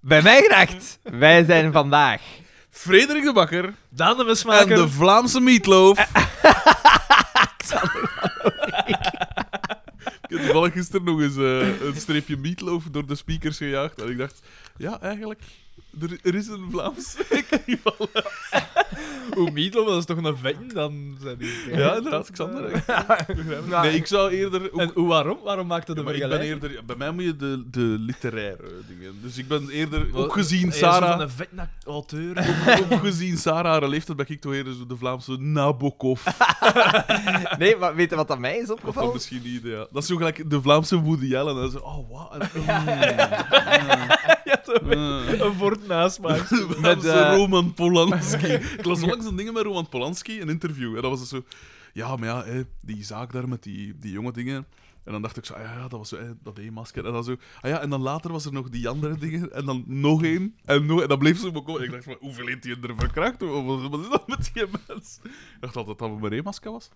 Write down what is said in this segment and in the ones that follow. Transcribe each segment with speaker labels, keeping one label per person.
Speaker 1: Bij mij gedacht. Wij zijn vandaag.
Speaker 2: Frederik de Bakker
Speaker 3: Daan de
Speaker 2: en
Speaker 3: Mesmaker.
Speaker 2: de Vlaamse Meatloaf. Ik heb toevallig gisteren nog eens eh, een streepje meatloaf door de speakers gejaagd. En ik dacht, ja, eigenlijk, er, er is een Vlaams.
Speaker 3: Hoe Meatloaf, dat is toch een vent dan? Zijn die,
Speaker 2: Ja, inderdaad, Xander. ik begrijp het. Nee, ik zou eerder... ook-
Speaker 3: En hoe, waarom? Waarom maakte de
Speaker 2: maar ik ben
Speaker 3: vergelijking?
Speaker 2: eerder, ja, bij mij moet je de, de literaire dingen. Dus ik ben eerder,
Speaker 3: Wat-
Speaker 2: ook gezien
Speaker 3: Hey, zo van
Speaker 2: Sarah,
Speaker 3: Een vent auteur.
Speaker 2: ook gezien Sarah haar leeftijd, ben ik toch eerder zo de Vlaamse Nabokov.
Speaker 1: Nee, maar weet je wat aan mij is
Speaker 2: Of dan
Speaker 1: opgevallen?
Speaker 2: misschien niet, ja. Dat is zo gelijk de Vlaamse Woody Allen. En zo, oh, wat? een-
Speaker 3: Ja, zo met
Speaker 2: Mm.
Speaker 3: een woord nasmaak.
Speaker 2: Vlaamse
Speaker 1: Met, eh,
Speaker 2: Roman Polanski. ik las langs een dingen met Roman Polanski, een interview. En dat was dus zo... Ja, maar ja, hè, die zaak daar met die, die jonge dingen... En dan dacht ik zo, ah ja, dat was zo, hè, dat één masker. En dan zo, ah ja, en dan later was er nog die andere dingen. En dan nog één. En, nog, en dat bleef zo bekomen. Ik dacht van, hoeveel heeft hij er verkracht? Of Wat wat is dat met die mens? Ik dacht altijd dat het maar één masker was.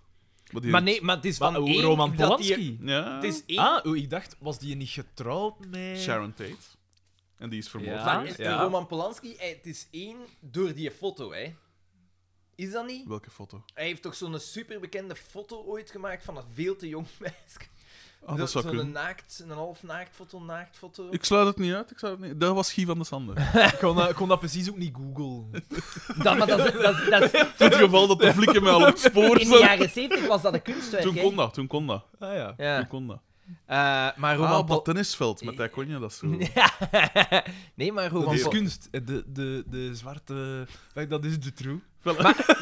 Speaker 2: die-
Speaker 4: Maar nee, maar het is
Speaker 3: Van
Speaker 4: van één
Speaker 3: oh, Roman
Speaker 4: dat die-
Speaker 3: Polanski.
Speaker 2: Ja.
Speaker 4: Het is één.
Speaker 3: Ah, oeh, ik dacht, was die niet getrouwd met...
Speaker 2: Sharon Tate. En die is vermoord.
Speaker 3: Ja.
Speaker 4: maar het-
Speaker 3: ja.
Speaker 4: Roman Polanski, hij- het is één door die foto, hè? Is dat niet?
Speaker 2: Welke foto?
Speaker 4: Hij heeft toch zo'n superbekende foto ooit gemaakt van een veel te jong meisje.
Speaker 2: Ah, dat, zou
Speaker 4: zo'n
Speaker 2: kunnen.
Speaker 4: naakt, een half naakt foto, naakt foto.
Speaker 2: Ik sluit het niet uit. Ik sluit het niet... Dat was Guy van de Sander.
Speaker 3: Ik kon, dat- ik kon dat precies ook niet googlen.
Speaker 4: Dat, maar dat, is- dat, is- dat is-
Speaker 2: Voor het geval dat de flikken mij al op het spoor
Speaker 4: in de
Speaker 2: zijn.
Speaker 4: jaren 70 was dat een kunstwerk.
Speaker 2: Toen
Speaker 4: hè.
Speaker 2: kon dat, toen kon dat.
Speaker 3: Ah ja.
Speaker 4: Ja.
Speaker 2: Toen kon dat.
Speaker 4: Eh, maar Roman
Speaker 2: Ah, op dat
Speaker 4: Polanski.
Speaker 2: tennisveld met dat konje, dat is zo.
Speaker 4: nee, maar
Speaker 3: Dat
Speaker 4: Roman
Speaker 3: is
Speaker 4: Polanski.
Speaker 3: kunst. Eh, De, de, de zwarte... Kijk, Dat is de true.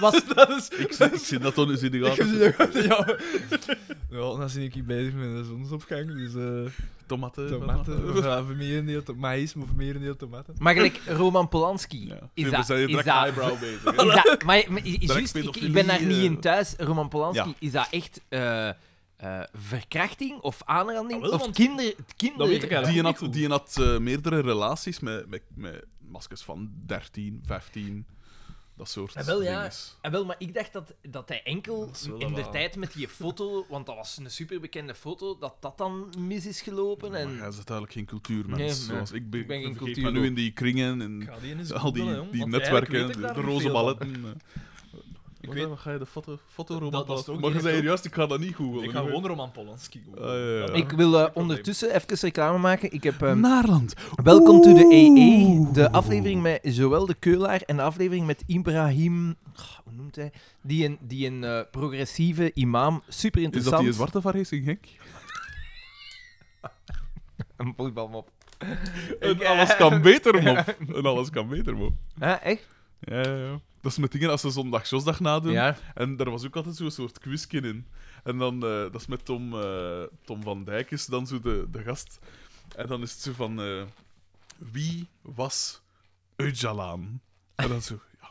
Speaker 4: Was,
Speaker 3: Dat is...
Speaker 2: Ik, zie- ik zie dat dan eens in de
Speaker 3: Ik heb
Speaker 2: gaten.
Speaker 3: ze nog altijd- ja. Ja, dan ben ik hier bezig met de zonsopgang, dus eh
Speaker 2: Tomaten.
Speaker 3: tomaten, ja, vermerendeel to maïs, maar vermerendeel tomaten.
Speaker 4: maar gelijk, Roman Polanski.
Speaker 2: Ja.
Speaker 4: Is
Speaker 2: We
Speaker 4: dat,
Speaker 2: zijn hier
Speaker 4: is
Speaker 2: direct
Speaker 4: dat,
Speaker 2: eyebrow bezig. hè.
Speaker 4: is dat, maar, maar i- juist, ik,
Speaker 2: pedofilie,
Speaker 4: ik ben daar niet
Speaker 2: eh.
Speaker 4: in thuis. Roman Polanski,
Speaker 2: Ja.
Speaker 4: is dat echt eh, eh, verkrachting of aanranding?
Speaker 3: Ah, wel,
Speaker 4: of
Speaker 3: want-
Speaker 4: kinder, kinder...
Speaker 3: Dat weet ik eigenlijk.
Speaker 2: Die
Speaker 3: ook
Speaker 2: had,
Speaker 3: niet
Speaker 2: die had eh, meerdere relaties met, met, met maskers van 13, 15, dat soort
Speaker 4: Ah, wel, ja.
Speaker 2: dinges.
Speaker 4: Ah, wel, maar ik dacht dat, dat hij enkel
Speaker 3: Dat is wel
Speaker 4: in de
Speaker 3: waar.
Speaker 4: tijd met die foto, want dat was een superbekende foto, dat dat dan mis is gelopen.
Speaker 2: Maar jij
Speaker 4: En...
Speaker 2: is uiteindelijk geen cultuurmens.
Speaker 4: Nee, nee.
Speaker 2: zoals ik ben,
Speaker 4: Ik ben geen
Speaker 2: vergeet me
Speaker 4: cultuurman.
Speaker 2: nu in die kringen en
Speaker 3: ga die eens
Speaker 2: Dus al
Speaker 3: googlen,
Speaker 2: die,
Speaker 3: jong,
Speaker 2: die
Speaker 3: want
Speaker 2: netwerken,
Speaker 3: eigenlijk weet
Speaker 2: de,
Speaker 3: ik daar
Speaker 2: de
Speaker 3: niet
Speaker 2: roze
Speaker 3: veel
Speaker 2: balletten. eh.
Speaker 3: Ik
Speaker 2: Wat,
Speaker 3: weet-
Speaker 2: hè, ga je de foto, foto Roman
Speaker 3: dat is
Speaker 2: Polanski-
Speaker 3: ook
Speaker 2: Maar
Speaker 3: niet
Speaker 2: je zei
Speaker 3: echt-
Speaker 2: hier juist, ik ga dat niet googlen.
Speaker 3: Ik ga gewoon Roman Polanski googlen.
Speaker 2: Ah, ja, ja.
Speaker 3: Dat-
Speaker 4: Ik wil eh, ondertussen even reclame maken. Ik heb... ehm,
Speaker 2: Naarland.
Speaker 4: Welkom to de EE,
Speaker 2: Oeh.
Speaker 4: de aflevering met Joël de Keulaar en de aflevering met Ibrahim, Ah, hoe noemt hij? Die een, die een eh, progressieve imam, super
Speaker 2: Is dat
Speaker 4: interessant.
Speaker 2: die zwarte van Racing Henk?
Speaker 4: Een voetbalmop.
Speaker 2: En
Speaker 4: eh,
Speaker 2: alles kan beter, mop. En alles kan beter, mop.
Speaker 4: Hè, echt?
Speaker 2: Ja, ja, ja. Dat is met dingen als ze zondag Josdag nadoen.
Speaker 4: Ja.
Speaker 2: En daar was ook altijd zo'n soort quizje in. En dan, eh, dat is met Tom, eh, Tom van Dijk, is dan zo de, de gast. En dan is het zo van, eh, wie was Öcalan? En dan zo, ja.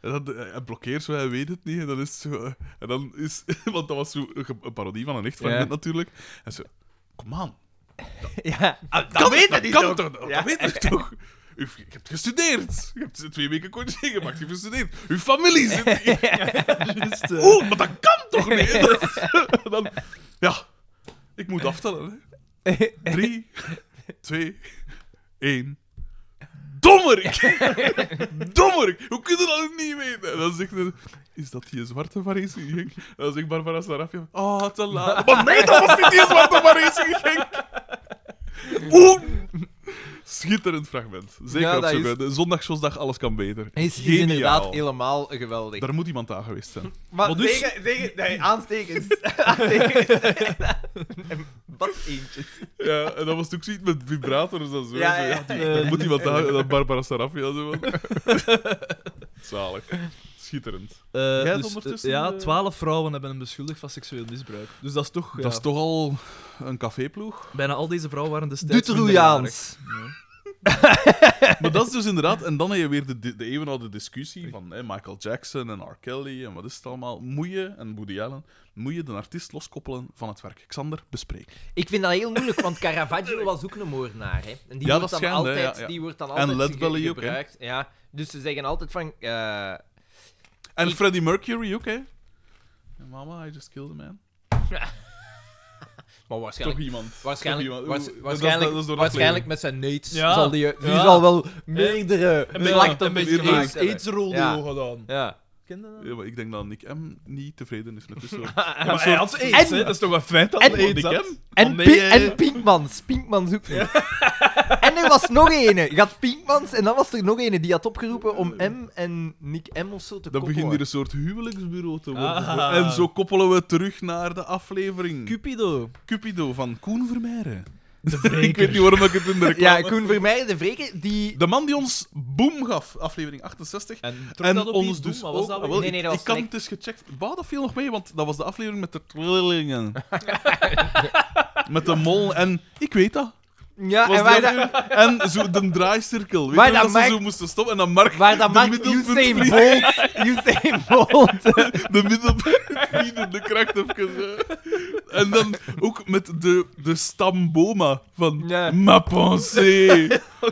Speaker 2: En dan, eh, hij blokkeert zo, hij weet het niet. En dan is het zo, eh, en dan is, want dat was zo een, ge- een parodie van een echt fragment
Speaker 4: Ja.
Speaker 2: natuurlijk. En zo, kom aan.
Speaker 4: Ja.
Speaker 2: Ah, Dat weet het niet toch? Dat, weet het toch? U, je hebt gestudeerd. Je hebt twee weken coaching gemaakt. Je hebt gestudeerd. Uw familie zit hier.
Speaker 3: Juist, eh,
Speaker 2: Oeh, maar dat kan toch niet? Dat- dan, ja, ik moet aftellen. Hè. Drie, twee, één. Dommerik! Dommerik! Hoe kun je dat niet weten? En dan zegt hij... Is dat die zwarte Parisi Genk? En dan zegt Barbara Sarafia... Oh, te laat. Maar nee, dat was niet die zwarte Parisi Genk! Oeh! Schitterend fragment. Zeker
Speaker 4: Ja,
Speaker 2: op
Speaker 4: dat
Speaker 2: zo'n
Speaker 4: is-
Speaker 2: de zondag, zondag, alles kan beter.
Speaker 4: Is, is
Speaker 2: Geniaal.
Speaker 4: inderdaad helemaal geweldig.
Speaker 2: Daar moet iemand aan geweest zijn.
Speaker 4: Maar
Speaker 3: Wat dus?
Speaker 4: tegen, tegen, nee, aanstekens. aanstekens. Wat eentjes.
Speaker 2: Ja, en dan was het ook zoiets met vibrators en zo.
Speaker 4: Ja,
Speaker 2: Zo,
Speaker 4: ja,
Speaker 2: ja, die-
Speaker 3: ja.
Speaker 2: dan moet iemand daar, dat Barbara Sarafia zo van. Zalig. Schitterend.
Speaker 3: eh,
Speaker 2: Jij hebt
Speaker 3: dus, eh,
Speaker 2: ondertussen,
Speaker 3: ja,
Speaker 2: eh,
Speaker 3: twaalf vrouwen hebben hem beschuldigd van seksueel misbruik. Dus dat is toch... ja,
Speaker 2: Dat is toch al een caféploeg.
Speaker 3: Bijna al deze vrouwen waren destijds minderjarig.
Speaker 4: Dutrojaans.
Speaker 2: maar dat is dus inderdaad... En dan heb je weer de, de, de eeuwenoude discussie van hè, Michael Jackson en R. Kelly en wat is het allemaal. Moet je, en Woody Allen, moet je de artiest loskoppelen van het werk. Xander, bespreek.
Speaker 4: Ik vind dat heel moeilijk, want Caravaggio was ook een moordenaar. Hè? En die,
Speaker 2: Ja,
Speaker 4: wordt
Speaker 2: dat
Speaker 4: dan
Speaker 2: schijnt, hè,
Speaker 4: altijd,
Speaker 2: ja, ja.
Speaker 4: die wordt dan
Speaker 2: En
Speaker 4: altijd
Speaker 2: Led
Speaker 4: ge-
Speaker 2: Belly ook, hè.
Speaker 4: gebruikt. ja. Dus ze zeggen altijd van... eh,
Speaker 2: En
Speaker 4: Ik-
Speaker 2: Freddie Mercury ook, hè. Mama, I just killed a man.
Speaker 4: Maar
Speaker 2: Toch
Speaker 4: waarschijnlijk...
Speaker 2: iemand.
Speaker 4: Waarschijnlijk,
Speaker 2: Toch iemand.
Speaker 4: waars-
Speaker 2: Oeh,
Speaker 4: waarschijnlijk,
Speaker 2: dat is- dat is door
Speaker 4: waarschijnlijk met zijn neets
Speaker 3: Ja.
Speaker 4: zal die, die
Speaker 3: Ja.
Speaker 4: zal wel meerdere
Speaker 3: Een beetje- een
Speaker 4: slachtoffers
Speaker 3: beetje
Speaker 4: gemaakt
Speaker 3: aids-
Speaker 4: hebben.
Speaker 3: AIDS-rodeo
Speaker 4: Ja.
Speaker 3: gedaan.
Speaker 4: Ja.
Speaker 3: Ken je dat?
Speaker 2: Ja, maar ik denk dat Nick M niet tevreden is met dit soort...
Speaker 3: Ja, maar hij had AIDS,
Speaker 4: En-
Speaker 3: hè? Dat is toch een feit dat
Speaker 4: en-
Speaker 3: hij AIDS
Speaker 2: Want ik
Speaker 3: had?
Speaker 4: En,
Speaker 3: Oh, nee,
Speaker 4: Pi-
Speaker 3: eh.
Speaker 4: en Pinkmans. Pinkmans ook niet. en er was nog ene. Je had Pinkmans en dan was er nog ene die had opgeroepen om M en Nick M of zo te
Speaker 2: Dan dus
Speaker 4: koppelen.
Speaker 2: begint hier een soort huwelijksbureau te worden.
Speaker 3: Ah.
Speaker 2: En zo koppelen we terug naar de aflevering
Speaker 3: Cupido.
Speaker 2: Cupido van Koen Vermeijren.
Speaker 3: De
Speaker 2: Ik weet niet waarom ik het in de reclame...
Speaker 4: Ja, Koen Vermeijden, de Vreken, die...
Speaker 2: De man die ons Boom gaf, aflevering 68.
Speaker 3: En,
Speaker 2: en ons dus ook... Ah, wel,
Speaker 4: Nee,
Speaker 2: ik-
Speaker 4: nee, dat
Speaker 2: ik
Speaker 4: was
Speaker 2: kan
Speaker 4: Nick.
Speaker 2: het eens gecheckt... Wauw, dat viel nog mee, want dat was de aflevering met de trillingen. met de mol en... Ik weet dat.
Speaker 4: Ja,
Speaker 2: Was
Speaker 4: Ah, en waar,
Speaker 2: die
Speaker 4: dat
Speaker 2: aflevering. En zo de draaicirkel. Weet
Speaker 4: Waar
Speaker 2: je wel,
Speaker 4: dat
Speaker 2: dat ze
Speaker 4: Mark-
Speaker 2: zo moesten stoppen en dan Mark...
Speaker 4: waar dat
Speaker 2: de
Speaker 4: maakt
Speaker 2: middelpunt
Speaker 4: Usain
Speaker 2: vliegt.
Speaker 4: Bolt... Usain Bolt.
Speaker 2: De middelpunt de kracht even. eh. En dan ook met de, de stamboma van
Speaker 4: Ja.
Speaker 2: Ma pensée.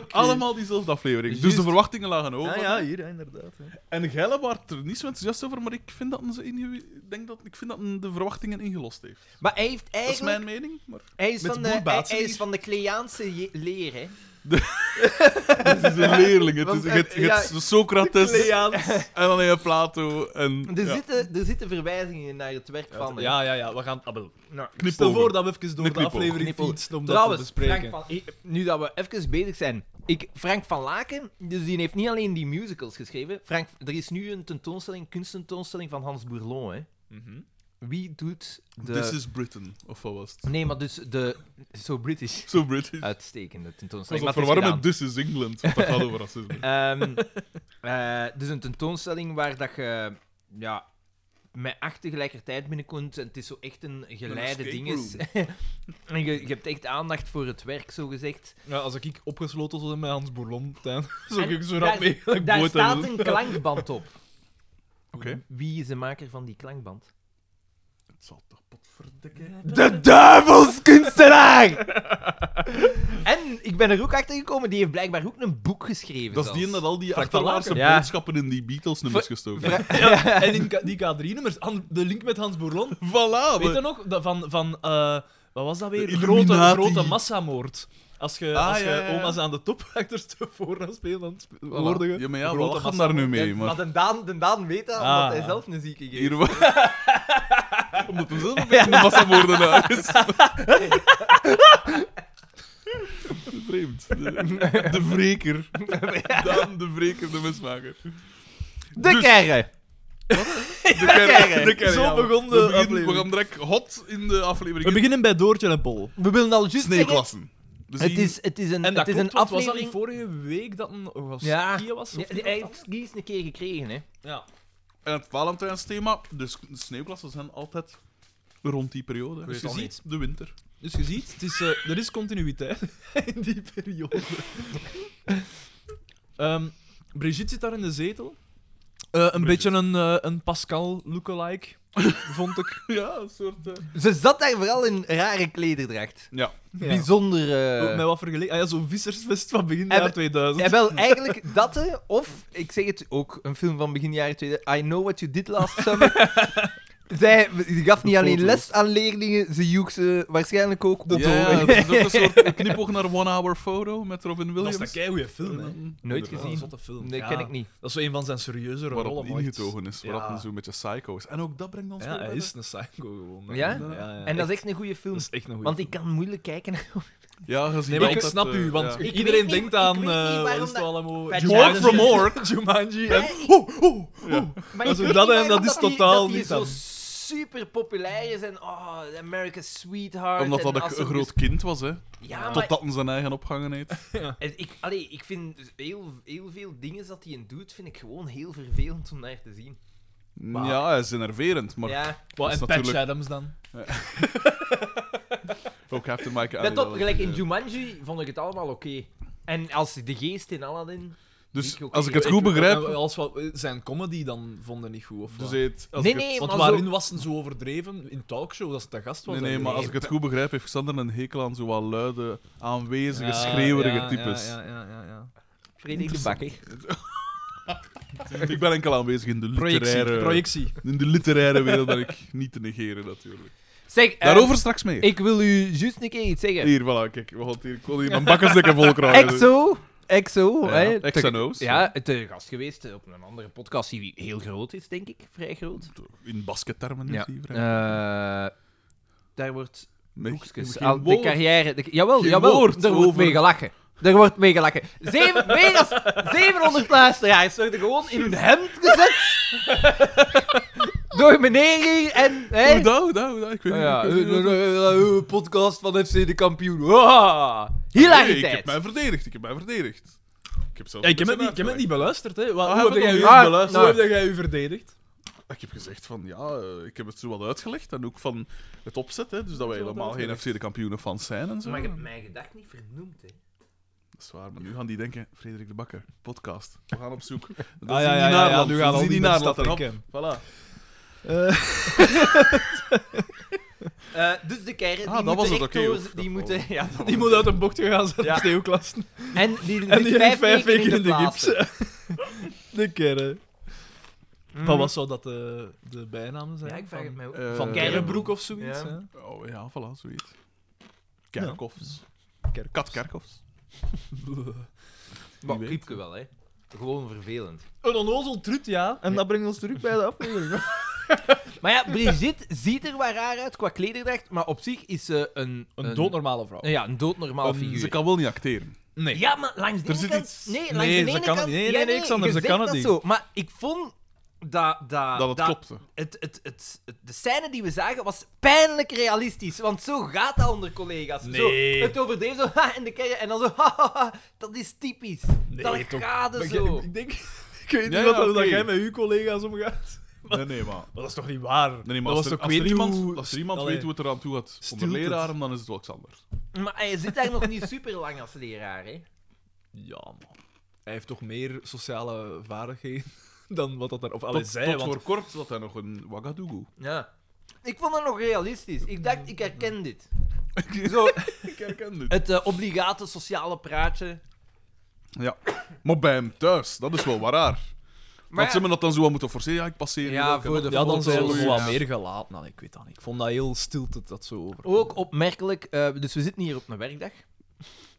Speaker 2: Allemaal diezelfde aflevering. Dus de
Speaker 4: Juist.
Speaker 2: verwachtingen lagen hoog.
Speaker 3: ja, ja, hier, hè, inderdaad. hè.
Speaker 2: En Gelle was er niet zo enthousiast over, maar ik vind dat, een, ze ingewi- ik denk dat, ik vind dat een de verwachtingen ingelost heeft.
Speaker 4: Maar hij heeft
Speaker 2: Dat is
Speaker 4: eigenlijk...
Speaker 2: mijn mening. Maar
Speaker 4: Hij is,
Speaker 2: Met
Speaker 4: van de,
Speaker 2: boerbaat,
Speaker 4: hij,
Speaker 2: zie
Speaker 4: hij
Speaker 2: je.
Speaker 4: is van de Kleaanse je- leer, hè.
Speaker 2: het is een leerling. Het is,
Speaker 4: Want,
Speaker 2: je
Speaker 4: eh,
Speaker 2: hebt- je hebt Socrates en dan heb je Plato. En,
Speaker 4: Er,
Speaker 2: ja.
Speaker 4: zitten, er zitten verwijzingen naar het werk van hem.
Speaker 3: Ja, ja, ja, we gaan... ah, wel.
Speaker 4: Nou,
Speaker 2: Knip
Speaker 3: Stel
Speaker 2: over.
Speaker 3: voor dat we even door
Speaker 2: Knip
Speaker 3: de
Speaker 2: over.
Speaker 3: aflevering
Speaker 4: Knip over.
Speaker 3: fietsen om dat te
Speaker 4: Trouwens,
Speaker 3: bespreken.
Speaker 4: Frank van, ik- nu dat we even bezig zijn. Ik, Frank van Laken, dus die heeft niet alleen die musicals geschreven. Frank, er is nu een tentoonstelling, kunsttentoonstelling van Hans Bourlon. Hè.
Speaker 3: Mhm.
Speaker 4: Wie doet de...
Speaker 2: This is Britain, of wat was het?
Speaker 4: Nee, maar dus de... Zo British.
Speaker 2: Zo British.
Speaker 4: Uitstekende
Speaker 2: Ik
Speaker 4: tentoonstelling.
Speaker 2: was
Speaker 4: maar
Speaker 2: dat
Speaker 4: het is
Speaker 2: verwarren met This is England, want dat gaat over racisme.
Speaker 4: gedaan. Ehm, eh, dus een tentoonstelling waar dat je... Ja, met acht tegelijkertijd binnenkomt. En het is zo echt een geleide
Speaker 2: escape
Speaker 4: dinges. en je, je hebt echt aandacht voor het werk, zo gezegd.
Speaker 3: Ja, als ik ik opgesloten zou zijn met Hans Bourlon, dan zou
Speaker 4: En
Speaker 3: ik zo
Speaker 4: daar-
Speaker 3: rap mee. dat ik
Speaker 4: Daar
Speaker 3: boot
Speaker 4: staat
Speaker 3: heb.
Speaker 4: een klankband op.
Speaker 2: Oké.
Speaker 4: Wie is de maker van die klankband?
Speaker 2: Het zal toch
Speaker 4: De duivelskunstenaar! en ik ben er ook achter gekomen, die heeft blijkbaar ook een boek geschreven.
Speaker 2: Dat is die
Speaker 4: zelfs.
Speaker 2: dat al die
Speaker 3: Frank van
Speaker 2: achterlaatste
Speaker 4: Laken. Ja.
Speaker 2: boodschappen in die Beatles-nummers gestoken heeft.
Speaker 3: Ja, en in K- die K3-nummers, de link met Hans Bourlon.
Speaker 2: Voilà!
Speaker 3: Weet je
Speaker 2: we-
Speaker 3: nog? Dat van, van eh, wat was dat weer?
Speaker 2: De
Speaker 3: Grote,
Speaker 2: Illuminati.
Speaker 3: grote massamoord. Als je
Speaker 2: Ah,
Speaker 3: als je
Speaker 2: ja, ja, ja.
Speaker 3: oma's aan de top achterstevoren gaat spelen, dan sp- worden je
Speaker 2: Ja, maar ja, we
Speaker 3: grote
Speaker 2: lachen
Speaker 3: massa-
Speaker 2: daar nu mee,
Speaker 4: En- maar
Speaker 2: maar...
Speaker 4: de Daan, de Daan weet dat, omdat
Speaker 3: Ah.
Speaker 4: hij zelf een zieke is.
Speaker 2: Hier... wa- Omdat we zelf een beetje een massamoordenaar is. Vreemd. De, de wreker. Daan de wreker, de mismaker.
Speaker 4: De
Speaker 2: Dus-
Speaker 4: kerren!
Speaker 2: De kern. De kern,
Speaker 3: Zo
Speaker 2: ja.
Speaker 3: begon de
Speaker 2: we, beginnen, we
Speaker 3: aflevering.
Speaker 2: gaan direct hot in de aflevering.
Speaker 3: We beginnen bij Doortje en Pol.
Speaker 4: We willen al juist zeggen...
Speaker 2: Sneeuwklassen. Dus
Speaker 4: Het
Speaker 2: die-
Speaker 4: is, het is een,
Speaker 3: En dat
Speaker 4: het is
Speaker 3: klopt,
Speaker 4: een
Speaker 3: want was dat niet
Speaker 4: aflevering...
Speaker 3: vorige week dat een
Speaker 4: Ja.
Speaker 3: Oskia was?
Speaker 4: Ja,
Speaker 3: Of
Speaker 4: die- hij heeft kies een keer gekregen, hè.
Speaker 3: ja.
Speaker 2: En het Valentijnsthema, dus sneeuwklassen zijn altijd rond die periode.
Speaker 3: weet
Speaker 2: Dus je
Speaker 3: het al
Speaker 2: ziet de winter.
Speaker 3: Dus je ziet, het is, eh, er is continuïteit in die periode. Ehm, Brigitte zit daar in de zetel. Eh, een beetje een, eh, een Pascal lookalike, vond ik.
Speaker 2: Ja, een soort. eh,
Speaker 4: Ze zat daar vooral in rare klederdracht.
Speaker 2: Ja.
Speaker 4: Bijzonder...
Speaker 3: Ook
Speaker 4: eh,
Speaker 3: Met wat vergeleken? Ah ja, zo'n vissersvest van begin
Speaker 4: Hebben-
Speaker 3: jaar 2000.
Speaker 4: Ja, wel, eigenlijk dat, hè. Of, ik zeg het ook, een film van begin jaren 2000. I Know What You Did Last Summer. Zij die gaf niet alleen les aan leerlingen, ze joeg ze waarschijnlijk ook op.
Speaker 2: ja, ja, het is ook een soort knipoog naar One Hour Photo met Robin
Speaker 3: dat
Speaker 2: Williams.
Speaker 3: is een goede film, hè.
Speaker 4: Nooit
Speaker 3: Dat is
Speaker 4: gezien.
Speaker 3: een zotte film.
Speaker 4: Nee,
Speaker 3: Ja.
Speaker 4: ken ik niet.
Speaker 3: Dat is zo een van zijn serieuze
Speaker 2: Waar
Speaker 3: rollen.
Speaker 2: dat
Speaker 3: ooit.
Speaker 2: ingetogen is, waar
Speaker 3: Ja.
Speaker 2: dat zo'n beetje psycho is. En ook dat brengt ons
Speaker 3: Ja,
Speaker 2: weer
Speaker 3: hij
Speaker 2: bij
Speaker 3: is een psycho gewoon. hè.
Speaker 4: Ja?
Speaker 3: ja, ja.
Speaker 4: En dat is echt een goede film.
Speaker 3: Dat is echt een goede
Speaker 4: Want ik kan moeilijk kijken.
Speaker 2: de- Ja, gezien
Speaker 3: Nee, maar ik
Speaker 2: altijd,
Speaker 3: snap
Speaker 2: eh,
Speaker 3: u, want
Speaker 2: ja.
Speaker 4: Ik
Speaker 3: iedereen
Speaker 4: weet niet-
Speaker 3: denkt
Speaker 4: ik
Speaker 3: aan...
Speaker 4: weet
Speaker 3: eh,
Speaker 4: niet
Speaker 3: wat
Speaker 4: waarom
Speaker 3: is het
Speaker 4: dat-
Speaker 3: allemaal?
Speaker 4: Bij
Speaker 2: Walk
Speaker 3: Jumanji.
Speaker 2: from Ork!
Speaker 3: Jumanji
Speaker 4: Nee,
Speaker 3: en...
Speaker 4: ik-
Speaker 3: Ho, ho, ho.
Speaker 4: Maar
Speaker 3: Dat
Speaker 4: ik weet
Speaker 3: is- dat-
Speaker 4: niet
Speaker 3: en dat
Speaker 4: waarom
Speaker 3: is
Speaker 4: die-
Speaker 3: totaal
Speaker 4: die
Speaker 3: niet
Speaker 4: zo
Speaker 3: aan.
Speaker 4: super populair is en oh, America's Sweetheart.
Speaker 2: Omdat
Speaker 4: en
Speaker 2: dat
Speaker 4: als
Speaker 2: ik een
Speaker 4: er
Speaker 2: groot kind was, hè.
Speaker 4: dus- Ja, maar
Speaker 2: Totdat hij zijn eigen opgangen heeft.
Speaker 4: het- ik, allee, ik vind dus heel, heel veel dingen dat hij doet, vind ik gewoon heel vervelend om naar te zien.
Speaker 3: Maar-
Speaker 2: Ja, hij is enerverend, maar
Speaker 4: ja.
Speaker 3: Wat,
Speaker 2: Dat is
Speaker 3: en Patch
Speaker 2: natuurlijk-
Speaker 3: Adams dan?
Speaker 2: ook Captain Mike
Speaker 4: Let op, gelijk
Speaker 2: dus, eh,
Speaker 4: in Jumanji vond ik het allemaal oké. En als de geest in Aladdin...
Speaker 2: Dus
Speaker 4: Niet oké.
Speaker 2: als ik het goed
Speaker 3: En
Speaker 2: begrijp,
Speaker 3: eh, Als wat, zijn comedy dan vonden niet goed, of
Speaker 2: dus
Speaker 3: wat?
Speaker 2: hij het- als
Speaker 4: Nee,
Speaker 2: ik het-
Speaker 4: nee,
Speaker 3: Want
Speaker 4: maar
Speaker 3: waarin
Speaker 4: zo-
Speaker 3: was ze zo overdreven? In talkshow, dat ze te gast was.
Speaker 2: Nee, nee,
Speaker 3: eigenlijk.
Speaker 2: maar als ik het goed begrijp, heeft Xander een hekel aan zoal luide, aanwezige,
Speaker 3: Ja,
Speaker 2: schreeuwerige
Speaker 3: ja,
Speaker 2: types.
Speaker 3: Ja, ja, ja, ja.
Speaker 4: Frederik de Bakker.
Speaker 2: Ik ben enkel aanwezig in de literaire,
Speaker 3: Projectie. Projectie.
Speaker 2: In de literaire wereld ben ik niet te negeren, natuurlijk.
Speaker 4: Zeg, eh,
Speaker 2: Daarover straks meer.
Speaker 4: ik wil u juist een keer iets zeggen.
Speaker 2: Hier, voilà, kijk. We gaan hier, ik wil hier een bakkersdikke vol krijgen.
Speaker 4: EXO, EXO,
Speaker 2: Ja,
Speaker 4: hè,
Speaker 2: X en
Speaker 4: te-
Speaker 2: O's.
Speaker 4: Ja, te gast geweest eh, op een andere podcast die heel groot is, denk ik. Vrij groot.
Speaker 2: In baskettermen is
Speaker 4: Ja.
Speaker 2: die vrij.
Speaker 4: Eh, daar wordt
Speaker 2: Nee,
Speaker 4: Hoekskes.
Speaker 2: geen
Speaker 4: Al, de
Speaker 2: woord.
Speaker 4: carrière. De, jawel,
Speaker 2: Geen
Speaker 4: jawel.
Speaker 2: woord
Speaker 4: er wordt
Speaker 2: over-
Speaker 4: mee gelachen. Er wordt mee gelachen. Zeven, meer dan 700 luisteraars worden gewoon in hun hemd gezet. door meneer hier en. Hè?
Speaker 2: Hoe dat, hoe dat, hoe dat, Eh, Ik weet niet.
Speaker 4: Oh Ja, eh,
Speaker 2: ik weet niet wat-
Speaker 4: podcast van FC de kampioen. Ah, hilariteit.
Speaker 2: Nee, ik heb mij verdedigd. Ik heb mij verdedigd. Ik heb, zelfs
Speaker 3: Ja, ik heb
Speaker 2: mensen
Speaker 3: het niet, ik heb het niet
Speaker 2: uitgelegd.
Speaker 3: beluisterd, hè. Wat,
Speaker 2: Ah,
Speaker 3: hoe
Speaker 2: heb
Speaker 3: heb
Speaker 2: je
Speaker 3: jij
Speaker 2: het
Speaker 3: u
Speaker 4: nog niet
Speaker 3: beluisterd? Hoe
Speaker 4: beluisterd?
Speaker 3: heb jij u verdedigd?
Speaker 2: Ik heb gezegd van, ja, eh, ik heb het zo wat uitgelegd. En ook van het opzet, hè. Dus dat wij
Speaker 3: Zo wat
Speaker 2: helemaal geen FC
Speaker 3: uitgelegd.
Speaker 2: de kampioenen fans zijn en zo.
Speaker 4: Maar ik heb mijn gedacht niet vernoemd. Hè.
Speaker 2: Dat is waar, maar nu gaan die denken, Frederik de Bakker, podcast. We gaan op zoek. Dat
Speaker 3: Ah,
Speaker 2: is
Speaker 3: ja,
Speaker 2: niet
Speaker 3: ja, ja,
Speaker 2: naar
Speaker 3: ja,
Speaker 2: land.
Speaker 3: nu
Speaker 2: Dat
Speaker 3: gaan
Speaker 2: is
Speaker 3: al die
Speaker 2: niet
Speaker 3: naar
Speaker 2: naar
Speaker 3: dat
Speaker 2: land en op.
Speaker 3: denken.
Speaker 2: Voilà.
Speaker 4: Eh, dus de kern,
Speaker 2: Ah,
Speaker 4: die, moeten
Speaker 2: dat was het,
Speaker 4: echt
Speaker 2: oké, Oh.
Speaker 4: door-
Speaker 2: oef,
Speaker 4: die
Speaker 2: dat
Speaker 4: moeten. Ja, dat
Speaker 3: Die
Speaker 4: was-
Speaker 3: moet uit een bocht gaan zetten,
Speaker 4: Ja.
Speaker 3: sneeuwklassen.
Speaker 4: En die,
Speaker 3: En die ligt vijf
Speaker 4: weken
Speaker 3: weken in de
Speaker 4: plaats.
Speaker 3: gips. De kerre.
Speaker 4: Mm.
Speaker 3: Wat was zou dat de, de bijnamen zijn?
Speaker 4: Ja, ik vraag het mij ook.
Speaker 2: Eh,
Speaker 3: Van Kerrebroek of zoiets,
Speaker 4: Ja.
Speaker 3: hè?
Speaker 2: Oh ja, voilà, zoiets. Kerkhofs.
Speaker 3: Kerkhofs.
Speaker 2: Kat Kerkhofs.
Speaker 4: Maar
Speaker 2: Wie weet.
Speaker 4: Piepke wel, hè. Gewoon vervelend.
Speaker 3: Een onnozel trut, ja. En dat brengt ons terug bij de aflevering.
Speaker 4: Maar ja, Brigitte ziet er wel raar uit qua klederdracht, maar op zich is ze een...
Speaker 3: Een doodnormale vrouw.
Speaker 4: Ja, een doodnormaal figuur.
Speaker 2: Ze kan wel niet acteren.
Speaker 3: Nee.
Speaker 4: Ja, maar langs de
Speaker 2: Er
Speaker 4: ene
Speaker 2: zit
Speaker 4: kant...
Speaker 2: iets-
Speaker 4: Nee, langs
Speaker 3: Nee,
Speaker 4: de
Speaker 3: ze
Speaker 4: ene
Speaker 3: kan het
Speaker 4: kant...
Speaker 3: niet. Nee, nee, nee, Xander,
Speaker 4: je
Speaker 3: ze
Speaker 4: zegt
Speaker 3: kan het
Speaker 4: dat
Speaker 3: niet.
Speaker 4: Zo. Maar ik vond dat... Ah, Dat,
Speaker 2: dat het klopte.
Speaker 4: Het, het, het, het- de scène die we zagen was pijnlijk realistisch, want zo gaat dat onder collega's.
Speaker 3: Nee.
Speaker 4: Zo, het over deze, zo, ha, in de kerk, en dan zo, ha, ha, ha, dat is typisch. dat gaat er
Speaker 3: Ik-
Speaker 4: zo.
Speaker 3: Ik, ik denk... Ik weet niet
Speaker 2: Ja,
Speaker 3: wat
Speaker 2: ja,
Speaker 3: hoe dat
Speaker 2: oké.
Speaker 3: jij met uw collega's omgaat.
Speaker 2: Nee, nee, maar...
Speaker 3: Maar dat is toch niet waar?
Speaker 2: Nee, nee, maar
Speaker 3: dat
Speaker 2: als, er,
Speaker 3: was toch
Speaker 2: als, er
Speaker 3: weet
Speaker 2: iemand,
Speaker 3: hoe-
Speaker 2: als er iemand
Speaker 3: Allee.
Speaker 2: weet hoe het eraan toe gaat onder
Speaker 3: Stilt het.
Speaker 2: leraren, dan is het wel Xander.
Speaker 4: Maar hij zit daar nog niet super lang als leraar, hè?
Speaker 3: Ja, man. Hij heeft toch meer sociale vaardigheden dan wat dat daar... Of allee,
Speaker 2: tot
Speaker 3: zij,
Speaker 2: tot
Speaker 3: want...
Speaker 2: voor kort zat hij nog een Ouagadougou.
Speaker 4: Ja. Ik vond dat nog realistisch. Ik dacht, ik herken dit. Zo,
Speaker 2: Ik herken dit.
Speaker 4: het eh, obligate sociale praatje.
Speaker 2: Ja. Maar bij hem thuis, dat is wel wat raar.
Speaker 4: Maar
Speaker 2: Maar
Speaker 4: ja,
Speaker 2: ze hebben dat dan zo aan moeten forceren. Ja, ik passeer
Speaker 4: Ja,
Speaker 2: hier ook.
Speaker 4: voor
Speaker 2: En
Speaker 4: de
Speaker 3: Ja, dan
Speaker 4: foto's.
Speaker 3: zijn ze
Speaker 2: Ja.
Speaker 3: wat meer gelaten. dan ik weet dat niet. Ik vond dat heel stilte dat zo over.
Speaker 4: ook opmerkelijk, eh, dus we zitten hier op een werkdag.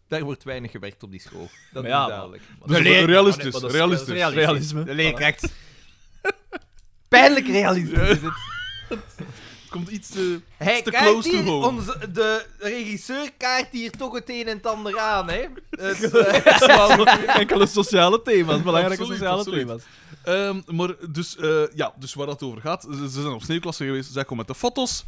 Speaker 4: Daar wordt weinig gewerkt op die school. Dat
Speaker 3: Maar ja,
Speaker 4: is duidelijk.
Speaker 2: Dus
Speaker 3: De
Speaker 2: dat-
Speaker 3: leer-
Speaker 2: realistisch,
Speaker 3: Maar dat is-
Speaker 2: realistisch.
Speaker 3: dat is Realisme.
Speaker 4: De leerkracht. Pijnlijk realistisch is het.
Speaker 2: Het komt iets eh, te...
Speaker 4: Hij
Speaker 2: It's the
Speaker 4: kijkt
Speaker 2: close to
Speaker 4: hier,
Speaker 2: home.
Speaker 4: onze, de regisseur kaart hier toch het een en het ander aan, hè? Dus, eh,
Speaker 3: Enkele sociale thema's, belangrijke
Speaker 2: Absoluut,
Speaker 3: sociale
Speaker 2: absoluut.
Speaker 3: thema's.
Speaker 2: Ehm, maar dus, eh, ja, dus waar dat over gaat, ze, ze zijn op sneeuwklasse geweest, zij komen met de foto's.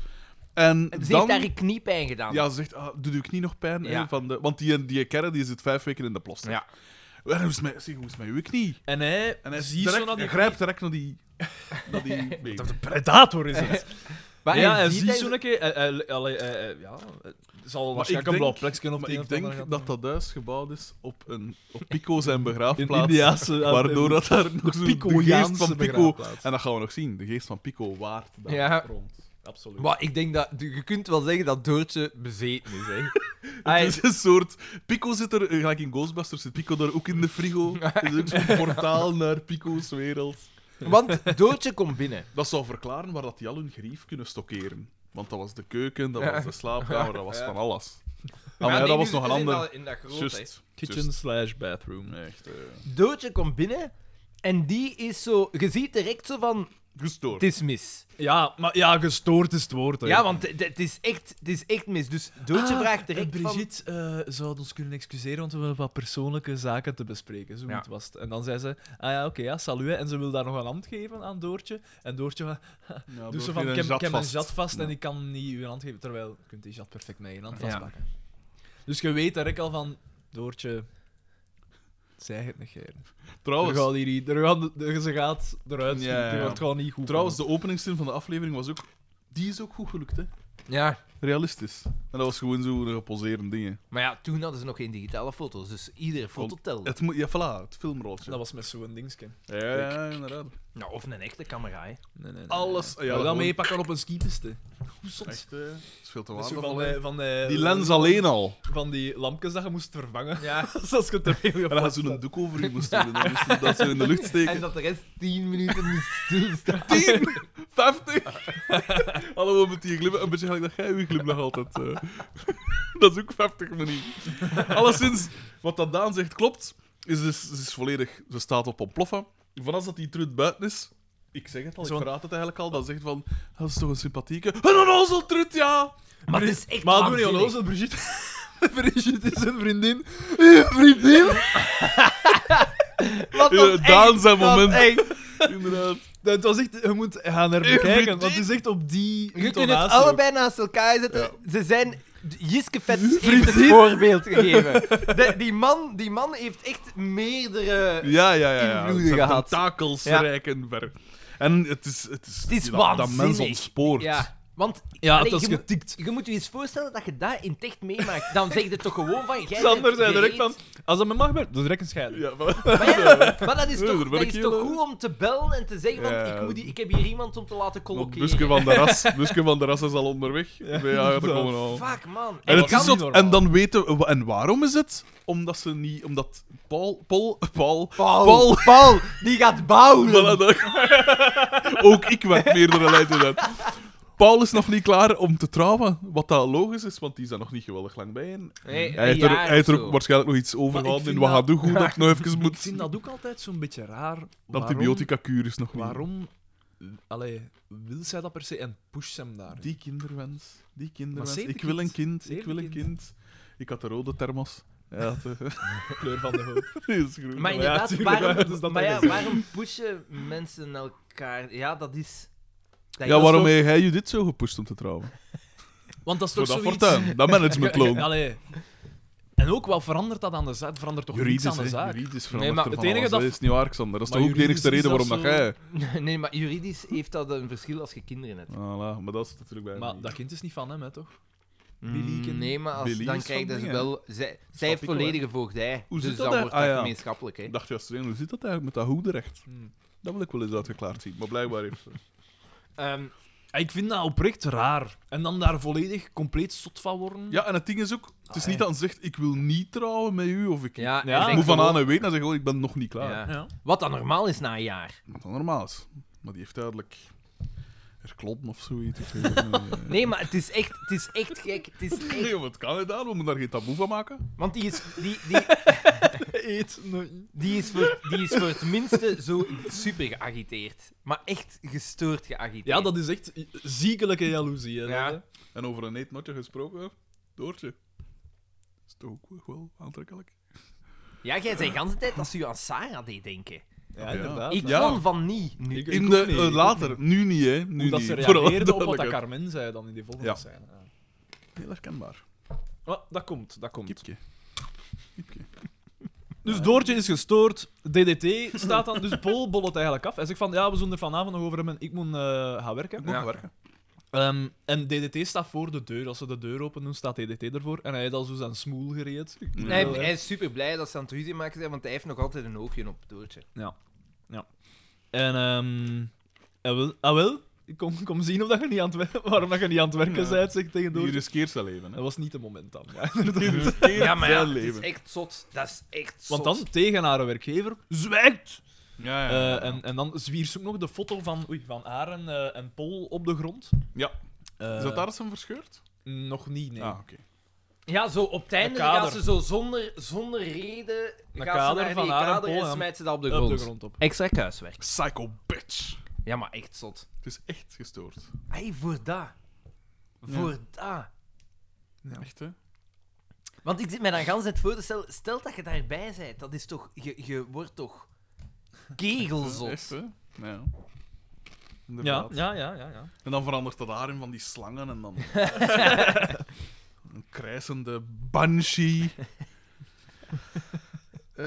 Speaker 2: En
Speaker 4: ze
Speaker 2: dan,
Speaker 4: heeft daar een kniepijn gedaan.
Speaker 2: Ja, ze zegt, ah, doe je knie nog pijn? hè,
Speaker 4: Ja.
Speaker 2: van de, want die, die kerre die zit vijf weken in de ploster.
Speaker 4: Ja.
Speaker 2: En hoe is het met, zeg, hoe is het met uw knie?
Speaker 3: En hij,
Speaker 2: En hij,
Speaker 3: ziet
Speaker 2: direct-
Speaker 3: zo naar die
Speaker 2: hij grijpt direct naar die... Naar die been.
Speaker 3: Dat een predator is het.
Speaker 4: Maar
Speaker 3: ja, hij
Speaker 4: hij
Speaker 3: ziet
Speaker 4: hij-
Speaker 3: zo'n keer... hij- hij- eh, allee, hij- hij- Ja, het zal waarschijnlijk een
Speaker 2: denk-
Speaker 3: blauw plekje op
Speaker 2: Maar
Speaker 3: die
Speaker 2: ik
Speaker 3: een of andere
Speaker 2: denk
Speaker 3: gaat
Speaker 2: dat dat huis gebouwd is op, een, op Pico zijn
Speaker 3: doen.
Speaker 2: begraafplaats.
Speaker 3: In Indiaanse...
Speaker 2: Waardoor dat daar nog zo de geest
Speaker 3: Pico-jaanse
Speaker 2: van Pico...
Speaker 3: begraafplaats.
Speaker 2: En dat gaan we nog zien. De geest van Pico waart daar
Speaker 4: Ja.
Speaker 2: rond. Absoluut.
Speaker 4: Maar ik denk dat... Je kunt wel zeggen dat Doortje bezeten is, hè. Ah,
Speaker 2: Het
Speaker 4: Ai,
Speaker 2: is een soort... Pico zit er, eh, gelijk in Ghostbusters, zit Pico daar ook in de frigo. Het is ook zo'n portaal naar Pico's wereld.
Speaker 4: want Doortje komt binnen.
Speaker 2: Dat zou verklaren waar dat die al hun grief kunnen stockeren. Want dat was de keuken, dat was de slaapkamer, dat was van alles. Ah, maar
Speaker 4: nee,
Speaker 2: ja,
Speaker 4: nu
Speaker 2: dat was nog een
Speaker 4: zitten ze in
Speaker 2: ander...
Speaker 4: dat- in dat groot, hè.
Speaker 2: Just,
Speaker 3: Kitchen slash bathroom.
Speaker 2: just. Echt, eh,
Speaker 4: Doortje komt binnen en die is zo... Je ziet direct zo van...
Speaker 2: gestoord.
Speaker 4: Het is mis.
Speaker 3: Ja, maar ja, gestoord is het woord. hè.
Speaker 4: Ja, want het- het is echt, het is echt mis. Dus Doortje
Speaker 3: Ah,
Speaker 4: vraagt
Speaker 3: en
Speaker 4: direct van...
Speaker 3: Brigitte eh, zou ons kunnen excuseren, want we hebben wat persoonlijke zaken te bespreken. Zo
Speaker 4: Ja.
Speaker 3: goed was het. En dan zei ze, ah ja, oké, ja, salut. hè. En ze wil daar nog een hand geven aan Doortje. En Doortje gaat-
Speaker 2: Ja,
Speaker 3: doet ze
Speaker 2: door
Speaker 3: Dus van, ik heb- ik heb mijn
Speaker 2: vast.
Speaker 3: jat vast en
Speaker 2: Ja.
Speaker 3: ik kan niet uw hand geven. Terwijl, je kunt die jat perfect met je hand
Speaker 4: Ja.
Speaker 3: vastpakken. Dus je weet daar ik al van, Doortje... Zij het negeren. Er
Speaker 2: Trouwens,
Speaker 3: gaat hier, niet- er gaan, de- ze gaat eruit
Speaker 2: Ja,
Speaker 3: schieten.
Speaker 2: ja, ja.
Speaker 3: Er wordt gewoon niet goed.
Speaker 2: trouwens, de openingszin van de aflevering was ook... Die is ook goed gelukt, hè.
Speaker 4: Ja,
Speaker 2: Realistisch. En dat was gewoon zo'n geposeerde dingen.
Speaker 4: maar ja, toen hadden ze nog geen digitale foto's, dus iedere foto telde.
Speaker 2: Het moet... Ja, voilà, het filmrolletje.
Speaker 3: Dat was met zo'n dingetje.
Speaker 2: Ja, ja, inderdaad.
Speaker 4: Nou, of een echte camera, hè.
Speaker 3: Nee, nee, nee,
Speaker 2: Alles-
Speaker 3: nee.
Speaker 2: ja,
Speaker 3: Maar dat
Speaker 2: gewoon-
Speaker 3: meepakken op een skipiste. Hoe zot.
Speaker 2: Echt, eh, dat is veel te
Speaker 3: Dat is
Speaker 2: waarde van,
Speaker 3: zo van, eh, die, van, die,
Speaker 2: Die lens alleen al.
Speaker 3: van die lampjes dat je moest vervangen.
Speaker 4: Ja.
Speaker 3: Zoals je te veel
Speaker 2: En dan had ze een doek over je moest doen. En dan moest je dat zo in de lucht steken.
Speaker 4: En dat de rest 10 minuten moest stilstaan.
Speaker 2: Tien! 50. Allemaal met die glimlach. Een beetje gelijk dat jij uw glimlach altijd... eh. dat is ook 50 manier. Alleszins, wat dat Daan zegt klopt. Is dus, ze is volledig... Ze staat op ontploffen. Vanaf dat die trut buiten is... Ik zeg het al, ik
Speaker 3: Zo'n-
Speaker 2: verraad het eigenlijk al. Dan zegt van... "Ah, Dat is toch een sympathieke... Een onnozel trut, ja!
Speaker 4: Maar het is echt
Speaker 3: Maar doe niet
Speaker 4: waanzinnig.
Speaker 3: onnozel, Brigitte. Brigitte is een vriendin. Uw vriendin?
Speaker 4: Wat
Speaker 2: Ja,
Speaker 4: was echt-
Speaker 2: Daan zijn
Speaker 4: wat
Speaker 2: moment.
Speaker 4: echt.
Speaker 2: Inderdaad.
Speaker 3: Dat was echt, je moet gaan naar
Speaker 2: Uw
Speaker 3: bekijken,
Speaker 2: vriendin?
Speaker 3: want het is echt op die
Speaker 4: Je kunt het
Speaker 3: intonatie ook.
Speaker 4: allebei naast elkaar zetten.
Speaker 2: Ja.
Speaker 4: Ze zijn... Jiske Vet heeft het voorbeeld gegeven. De- die, man, die man heeft echt meerdere...
Speaker 2: Ja, ja, ja. ja.
Speaker 4: Invloeden gehad.
Speaker 2: Takels
Speaker 4: Ja.
Speaker 2: reiken ver. En het is... Het is,
Speaker 4: is
Speaker 2: dat, dat
Speaker 4: waanzinnig.
Speaker 2: mens ontspoort.
Speaker 4: Ja, want...
Speaker 3: Ja,
Speaker 4: Allee,
Speaker 3: dat is
Speaker 4: je moet-
Speaker 3: getikt.
Speaker 4: Je moet je eens voorstellen dat je daar in echt meemaakt. Dan zeg je toch gewoon van... jij
Speaker 3: Sander
Speaker 4: bent
Speaker 3: zei direct van,
Speaker 4: gereed.
Speaker 3: als dat met mag gebeurt, dan direct een scheiding.
Speaker 2: Ja, maar-
Speaker 4: Maar, ja, maar dat is
Speaker 2: Ja,
Speaker 4: toch,
Speaker 2: daar ben
Speaker 4: dat
Speaker 2: ik
Speaker 4: is
Speaker 2: heel,
Speaker 4: toch
Speaker 2: eh,
Speaker 4: goed om te bellen en te zeggen van...
Speaker 2: Ja.
Speaker 4: Ik, moet, hier- ik heb hier iemand om te laten
Speaker 2: Want
Speaker 4: colloceren.
Speaker 2: Buske van de Ras, Buske van de Ras is al onderweg. Ja, ja dat
Speaker 3: zo.
Speaker 2: komen we al.
Speaker 4: Fuck, man.
Speaker 2: En,
Speaker 4: Ik
Speaker 2: het
Speaker 4: kan
Speaker 2: is
Speaker 4: niet.
Speaker 2: dat,
Speaker 3: normaal.
Speaker 2: en dan weten we... En waarom is het? Omdat ze niet... Omdat Paul... Paul... Paul...
Speaker 4: Paul,
Speaker 2: Paul.
Speaker 4: Paul. die gaat bouwen.
Speaker 2: Voilà, dat- Ook ik werd meerdere lijnen uit. Paul is nog niet klaar om te trouwen. Wat dat logisch is, want die zijn nog niet geweldig lang bij. En
Speaker 4: Nee,
Speaker 2: hij
Speaker 4: een
Speaker 2: heeft er,
Speaker 4: jaar
Speaker 2: hij heeft er
Speaker 4: of
Speaker 2: ook
Speaker 4: zo.
Speaker 2: waarschijnlijk nog iets
Speaker 3: Maar ik
Speaker 2: overgehouden in
Speaker 3: vind
Speaker 2: Wahadoo. Hoe dat ik nog even
Speaker 3: Ik
Speaker 2: moet...
Speaker 3: vind dat ook altijd zo'n beetje raar.
Speaker 2: De
Speaker 3: Waarom-
Speaker 2: antibiotica-kuur is nog niet...
Speaker 3: Waarom allee, wil zij dat per se en push hem daar?
Speaker 2: Die kinderwens. Die kinderwens.
Speaker 3: Maar ze heeft
Speaker 2: Ik
Speaker 3: een
Speaker 2: wil
Speaker 3: kind.
Speaker 2: een kind.
Speaker 3: Ze
Speaker 2: Ik
Speaker 3: heeft
Speaker 2: wil
Speaker 3: een
Speaker 2: een
Speaker 3: kind.
Speaker 2: kind. Ik had de rode thermos. Ja, dat, eh,
Speaker 3: kleur van de hoop.
Speaker 2: die is groen.
Speaker 4: Maar
Speaker 3: ja,
Speaker 4: inderdaad,
Speaker 3: tuurlijk,
Speaker 4: waarom,
Speaker 3: ja, dus dat
Speaker 4: maar ja,
Speaker 3: is-
Speaker 4: waarom pushen mensen elkaar? Ja, dat is... dat
Speaker 2: Ja,
Speaker 4: is
Speaker 2: waarom
Speaker 4: ook-
Speaker 2: heb jij Judith zo gepusht om te trouwen?
Speaker 3: Want dat is
Speaker 2: Voor
Speaker 3: toch
Speaker 2: dat
Speaker 3: zoiets...
Speaker 2: fortuin, dat managementloon.
Speaker 3: Allee. En ook, wat verandert dat aan de zaak? Verandert toch
Speaker 2: Juridisch,
Speaker 3: niets aan de
Speaker 2: hè.
Speaker 3: zaak?
Speaker 2: Juridisch
Speaker 3: Nee,
Speaker 2: verandert
Speaker 3: maar
Speaker 2: er
Speaker 3: het
Speaker 2: van
Speaker 3: enige
Speaker 2: alles, hè.
Speaker 3: dat-
Speaker 2: is niet waar, Xander. Dat is
Speaker 3: Maar
Speaker 2: toch ook de
Speaker 3: juridisch
Speaker 2: enigste
Speaker 3: is
Speaker 2: reden
Speaker 3: dat
Speaker 2: waarom dat jij...
Speaker 4: Nee, maar juridisch heeft dat een verschil als je kinderen hebt.
Speaker 2: Voilà, maar dat is natuurlijk bij
Speaker 3: Maar dat
Speaker 2: dat...
Speaker 3: kind is niet van hem, hè, toch?
Speaker 4: Mm,
Speaker 3: kind-
Speaker 4: Nee, maar als,
Speaker 2: Billy
Speaker 4: dan
Speaker 2: is
Speaker 4: krijg
Speaker 2: van
Speaker 4: je dus
Speaker 2: dingen.
Speaker 4: wel... Zij, zij
Speaker 2: Snap
Speaker 4: heeft
Speaker 2: ik wel, hè.
Speaker 4: volledige voogdij,
Speaker 2: Hoe zit
Speaker 4: dus
Speaker 2: dat
Speaker 4: dan
Speaker 2: daar?
Speaker 4: wordt dat
Speaker 2: Ah, ja.
Speaker 4: gemeenschappelijk. Hè.
Speaker 2: Ik dacht juist, hoe zit dat eigenlijk met dat hoederecht?
Speaker 3: Hmm.
Speaker 2: Dat wil ik wel eens uitgeklaard zien, maar blijkbaar heeft...
Speaker 4: Ehm,
Speaker 3: Ah, Ik vind dat oprecht raar. En dan daar volledig compleet zot van worden.
Speaker 2: Ja, en het ding is ook, het is
Speaker 4: Hm. Ah,
Speaker 2: niet
Speaker 4: hè.
Speaker 2: dat hij zegt, ik wil niet trouwen met u, of ik...
Speaker 4: ja,
Speaker 3: Ja.
Speaker 4: hij
Speaker 2: Ik
Speaker 4: zegt
Speaker 2: moet van aan
Speaker 4: gewoon-
Speaker 2: en weten, hij zegt gewoon, ik ben nog niet klaar.
Speaker 4: Ja.
Speaker 3: Ja.
Speaker 4: Wat dan normaal is na een jaar.
Speaker 2: Wat dan normaal is. Maar die heeft duidelijk... Er klopt of zoiets. ik weet het niet.
Speaker 4: Nee, maar het is echt, het is echt gek. Het is echt-
Speaker 2: Nee, wat kan het aan? We moeten daar geen taboe van maken.
Speaker 4: want die is, die, die,
Speaker 3: Eet nooit.
Speaker 4: Die is, voor, die is voor het minste zo super geagiteerd. Maar echt gestoord geagiteerd.
Speaker 3: Ja, dat is echt ziekelijke jaloezie. Hè,
Speaker 4: Ja.
Speaker 3: dat, hè.
Speaker 2: En over een eetnotje gesproken, Doortje. Is toch ook wel aantrekkelijk?
Speaker 4: ja jij zei de hele tijd dat ze je aan Sarah deed denken.
Speaker 3: ja,
Speaker 2: Ja.
Speaker 3: inderdaad.
Speaker 4: ik
Speaker 2: ja.
Speaker 4: vond van niet. Nu.
Speaker 3: Ik-
Speaker 2: In
Speaker 3: ook
Speaker 2: de,
Speaker 3: niet,
Speaker 2: eh,
Speaker 3: ik
Speaker 2: later, nu niet, hè? Nu
Speaker 3: Omdat
Speaker 2: niet.
Speaker 3: ze
Speaker 2: Vooral
Speaker 3: reageerden op wat dat
Speaker 2: duidelijk,
Speaker 3: Carmen zei dan in die volgende
Speaker 2: Ja.
Speaker 3: scène. Ja.
Speaker 2: hè. Heel herkenbaar.
Speaker 3: Ah, dat komt, dat komt.
Speaker 2: Kiepje. Kiepje.
Speaker 3: Dus Doortje is gestoord. DDT staat dan. Dus Paul bollet eigenlijk af. Hij zegt van ja, we zullen er vanavond nog over hebben. Ik moet eh, gaan werken.
Speaker 2: Ik moet
Speaker 4: Ja.
Speaker 2: gaan werken.
Speaker 3: Ehm, en DDT staat voor de deur. Als ze de deur open doen, staat DDT ervoor. En hij heeft al zo zijn smoel gereed.
Speaker 4: Hij,
Speaker 3: Ja.
Speaker 4: hij is super blij dat ze aan het ruzie maken zijn, want hij heeft nog altijd een oogje op Doortje.
Speaker 3: En ehm ah, wel, ah, wel. Kom, kom zien of dat je niet aan het wer- waarom dat je niet aan het werken
Speaker 2: Ja.
Speaker 3: bent, zegt tegen
Speaker 2: Hier
Speaker 3: Doortje.
Speaker 2: riskeert zijn leven, hè?
Speaker 3: Dat was niet het moment dan. ja.
Speaker 2: Hier riskeert
Speaker 4: Ja, maar ja,
Speaker 2: zijn
Speaker 4: het is
Speaker 2: leven.
Speaker 4: echt zot. Dat is echt
Speaker 3: Want
Speaker 4: zot.
Speaker 3: dan tegen haar werkgever, zwijgt!
Speaker 2: Ja, ja, ja.
Speaker 3: Eh, en, en dan zwier ze ook nog de foto van, oei, van haar en, eh, en Paul op de grond.
Speaker 2: Ja.
Speaker 3: Eh,
Speaker 2: Is dat daar eens een verscheurd?
Speaker 3: Nog niet, nee.
Speaker 2: Ah, oké.
Speaker 4: Ja, zo op het einde
Speaker 3: Een kader.
Speaker 4: gaan ze zo zonder, zonder reden
Speaker 3: Een
Speaker 4: gaan
Speaker 3: kader
Speaker 4: ze naar
Speaker 3: van
Speaker 4: die
Speaker 3: haar en
Speaker 4: kader en,
Speaker 3: Paul, ja.
Speaker 4: smijt ze dat op de
Speaker 3: Op
Speaker 4: grond.
Speaker 3: de grond op.
Speaker 4: Extra kuiswerk.
Speaker 2: Psycho bitch.
Speaker 4: Ja, maar echt zot.
Speaker 2: Het is echt gestoord.
Speaker 4: Hey, voor dat. Voor dat.
Speaker 2: Echt, hè?
Speaker 4: Want ik zit mij dan gans het voor te stellen, stel dat je daarbij bent, dat is toch, je, je wordt toch
Speaker 2: Echt,
Speaker 4: kegelzot.
Speaker 2: hè? Ja.
Speaker 3: Ja,
Speaker 2: Inderdaad.
Speaker 3: ja, ja, ja. ja.
Speaker 2: En dan verandert dat daarin van die slangen en dan. een krijzende banshee. Eh,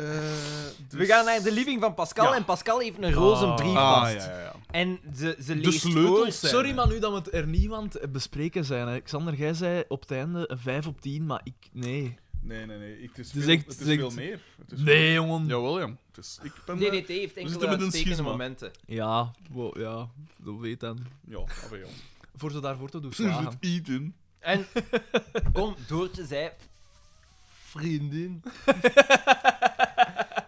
Speaker 4: We gaan naar de living van Pascal
Speaker 2: Ja.
Speaker 4: en Pascal heeft een roze
Speaker 3: Ah.
Speaker 4: brief
Speaker 2: dus- Ah,
Speaker 4: vast.
Speaker 2: ja, ja, ja.
Speaker 4: En ze, ze
Speaker 2: De
Speaker 4: leest voor...
Speaker 2: sleutels zijn.
Speaker 3: Sorry, maar nu dat we het er niet aan het bespreken zijn. hè. Xander, jij zei op het einde een 5 op 10, maar ik... Nee.
Speaker 2: Nee, nee, nee. Het is,
Speaker 3: Het is
Speaker 2: veel,
Speaker 3: echt-
Speaker 2: het
Speaker 3: het
Speaker 2: is
Speaker 3: is
Speaker 2: veel
Speaker 3: echt-
Speaker 2: meer. Het is
Speaker 3: Nee, jongen. Ja,
Speaker 2: Jawel, ja. Het is, ik ben. eh,
Speaker 4: DDT heeft
Speaker 2: zitten
Speaker 4: enkele
Speaker 2: met een
Speaker 4: uitstekende
Speaker 2: schisma.
Speaker 4: momenten.
Speaker 3: wow, ja, dat weet dan.
Speaker 2: ja, afweer, jong.
Speaker 3: Voor ze daarvoor te doen
Speaker 2: Ze is
Speaker 3: slagen.
Speaker 2: het eten.
Speaker 4: En kom, Doortje zei... Vriendin.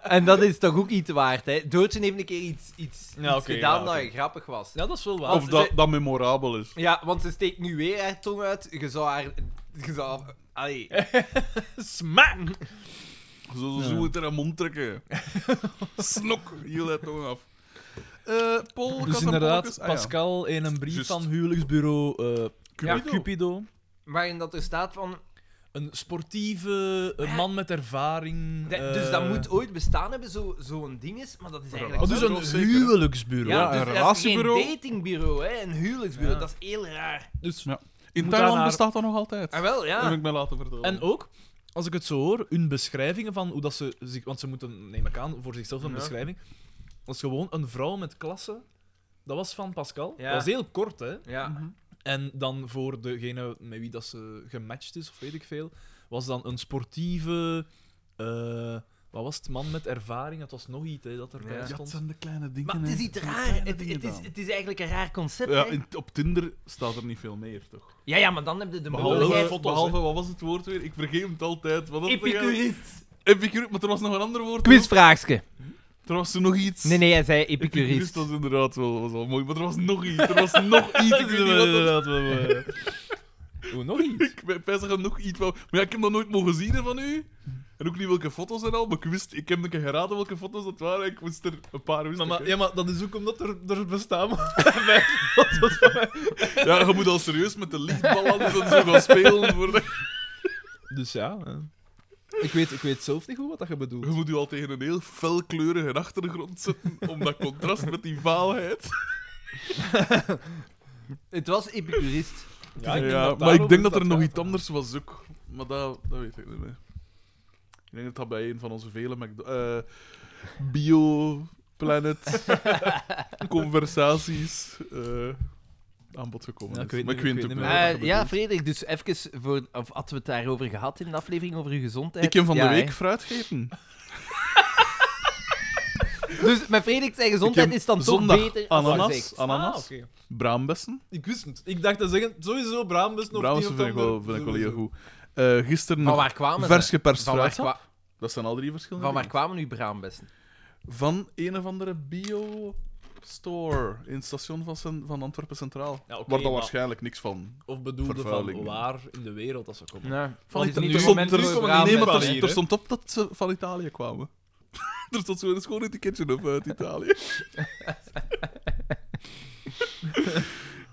Speaker 4: En dat is toch ook iets waard, hè? Doodsen heeft een keer iets, iets,
Speaker 3: Ja,
Speaker 4: iets
Speaker 3: oké,
Speaker 4: gedaan
Speaker 3: ja,
Speaker 4: dat
Speaker 3: oké.
Speaker 4: grappig was.
Speaker 3: Ja, dat is wel waar.
Speaker 2: Of dat, dat memorabel is.
Speaker 4: Ja, want ze steekt nu weer haar tong uit. Je zou haar... Je zou... Allee.
Speaker 3: Smaak!
Speaker 2: Zo,
Speaker 3: Ja.
Speaker 2: zo het er een mond trekken. Snok, hier let toch af. Eh Paul,
Speaker 3: Dus inderdaad,
Speaker 2: Ah,
Speaker 3: Pascal in een brief
Speaker 2: Juist.
Speaker 3: van huwelijksbureau eh,
Speaker 2: Cupido.
Speaker 3: Cupido. Cupido.
Speaker 4: Waarin dat er staat van...
Speaker 3: Een sportieve eh, man met ervaring.
Speaker 4: de- dus dat
Speaker 3: eh,
Speaker 4: moet ooit bestaan hebben, zo- zo'n ding is. Maar dat is eigenlijk...
Speaker 3: Oh, dus
Speaker 4: zo-
Speaker 2: Nog
Speaker 3: een
Speaker 2: zeker.
Speaker 3: huwelijksbureau.
Speaker 4: ja,
Speaker 2: een
Speaker 4: dus dat is geen
Speaker 2: relatiebureau.
Speaker 4: datingbureau, hè. Een huwelijksbureau.
Speaker 3: Ja.
Speaker 4: Dat is heel raar.
Speaker 3: Dus,
Speaker 2: In
Speaker 3: Moet
Speaker 2: Thailand
Speaker 3: aan haar-
Speaker 2: bestaat dat nog altijd.
Speaker 4: Ah, wel,
Speaker 2: Heb
Speaker 4: ja.
Speaker 2: ik mij laten vertellen.
Speaker 3: en ook, als ik het zo hoor, hun beschrijvingen van hoe dat ze zich... Want ze moeten, neem ik aan, voor zichzelf een
Speaker 4: Ja.
Speaker 3: beschrijving. Dat is gewoon een vrouw met klasse. Dat was van Pascal.
Speaker 4: Ja.
Speaker 3: Dat is heel kort, hè.
Speaker 4: Ja.
Speaker 2: Mhm.
Speaker 3: En dan voor degene met wie dat ze gematcht is, of weet ik veel, was dan een sportieve... eh, wat was het? Man met ervaring. Het was nog iets hè, dat erbij
Speaker 4: Ja.
Speaker 2: Ja, het
Speaker 3: stond.
Speaker 2: zijn de kleine dingen.
Speaker 4: Maar het is
Speaker 2: hè.
Speaker 4: iets
Speaker 2: Het zijn de
Speaker 4: raar.
Speaker 2: kleine
Speaker 4: Het,
Speaker 2: dingen
Speaker 4: het, is,
Speaker 2: dan.
Speaker 4: het is eigenlijk een raar concept,
Speaker 2: Ja,
Speaker 4: hè.
Speaker 2: in- op Tinder staat er niet veel meer, toch?
Speaker 4: Ja, ja, maar dan heb je de
Speaker 2: Behalve,
Speaker 4: mogelijkheid...
Speaker 3: foto's,
Speaker 2: behalve wat was het woord weer? Ik vergeet het altijd. Wat was het eigenlijk?
Speaker 4: Epicurist.
Speaker 2: Epicurus, maar er was nog een ander woord.
Speaker 4: Quizvraagje.
Speaker 2: Er was toen nog iets.
Speaker 4: Nee, nee, hij zei
Speaker 2: Epicurus
Speaker 4: epicurist.
Speaker 2: was inderdaad wel, was wel mooi, maar er was nog iets. Er was nog iets. Ik weet niet wat dat... eh,
Speaker 3: Hoe nog iets?
Speaker 2: Ik ben bezig aan nog iets van... Maar ja, ik heb dat nooit mogen zien hè, van u. En ook niet welke foto's er al, maar ik wist... Ik heb een keer geraden welke foto's dat waren. Ik wist er een paar wist
Speaker 3: Maar,
Speaker 2: ik,
Speaker 3: maar-
Speaker 2: hè.
Speaker 3: ja, maar dat is ook omdat er, er bestaan
Speaker 2: ja, je moet al serieus met de lichtballen en zo gaan spelen. Voor de-
Speaker 3: Dus ja, eh, ik weet, ik weet zelf niet goed wat dat je bedoelt.
Speaker 2: Je moet je al tegen een heel felkleurige achtergrond zetten om dat contrast met die vaalheid.
Speaker 4: Het was epicurist.
Speaker 3: Ja,
Speaker 2: maar ik denk dat er nog iets anders was ook. Maar dat, dat weet ik niet meer. Ik denk dat dat bij een van onze vele McDo- eh, Bio, Planet, conversaties eh, aan bod gekomen
Speaker 3: Ja,
Speaker 2: is.
Speaker 3: ik weet
Speaker 2: maar
Speaker 3: niet-
Speaker 2: ik weet
Speaker 3: ik
Speaker 2: het ook niet.
Speaker 3: weet niet meer.
Speaker 2: wat
Speaker 4: Eh, ja,
Speaker 2: dat bedoelt.
Speaker 4: Frederik, dus even voor. Of hadden we het daarover gehad in de aflevering over uw gezondheid?
Speaker 2: Ik heb van
Speaker 4: Ah, Ja,
Speaker 2: de week
Speaker 4: hè.
Speaker 2: fruit gegeten.
Speaker 4: Dus met Frederik, zijn gezondheid
Speaker 2: Ik heb
Speaker 4: is dan Ah, toch
Speaker 2: zondag
Speaker 4: beter. als
Speaker 2: Ananas,
Speaker 4: gezegd.
Speaker 3: Ah,
Speaker 2: ananas braambessen.
Speaker 3: Ik wist het. Ik dacht te zeggen, sowieso Braambus nog
Speaker 2: Braambessen vind ik wel, vind ik wel heel goed. Eh, gisteren
Speaker 4: Van
Speaker 2: nog
Speaker 4: waar kwamen
Speaker 2: vers
Speaker 4: ze?
Speaker 2: geperst
Speaker 4: Van waar,
Speaker 2: fruit.
Speaker 4: kwa-
Speaker 2: Dat zijn al drie verschillende
Speaker 4: van waar
Speaker 2: dingen.
Speaker 4: kwamen uw braambessen?
Speaker 2: van een of andere bio store in het station van, Cen- van Antwerpen Centraal.
Speaker 3: Ja, oké,
Speaker 2: waar dan
Speaker 3: maar-
Speaker 2: waarschijnlijk niks van.
Speaker 3: Of bedoelde van
Speaker 2: Vervuiling.
Speaker 3: waar in de wereld dat ze komen.
Speaker 4: Nou,
Speaker 2: van
Speaker 4: was het
Speaker 2: Italië.
Speaker 4: niet het
Speaker 2: Er stond-
Speaker 4: moment
Speaker 2: er
Speaker 4: voor
Speaker 2: stond-
Speaker 3: bramen
Speaker 2: nee, maar
Speaker 3: van
Speaker 2: er,
Speaker 3: hier,
Speaker 2: er
Speaker 3: hè?
Speaker 2: stond op dat ze van Italië kwamen. er stond zo'n schoon etiketje op uit Italië.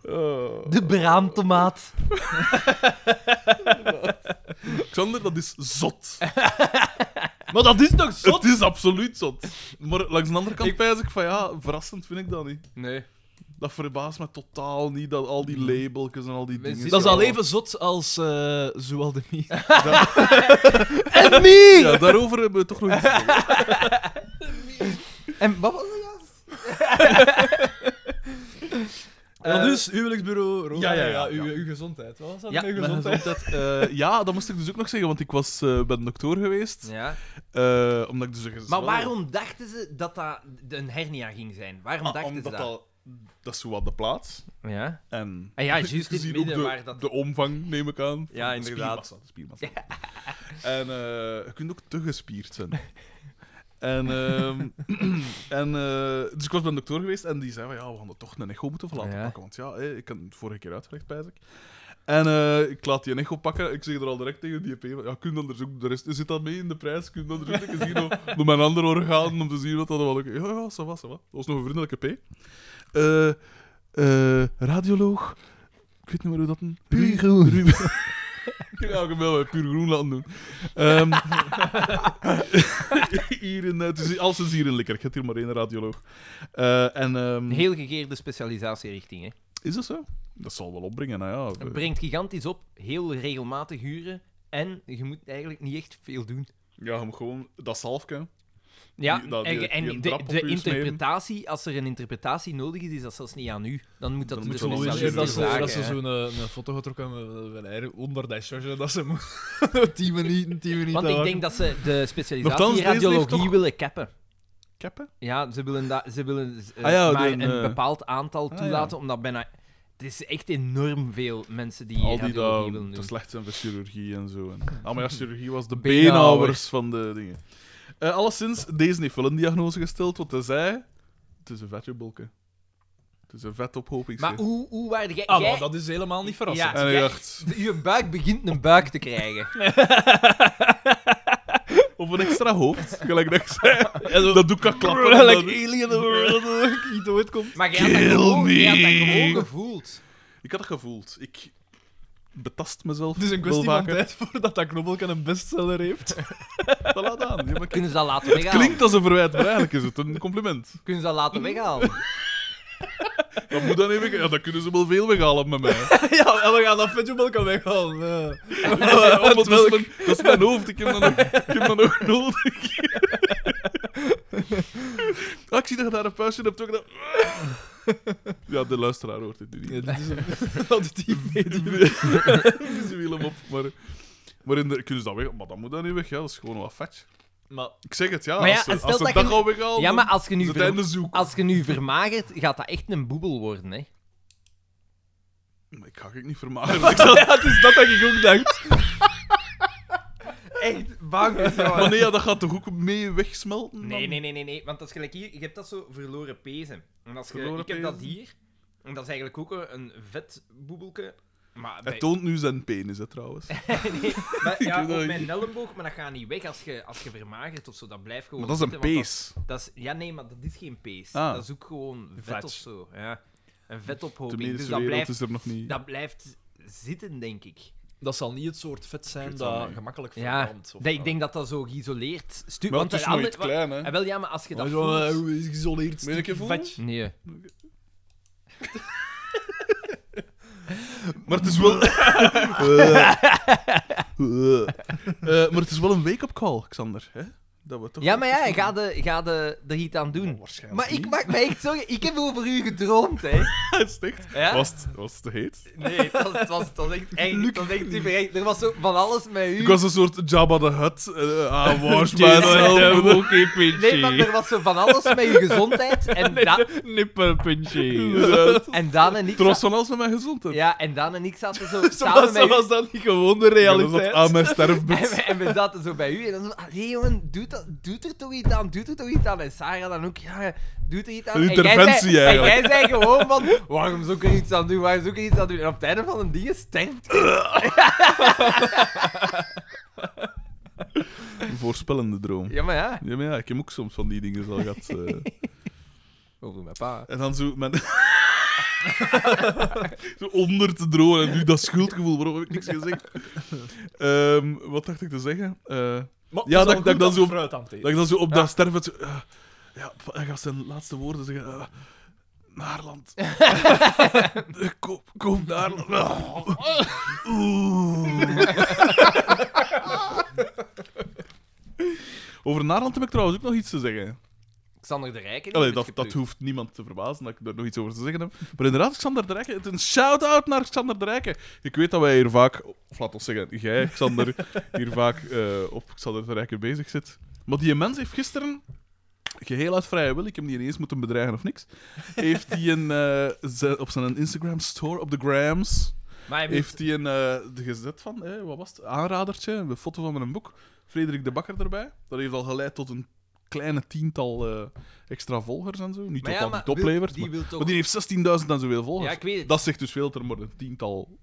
Speaker 2: Oh.
Speaker 4: De braamtomaat.
Speaker 2: Xander, dat is zot.
Speaker 3: Maar dat is toch zot?
Speaker 2: Het is absoluut zot. Maar langs de andere kant ik... pijs ik van ja, verrassend vind ik dat niet.
Speaker 4: Nee.
Speaker 2: Dat verbaast me totaal niet, dat al die labeltjes en al die
Speaker 4: We
Speaker 2: dingen.
Speaker 4: zien
Speaker 3: Dat is
Speaker 4: Ja.
Speaker 3: al even zot als eh Zoaldemie.
Speaker 4: En niet!
Speaker 2: Ja, daarover hebben we toch nog iets te zeggen.
Speaker 4: En wat was dat juist?
Speaker 3: Maar dus, huwelijksbureau, Roda,
Speaker 2: ja, ja, ja.
Speaker 3: uw, uw gezondheid. Wat was dat?
Speaker 4: Ja,
Speaker 3: uw
Speaker 2: Mijn
Speaker 3: gezondheid.
Speaker 2: gezondheid, eh, ja, dat moest ik dus ook nog zeggen, want ik was eh, bij de dokter geweest.
Speaker 4: Ja.
Speaker 2: Eh, omdat ik dus een
Speaker 4: Maar waarom dachten ze dat dat een hernia ging zijn? Waarom
Speaker 2: Ah,
Speaker 4: dachten ze
Speaker 2: omdat
Speaker 4: dat?
Speaker 2: dat... Dat is zo wat de plaats.
Speaker 4: Ja.
Speaker 2: En,
Speaker 4: En Ah ja, juist in het
Speaker 2: gezien ook
Speaker 4: midden
Speaker 2: de,
Speaker 4: waar dat-
Speaker 2: de omvang, neem ik aan.
Speaker 4: Ja,
Speaker 2: De
Speaker 4: inderdaad.
Speaker 2: Spiermassa, de spiermassa. En eh, je kunt ook te gespierd zijn. En, ehm, en eh, dus ik was bij een dokter geweest en die zei van ja, we gaan er toch een echo moeten van laten
Speaker 4: Ja.
Speaker 2: pakken. Want ja, eh, ik had het vorige keer uitgelegd, pijs ik. En eh, ik laat die een echo pakken. Ik zeg er al direct tegen die EP van ja, kun dan zoeken. De rest zit dat mee in de prijs. Kun dan zoeken. Ik zie nog nog mijn andere orgaan om te zien wat dat wel. Ja, ja, ça va, ça va. Dat was nog een vriendelijke P. Eh, eh, radioloog. Ik weet niet meer hoe dat een. Puur groen. Ik ga hem wel bij puur groen laten doen. Ehm, hier in, eh, het is, alles is hier in Likkerk. Je hebt hier maar één radioloog. Eh, en, ehm,
Speaker 4: Een heel gegeerde specialisatierichting, hè.
Speaker 2: Is dat zo? Dat zal wel opbrengen, nou ja.
Speaker 4: Het brengt gigantisch op, heel regelmatig huren. En je moet eigenlijk niet echt veel doen.
Speaker 2: Ja, hem gewoon dat zalfje.
Speaker 4: Ja,
Speaker 2: Die- dat-
Speaker 4: en,
Speaker 2: die-
Speaker 4: en
Speaker 2: die een
Speaker 4: de,
Speaker 2: drap op
Speaker 4: de
Speaker 2: u smeren.
Speaker 4: interpretatie, als er een interpretatie nodig is, is dat zelfs niet aan u. Dan moet dat
Speaker 2: Dan
Speaker 4: de
Speaker 2: moet je wel
Speaker 3: Zo Dus is
Speaker 2: dat
Speaker 3: het
Speaker 4: specialist
Speaker 3: dat
Speaker 2: is
Speaker 3: ze,
Speaker 2: vragen,
Speaker 3: dat ze
Speaker 4: hè.
Speaker 3: zo'n eh, een foto getrokken hebben met een onder dat charge dat ze mo- 10 minuten, 10 minuten.
Speaker 4: Want ik
Speaker 3: wachten.
Speaker 4: denk dat ze de specialisatie
Speaker 2: Nochtans, deze leeft
Speaker 4: radiologie
Speaker 2: toch-
Speaker 4: willen cappen.
Speaker 2: Keppen?
Speaker 4: Ja, ze willen, da- ze willen eh,
Speaker 2: Ah ja,
Speaker 4: maar
Speaker 2: dan,
Speaker 4: een
Speaker 2: eh,
Speaker 4: bepaald aantal
Speaker 2: ah
Speaker 4: toelaten, omdat bijna... Het is echt enorm veel mensen die
Speaker 2: Al die
Speaker 4: radiologie
Speaker 2: daar
Speaker 4: willen
Speaker 2: te
Speaker 4: doen. dus.
Speaker 2: slecht zijn voor chirurgie en zo. En, ah, maar ja, chirurgie was de
Speaker 4: Beenhouwer.
Speaker 2: beenhouwers van de dingen. Eh alleszins, deze heeft wel een diagnose gesteld, want hij zei... Het is een vetjebolke. Het is een vetophoping.
Speaker 4: Maar hoe, hoe waren jij...
Speaker 3: Ah,
Speaker 4: jij-
Speaker 3: maar dat is helemaal niet verrassend.
Speaker 4: Ja.
Speaker 2: En hij
Speaker 4: jij-
Speaker 2: dacht,
Speaker 4: de- Je buik begint een buik te krijgen.
Speaker 2: of een extra hoofd, gelijk dat ik zei.
Speaker 3: Ja, zo-
Speaker 2: Dat doe ik aan klappen. en
Speaker 3: Like
Speaker 2: dan-
Speaker 3: alien, dat niet doodkomt.
Speaker 4: Maar jij had, dat
Speaker 2: Kill
Speaker 4: gewoon, jij had dat
Speaker 2: me.
Speaker 4: gewoon gevoeld.
Speaker 2: Ik had het gevoeld. Ik betast mezelf
Speaker 3: Het is Dus een kwestie van tijd voordat dat knobbelken een bestseller heeft.
Speaker 2: Voilà, Daan. Ja, maar
Speaker 4: Kunnen ze dat laten weghalen?
Speaker 2: Klinkt als een verwijt, maar eigenlijk is het een compliment.
Speaker 4: Kunnen ze dat laten weghalen?
Speaker 2: Dat moet dan even... Ja, dan kunnen ze wel veel weghalen met mij.
Speaker 3: ja, en Ah, we gaan dat vetjebolken weghalen. Ja.
Speaker 2: Ja, want dat, is mijn, dat is mijn hoofd. Ik heb dat nog, ik heb dat nog nodig. Ah, ik zie dat je daar een puistje hebt ook. dat- Ja, de luisteraar hoort het nu niet.
Speaker 3: Ja, dit is een auditief medium.
Speaker 2: Visueel hem op, maar... Maar in de, kunnen ze dat weg? Maar dat moet dan niet weg, ja. Dat is gewoon wat vet.
Speaker 3: Maar
Speaker 2: Ik zeg het, ja.
Speaker 4: Maar ja,
Speaker 2: als ze,
Speaker 4: en stel
Speaker 2: als ze
Speaker 4: dat
Speaker 2: dat,
Speaker 4: je-
Speaker 2: al weghalen,
Speaker 4: Ja, maar als je,
Speaker 2: dan is
Speaker 4: nu
Speaker 2: het
Speaker 4: ver-
Speaker 2: einde zoek.
Speaker 4: als je nu vermagert, gaat dat echt een boebel worden, hè? Ah.
Speaker 2: Maar ik ga ik niet vermageren. Ik zal-
Speaker 3: ja, het is dat dat ik ook dacht.
Speaker 4: Echt bang.
Speaker 2: Maar nee, ja, dat gaat toch ook mee wegsmelten? dan?
Speaker 4: Nee, nee, nee, nee, nee. Want dat is gelijk hier. Je hebt dat zo verloren pezen. En als je,
Speaker 2: Verloren
Speaker 4: ik heb dat
Speaker 2: pezen?
Speaker 4: hier. En dat is eigenlijk ook een- een vet boebelke. Maar
Speaker 2: Hij
Speaker 4: bij,
Speaker 2: toont nu zijn penis, hè, trouwens.
Speaker 4: Oh, nee, maar, ja,
Speaker 2: heb dat
Speaker 4: op
Speaker 2: hier.
Speaker 4: mijn elleboog, maar dat gaat niet weg als je, als je vermagert of zo. Dat oh, blijft gewoon.
Speaker 2: Maar dat is een
Speaker 4: zitten, want
Speaker 2: pees.
Speaker 4: Dat, dat is, ja, nee, maar dat is geen pees.
Speaker 2: Ah.
Speaker 4: Dat is ook gewoon vet
Speaker 3: Vet.
Speaker 4: of zo. Ja. Een vetophoping.
Speaker 2: De medische
Speaker 4: dus dat
Speaker 2: wereld
Speaker 4: blijft,
Speaker 2: is er nog niet.
Speaker 4: dat blijft zitten, denk ik.
Speaker 3: Dat zal niet het soort vet zijn
Speaker 2: weet het wel
Speaker 3: dat
Speaker 2: niet.
Speaker 3: gemakkelijk
Speaker 4: Ja,
Speaker 3: verbrandt. of-
Speaker 4: dat, ik denk dat dat zo geïsoleerd stuurt.
Speaker 2: Maar het
Speaker 4: de
Speaker 2: is nooit Oh,
Speaker 4: andere-
Speaker 2: klein, hè.
Speaker 4: Ah, wel, ja, maar als je
Speaker 3: Maar
Speaker 4: dat
Speaker 3: zo, eh,
Speaker 4: voelt...
Speaker 3: hoe is geïsoleerd
Speaker 2: Wil je een keer Hm,
Speaker 3: stukje vet.
Speaker 4: Nee.
Speaker 2: Maar het is wel... Eh. Eh. Eh, maar het is wel een wake-up call, Xander. Hè? Dat we toch
Speaker 4: Ja, maar ja, ga, de, ga de, er iets aan doen.
Speaker 2: waarschijnlijk
Speaker 4: Maar ik maak me echt zorgen. Ik heb over u gedroomd, hè.
Speaker 2: Sticht.
Speaker 4: Ja?
Speaker 2: Was, het, was het te heet?
Speaker 4: Nee, het was, het was, het was echt eng. Het was echt super eng. Er was zo van alles met u.
Speaker 2: Ik was een soort Jabba the Hutt. Ah, I wash
Speaker 1: Jason
Speaker 2: myself.
Speaker 1: Monkey
Speaker 4: Nee, maar
Speaker 1: Pinchy.
Speaker 4: er was zo van alles met uw gezondheid. En, Da-
Speaker 1: Nipper Pinchy.
Speaker 2: Eh,
Speaker 4: en Daan en ik...
Speaker 2: Trots
Speaker 4: za-
Speaker 2: van alles met mijn gezondheid.
Speaker 4: Ja, en Daan en ik zaten zo
Speaker 3: Zo was,
Speaker 4: samen met
Speaker 3: zo
Speaker 4: u.
Speaker 3: was dat niet gewoon de
Speaker 2: Ja, dat ah, zat
Speaker 3: realiteit.
Speaker 2: aan mijn sterfbed.
Speaker 4: En we, en we zaten zo bij u en dan zo... Allee, jongen, doet, dat, doet er toch iets aan? Doet er toch iets aan? En Sarah dan ook, ja, doet er iets aan?
Speaker 2: Een
Speaker 4: En jij
Speaker 2: interventie
Speaker 4: zei-
Speaker 2: eigenlijk.
Speaker 4: En jij zei gewoon van... Waarom zou ik er iets aan doen? Waarom zou ik er iets aan doen? En op het einde van een ding sterft
Speaker 2: Een voorspellende droom.
Speaker 4: Ja, maar ja.
Speaker 2: Ja, maar ja, ik heb ook soms van die dingen al gehad. eh.
Speaker 4: Over mijn pa.
Speaker 2: En dan zo met... zo onder te drogen en nu dat schuldgevoel, waarom heb ik niks gezegd? Ehm, wat dacht ik te zeggen? Eh,
Speaker 3: Maar het
Speaker 2: Ja,
Speaker 3: is
Speaker 2: dat-
Speaker 3: al
Speaker 2: dat ik
Speaker 3: goed
Speaker 2: dan zo-
Speaker 3: fruit aan het eten
Speaker 2: dat ik dan zo op dat sterven... zo, eh, ja, p- hij gaat zijn laatste woorden zeggen. eh, Naarland. Eh, koop, koop Naarland. Oeh. Over Naarland heb ik trouwens ook nog iets te zeggen.
Speaker 4: Xander de Rijken.
Speaker 2: Allee, dat, dat hoeft niemand te verbazen dat ik daar nog iets over te zeggen heb. Maar inderdaad, Xander de Rijken. Het is een shout-out naar Xander de Rijken. Ik weet dat wij hier vaak, of laat ons zeggen, jij, Xander, hier vaak eh, op Xander de Rijken bezig zit. Maar die mens heeft gisteren, geheel uit vrije wil, ik heb die ineens moeten bedreigen of niks, heeft hij een, eh, ze- op zijn Instagram-store, op de grams,
Speaker 4: Maar hij
Speaker 2: heeft hij een eh, de gezet van, eh, wat was het, aanradertje, een foto van mijn boek, Frederik de Bakker erbij. Dat heeft al geleid tot een kleine tiental eh, extra volgers en zo. Niet
Speaker 4: Maar
Speaker 2: tot
Speaker 4: ja,
Speaker 2: dat
Speaker 4: maar
Speaker 2: het oplevert,
Speaker 4: Die
Speaker 2: maar,
Speaker 4: wil toch...
Speaker 2: maar die heeft 16.000 en zoveel
Speaker 4: Ja,
Speaker 2: volgers.
Speaker 4: ik weet het.
Speaker 2: Dat zegt dus veel, dat er maar een tiental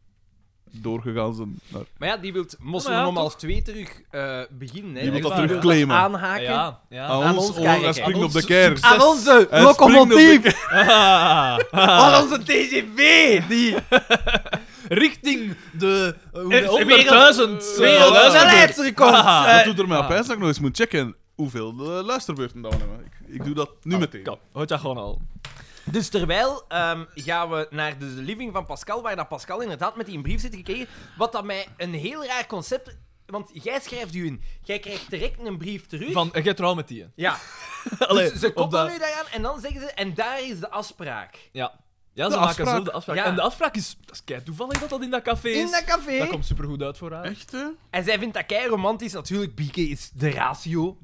Speaker 2: doorgegaan zijn. naar-
Speaker 4: Maar ja, die wil Mossel
Speaker 3: Maar ja,
Speaker 4: om half twee terug eh, beginnen. Hè.
Speaker 2: Die wil
Speaker 3: dat
Speaker 4: Echt
Speaker 3: terug
Speaker 4: waar.
Speaker 2: claimen.
Speaker 4: Aanhaken.
Speaker 3: Ah, Ja, ja.
Speaker 2: aan,
Speaker 4: aan
Speaker 2: ons,
Speaker 4: ons
Speaker 2: oor,
Speaker 4: kijken.
Speaker 2: hij springt
Speaker 3: Aan
Speaker 2: op de
Speaker 3: ons
Speaker 2: keer.
Speaker 3: succes.
Speaker 4: Aan onze
Speaker 2: Hij springt op
Speaker 4: locomotief.
Speaker 3: Ah.
Speaker 4: Aan onze TGV. Die
Speaker 3: Richting de eh,
Speaker 4: Eh,
Speaker 3: hoeveel- 100.000.
Speaker 4: wereld-
Speaker 3: eh, luisteraars.
Speaker 4: snelheidsrecord.
Speaker 3: Ah.
Speaker 2: Dat
Speaker 4: Eh,
Speaker 2: doet er mij op ijs dat ik nog eens moet checken hoeveel eh, luisterbeurten dat we hebben. Ik, ik doe dat
Speaker 4: Ah,
Speaker 2: nu meteen.
Speaker 3: Ah, Kom, houd dat gewoon al.
Speaker 4: Dus terwijl ehm, gaan we naar de living van Pascal, waar dat Pascal inderdaad met die een brief zit gekregen. Wat dat mij een heel raar concept... Want jij schrijft u in. Jij krijgt direct een brief terug.
Speaker 3: Van, eh, jij trouw met die. hè.
Speaker 4: Ja,
Speaker 3: Allee,
Speaker 4: dus ze
Speaker 3: op
Speaker 4: koppelen
Speaker 3: dat-
Speaker 4: nu daaraan en dan zeggen ze... En daar is de afspraak.
Speaker 3: Ja. Ja,
Speaker 2: De
Speaker 3: ze maken
Speaker 2: afspraak.
Speaker 3: zo de afspraak.
Speaker 4: Ja.
Speaker 3: En de afspraak is... Dat is kei toevallig dat dat in dat café is.
Speaker 4: In dat café.
Speaker 3: Dat komt supergoed uit voor haar.
Speaker 2: Echt, hè?
Speaker 4: En zij vindt dat kei romantisch. Natuurlijk, Bieke is de ratio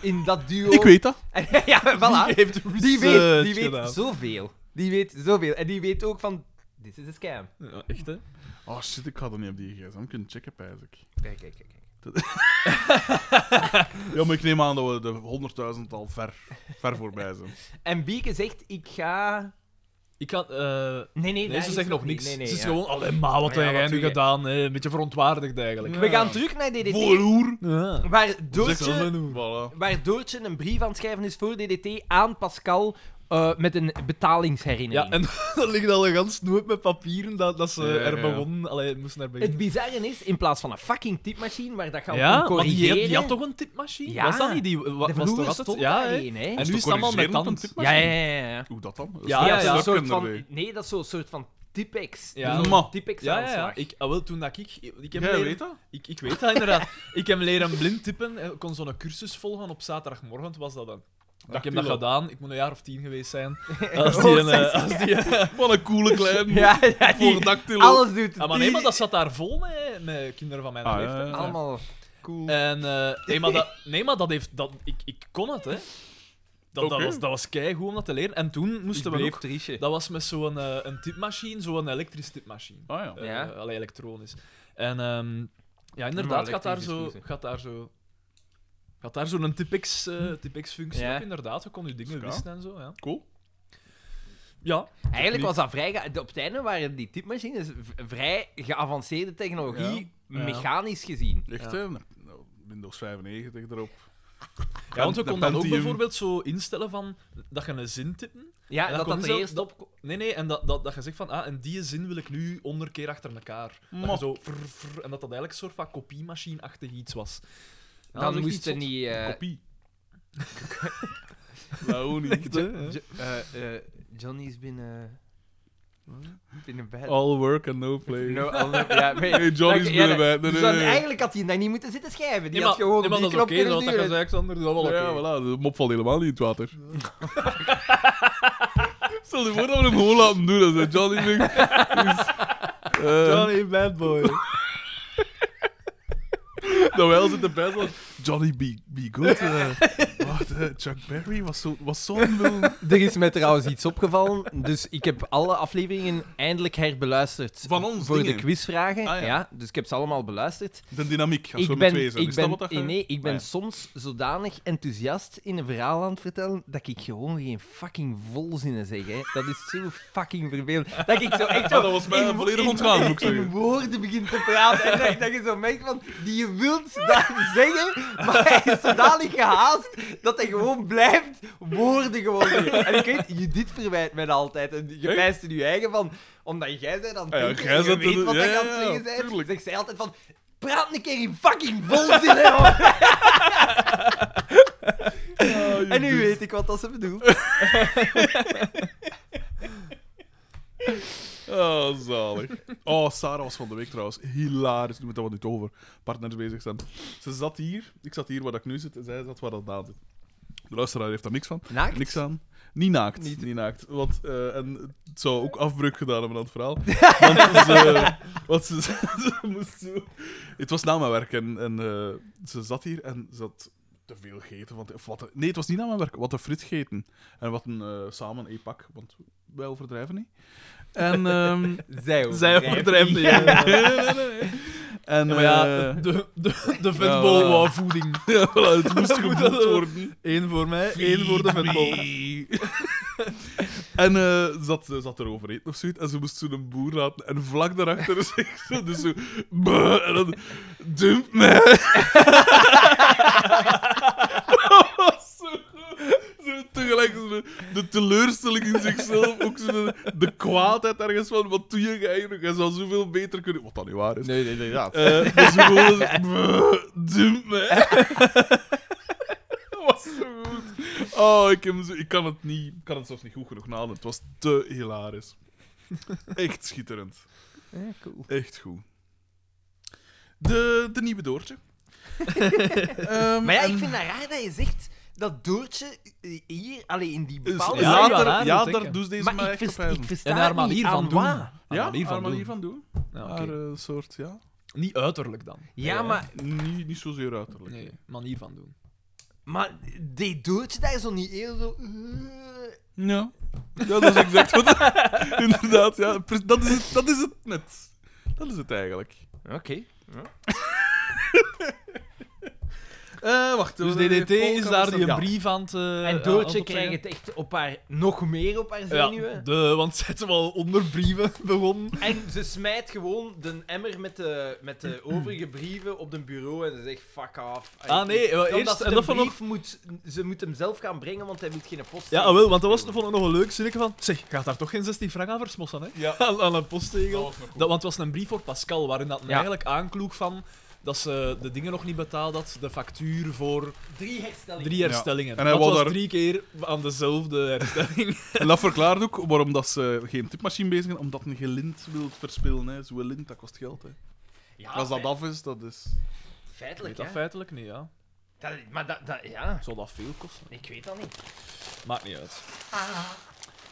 Speaker 4: in dat duo.
Speaker 2: Ik weet dat.
Speaker 4: ja, voilà.
Speaker 3: Die heeft
Speaker 4: Die weet,
Speaker 3: research
Speaker 4: die weet
Speaker 3: gedaan.
Speaker 4: zoveel. Die weet zoveel. En die weet ook van... Dit is een scam.
Speaker 3: Ja, echt, hè?
Speaker 2: Oh shit, ik had er niet op die gsm kunnen checken, pijs ik.
Speaker 4: Kijk, kijk, kijk. kijk.
Speaker 2: Ja, maar ik neem aan dat we de 100.000 al ver, ver voorbij zijn.
Speaker 4: En Bieke zegt, ik ga...
Speaker 3: Ik kan... eh,
Speaker 4: Nee, nee,
Speaker 3: nee,
Speaker 4: dat
Speaker 3: ze
Speaker 4: is
Speaker 3: zeggen nog
Speaker 4: niet.
Speaker 3: niks.
Speaker 4: Nee, nee,
Speaker 3: ze is
Speaker 4: ja.
Speaker 3: gewoon, alleen maar wat
Speaker 4: Ja,
Speaker 3: heb jij
Speaker 4: wat
Speaker 3: nu
Speaker 4: doe je?"
Speaker 3: gedaan? hè? Een beetje verontwaardigd eigenlijk.
Speaker 4: We gaan terug naar DDT,
Speaker 2: Voorhoer.
Speaker 3: Ja.
Speaker 4: waar Doortje
Speaker 2: eh, Voilà.
Speaker 3: eh,
Speaker 4: waar Doortje een brief aan het schrijven is voor DDT aan Pascal eh, met een
Speaker 3: Ja,
Speaker 4: betalingsherinnering.
Speaker 3: en dan ligt al een gans snoep met papieren dat, dat ze
Speaker 2: Ja, ja,
Speaker 3: er
Speaker 2: ja.
Speaker 3: begonnen... Allee, moesten er
Speaker 4: Het
Speaker 3: beginnen.
Speaker 4: bizarre is, in plaats van een fucking typemachine waar dat gaat
Speaker 3: Ja,
Speaker 4: op kon
Speaker 3: want die,
Speaker 4: corrigeren...
Speaker 3: had- die had toch een tipmachine?
Speaker 4: Ja.
Speaker 3: Was dat niet? Die, wa,
Speaker 4: de
Speaker 3: was
Speaker 4: vloer
Speaker 3: toch altijd?
Speaker 4: stond
Speaker 3: Ja, hè?
Speaker 4: daarin, hè?
Speaker 2: Is
Speaker 3: En nu
Speaker 2: het
Speaker 3: is het allemaal met
Speaker 2: corrigerend op een
Speaker 3: tand.
Speaker 2: tipmachine?
Speaker 4: Ja, ja, ja. ja.
Speaker 2: Hoe dat dan? Dat is
Speaker 3: Ja,
Speaker 2: toch
Speaker 4: Ja,
Speaker 3: ja,
Speaker 2: een
Speaker 4: dat is een
Speaker 2: stuk
Speaker 3: ja.
Speaker 4: soort van,
Speaker 2: ermee.
Speaker 4: nee, dat is zo'n soort van typex.
Speaker 3: Ja.
Speaker 4: Zo'n
Speaker 2: Ma.
Speaker 4: typex
Speaker 3: Ja, ja, ja.
Speaker 4: aanslag.
Speaker 3: Ik, ah, wel, toen dat ik... ik heb
Speaker 2: Jij
Speaker 3: leren-
Speaker 2: weet dat?
Speaker 3: Ik, ik weet dat inderdaad. ik heb leren blind typen. en Ik kon zo'n cursus volgen op zaterdagmorgen. was dat dan. ik heb dat
Speaker 2: tuurlijk.
Speaker 3: gedaan. Ik moet een jaar of tien geweest zijn. Als
Speaker 4: Oh,
Speaker 3: die een... eh, als die een-
Speaker 2: Wat een coole kleine
Speaker 4: Ja, ja, die-
Speaker 2: voor dactylo.
Speaker 4: alles doet het.
Speaker 3: Ah, maar nee, maar dat zat daar vol met, met kinderen van mijn
Speaker 2: Ah, ja,
Speaker 3: leeftijd.
Speaker 2: ja, ja.
Speaker 4: Allemaal cool.
Speaker 3: En, eh, nee, maar dat, nee, maar dat heeft... Dat, ik, ik kon het, hè. Dat,
Speaker 2: Oké.
Speaker 3: dat was, dat was keigoed om dat te leren. En toen moesten we ook...
Speaker 4: triesje.
Speaker 3: Dat was met zo'n eh, een tipmachine, zo'n elektrisch tipmachine.
Speaker 2: Ah ja.
Speaker 3: Eh,
Speaker 4: Oh, Ja.
Speaker 3: allee, elektronisch. En ehm, ja, inderdaad,
Speaker 4: maar
Speaker 3: gaat daar,
Speaker 4: elektrisch is
Speaker 3: zo,
Speaker 4: goed, hè.
Speaker 3: gaat daar zo... Gaat daar zo'n typex, eh typex functie
Speaker 4: Ja.
Speaker 3: op, inderdaad. Je kon je dingen
Speaker 2: Ska.
Speaker 3: wisten en zo, ja.
Speaker 2: Cool.
Speaker 3: Ja,
Speaker 4: Eigenlijk was dat vrij... ge- Op het einde waren die typemachines v- vrij geavanceerde technologie,
Speaker 3: Ja. Ja.
Speaker 4: mechanisch gezien.
Speaker 2: Echt,
Speaker 3: Ja.
Speaker 2: hè? Nou, Windows 95 erop.
Speaker 3: ja want je
Speaker 2: de
Speaker 3: kon dan ook
Speaker 2: Pentium.
Speaker 3: bijvoorbeeld zo instellen van... Dat je een zin tippen.
Speaker 4: Ja,
Speaker 3: Ja,
Speaker 4: dat dat
Speaker 3: kon je
Speaker 4: er
Speaker 3: zelf-
Speaker 4: eerst
Speaker 3: dat-
Speaker 4: op...
Speaker 3: Nee, nee, en dat, dat, dat je zegt van... Ah, en die zin wil ik nu honderd keer achter elkaar. Dat
Speaker 2: Ma.
Speaker 3: je zo... frr, frr, en dat dat eigenlijk een soort van kopiemachine-achtig iets was.
Speaker 2: Ah,
Speaker 3: Ja, dat is
Speaker 4: Dan
Speaker 3: echt
Speaker 4: moest
Speaker 3: iets
Speaker 4: je
Speaker 3: zot.
Speaker 4: niet... eh,
Speaker 2: Kopie. Laoni.
Speaker 4: Jo- eh, eh, Johnny's binnen... Binnen bed.
Speaker 3: Oh,
Speaker 2: All work and no play.
Speaker 4: No, I'll never- ja, nee.
Speaker 2: Nee, Johnny's
Speaker 4: Dank-
Speaker 2: binnen
Speaker 4: ja,
Speaker 2: bed. Nee,
Speaker 4: dus
Speaker 2: nee,
Speaker 4: dan-
Speaker 2: nee.
Speaker 4: Eigenlijk had hij daar niet moeten zitten schrijven. Die
Speaker 3: Nee,
Speaker 4: had
Speaker 3: maar-
Speaker 4: gewoon
Speaker 3: nee,
Speaker 4: op
Speaker 3: maar
Speaker 4: die
Speaker 3: dat is
Speaker 4: knop
Speaker 3: oké,
Speaker 4: kunnen
Speaker 3: dat- dat je
Speaker 4: duwen.
Speaker 3: zegt, Xander, dat is wel oké.
Speaker 2: Ja, voilà, de mop valt helemaal niet in het water. Stel je voor dat we hem gewoon laten doen. Dat is Johnny Dus, eh, Mink.
Speaker 3: Johnny bad boy.
Speaker 2: Nou, wel zit de best van Johnny B. B. Good. eh, Wat, eh, Chuck Berry was zo'n was zo'n wil.
Speaker 4: Er is mij trouwens iets opgevallen, dus ik heb alle afleveringen eindelijk herbeluisterd.
Speaker 2: Van ons
Speaker 4: Voor
Speaker 2: dingen.
Speaker 4: de quizvragen,
Speaker 2: Ah, ja.
Speaker 4: ja. Dus ik heb ze allemaal beluisterd.
Speaker 2: De dynamiek gaat
Speaker 4: ik
Speaker 2: zo
Speaker 4: ben,
Speaker 2: met twee zijn.
Speaker 4: ik
Speaker 2: Is
Speaker 4: ben,
Speaker 2: dat wat dat je-
Speaker 4: nee, ik ben
Speaker 2: Ah, ja.
Speaker 4: soms zodanig enthousiast in een verhaal aan het vertellen, dat ik gewoon geen fucking volzinnen zeg. Hè. Dat is zo fucking vervelend. Dat ik zo echt zo
Speaker 2: dat was mij
Speaker 4: in-
Speaker 2: volledig
Speaker 4: in-
Speaker 2: ontgaan, moet ik
Speaker 4: in,
Speaker 2: zeggen.
Speaker 4: woorden begin te praten en dat, dat je zo merkt van, die je wilt dat zeggen, maar hij is zodanig gehaast dat hij gewoon blijft woorden gewoon zeggen. En ik weet, Judith verwijt mij dat altijd. En je
Speaker 2: Echt?
Speaker 4: wijst er nu eigen van, omdat jij zei dan
Speaker 2: Ah ja,
Speaker 4: denken
Speaker 2: jij
Speaker 4: en je
Speaker 2: zat
Speaker 4: weet
Speaker 2: er-
Speaker 4: wat
Speaker 2: ja,
Speaker 4: hij aan
Speaker 2: ja,
Speaker 4: het
Speaker 2: ja,
Speaker 4: zeggen bent.
Speaker 2: tuurlijk.
Speaker 4: Dus ik zei altijd van, praat een keer in fucking volzin, hè, man.
Speaker 2: Ah,
Speaker 4: En nu
Speaker 2: Judith.
Speaker 4: weet ik wat dat ze bedoelt.
Speaker 2: Oh, zalig. Oh, Sarah was van de week trouwens hilarisch. Nu moet dat wat nu toch over partners bezig zijn. Ze zat hier, ik zat hier waar ik nu zit, en zij zat waar dat Daan zit. De luisteraar heeft daar niks van.
Speaker 4: Naakt?
Speaker 2: Niks aan. Niet naakt. Niet,
Speaker 4: Niet.
Speaker 2: naakt. Want, eh, en het zou ook afbreuk gedaan hebben aan het verhaal. Want ze, want ze, ze moest zo... Het was na mijn werk en, en eh, ze zat hier en ze had te veel gegeten. Want, of wat, nee, het was niet na mijn werk. Wat een frit gegeten. En wat een eh, samen een pak. Want wij overdrijven niet. En... ehm,
Speaker 4: Zij
Speaker 3: Zij overdrijft niet. Ja.
Speaker 2: nee, nee, nee, nee. En,
Speaker 3: Ja, maar ja,
Speaker 2: eh,
Speaker 3: de, de, de
Speaker 2: ja, voilà.
Speaker 3: vetbol wou voeding.
Speaker 2: ja, voilà, het moest
Speaker 3: Moet
Speaker 2: gevoeld
Speaker 3: dat ook?
Speaker 2: worden.
Speaker 3: Eén voor mij, één voor de vetbol.
Speaker 2: En eh, zat, eh, zat er over eten of zoiets. En ze moest zo'n boer laten. En vlak daarachter zegt ze dus zo... "Bah," en dan... Dump mij. Dat was zo goed. Zo tegelijk zo de teleurstelling in zichzelf. Ook zo de, de kwaadheid ergens van. Wat doe je eigenlijk? Hij zou zoveel beter kunnen... Wat dan niet waar is.
Speaker 4: Nee, nee, nee, ja.
Speaker 2: Eh, dus gewoon eens, "Bruh, dump me. Dat was zo goed. Oh, ik, heb hem zo, ik kan het niet, ik kan het zelfs niet goed genoeg nadoen. Het was te hilarisch. Echt schitterend.
Speaker 4: cool.
Speaker 2: Echt goed. De, de nieuwe Doortje. Ehm,
Speaker 4: Maar ja,
Speaker 2: en
Speaker 4: ik vind dat raar dat je zegt dat Doortje eh, hier, alleen in die
Speaker 2: is
Speaker 4: bepaalde...
Speaker 3: Ja,
Speaker 4: zin-
Speaker 3: wel
Speaker 2: later,
Speaker 3: raar,
Speaker 2: ja
Speaker 3: moet ik,
Speaker 2: daar
Speaker 3: hè.
Speaker 2: doet deze
Speaker 4: maar
Speaker 2: mij
Speaker 4: ik,
Speaker 2: echt
Speaker 4: versta-
Speaker 2: op
Speaker 4: ik
Speaker 2: wijzen.
Speaker 4: versta
Speaker 3: En haar
Speaker 4: niet
Speaker 3: manier
Speaker 4: aan
Speaker 3: van doen.
Speaker 4: waar.
Speaker 3: Haar
Speaker 2: Ja,
Speaker 3: manier van
Speaker 2: haar manier
Speaker 3: doen.
Speaker 2: van doen.
Speaker 3: Ja, oké.
Speaker 2: Haar eh, soort, ja.
Speaker 3: Niet uiterlijk dan.
Speaker 4: Ja, maar,
Speaker 2: Niet, niet zozeer uiterlijk.
Speaker 3: Nee, manier van doen.
Speaker 4: maar deed Doortje daar zo niet eerder zo... eh,
Speaker 2: Ja. Ja, dat is exact wat. Inderdaad, ja. Pre- Dat is het, dat is het net. Dat is het eigenlijk.
Speaker 4: Oké. Ja.
Speaker 2: Eh, wacht.
Speaker 3: Dus
Speaker 2: eh,
Speaker 3: DDT
Speaker 2: Polka
Speaker 3: is daar
Speaker 2: was
Speaker 3: die
Speaker 2: dat-
Speaker 3: een brief aan het... eh,
Speaker 4: en
Speaker 3: aan het
Speaker 4: Doortje
Speaker 3: opzeggen.
Speaker 4: krijgt het echt op haar, nog meer op haar zenuwen.
Speaker 3: Ja, de, want ze hebben al onder brieven begonnen.
Speaker 4: En ze smijt gewoon de emmer met de, met de overige brieven op een bureau en ze zegt fuck off.
Speaker 3: Ah, nee, wel,
Speaker 4: Omdat
Speaker 3: eerst-
Speaker 4: ze
Speaker 3: en
Speaker 4: de
Speaker 3: dat vond ik-
Speaker 4: brief moet, ze moet hem zelf gaan brengen, want hij wil geen post.
Speaker 3: Ja, ah, wel, want dat was vond ik nog een leuk zinnetje van... Zeg, ik ga daar toch geen 16 frank aan versmossen, hè?
Speaker 2: Ja.
Speaker 3: Aan, aan een
Speaker 2: Dat
Speaker 3: postzegel.
Speaker 2: was nog goed.
Speaker 3: Dat, want het was een brief voor Pascal, waarin dat
Speaker 4: Ja.
Speaker 3: eigenlijk aankloeg van dat ze de dingen nog niet betaald had, de factuur voor
Speaker 4: Drie herstellingen.
Speaker 3: drie herstellingen.
Speaker 2: En hij
Speaker 3: dat
Speaker 2: wou
Speaker 3: was
Speaker 2: daar-
Speaker 3: drie keer aan dezelfde herstelling.
Speaker 2: En dat verklaart ook waarom dat ze geen tipmachine bezig zijn, omdat een gelint wil verspillen. hè. Zo'n lint, dat kost geld. Hè.
Speaker 4: Ja,
Speaker 2: Als dat
Speaker 4: feit-
Speaker 2: af is, dat is...
Speaker 4: Feitelijk,
Speaker 3: Weet dat
Speaker 4: hè.
Speaker 3: feitelijk niet, ja.
Speaker 4: Dat- maar dat, dat, ja,
Speaker 3: Zou dat veel kosten?
Speaker 4: ik weet dat niet.
Speaker 3: Maakt niet uit.
Speaker 4: Ah.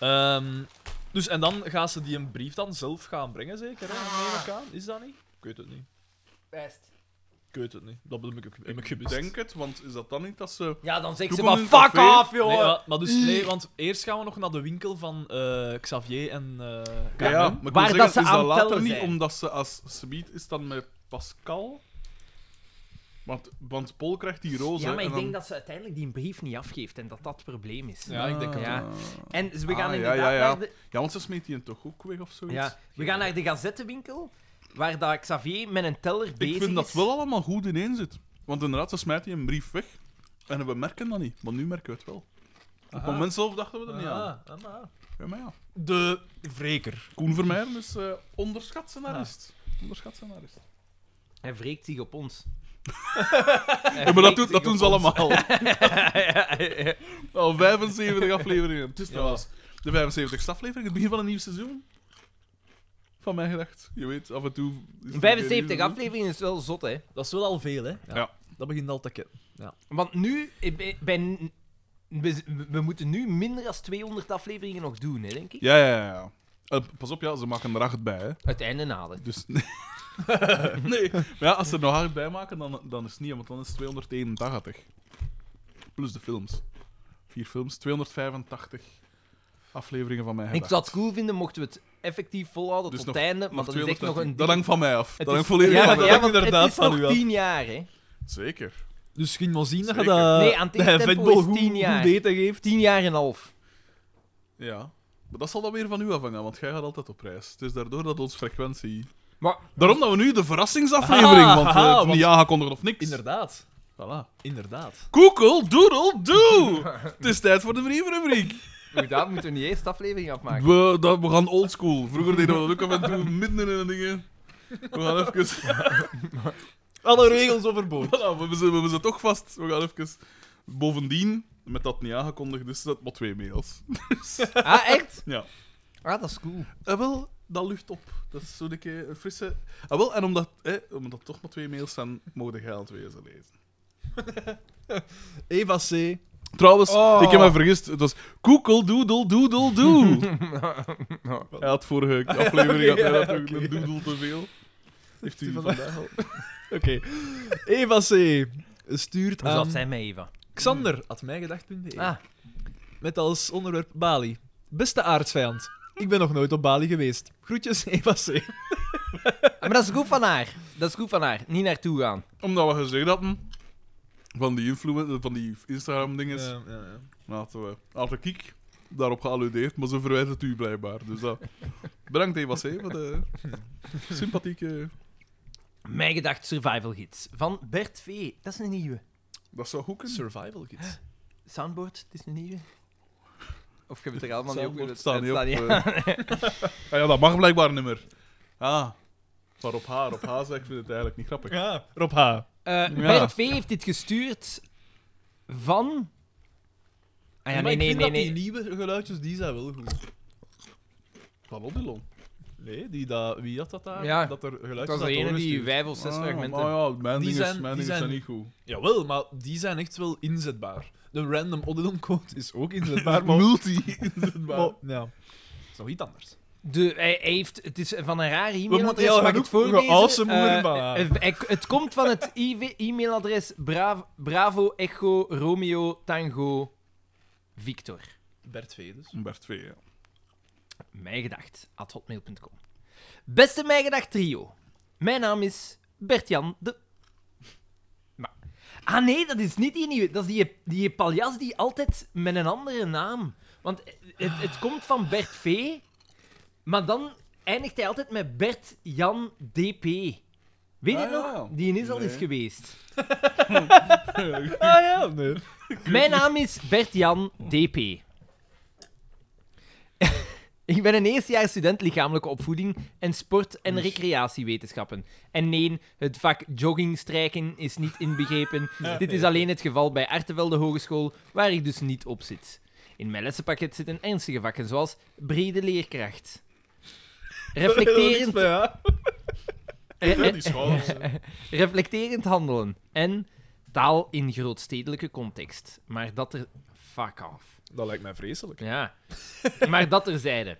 Speaker 3: Ehm, dus, en dan gaan ze die een brief dan zelf gaan brengen, zeker? Hè? Neem
Speaker 4: Ah.
Speaker 3: ik aan. Is dat niet? Ik weet het niet.
Speaker 4: Best.
Speaker 3: Ik weet het niet. Dat heb ik, heb ik
Speaker 2: Ik
Speaker 3: gemist.
Speaker 2: denk het, want is dat dan niet dat ze...
Speaker 4: Ja, dan zegt
Speaker 2: Doe
Speaker 4: ze
Speaker 2: maar
Speaker 4: maar
Speaker 2: een
Speaker 4: fuck
Speaker 2: café."
Speaker 4: off, joh.
Speaker 3: Nee, wa- maar dus,
Speaker 4: Mm.
Speaker 3: nee, want eerst gaan we nog naar de winkel van eh, Xavier en eh
Speaker 2: Ja,
Speaker 3: Carmen.
Speaker 2: maar ik
Speaker 4: Waar
Speaker 2: wil
Speaker 4: dat
Speaker 2: zeggen,
Speaker 4: ze
Speaker 2: is
Speaker 4: aan
Speaker 2: dat
Speaker 4: het
Speaker 2: later
Speaker 4: tellen
Speaker 2: niet,
Speaker 4: zijn.
Speaker 2: omdat ze als Sabiet is dan met Pascal. Want, want Paul krijgt die roze.
Speaker 4: Ja, maar
Speaker 2: en
Speaker 4: ik
Speaker 2: dan-
Speaker 4: denk dat ze uiteindelijk die brief niet afgeeft en dat dat het probleem is.
Speaker 3: Ja, ik denk het
Speaker 4: Ja.
Speaker 2: Ah.
Speaker 4: En ze- we gaan
Speaker 2: Ah, ja,
Speaker 4: inderdaad
Speaker 2: ja, ja.
Speaker 4: naar de...
Speaker 2: Ja, want ze smeet die toch ook weg of zoiets?
Speaker 4: Ja, we gaan naar de gazettenwinkel, waar dat Xavier met een teller bezig
Speaker 2: Ik vind dat
Speaker 4: is.
Speaker 2: wel allemaal goed ineen zit. Want inderdaad, ze smijt die een brief weg. En we merken dat niet. Maar nu merken we het wel. Op het moment zelf dachten we dat niet aan.
Speaker 3: Ah, ah, ah.
Speaker 2: Ja, maar ja.
Speaker 3: De wreker.
Speaker 2: Koen Vermeijen is eh onderschat
Speaker 4: Ah.
Speaker 2: scenarist. Onderschat scenarist.
Speaker 4: Hij wreekt zich op ons.
Speaker 2: Ja, maar dat, doet, dat doen ze allemaal. Al 75 afleveringen. Het is trouwens de 75ste aflevering, het begin van een nieuw seizoen. Van mij gedacht. Je weet, af en toe... is er een keer een nieuw
Speaker 4: 75
Speaker 2: seizoen.
Speaker 4: afleveringen is wel zot, hè?
Speaker 3: Dat is wel al veel, hè?
Speaker 2: Ja.
Speaker 3: Dat begint al te kennen.
Speaker 4: Want nu, eh, bij, bij- we, we moeten nu minder dan 200 afleveringen nog doen, hè, denk ik.
Speaker 2: Ja, ja, ja. ja. Eh, pas op, ja, ze maken er acht bij, hè.
Speaker 4: Het einde nadert.
Speaker 2: Dus... nee. Maar ja, als ze er nog acht bij maken, dan, dan is het niet, want dan is het 281. Plus de films. Vier films, 285 afleveringen van mij
Speaker 4: Ik
Speaker 2: gedacht.
Speaker 4: zou het cool vinden mochten we het effectief volhouden
Speaker 2: Dus
Speaker 4: tot
Speaker 2: nog-
Speaker 4: het einde, maar dat is echt nog een...
Speaker 2: Dat hangt van mij af.
Speaker 4: Het
Speaker 2: Dat hangt
Speaker 4: is-
Speaker 2: volledig
Speaker 4: ja,
Speaker 2: van mij
Speaker 4: maar
Speaker 2: af.
Speaker 3: dat
Speaker 4: ja,
Speaker 3: hangt
Speaker 4: want
Speaker 3: inderdaad
Speaker 4: het is
Speaker 3: van u
Speaker 4: nog
Speaker 3: af.
Speaker 4: 10 jaar, hè?
Speaker 2: Zeker.
Speaker 3: Dus ging wel zien dat je
Speaker 2: Zeker.
Speaker 3: dat.
Speaker 4: Nee, aan het
Speaker 3: dat
Speaker 4: tempo
Speaker 3: vetbol
Speaker 4: is
Speaker 3: goed,
Speaker 4: tien jaar.
Speaker 3: goed eten geeft.
Speaker 4: 10 jaar en een half.
Speaker 2: Ja. Maar dat zal dan weer van u afhangen, want jij gaat altijd op reis. Het is daardoor dat onze frequentie...
Speaker 4: Maar-
Speaker 2: Daarom dat we nu de verrassingsaflevering,
Speaker 3: Aha,
Speaker 2: want we
Speaker 3: aha,
Speaker 2: hebben het
Speaker 3: want-
Speaker 2: niet aangekondigd of niks.
Speaker 3: Inderdaad.
Speaker 2: Voilà.
Speaker 3: Inderdaad.
Speaker 2: Koekel, doodle, doe! het is tijd voor de brievenrubriek.
Speaker 4: Hoe dat moeten we niet eerst aflevering afmaken.
Speaker 2: We, dat, we gaan oldschool. Vroeger deden we dat ook af en toe, midden in de dingen. We gaan even...
Speaker 3: Alle regels overboord.
Speaker 2: Voilà, we hebben ze- we hebben ze toch vast. We gaan even... Bovendien, met dat niet aangekondigd, is dat maar twee mails.
Speaker 4: Ah, echt?
Speaker 2: Ja.
Speaker 4: Ah, dat is cool.
Speaker 2: Ah, wel, dat lucht op. Dat is zo'n keer een frisse. Ah, wel, en omdat, eh, omdat er toch maar twee mails zijn, mogen jij al twee eens lezen.
Speaker 3: Eva C.
Speaker 2: Trouwens,
Speaker 4: Oh.
Speaker 2: ik heb me vergist. Het was koekel, doedel, doedel, doe. Hij had vorige aflevering had, hij had ook een doedel te veel. Heeft u vandaag?
Speaker 3: al. Oké. Eva C. Stuurt
Speaker 4: Hoe zat
Speaker 3: aan
Speaker 4: zij met Eva?
Speaker 3: Xander, at E. mijgedacht.be.
Speaker 4: Ah,
Speaker 3: Met als onderwerp Bali. Beste aardsvijand, ik ben nog nooit op Bali geweest. Groetjes, Eva C.
Speaker 4: Ah, maar dat is goed van haar. Dat is goed van haar. Niet naartoe gaan.
Speaker 2: Omdat we gezegd hadden van die, influen- van die Instagram-dinges.
Speaker 3: Ja, ja, ja.
Speaker 2: Laten we. Laten Kiek daarop gealludeerd, maar ze verwijt het u blijkbaar. Dus dat. Bedankt, Eva C. Wat een sympathieke.
Speaker 4: Mijn gedacht survival gids van Bert V. Dat is een nieuwe.
Speaker 2: Dat zou goed kunnen.
Speaker 3: Survival gids.
Speaker 4: Soundboard, het is een nieuwe. Of je hebt er allemaal niet op
Speaker 2: Soundboard
Speaker 4: willen
Speaker 2: staat niet op.
Speaker 4: staan, ja.
Speaker 2: eh. ah, ja, dat mag blijkbaar niet meer. Ah. Maar op haar, op haar zeg ik vind het eigenlijk niet grappig.
Speaker 3: Ja, Rob H.
Speaker 4: Eh,
Speaker 2: Ja.
Speaker 4: Bert V heeft dit gestuurd van. Ah ja,
Speaker 3: maar
Speaker 4: nee,
Speaker 3: ik
Speaker 4: nee, nee.
Speaker 3: vind dat
Speaker 4: nee.
Speaker 3: die nieuwe geluidjes, die zijn wel goed.
Speaker 2: Van Odilon.
Speaker 3: Nee, die dat, wie had dat daar?
Speaker 4: Ja.
Speaker 3: Dat er
Speaker 4: Het was
Speaker 3: geluidjes
Speaker 4: de
Speaker 3: naar
Speaker 4: ene
Speaker 3: het
Speaker 4: die
Speaker 3: horen
Speaker 4: vijf of zes
Speaker 2: Ah,
Speaker 4: fragmenten.
Speaker 2: Maar ja, mijn
Speaker 3: Die
Speaker 2: dingen zijn,
Speaker 3: zijn-
Speaker 2: mijn
Speaker 3: die
Speaker 2: dingen zijn
Speaker 3: zijn-
Speaker 2: niet goed.
Speaker 3: stuurt. Jawel, maar die zijn echt wel inzetbaar. De random Odilon code is ook inzetbaar, maar...
Speaker 2: Multi inzetbaar.
Speaker 3: maar- ja. Dat is nog iets anders.
Speaker 4: De, hij hij heeft, het is van een raar
Speaker 3: moeten
Speaker 4: e-mailadres,
Speaker 3: heel
Speaker 4: mag ik het
Speaker 3: goed
Speaker 4: voorlezen?
Speaker 3: geaasem
Speaker 4: Eh,
Speaker 3: worden, maar-
Speaker 4: eh, hij- het komt van het IV e-mailadres Bravo, Bravo Echo Romeo Tango Victor.
Speaker 3: Bert V dus.
Speaker 2: Bert 2, ja.
Speaker 4: Mijgedacht, at hotmail.com. Beste Mijgedacht trio, mijn naam is Bert-Jan de... Maar, Ah nee, dat is niet die nieuwe. Dat is die, die paljas die altijd met een andere naam. Want het, het komt van Bert V. Maar dan eindigt hij altijd met Bert Jan DP. Weet je het
Speaker 2: Ah, ja.
Speaker 4: nog? Die is al eens
Speaker 2: Nee.
Speaker 4: geweest.
Speaker 3: Ah ja, nee.
Speaker 4: Mijn naam is Bert-Jan DP. Ik ben een eerstejaars student lichamelijke opvoeding en sport- en recreatiewetenschappen. En nee, het vak joggingstrijken is niet inbegrepen. Dit is alleen het geval bij Artevelde Hogeschool, waar ik dus niet op zit. In mijn lessenpakket zitten ernstige vakken, zoals brede leerkracht. Reflecterend,
Speaker 3: Ja.
Speaker 2: Ik ben die schouders.
Speaker 4: reflecterend handelen en taal in grootstedelijke context. Maar dat er... Fuck off.
Speaker 3: Dat lijkt mij vreselijk.
Speaker 4: Ja. maar dat terzijde.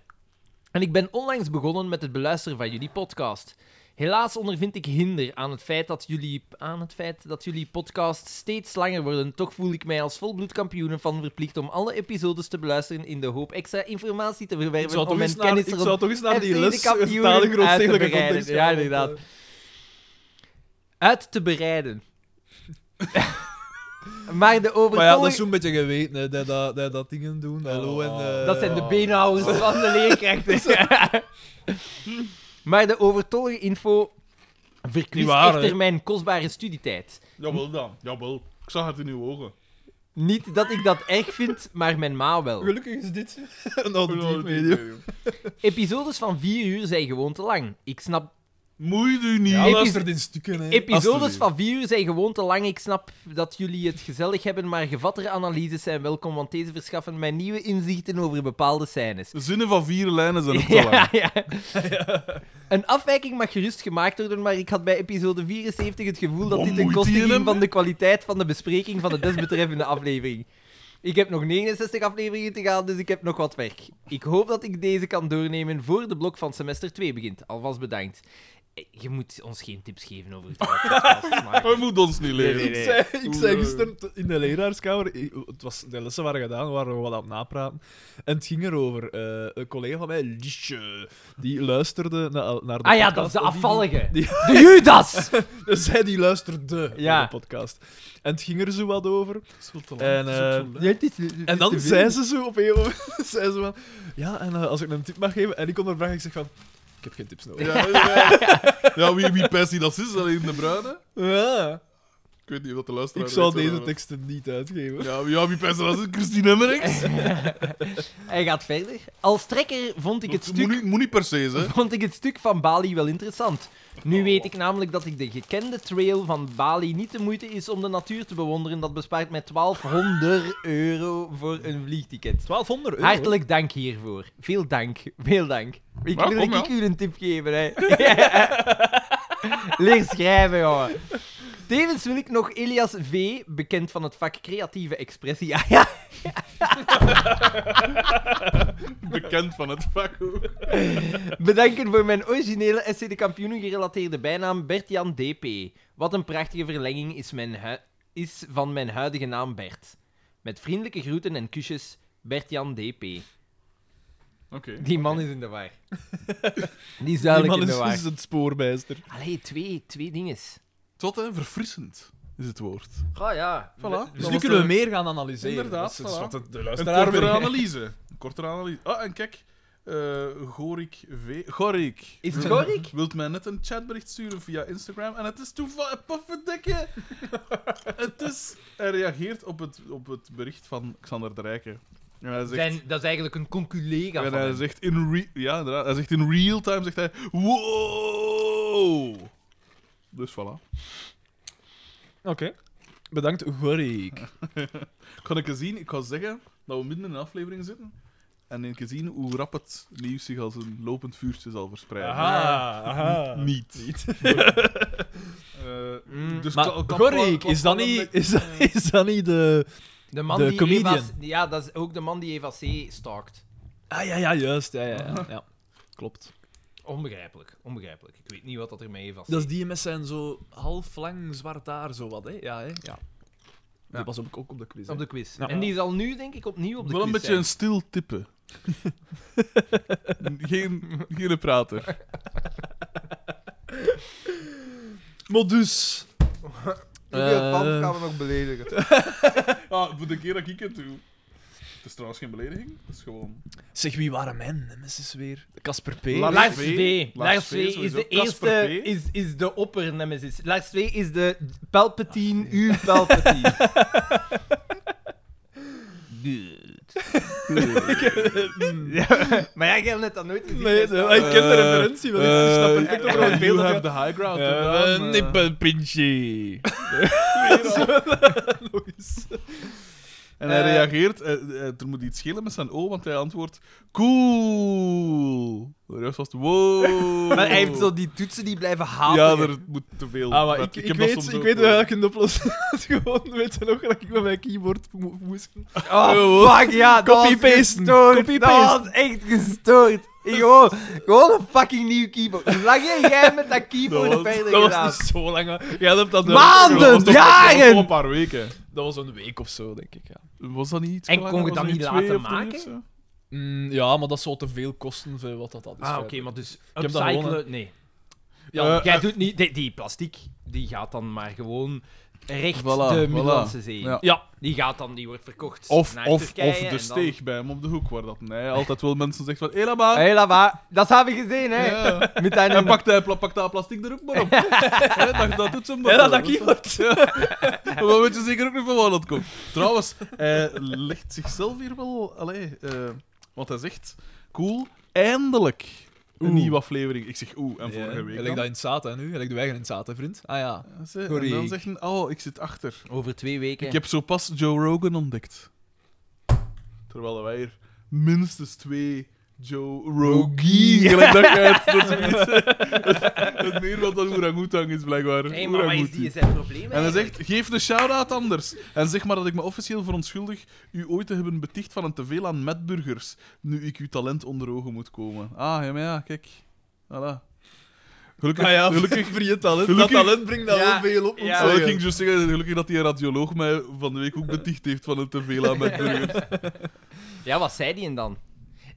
Speaker 4: En ik ben onlangs begonnen met het beluisteren van jullie podcast. Helaas ondervind ik hinder aan het feit dat jullie, aan het feit dat jullie podcasts steeds langer worden. Toch voel ik mij als volbloed kampioen ervan verplicht om alle episodes te beluisteren in de hoop extra informatie te
Speaker 3: Ik
Speaker 4: verwerven
Speaker 3: zou,
Speaker 4: om
Speaker 3: toch eens
Speaker 4: mijn
Speaker 3: naar,
Speaker 4: kennis
Speaker 3: ik zou
Speaker 4: rond
Speaker 3: toch eens naar
Speaker 4: FC
Speaker 3: die
Speaker 4: de
Speaker 3: les
Speaker 4: kampioenen
Speaker 3: talen
Speaker 4: uit te
Speaker 3: grootstedelijke
Speaker 4: bereiden.
Speaker 3: context
Speaker 4: Ja,
Speaker 3: gaan, want,
Speaker 4: inderdaad.
Speaker 3: eh,
Speaker 4: uit te bereiden. maar de overtollige...
Speaker 3: Maar ja, dat is zo'n beetje geweten, hè, dat, dat, dat, dat dingen doen. Hallo en... eh,
Speaker 4: Dat zijn de beenhouwers van de leerkrachten. maar de overtollige info verkwist
Speaker 2: Niet waar,
Speaker 4: echter
Speaker 2: hè?
Speaker 4: mijn kostbare studietijd.
Speaker 2: Jawel dan, jawel. Ik zag het in uw ogen.
Speaker 4: Niet dat ik dat erg vind, maar mijn ma wel.
Speaker 3: Gelukkig is dit een auditief
Speaker 2: Hallo,
Speaker 3: medium.
Speaker 2: medium.
Speaker 4: Episodes van 4 uur zijn gewoon te lang. Ik snap...
Speaker 2: Moeite u niet.
Speaker 3: Ja,
Speaker 4: Epi-
Speaker 3: luistert in stukken, hè.
Speaker 4: Episodes
Speaker 3: Alsjeblieft.
Speaker 4: van 4 uur zijn gewoon te lang. Ik snap dat jullie het gezellig hebben, maar gevattere analyses zijn welkom, want deze verschaffen mij nieuwe inzichten over bepaalde scènes.
Speaker 2: De zinnen van vier lijnen zijn ook te
Speaker 4: Ja,
Speaker 2: lang.
Speaker 4: ja. Een afwijking mag gerust gemaakt worden, maar ik had bij episode 74 het gevoel dat
Speaker 2: Wat
Speaker 4: dit een
Speaker 2: moet
Speaker 4: koste
Speaker 2: die
Speaker 4: ging
Speaker 2: hebben?
Speaker 4: van de kwaliteit van de bespreking van de desbetreffende aflevering. Ik heb nog 69 afleveringen te gaan, dus ik heb nog wat werk. Ik hoop dat ik deze kan doornemen voor de blok van semester 2 begint. Alvast bedankt. Eh, Je moet ons geen tips geven over het podcast, maar...
Speaker 2: Hij moet ons niet leren.
Speaker 4: Nee, nee, nee.
Speaker 3: Ik zei, ik zei gisteren t- in de leraarskamer, i- het was, de lessen waren gedaan, we waren wat aan het napraten. En het ging erover. eh, een collega van mij, Liesje, die luisterde na- naar de
Speaker 4: Ah ja,
Speaker 3: podcast,
Speaker 4: dat is de
Speaker 3: en die-
Speaker 4: afvallige.
Speaker 3: die-
Speaker 4: De Judas!
Speaker 3: Dus zij die luisterde
Speaker 4: Ja.
Speaker 3: naar de podcast. En het ging er zo wat over.
Speaker 2: Dat is wel te lang.
Speaker 3: En,
Speaker 2: Dat is
Speaker 3: eh,
Speaker 2: ook zo lang.
Speaker 3: en dan zei ze zo op een gegeven moment, zei ze van, ja, en eh, als ik een tip mag geven, en ik ondervraag, ik zeg van, ik heb geen tips nodig.
Speaker 2: Ja, ja. ja, wie, wie pijst die dat is? Alleen de bruine?
Speaker 3: Ja.
Speaker 2: Ik weet niet wat de luisteraar
Speaker 3: Ik zou
Speaker 2: weet,
Speaker 3: deze
Speaker 2: maar-
Speaker 3: teksten niet uitgeven.
Speaker 2: Ja, wie, ja, wie pijst dat is? Christine Emmerichs?
Speaker 4: Hij gaat verder. Als trekker vond ik het
Speaker 2: Dat
Speaker 4: stuk...
Speaker 2: Moet, niet- moet niet per se, hè.
Speaker 4: vond ik het stuk van Bali wel interessant. Nu weet ik namelijk dat ik de gekende trail van Bali niet de moeite is om de natuur te bewonderen. Dat bespaart mij 1200 euro voor een vliegticket.
Speaker 3: 1200 euro.
Speaker 4: Hartelijk dank hiervoor. Veel dank. Veel dank. Ik
Speaker 2: Maar
Speaker 4: wil
Speaker 2: kom,
Speaker 4: ik
Speaker 2: ja.
Speaker 4: u een tip geven, hè. Leer schrijven, jongen. Tevens wil ik nog Elias V., bekend van het vak creatieve expressie... Ah, ja.
Speaker 2: Bekend van het vak. ook.
Speaker 4: Bedanken voor mijn originele SC de Kampioenen gerelateerde bijnaam Bert-Jan DP. Wat een prachtige verlenging is, mijn hu- is van mijn huidige naam Bert. Met vriendelijke groeten en kusjes, Bert-Jan DP.
Speaker 2: Oké.
Speaker 4: Die man is in de war. Die is
Speaker 3: Die
Speaker 4: duidelijk
Speaker 3: man
Speaker 4: in de
Speaker 3: is, dus-
Speaker 4: war.
Speaker 3: is het spoorbijster.
Speaker 4: Allee, twee, twee dinges.
Speaker 2: Tot, hè. Verfrissend is het woord.
Speaker 4: Ah ja.
Speaker 2: Voilà.
Speaker 3: Dus nu kunnen we meer gaan analyseren.
Speaker 2: Inderdaad,
Speaker 3: Dat is- dat is
Speaker 2: voilà.
Speaker 3: wat de, de
Speaker 2: Een
Speaker 3: luisteraar
Speaker 2: kortere
Speaker 3: wil.
Speaker 2: analyse. Een kortere analyse. Ah, en kijk. eh Gorik V. Gorik.
Speaker 4: Is het
Speaker 2: Wil-
Speaker 4: Gorik?
Speaker 2: Wilt mij net een chatbericht sturen via Instagram. En het is toevallig... Pofferdikke! het is... Hij reageert op het, op het bericht van Xander de Rijken. En hij zegt...
Speaker 4: Zijn, dat is eigenlijk een conculega
Speaker 2: en
Speaker 4: van
Speaker 2: hij
Speaker 4: hem.
Speaker 2: zegt in, re- ja, inderdaad, hij zegt in real time... Zegt hij... Wow! Dus voilà.
Speaker 3: Oké. Bedankt, Gorik.
Speaker 2: Kan ik eens zien... Ik ga zeggen dat we midden in een aflevering zitten. En ik kan zien hoe rap het nieuws zich als een lopend vuurtje zal verspreiden.
Speaker 3: aha.
Speaker 2: Niet.
Speaker 4: Mm.
Speaker 2: dus
Speaker 3: Maar
Speaker 2: kla- klap-
Speaker 3: Gorik,
Speaker 2: klap-
Speaker 3: is dat
Speaker 2: klap-
Speaker 3: niet, is dat, is dat niet de...
Speaker 4: De man
Speaker 3: de
Speaker 4: die
Speaker 3: comedian.
Speaker 4: Eva C- ja, dat is ook de man die Eva C. stalkt.
Speaker 3: Ah ja, ja, juist. Ja, ja, ja. ja. Klopt.
Speaker 4: Onbegrijpelijk, onbegrijpelijk. Ik weet niet wat dat er met Eva C.
Speaker 3: Dat is die met zijn zo half lang zwart haar, zo wat, hè? Ja, hè? Ja.
Speaker 4: Ja.
Speaker 3: Die was op, ook op de quiz. hè.
Speaker 4: Op de quiz.
Speaker 3: Ja.
Speaker 4: En die zal nu, denk ik, opnieuw op de
Speaker 2: Wel een
Speaker 4: quiz
Speaker 2: beetje
Speaker 4: zijn.
Speaker 2: een stil tippen. geen, geen prater.
Speaker 3: Maar dus...
Speaker 4: Hoeveel
Speaker 3: Eh.
Speaker 4: fans gaan we nog beledigen?
Speaker 2: Ah, voor de keer dat ik het doe. Het is trouwens geen belediging. Het is gewoon...
Speaker 3: Zeg, wie waren mijn nemesis weer? Casper P.
Speaker 1: Lars
Speaker 4: Lars
Speaker 1: V.
Speaker 4: V.
Speaker 2: Lars
Speaker 4: Lars
Speaker 2: V
Speaker 4: V is
Speaker 2: sowieso.
Speaker 4: de
Speaker 1: Casper
Speaker 4: eerste,
Speaker 1: V.
Speaker 4: is, is de oppernemesis. Lars V is de Palpatine, uw Palpatine. Ja, maar jij hebt net dat nooit gezien.
Speaker 3: Nee,
Speaker 4: hè?
Speaker 3: ik ken de referentie wel. Ik snap perfect
Speaker 2: eh,
Speaker 3: over wat
Speaker 2: you
Speaker 3: het beeld
Speaker 2: have
Speaker 3: the high ground.
Speaker 1: Een
Speaker 2: eh,
Speaker 1: nippelpintje.
Speaker 2: En hij
Speaker 3: Eh.
Speaker 2: reageert, eh, eh, er moet iets schelen met zijn O, want hij antwoordt: Cool! De rest was het, wow!
Speaker 4: Maar hij heeft zo die toetsen die blijven halen.
Speaker 2: Ja, er moet te veel.
Speaker 3: Ah, maar
Speaker 2: Maar
Speaker 3: ik, ik,
Speaker 2: heb dat
Speaker 3: weet,
Speaker 2: soms
Speaker 3: ik
Speaker 2: ook
Speaker 3: weet
Speaker 2: wel.
Speaker 3: hoe je kunt oplossen. Het is Gewoon, weet je nog, dat ik met mijn keyboard mo- moest... Ah,
Speaker 4: Oh, fuck, ja, dat was
Speaker 3: Copy-pasten,
Speaker 4: gestoord.
Speaker 3: copy-pasten.
Speaker 4: Dat was echt gestoord. Ik Gewoon, gewoon een fucking nieuw keyboard. Hoe lang heb jij met dat keyboard
Speaker 2: Dat was-
Speaker 4: verder
Speaker 3: Dat was
Speaker 4: gedaan?
Speaker 3: niet zo lang. hè. Jij hebt dat...
Speaker 4: Maanden!
Speaker 2: Dat was toch- Dat was
Speaker 4: Jaren!
Speaker 2: toch een paar weken.
Speaker 3: Dat was een week of zo, denk ik, ja.
Speaker 2: Was dat niet iets
Speaker 4: En
Speaker 2: langer?
Speaker 4: kon je
Speaker 2: Was
Speaker 4: dat niet
Speaker 2: iets
Speaker 4: laten
Speaker 2: twee of drie
Speaker 4: maken?
Speaker 2: of zo?
Speaker 3: Mm, ja, maar dat zou te veel kosten voor wat dat, dat is.
Speaker 4: Ah, oké,
Speaker 3: verder.
Speaker 4: maar dus
Speaker 3: heb dat gewoon,
Speaker 4: upcyclen... nee.
Speaker 3: Ja,
Speaker 2: Eh,
Speaker 4: Jij doet niet... Die, die plastic, die gaat dan maar gewoon recht
Speaker 2: Voilà,
Speaker 4: de
Speaker 2: voilà.
Speaker 4: Middellandse Zee.
Speaker 2: Ja.
Speaker 3: ja.
Speaker 4: Die gaat dan, die wordt verkocht
Speaker 2: Of,
Speaker 4: naar
Speaker 2: of,
Speaker 4: Turkije
Speaker 2: of
Speaker 4: en
Speaker 2: de
Speaker 4: dan-
Speaker 2: steeg bij hem op de hoek, waar dat hij altijd wel mensen zegt van, hé, laat maar.
Speaker 4: Hé, laat maar. Ah, Dat hebben we gezien, hè.
Speaker 2: Ja.
Speaker 4: Met dat
Speaker 2: En pakt hij, pla- pakt hij plastic er ook maar op. Hè, dat, dat doet ze hem
Speaker 3: Ja,
Speaker 2: wel.
Speaker 3: dat, dat keyboard.
Speaker 2: Maar dan weet je zeker ook niet van waar dat komt. Trouwens, hij legt zichzelf hier wel... Allee, eh, want hij zegt... Cool, eindelijk een
Speaker 3: Oeh.
Speaker 2: nieuwe aflevering. Ik zeg oeh, en
Speaker 3: Ja,
Speaker 2: vorige week
Speaker 3: Hij legt dat
Speaker 2: dan.
Speaker 3: in het zaten hè, nu. Hij legt de eigen in het zaten, vriend. Ah ja.
Speaker 2: En ze- En
Speaker 3: Sorry.
Speaker 2: dan zeggen, oh, ik zit achter.
Speaker 4: Over twee weken.
Speaker 2: Ik heb zo pas Joe Rogan ontdekt. Terwijl wij hier minstens twee Joe Rogie gelijk dat je het- dat is zoiets, hè. Het meer wat dat orangutang is, blijkbaar.
Speaker 4: Hé, maar wat is
Speaker 2: Orangutan.
Speaker 4: die zijn probleem
Speaker 2: En hij
Speaker 4: eigenlijk?
Speaker 2: zegt, geef de shout-out anders. En zeg maar dat ik me officieel verontschuldig u ooit te hebben beticht van een teveel aan metburgers, nu ik uw talent onder ogen moet komen. Ah, ja, maar ja, kijk. Voilà. Gelukkig,
Speaker 3: Ah ja,
Speaker 2: gelukkig,
Speaker 3: vrije talent.
Speaker 2: Gelukkig-
Speaker 3: Dat talent brengt daar
Speaker 4: Ja,
Speaker 3: wel veel op, moet
Speaker 4: ja.
Speaker 3: ik
Speaker 2: Ah, ik
Speaker 3: zeggen.
Speaker 2: ging juist zeggen, gelukkig dat die radioloog mij van de week ook beticht heeft van een teveel aan metburgers.
Speaker 4: Ja, wat zei die dan?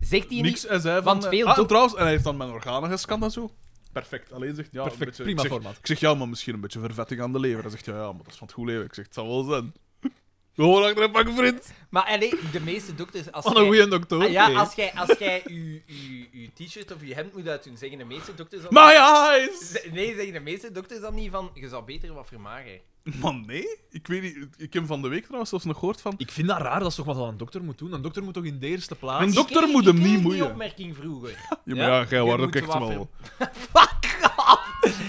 Speaker 4: Zegt hij
Speaker 2: Niks,
Speaker 4: niet...
Speaker 2: en zij van...
Speaker 4: want
Speaker 2: eh,
Speaker 4: veel
Speaker 2: ah, en
Speaker 4: do-
Speaker 2: trouwens, en hij heeft dan mijn organen gescand en zo. Perfect. Alleen zegt, ja, een
Speaker 3: Perfect,
Speaker 2: beetje-
Speaker 3: prima
Speaker 2: ik zeg,
Speaker 3: formaat.
Speaker 2: Ik zeg, ja, maar misschien een beetje vervetting aan de lever. Hij zegt, ja, ja, maar dat is van het goede leven. Ik zeg, het zal wel zijn. Gewoon achter een pak vriend.
Speaker 4: Maar allee, de meeste dokters... Als
Speaker 3: Wat een
Speaker 4: jij-
Speaker 3: goeie dokter.
Speaker 4: Ah, ja,
Speaker 3: hè.
Speaker 4: als jij, als jij uw, uw, uw t-shirt of je hemd moet uitdoen, zeggen de meeste dokters dan...
Speaker 2: My eyes!
Speaker 4: Z- Nee, zeggen de meeste dokters dan niet van, je zou beter wat vermagen.
Speaker 2: Man, nee. Ik weet niet. Ik heb van de week trouwens zelfs nog gehoord van...
Speaker 3: Ik vind dat raar, dat is toch wat een dokter moet doen? Een dokter moet toch in de eerste plaats...
Speaker 2: Een
Speaker 4: Ik
Speaker 2: dokter
Speaker 4: kreeg-
Speaker 2: moet
Speaker 4: ik
Speaker 2: hem
Speaker 4: kreeg
Speaker 2: niet
Speaker 4: die
Speaker 2: moeien.
Speaker 4: opmerking vroeger.
Speaker 2: Ja, maar ja, jij
Speaker 4: Je
Speaker 2: wordt
Speaker 4: moet
Speaker 2: ook echt
Speaker 4: wat
Speaker 2: wel...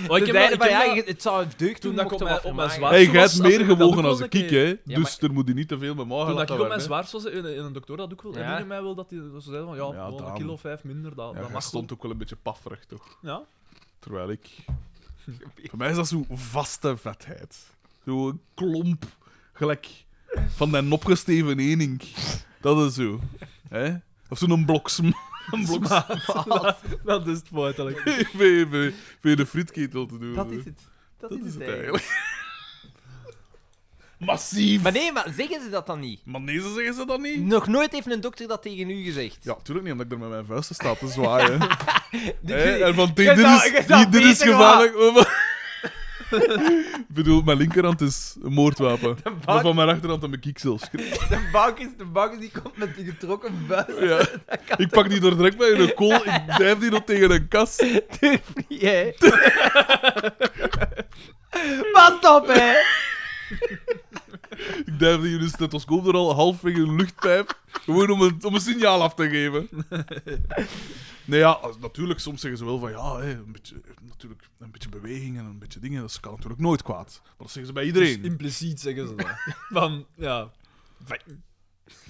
Speaker 3: Oh, ik
Speaker 4: Ze
Speaker 3: heb dat-
Speaker 4: zeiden
Speaker 3: ik
Speaker 4: van,
Speaker 3: heb
Speaker 4: ja,
Speaker 3: dat-
Speaker 4: je- het zou deugd doen
Speaker 3: toen dat
Speaker 4: mocht
Speaker 3: ik op
Speaker 4: je
Speaker 3: mijn-
Speaker 4: wat
Speaker 3: op mijn
Speaker 4: vermagen.
Speaker 3: zwaard-
Speaker 2: Hey,
Speaker 3: Zo
Speaker 2: jij
Speaker 3: was-
Speaker 2: hebt
Speaker 3: had
Speaker 2: meer
Speaker 3: ik dat
Speaker 2: gewogen
Speaker 3: ook
Speaker 2: als
Speaker 3: wel
Speaker 2: een
Speaker 3: een
Speaker 2: kiek, hè.
Speaker 4: maar-
Speaker 2: Dus er moet je niet te veel mee mogen
Speaker 3: Toen dat
Speaker 2: laten
Speaker 3: ik op mijn
Speaker 2: werken,
Speaker 3: zwaarst was, in in een dokter dat ook wel
Speaker 4: Ja.
Speaker 3: herinnerde mij wel, dat hij dat ze zei van, ja,
Speaker 2: Ja,
Speaker 3: gewoon
Speaker 2: daarom.
Speaker 3: een kilo of vijf minder, dat,
Speaker 2: hè.
Speaker 3: dat
Speaker 2: Ja, jij
Speaker 3: mag
Speaker 2: stond ook wel een beetje pafferig, toch?
Speaker 3: wel. Ja.
Speaker 2: Terwijl ik... Voor mij is dat zo'n vaste vetheid. Zo'n klomp. Gelijk van den opgesteven enink. Dat is zo. hè? Of zo'n blok sma- Een blok sma-
Speaker 3: Dat is het feitelijk.
Speaker 2: bij- bij- bij de frietketel te doen.
Speaker 4: Dat
Speaker 2: hè.
Speaker 4: is het. Dat,
Speaker 2: Dat
Speaker 4: is het eigenlijk.
Speaker 2: Massief!
Speaker 4: Maar nee, maar zeggen ze dat dan niet?
Speaker 2: Maar nee, ze zeggen ze dat niet.
Speaker 4: Nog nooit heeft een dokter dat tegen u gezegd.
Speaker 2: Ja, tuurlijk niet, omdat ik er met mijn vuisten sta te zwaaien.
Speaker 4: Dit-
Speaker 2: Hè? En van, dit,
Speaker 4: Je
Speaker 2: dit
Speaker 4: zou-
Speaker 2: is,
Speaker 4: je zou
Speaker 2: dit, dit is
Speaker 4: beter
Speaker 2: gevaarlijk. Oh, maar- ik bedoel, mijn linkerhand is een moordwapen.
Speaker 4: bak-
Speaker 2: Maar van mijn achterhand aan mijn kiek zelfs.
Speaker 4: De bank is de bank die komt met de getrokken vuist.
Speaker 2: Ja. Ik pak die door direct bij een kool, ik drijf die nog tegen een kast.
Speaker 4: Durf niet, hè? Pas op, hè?
Speaker 2: Ik drijf die in een stethoscoop er al halfweg in een luchtpijp. Gewoon om een, om een signaal af te geven. Nee, ja, als- natuurlijk, soms zeggen ze wel van ja, hè, een, beetje, natuurlijk, een beetje beweging en een beetje dingen, dat kan natuurlijk nooit kwaad. Maar dat zeggen ze bij iedereen.
Speaker 4: Dus
Speaker 3: Dus Impliciet zeggen ze dat. Van, ja...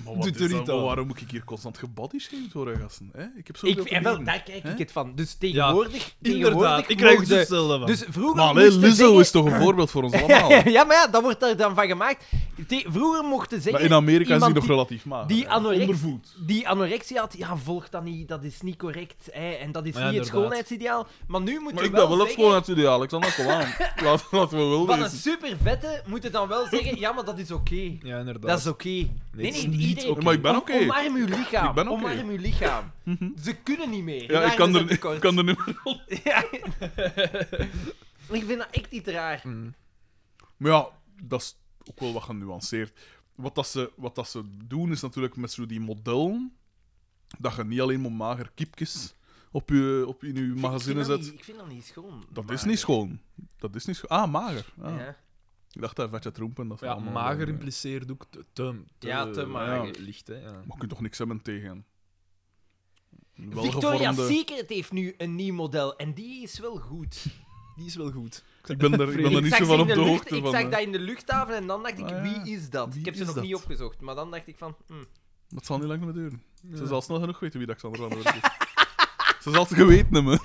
Speaker 2: Maar wat
Speaker 3: Doet
Speaker 2: is
Speaker 3: er
Speaker 2: dat?
Speaker 3: niet aan.
Speaker 2: Maar waarom moet ik hier constant gebodyshamed worden, gasten? Hè? Ik heb zo
Speaker 4: Ik, en wel, daar kijk ik het van. Dus tegenwoordig... tegenwoordig
Speaker 3: Inderdaad, ik krijg
Speaker 4: mogen
Speaker 3: er hetzelfde van.
Speaker 4: Dus vroeger
Speaker 2: Maar hè,
Speaker 4: moesten
Speaker 2: Lizzo
Speaker 4: zeggen-
Speaker 2: is toch een voorbeeld voor ons allemaal?
Speaker 4: ja, maar ja, dat wordt daar dan van gemaakt. Te- vroeger mochten zeggen...
Speaker 2: Maar in Amerika is die
Speaker 4: iemand
Speaker 2: nog relatief mager.
Speaker 4: die
Speaker 2: hè.
Speaker 4: anorexia-
Speaker 2: Ondervoed.
Speaker 4: die anorexia had, ja, volg dat niet, dat is niet correct, hè, en dat is
Speaker 3: Maar ja,
Speaker 4: niet het
Speaker 3: inderdaad.
Speaker 4: schoonheidsideaal. Maar nu moet
Speaker 2: Maar
Speaker 4: je
Speaker 2: ik
Speaker 4: wel
Speaker 2: ben wel op
Speaker 4: zeggen...
Speaker 2: school natuurlijk, Alexander, kom aan. Laten, laten we wel
Speaker 4: Van een
Speaker 2: wezen.
Speaker 4: supervette moet je dan wel zeggen, ja, maar dat is oké.
Speaker 3: Ja, inderdaad.
Speaker 4: Dat is oké. Nee,
Speaker 3: het is
Speaker 4: nee,
Speaker 3: niet
Speaker 4: iedereen...
Speaker 3: oké.
Speaker 2: Maar ik ben
Speaker 4: Om-
Speaker 2: oké.
Speaker 4: Omarm uw lichaam.
Speaker 2: Ik ben oké.
Speaker 4: Omarm uw lichaam. Ze kunnen niet meer.
Speaker 2: Ja,
Speaker 4: Daar
Speaker 2: ik kan
Speaker 4: is
Speaker 2: er,
Speaker 4: het
Speaker 2: ik
Speaker 4: tekort.
Speaker 2: kan er niet meer Mm,
Speaker 4: Ja. ik vind dat echt niet raar.
Speaker 2: Maar ja, dat is ook wel wat genuanceerd. Wat, dat ze, wat dat ze doen is natuurlijk met zo die modellen, dat je niet alleen maar mager kiepjes op je, op, in je magazine zet.
Speaker 4: Ik vind dat niet schoon.
Speaker 2: Dat is niet schoon. Dat is niet schoon. Ah, mager. Ah.
Speaker 4: Ja.
Speaker 2: Ik dacht dat vetje trompen. Dat is
Speaker 3: Ja,
Speaker 2: allemaal- eh,
Speaker 3: mager impliceert ook te, te,
Speaker 4: Ja, te mager.
Speaker 3: ja, licht, hè. Ja.
Speaker 2: Maar je kunt toch niks hebben tegen. Wel
Speaker 4: Victoria's
Speaker 2: gevormde-
Speaker 4: Secret heeft nu een nieuw model en die is wel goed.
Speaker 3: Die is wel goed.
Speaker 2: Ik ben er, ik ben er
Speaker 4: Ik
Speaker 2: niet
Speaker 4: zag,
Speaker 2: zo
Speaker 4: ze
Speaker 2: van
Speaker 4: in
Speaker 2: op de,
Speaker 4: lucht-
Speaker 2: hoogte
Speaker 4: ik
Speaker 2: van. eh.
Speaker 4: zag
Speaker 2: hè.
Speaker 4: dat in de luchthaven en dan dacht ik,
Speaker 2: Ah, ja.
Speaker 4: wie is dat?
Speaker 2: Wie
Speaker 4: ik heb ze
Speaker 2: is
Speaker 4: nog
Speaker 2: dat?
Speaker 4: niet opgezocht, maar dan dacht ik van... hm,
Speaker 2: Dat zal niet lang meer duren. Ze zal snel genoeg weten wie dat Xander van der Werf is. Ze zal het geweten hebben.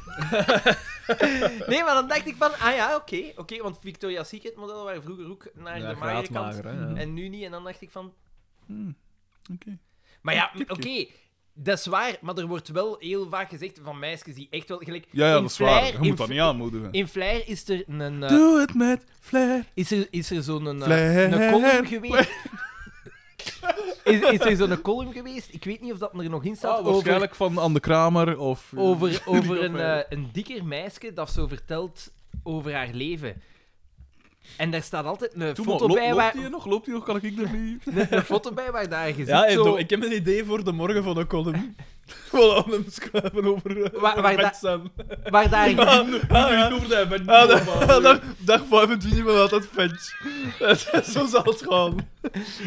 Speaker 4: Nee, maar dan dacht ik van, ah ja, oké, oké, want Victoria's Secret modellen waren vroeger ook naar de Mm-hmm. magere kant
Speaker 3: graadmager, hè, ja.
Speaker 4: en nu niet. En dan dacht ik van,
Speaker 2: Hm, Oké.
Speaker 4: maar ja, m- oké, dat is waar, maar er wordt wel heel vaak gezegd van meisjes die echt wel gelijk.
Speaker 2: Ja, ja,
Speaker 4: in
Speaker 2: dat is waar. Je
Speaker 4: Flair- in
Speaker 2: moet dat niet
Speaker 4: Fl-
Speaker 2: aanmoedigen.
Speaker 4: In Flair is er een eh,
Speaker 2: Doe het met flair.
Speaker 4: is er, is er zo'n eh,
Speaker 2: Flair.
Speaker 4: een column geweest. Is, is er zo'n column geweest? Ik weet niet of dat er nog in staat.
Speaker 2: Ah,
Speaker 4: over
Speaker 2: waarschijnlijk van Anne Kramer of...
Speaker 4: over, over
Speaker 2: of
Speaker 4: een,
Speaker 2: hij-
Speaker 4: eh, een dikker meisje dat zo vertelt over haar leven. En daar staat altijd een
Speaker 2: Doe maar,
Speaker 4: foto
Speaker 2: lo-
Speaker 4: bij
Speaker 2: loopt
Speaker 4: waar,
Speaker 2: hij nog? Loopt hij nog? Kan ik er niet?
Speaker 4: een foto bij waar daar gezien
Speaker 3: Ja,
Speaker 4: zo,
Speaker 3: ik heb een idee voor de morgen van een column. Gewoon aan hem schrijven over, eh,
Speaker 4: Waar-
Speaker 3: over
Speaker 4: waar
Speaker 3: Bert Sam. Ah,
Speaker 4: waar daar
Speaker 3: over de event. ah, dag, dag 25 ben altijd fans. Zo zal het gaan.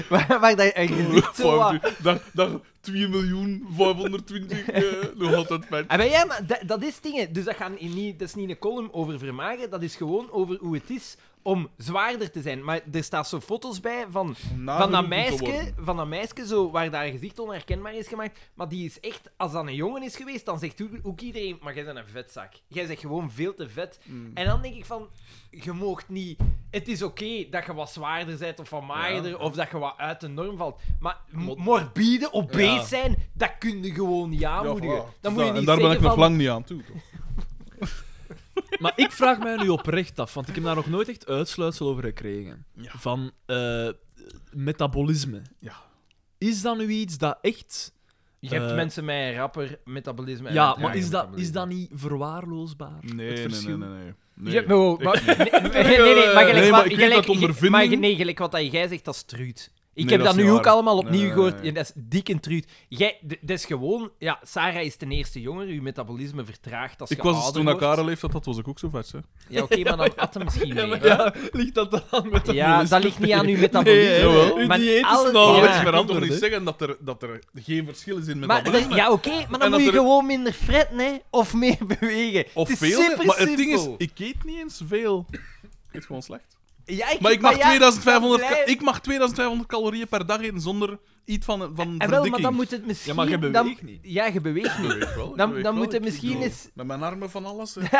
Speaker 4: waar, waar daar een gezicht zo wat-
Speaker 2: Dag, dag 2 miljoen 520. eh, nog altijd mijn...
Speaker 4: Ah, maar ja, maar dat, dat is dingen. Dus dat, gaan in niet, dat is niet een column over vermagen, dat is gewoon over hoe het is om zwaarder te zijn. Maar er staan zo foto's bij van van dat, meisje, van dat meisje zo, waar daar gezicht onherkenbaar is gemaakt. Maar die is echt, als dat een jongen is geweest, dan zegt ook- ook iedereen: Maar jij bent een vetzak. Jij bent gewoon veel te vet. En dan denk ik van: Je moogt niet. Het is oké dat je wat zwaarder bent of wat magerder. Of dat je wat uit de norm valt. Maar m-
Speaker 3: Mo-
Speaker 4: morbide, obese
Speaker 3: Ja. Dus
Speaker 4: zijn, dat kun je gewoon niet aanmoedigen. Dan moet je niet
Speaker 2: en daar ben ik
Speaker 4: zeggen
Speaker 2: nog
Speaker 4: van,
Speaker 2: lang niet aan toe. Toch?
Speaker 3: Maar ik vraag mij nu oprecht af, want ik heb daar nog nooit echt uitsluitsel over gekregen.
Speaker 2: Ja.
Speaker 3: Van eh, metabolisme.
Speaker 2: Ja.
Speaker 3: Is dat nu iets dat echt...
Speaker 4: Je hebt
Speaker 3: Eh,
Speaker 4: mensen met een rapper metabolisme. en
Speaker 3: ja,
Speaker 4: een
Speaker 3: maar is
Speaker 4: trager
Speaker 3: dat, is
Speaker 4: metabolisme.
Speaker 3: dat niet verwaarloosbaar?
Speaker 2: Nee,
Speaker 3: het
Speaker 2: nee, nee,
Speaker 3: verschil?
Speaker 2: nee, nee.
Speaker 4: Je
Speaker 2: nee.
Speaker 4: hebt- wow,
Speaker 2: ik
Speaker 4: maar- nee, nee, nee, maar gelijk
Speaker 2: Nee,
Speaker 4: wat-
Speaker 2: maar ik weet
Speaker 4: gelijk-
Speaker 2: dat ondervinding-
Speaker 4: maar ge- nee, gelijk wat dat jij zegt, dat is truut. Ik
Speaker 2: Nee,
Speaker 4: heb
Speaker 2: dat
Speaker 4: dat,
Speaker 2: is
Speaker 4: nu
Speaker 2: niet
Speaker 4: ook
Speaker 2: waar.
Speaker 4: allemaal opnieuw
Speaker 2: Nee, nee,
Speaker 4: gehoord.
Speaker 2: nee.
Speaker 4: Ja, dat is dik en truut. Jij, d- dat is gewoon... Ja, Sarah is ten eerste jonger. Uw metabolisme vertraagt als
Speaker 2: Ik
Speaker 4: je
Speaker 2: was dus
Speaker 4: ouder
Speaker 2: toen naar
Speaker 4: wordt.
Speaker 2: Karel leeftijd, dat was ik ook zo vet, hè.
Speaker 4: Ja, oké, maar dan at hem misschien
Speaker 3: Ja,
Speaker 4: mee.
Speaker 3: maar ja, ligt dat dan aan metabolisme?
Speaker 4: Ja, dat ligt niet aan uw metabolisme.
Speaker 3: Nee,
Speaker 2: jawel.
Speaker 3: Uw
Speaker 4: Maar
Speaker 3: dieet is
Speaker 4: alles-
Speaker 3: nou
Speaker 4: Oh, ja.
Speaker 3: wel
Speaker 2: Maar je kunt toch
Speaker 3: veranderd,
Speaker 2: niet
Speaker 3: hè?
Speaker 2: zeggen dat er, dat er geen verschil is in
Speaker 4: Maar,
Speaker 2: metabolisme?
Speaker 4: dat- ja, oké, maar dan
Speaker 2: En
Speaker 4: moet je
Speaker 2: dat er-
Speaker 4: gewoon minder fretten, hè. Of meer bewegen.
Speaker 2: Of
Speaker 4: het is
Speaker 2: veel,
Speaker 4: super
Speaker 2: maar het ding is,
Speaker 4: simpel.
Speaker 2: ik eet niet eens veel. Ik eet gewoon slecht.
Speaker 4: Ja, ik
Speaker 2: Maar ik mag,
Speaker 4: ja,
Speaker 2: 2500,
Speaker 4: dat
Speaker 2: ka-
Speaker 4: blijft-
Speaker 2: ik mag 2500 calorieën per dag eten zonder iets van, van
Speaker 4: En
Speaker 2: verdikking.
Speaker 4: Eh, Ah, wel, maar dan moet het misschien...
Speaker 3: maar je
Speaker 4: dan-
Speaker 3: beweegt niet.
Speaker 4: Ja, je beweegt niet.
Speaker 2: Ik weet wel, ik
Speaker 4: dan-
Speaker 2: weet
Speaker 4: dan
Speaker 2: wel,
Speaker 4: moet
Speaker 2: ik-
Speaker 4: het
Speaker 2: ik
Speaker 4: misschien
Speaker 2: doe
Speaker 4: eens-
Speaker 2: Met mijn armen van alles. hè.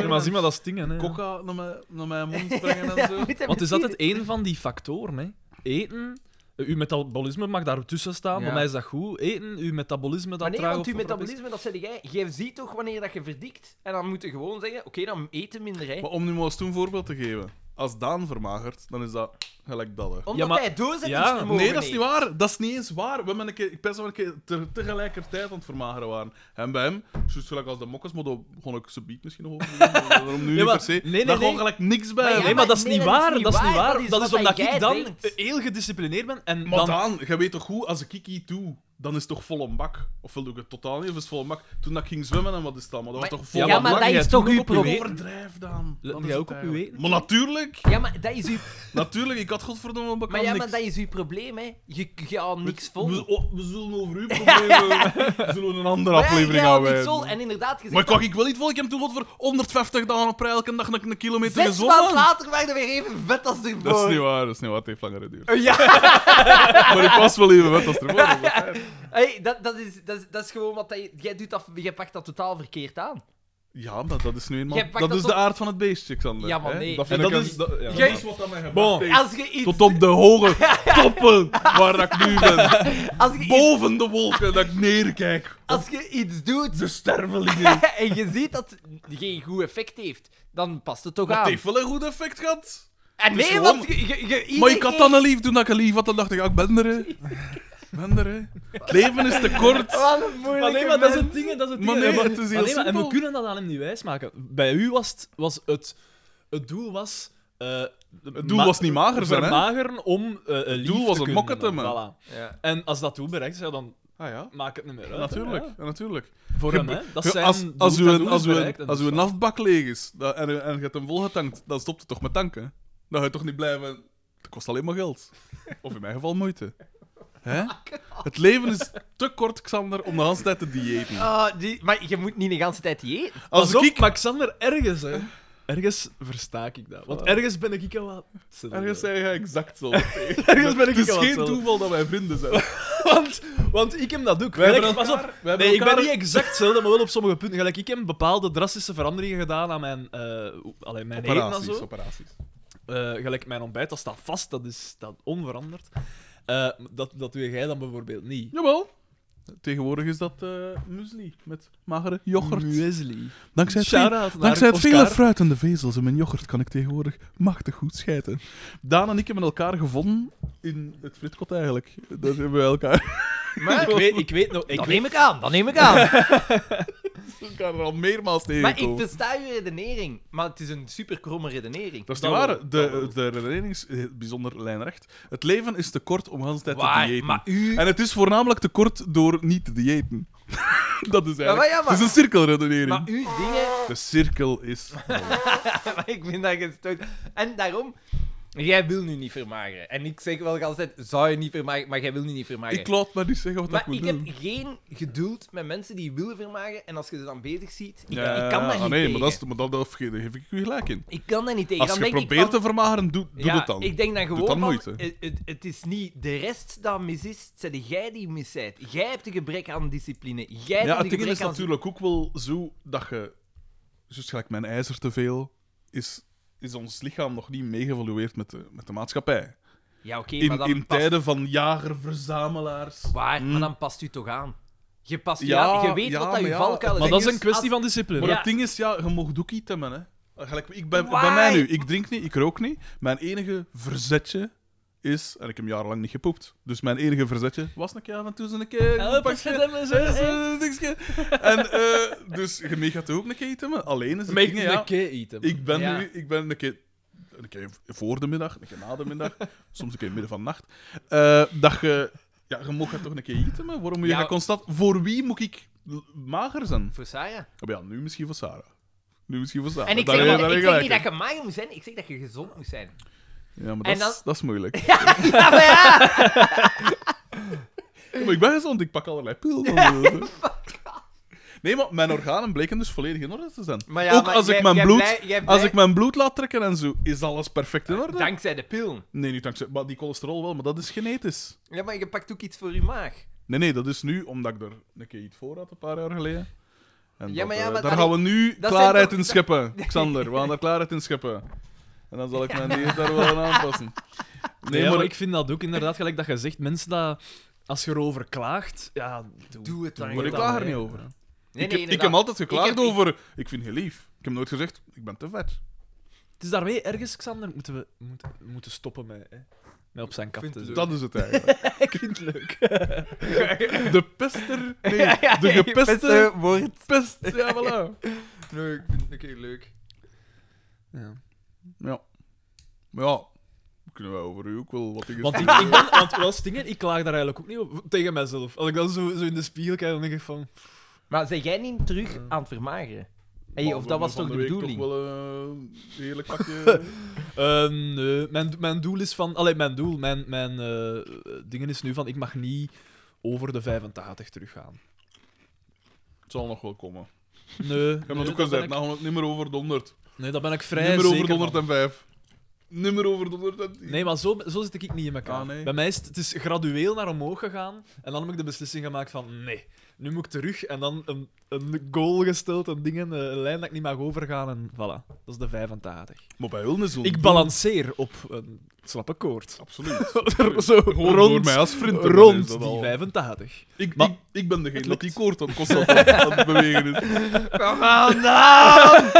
Speaker 3: Ja, maar zie maar, dat is dingen, hè.
Speaker 2: Coca naar mijn, naar mijn mond brengen en
Speaker 4: Ja,
Speaker 2: zo.
Speaker 4: moet het
Speaker 3: Want is
Speaker 4: misschien-
Speaker 3: dat het een van die factoren, hè? Eten, eh, uw metabolisme mag daar tussen staan,
Speaker 4: Ja.
Speaker 3: bij mij is dat goed. Eten, uw metabolisme, dat
Speaker 4: Maar nee,
Speaker 3: traag
Speaker 4: want
Speaker 3: of
Speaker 4: je
Speaker 3: vertrapt is.
Speaker 4: metabolisme, dat zei jij, jij ziet toch wanneer dat je verdikt. En dan moet je gewoon zeggen, oké, dan eten minder, hè.
Speaker 2: Maar om nu maar eens toen een voorbeeld te geven. Als Daan vermagert, dan is dat gelijk dat. Hè.
Speaker 4: Omdat
Speaker 3: Ja, maar-
Speaker 4: hij doorzettingsvermogen
Speaker 3: Ja.
Speaker 2: Nee, dat is niet
Speaker 4: heeft.
Speaker 2: waar. Dat is niet eens waar. We hebben een keer, ik pens dat we een keer te- tegelijkertijd aan het vermageren waren. En bij hem, zoals gelijk als de mokkers, maar daar gewoon ik ze beat misschien nog over. doen, maar Daarom nu
Speaker 3: Nee, maar-
Speaker 2: niet per se.
Speaker 3: nee, nee,
Speaker 2: daar gewoon
Speaker 3: nee.
Speaker 2: gelijk niks bij.
Speaker 4: Maar ja,
Speaker 3: Nee, maar dat is
Speaker 4: nee,
Speaker 3: niet
Speaker 4: dat is
Speaker 3: waar.
Speaker 4: niet
Speaker 3: Dat is niet
Speaker 4: waar.
Speaker 3: waar.
Speaker 4: Dat is
Speaker 3: Dat is
Speaker 4: wat
Speaker 3: omdat
Speaker 4: jij
Speaker 3: ik dan
Speaker 4: denkt.
Speaker 3: heel gedisciplineerd ben en
Speaker 2: Maar
Speaker 3: dan...
Speaker 2: Daan, jij weet toch goed, als ik iets doe, dan is het toch vol een bak? Of wil ik het totaal niet, of is het vol een bak? Toen dat ik ging zwemmen en wat is dat? Maar dat was
Speaker 4: Maar-
Speaker 2: toch vol
Speaker 4: Ja,
Speaker 2: een
Speaker 4: maar
Speaker 2: bak?
Speaker 4: dat
Speaker 3: jij
Speaker 4: is
Speaker 3: doet
Speaker 4: toch
Speaker 3: ook
Speaker 4: uw
Speaker 3: op je
Speaker 2: Ik
Speaker 4: probleem.
Speaker 2: overdrijf, Daan.
Speaker 3: Let
Speaker 2: Dat
Speaker 3: jij
Speaker 2: is
Speaker 3: ook
Speaker 2: het
Speaker 3: op uw
Speaker 2: eigenlijk.
Speaker 3: eten?
Speaker 2: Maar natuurlijk,
Speaker 4: Ja, maar dat is uw,
Speaker 2: natuurlijk. Ik had godverdomme een bak
Speaker 4: maar
Speaker 2: aan
Speaker 4: ja, maar
Speaker 2: niks.
Speaker 4: dat is uw probleem, hè. Je je gaat niks vol.
Speaker 2: We, oh, we zullen over uw problemen we zullen een andere
Speaker 4: Maar ja, jij
Speaker 2: aflevering gaan
Speaker 4: haalt niks
Speaker 2: wijden.
Speaker 4: vol. En inderdaad,
Speaker 2: Maar
Speaker 4: gezegd...
Speaker 2: ik kwam ik wel niet vol. Ik heb toen wat voor 150 dagen per elke dag een, een kilometer
Speaker 4: Zes
Speaker 2: gezwommen.
Speaker 4: maanden later waren we weer even vet als ervoor.
Speaker 2: Dat is niet waar, dat is niet waar. Het heeft langer geduurd.
Speaker 4: Ja,
Speaker 2: Maar ik was wel even met als ervoor. dat was fijn.
Speaker 4: hey, dat, dat, is, dat, is, dat is gewoon wat dat- jij doet. Dat, jij pakt dat totaal verkeerd aan.
Speaker 2: Ja, maar dat is nu eenmaal...
Speaker 4: Jij
Speaker 2: Dat,
Speaker 4: pakt dat
Speaker 2: is
Speaker 4: op-
Speaker 2: de aard van het beestje, Xander.
Speaker 4: Ja, maar
Speaker 2: hè?
Speaker 4: nee.
Speaker 2: Dat,
Speaker 3: En
Speaker 2: vind
Speaker 3: dat
Speaker 2: ik een-
Speaker 3: is... dat- ja.
Speaker 2: dat is wat dat mij gebracht
Speaker 3: Bon.
Speaker 2: heeft.
Speaker 4: Als je iets...
Speaker 2: Tot op de hoge toppen waar dat ik nu ben.
Speaker 4: Als je, iets,
Speaker 2: Boven de wolken dat ik neerkijk.
Speaker 4: als je iets doet...
Speaker 2: De stervelingen.
Speaker 4: en je ziet dat het geen goed effect heeft, dan past het toch
Speaker 2: Dat
Speaker 4: aan.
Speaker 2: heeft wel een goed effect gehad.
Speaker 4: En
Speaker 2: is
Speaker 4: nee,
Speaker 2: gewoon-
Speaker 4: want je, je, je-
Speaker 2: Maar
Speaker 4: iedere
Speaker 2: ik had
Speaker 4: keer-
Speaker 2: dan een lief toen dat ik een lief had. Dan dacht ik, ah, ik ben er, hè. Ik ben er, hè. Het leven is te kort.
Speaker 4: Wat een moeilijke
Speaker 3: Maar nee, maar dat is
Speaker 4: mens.
Speaker 3: het ding, hè, dat is het
Speaker 2: Maar
Speaker 3: ding.
Speaker 2: nee,
Speaker 3: hè,
Speaker 2: het is heel
Speaker 3: maar nee, maar- En we
Speaker 2: simpel.
Speaker 3: kunnen dat aan hem niet wijsmaken. Bij u was het, was het, het doel was eh,
Speaker 2: Het doel was niet mager zijn, hè?
Speaker 3: Vermageren om eh, eh, lief
Speaker 2: doel
Speaker 3: te
Speaker 2: was het
Speaker 3: kunnen
Speaker 2: mokken te
Speaker 3: doen,
Speaker 2: maken.
Speaker 3: voilà.
Speaker 4: Ja.
Speaker 3: En als dat doel bereikt is, ja, dan
Speaker 2: Ah ja,
Speaker 3: maak het niet meer uit. hè.
Speaker 2: natuurlijk.
Speaker 3: Ja,
Speaker 2: ja, natuurlijk.
Speaker 3: Voor
Speaker 2: Je-
Speaker 3: hem, hè. Dat
Speaker 2: Ja,
Speaker 3: zijn
Speaker 2: als,
Speaker 3: doel-
Speaker 2: als,
Speaker 3: dat
Speaker 2: u een,
Speaker 3: doel
Speaker 2: als,
Speaker 3: is
Speaker 2: u een,
Speaker 3: bereikt en dus
Speaker 2: als
Speaker 3: dat
Speaker 2: u
Speaker 3: is
Speaker 2: een
Speaker 3: waar.
Speaker 2: afbak leeg is dat- en, u- en je hebt hem volgetankt, dan stopt het toch met tanken? Dan ga je toch niet blijven. Dat kost alleen maar geld. Of in mijn geval moeite. Hè?
Speaker 3: Ah,
Speaker 2: Het leven is te kort, Xander, om de hele tijd te diëten.
Speaker 4: Ah, die, maar je moet niet de hele tijd eten.
Speaker 2: Als
Speaker 3: Pas op,
Speaker 2: ik
Speaker 3: maar Xander, ergens, hè. Ergens versta ik dat. Want ergens ben ik ook wel...
Speaker 2: Ergens zei hij exact zo. ergens
Speaker 3: Ergens ben ik
Speaker 2: Het is
Speaker 3: wel
Speaker 2: geen
Speaker 3: hetzelfde.
Speaker 2: toeval dat wij vrienden zijn.
Speaker 3: Want, want ik heb dat ook.
Speaker 2: Wij
Speaker 3: Gelijk,
Speaker 2: hebben
Speaker 3: pas op.
Speaker 2: Wij hebben
Speaker 3: Nee, ik ben
Speaker 2: elkaar-
Speaker 3: niet exact hetzelfde, maar wel op sommige punten. Gelijk, ik heb bepaalde drastische veranderingen gedaan aan mijn, eh hoe- allee, mijn eten en
Speaker 2: Operaties,
Speaker 3: zo.
Speaker 2: operaties.
Speaker 3: Eh, gelijk, mijn ontbijt, dat staat vast, dat is dat onveranderd. Eh, dat, dat doe jij dan bijvoorbeeld niet.
Speaker 2: Jawel. Tegenwoordig is dat eh muesli met magere yoghurt.
Speaker 3: Muesli.
Speaker 2: Dankzij het, ve-
Speaker 3: Shout-out naar
Speaker 2: dankzij het
Speaker 3: Oscar.
Speaker 2: vele fruit en de vezels in mijn yoghurt kan ik tegenwoordig machtig goed schijten. Daan en ik hebben elkaar gevonden in het fritkot eigenlijk. Dat hebben we elkaar,
Speaker 4: Maar,
Speaker 3: Ik weet, ik weet nog... Ik
Speaker 4: dan
Speaker 3: weet,
Speaker 4: neem ik aan, dan neem ik aan.
Speaker 2: elkaar al meermaals
Speaker 4: maar ik dus-
Speaker 2: tegengekomen.
Speaker 4: versta je redenering. Maar het is een super kromme redenering.
Speaker 2: Dat is niet
Speaker 3: Dat
Speaker 2: waar.
Speaker 3: wel,
Speaker 2: De, de redenering is eh, bijzonder lijnrecht. Het leven is te kort om de hele tijd te
Speaker 4: Waar,
Speaker 2: diëten.
Speaker 4: maar u...
Speaker 2: En het is voornamelijk te kort door niet te diëten. dat is eigenlijk...
Speaker 4: maar ja, maar-
Speaker 2: Het is een cirkelredenering.
Speaker 4: Maar uw dingen...
Speaker 2: De cirkel is...
Speaker 4: maar ik vind dat gestoord. En daarom... Jij wil nu niet vermageren. En ik zeg wel altijd, zou je niet vermageren, maar jij wil nu niet vermageren.
Speaker 2: Ik laat maar niet zeggen wat
Speaker 4: maar
Speaker 2: ik moet
Speaker 4: ik
Speaker 2: doen.
Speaker 4: heb geen geduld met mensen die willen vermageren. En als je ze dan bezig ziet, ik,
Speaker 2: Ja,
Speaker 4: ik kan dat
Speaker 2: ah,
Speaker 4: niet
Speaker 2: nee,
Speaker 4: tegen.
Speaker 2: maar, dat is, maar dat, dat daar geef ik u gelijk in.
Speaker 4: Ik kan dat niet tegen.
Speaker 2: Als
Speaker 4: dan
Speaker 2: je
Speaker 4: denk
Speaker 2: probeert
Speaker 4: ik van,
Speaker 2: te vermageren, doe, doe
Speaker 4: ja,
Speaker 2: het dan.
Speaker 4: Ik denk dan gewoon
Speaker 2: dan
Speaker 4: van,
Speaker 2: moeite.
Speaker 4: Het, het, het is niet de rest dat mis is, het zijn jij die mis bent. Jij hebt een gebrek aan discipline. Jij hebt
Speaker 2: ja,
Speaker 4: een
Speaker 2: het ding
Speaker 4: gebrek
Speaker 2: is
Speaker 4: aan...
Speaker 2: natuurlijk ook wel zo dat je... Zoals gelijk mijn ijzer te veel, is, is ons lichaam nog niet meegeëvolueerd met de, met de maatschappij.
Speaker 4: Ja, oké, maar
Speaker 2: In,
Speaker 4: dan
Speaker 2: in
Speaker 4: past...
Speaker 2: tijden van jager-verzamelaars...
Speaker 4: Waar, maar
Speaker 2: Mm.
Speaker 4: dan past u toch aan. Je, past je,
Speaker 2: Ja,
Speaker 4: aan- je weet
Speaker 2: ja,
Speaker 4: wat dat je
Speaker 2: maar ja,
Speaker 4: valkuil
Speaker 3: maar dat is
Speaker 4: Als-
Speaker 3: een kwestie van discipline.
Speaker 2: Maar
Speaker 4: Ja.
Speaker 2: het ding is, ja, je mag ook iets hebben, hè. Gelijk, ik ben,
Speaker 4: Why?
Speaker 2: bij mij nu, ik drink niet, ik rook niet. Mijn enige verzetje is... En ik heb jarenlang niet gepoept. Dus mijn enige verzetje was een keer af en toe zo'n keer... een
Speaker 3: Help,
Speaker 2: pakje-
Speaker 3: het hem zo,
Speaker 2: hè,
Speaker 3: hè.
Speaker 2: zo'n dingetje. En eh, dus je mee gaat ook een keer iets hebben. Alleen is het
Speaker 3: Make
Speaker 2: ding,
Speaker 3: me
Speaker 2: ja,
Speaker 3: a key item.
Speaker 2: ik ben
Speaker 4: Ja.
Speaker 2: nu, ik ben een keer... Een keer voor de middag, een keer na de middag, soms een keer midden van de nacht. eh, dat je... Ja, je mag het toch een keer eten, hè? Waarom moet je
Speaker 4: Ja.
Speaker 2: dat constant... Voor wie moet ik l- mager zijn?
Speaker 4: Voor Sarah.
Speaker 2: Oh, maar ja, nu misschien voor Sarah. Nu misschien voor Sarah.
Speaker 4: En ik
Speaker 2: Daar
Speaker 4: zeg,
Speaker 2: heb
Speaker 4: niet-
Speaker 2: je
Speaker 4: ik
Speaker 2: gelijk
Speaker 4: zeg niet
Speaker 2: in.
Speaker 4: dat je mager moet zijn, ik zeg dat je gezond moet zijn.
Speaker 2: Ja, maar
Speaker 4: En
Speaker 2: dat, is,
Speaker 4: dan-
Speaker 2: dat is moeilijk.
Speaker 4: Ja, maar ja!
Speaker 2: Ja, maar ik ben gezond, ik pak allerlei pillen. dan. nee, maar mijn organen bleken dus volledig in orde te zijn.
Speaker 4: Maar ja,
Speaker 2: Ook
Speaker 4: maar
Speaker 2: als,
Speaker 4: jij-
Speaker 2: ik mijn
Speaker 4: jij
Speaker 2: bloed,
Speaker 4: blij- jij
Speaker 2: als
Speaker 4: blij- Eh,
Speaker 2: ik mijn bloed laat trekken en zo, is alles perfect in orde.
Speaker 4: Dankzij de pil.
Speaker 2: Nee, niet dankzij... Maar die cholesterol wel, maar dat is genetisch.
Speaker 4: Ja, maar je pakt ook iets voor je maag.
Speaker 2: Nee, nee, dat is nu omdat ik er een keer iets voor had, een paar jaar geleden. En
Speaker 4: Ja,
Speaker 2: dat,
Speaker 4: maar ja,
Speaker 2: eh,
Speaker 4: maar
Speaker 2: daar
Speaker 4: dat-
Speaker 2: gaan we nu
Speaker 4: dat zijn
Speaker 2: klaarheid
Speaker 4: toch-
Speaker 2: in scheppen, Xander. We gaan daar klaarheid in scheppen. En dan zal ik mijn dieet daar wel aan aanpassen.
Speaker 3: Nee, maar ik vind dat ook inderdaad, gelijk dat je zegt, mensen dat... Als je erover klaagt, ja, doe,
Speaker 4: Doe het dan
Speaker 2: Maar ik
Speaker 4: gewoon.
Speaker 2: klaag er
Speaker 3: hè.
Speaker 2: niet over. Ik,
Speaker 4: Nee,
Speaker 2: heb,
Speaker 4: nee,
Speaker 2: ik heb
Speaker 4: inderdaad.
Speaker 2: altijd geklaagd
Speaker 4: Ik heb- ik-
Speaker 2: over. Ik vind je lief. Ik heb nooit gezegd, ik ben te vet.
Speaker 3: Het is daarmee ergens, Xander, moeten we moeten, we moeten stoppen met, hè, met op zijn kap
Speaker 4: vind
Speaker 3: te
Speaker 4: het
Speaker 3: zitten.
Speaker 2: Dus Dat is het eigenlijk.
Speaker 3: ik vind het leuk.
Speaker 2: De pester. Nee,
Speaker 4: Ja, ja,
Speaker 2: de
Speaker 4: je
Speaker 2: gepeste
Speaker 4: beste woord.
Speaker 2: pest. Ja, voilà.
Speaker 4: Nee, ik vind het een keer leuk.
Speaker 3: Ja.
Speaker 2: Ja. Maar ja, kunnen wij over u ook wel wat dingen
Speaker 3: Want ik,
Speaker 2: zeggen.
Speaker 3: ik ben, want wel stingen, ik klaag daar eigenlijk ook niet over, tegen mezelf. Als ik dan zo, zo in de spiegel kijk, dan denk ik van...
Speaker 4: Maar zijn jij niet terug aan het vermageren? Hey,
Speaker 2: Maar
Speaker 4: of
Speaker 2: we
Speaker 4: dat was toch
Speaker 2: hebben
Speaker 4: de
Speaker 2: van week
Speaker 4: bedoeling?
Speaker 2: toch wel eh, een heerlijk pakje.
Speaker 3: eh, nee, mijn, mijn doel is van... Allee, mijn doel, mijn, mijn eh, dingen is nu van, ik mag niet over de 85 teruggaan.
Speaker 2: Het zal nog wel komen.
Speaker 3: Nee,
Speaker 4: Dus
Speaker 2: Ik heb
Speaker 3: nee,
Speaker 2: dat ook al
Speaker 3: daar ben
Speaker 2: gezegd,
Speaker 3: ik-
Speaker 2: namelijk nummer over de 100.
Speaker 3: nee, daar ben ik vrij
Speaker 2: Nummer over
Speaker 3: zeker
Speaker 2: de
Speaker 3: van.
Speaker 2: 105. Nummer over de 110.
Speaker 3: Nee, maar zo, zo zit ik niet in elkaar.
Speaker 2: Ah, nee.
Speaker 3: Bij mij is het, het is gradueel naar omhoog gegaan. En dan heb ik de beslissing gemaakt van nee, nu moet ik terug. En dan een, een goal gesteld en dingen, eh, een lijn dat ik niet mag overgaan. En voilà, dat is de 85.
Speaker 2: Maar bij Hulne is
Speaker 3: Ik balanceer op een slappe koord.
Speaker 2: Absoluut.
Speaker 3: Zo
Speaker 2: Gewoon door
Speaker 3: rond,
Speaker 2: mij als vriend. te doen,
Speaker 3: rond
Speaker 2: is dat
Speaker 3: die
Speaker 2: al.
Speaker 3: 85.
Speaker 2: Ik,
Speaker 3: Maar-
Speaker 2: ik, ik ben degene
Speaker 3: Het
Speaker 2: dat
Speaker 3: lukt. Ah,
Speaker 2: die koord op constant aan het bewegen is.
Speaker 4: Kom aan, dan!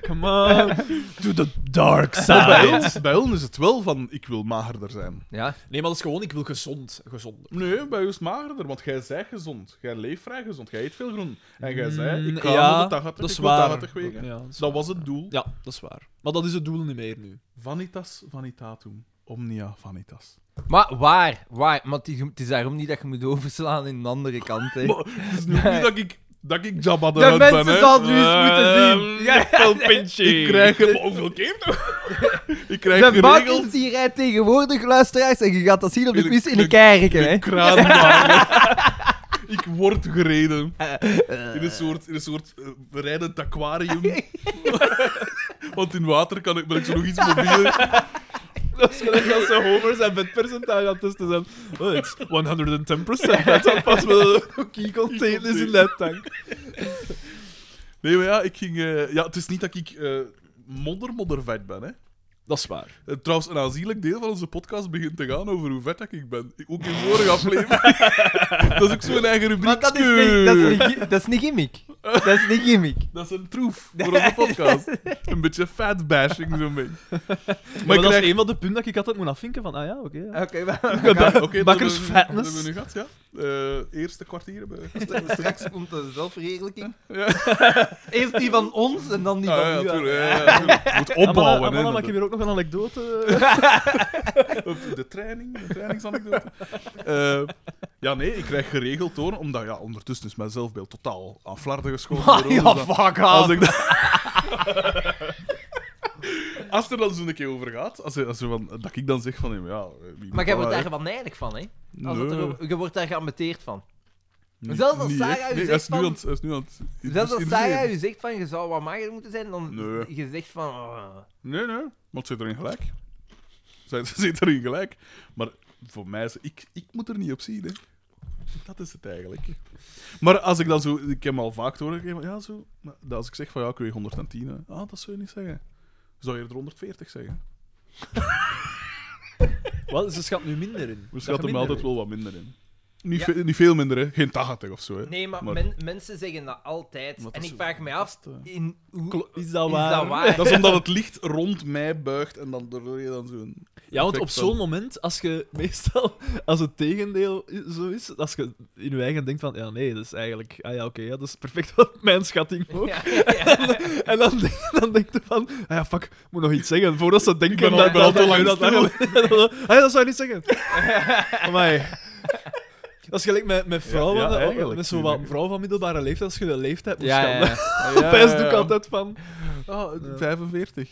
Speaker 3: Come on.
Speaker 1: To the dark
Speaker 2: Maar
Speaker 1: side.
Speaker 2: bij, ons, bij ons is het wel van, ik wil magerder zijn.
Speaker 4: Ja.
Speaker 3: Nee, maar dat is gewoon, ik wil gezond. Gezonder.
Speaker 2: Nee, bij ons magerder, want jij bent gezond. Jij leeft vrij gezond. Jij eet veel groen. En jij zei, ik ga
Speaker 3: Mm, ja,
Speaker 2: naar de 80,
Speaker 3: dat is
Speaker 2: ik wil
Speaker 3: waar.
Speaker 2: 80 weken.
Speaker 3: Ja, dat is
Speaker 2: Dat
Speaker 3: waar.
Speaker 2: was het doel.
Speaker 3: Ja, dat is waar. Maar dat is het doel niet meer nu.
Speaker 2: Vanitas vanitatum. Omnia vanitas.
Speaker 4: Maar waar, waar? Maar het is, het is daarom niet dat je moet overslaan in de andere kant, hè.
Speaker 2: Maar het is nu niet dat ik, dat ik Jabba de
Speaker 4: De
Speaker 2: Hutt ben,
Speaker 4: mensen
Speaker 2: hè. Eh,
Speaker 4: zal nu eens moeten zien.
Speaker 2: mm,
Speaker 1: Ehm, Appelpintje.
Speaker 2: Ik krijg het... Maar hoeveel keer nog? Ik krijg
Speaker 4: De
Speaker 2: geregeld...
Speaker 4: bakens die rijdt tegenwoordig, luisteraars, en je gaat dat zien op de
Speaker 2: De-
Speaker 4: quiz in
Speaker 2: de-
Speaker 4: de kerken, hè.
Speaker 2: De kraanwagen. ik word gereden. In een soort, in een soort eh, rijdend aquarium. Want in water kan ik, ben ik zo nog iets mobieler.
Speaker 3: Dat is gelijk als ze homers en vetpercentage aan het testen zijn. Oh, it's 110%. Dat zal pas wel een key contain is in dat tank.
Speaker 2: Nee, maar ja, ik ging... eh, ja, het is niet dat ik eh modder, moddervet ben, hè.
Speaker 3: Dat is waar.
Speaker 2: Eh, Trouwens, een aanzienlijk deel van onze podcast begint te gaan over hoe vet dat ik ben. Ook in vorige aflevering. dat is ook zo'n eigen
Speaker 4: Maar
Speaker 2: rubriek.
Speaker 4: dat is, niet, dat, is niet, dat is niet gimmick. Dat is niet gimmick.
Speaker 2: Dat is een troef voor onze podcast. Een beetje fatbashing, zo'n beetje.
Speaker 3: Maar,
Speaker 2: Maar ik
Speaker 3: dat
Speaker 2: krijg...
Speaker 3: is een van de punten dat ik altijd moet afvinken van, ah ja, oké. ja.
Speaker 4: Oké, maar...
Speaker 2: Oké, dat
Speaker 3: Bakkers
Speaker 2: hebben we nu-
Speaker 3: Fatness.
Speaker 2: Dat hebben we nu gehad, ja. Eh, eerste kwartier hebben we gehad.
Speaker 4: Straks komt de zelfverheerlijking.
Speaker 2: Ja.
Speaker 4: Eerst die van ons en dan die
Speaker 2: Ah,
Speaker 4: van
Speaker 2: ja,
Speaker 4: u.
Speaker 2: tuurlijk, ja, ja, tuurlijk. Je moet
Speaker 3: Amala,
Speaker 2: opbouwen,
Speaker 3: Amala, maak je
Speaker 2: hè.
Speaker 3: weer ook nog een anekdote?
Speaker 2: Op De training, de trainingsanekdote. Eh, ja, nee, ik krijg geregeld hoor, omdat ja, ondertussen is mijn zelfbeeld totaal aan flarden geschoten. door alles
Speaker 4: ja,
Speaker 2: dat-
Speaker 4: fuck
Speaker 2: Als,
Speaker 4: off.
Speaker 2: ik dat- als er dan zo'n keer over gaat, als, je- als je van, dat ik dan zeg van hem, ja... eh, wie
Speaker 4: Maar
Speaker 2: moet
Speaker 4: jij
Speaker 2: dat
Speaker 4: wordt daar
Speaker 2: eigenlijk-
Speaker 4: wel neidig van, hè? Als
Speaker 2: Nee,
Speaker 4: het erover- je wordt daar geambeteerd van.
Speaker 2: niet-
Speaker 4: Zelfs als
Speaker 2: niet
Speaker 4: Sarah
Speaker 2: echt.
Speaker 4: u
Speaker 2: Nee,
Speaker 4: zegt
Speaker 2: hij is nu
Speaker 4: van-
Speaker 2: aan het- hij is nu aan het...
Speaker 4: Zelfs als
Speaker 2: initiëren.
Speaker 4: Sarah u zegt van je zou wat mager moeten zijn, dan
Speaker 2: Nee.
Speaker 4: je zegt van... oh.
Speaker 2: Nee, nee, want ze zit erin gelijk. Ze ze zit erin gelijk. Maar voor mij is... Ik, ik moet er niet op zien, hè. Dat is het eigenlijk. Maar als ik dan zo... Ik heb al vaak te horen gegeven, ja, zo... maar dat Als ik zeg van, ja, ik weeg 110, hè. Ah, dat zou je niet zeggen. Zou je er 140 zeggen?
Speaker 3: Wel, ze schat nu minder in.
Speaker 2: We
Speaker 3: Dat
Speaker 2: schatten hem
Speaker 3: je minder
Speaker 2: altijd
Speaker 3: weet.
Speaker 2: wel wat minder in. Niet,
Speaker 4: Ja.
Speaker 2: ve- niet veel minder, hè. Geen 80 of zo, hè.
Speaker 4: Nee, maar,
Speaker 2: Maar-
Speaker 4: men- mensen zeggen dat altijd.
Speaker 2: Maar dat
Speaker 4: en
Speaker 2: is
Speaker 4: ik vraag me af,
Speaker 2: dat is,
Speaker 4: in hoe...
Speaker 3: Klo- Is dat
Speaker 4: Is
Speaker 3: waar?
Speaker 4: dat waar?
Speaker 2: Dat is omdat het licht rond mij buigt en dan door je dan zo'n...
Speaker 3: Ja, want op
Speaker 2: effect van-
Speaker 3: zo'n moment, als je meestal, als het tegendeel i- zo is, als je in je eigen denkt van, ja nee, dat is eigenlijk, ah ja oké, ja, dat is perfect op mijn schatting ook.
Speaker 4: Ja, ja.
Speaker 3: En dan, denk- dan denk je van, ah ja fuck, ik moet nog iets zeggen, voordat ze denken
Speaker 2: ben al- ik ben al te lang
Speaker 3: dat, ah ja, dat zou je niet zeggen. Amai. Dat is gelijk met, met vrouwen,
Speaker 2: Ja, ja,
Speaker 3: eh,
Speaker 2: eigenlijk,
Speaker 3: met zo'n wat
Speaker 2: tuurlijk.
Speaker 3: vrouwen van middelbare leeftijd, als je de leeftijd moet
Speaker 4: Ja, ja,
Speaker 3: schelden.
Speaker 4: ja.
Speaker 3: Opeens doe ik altijd van...
Speaker 2: Ah, 45.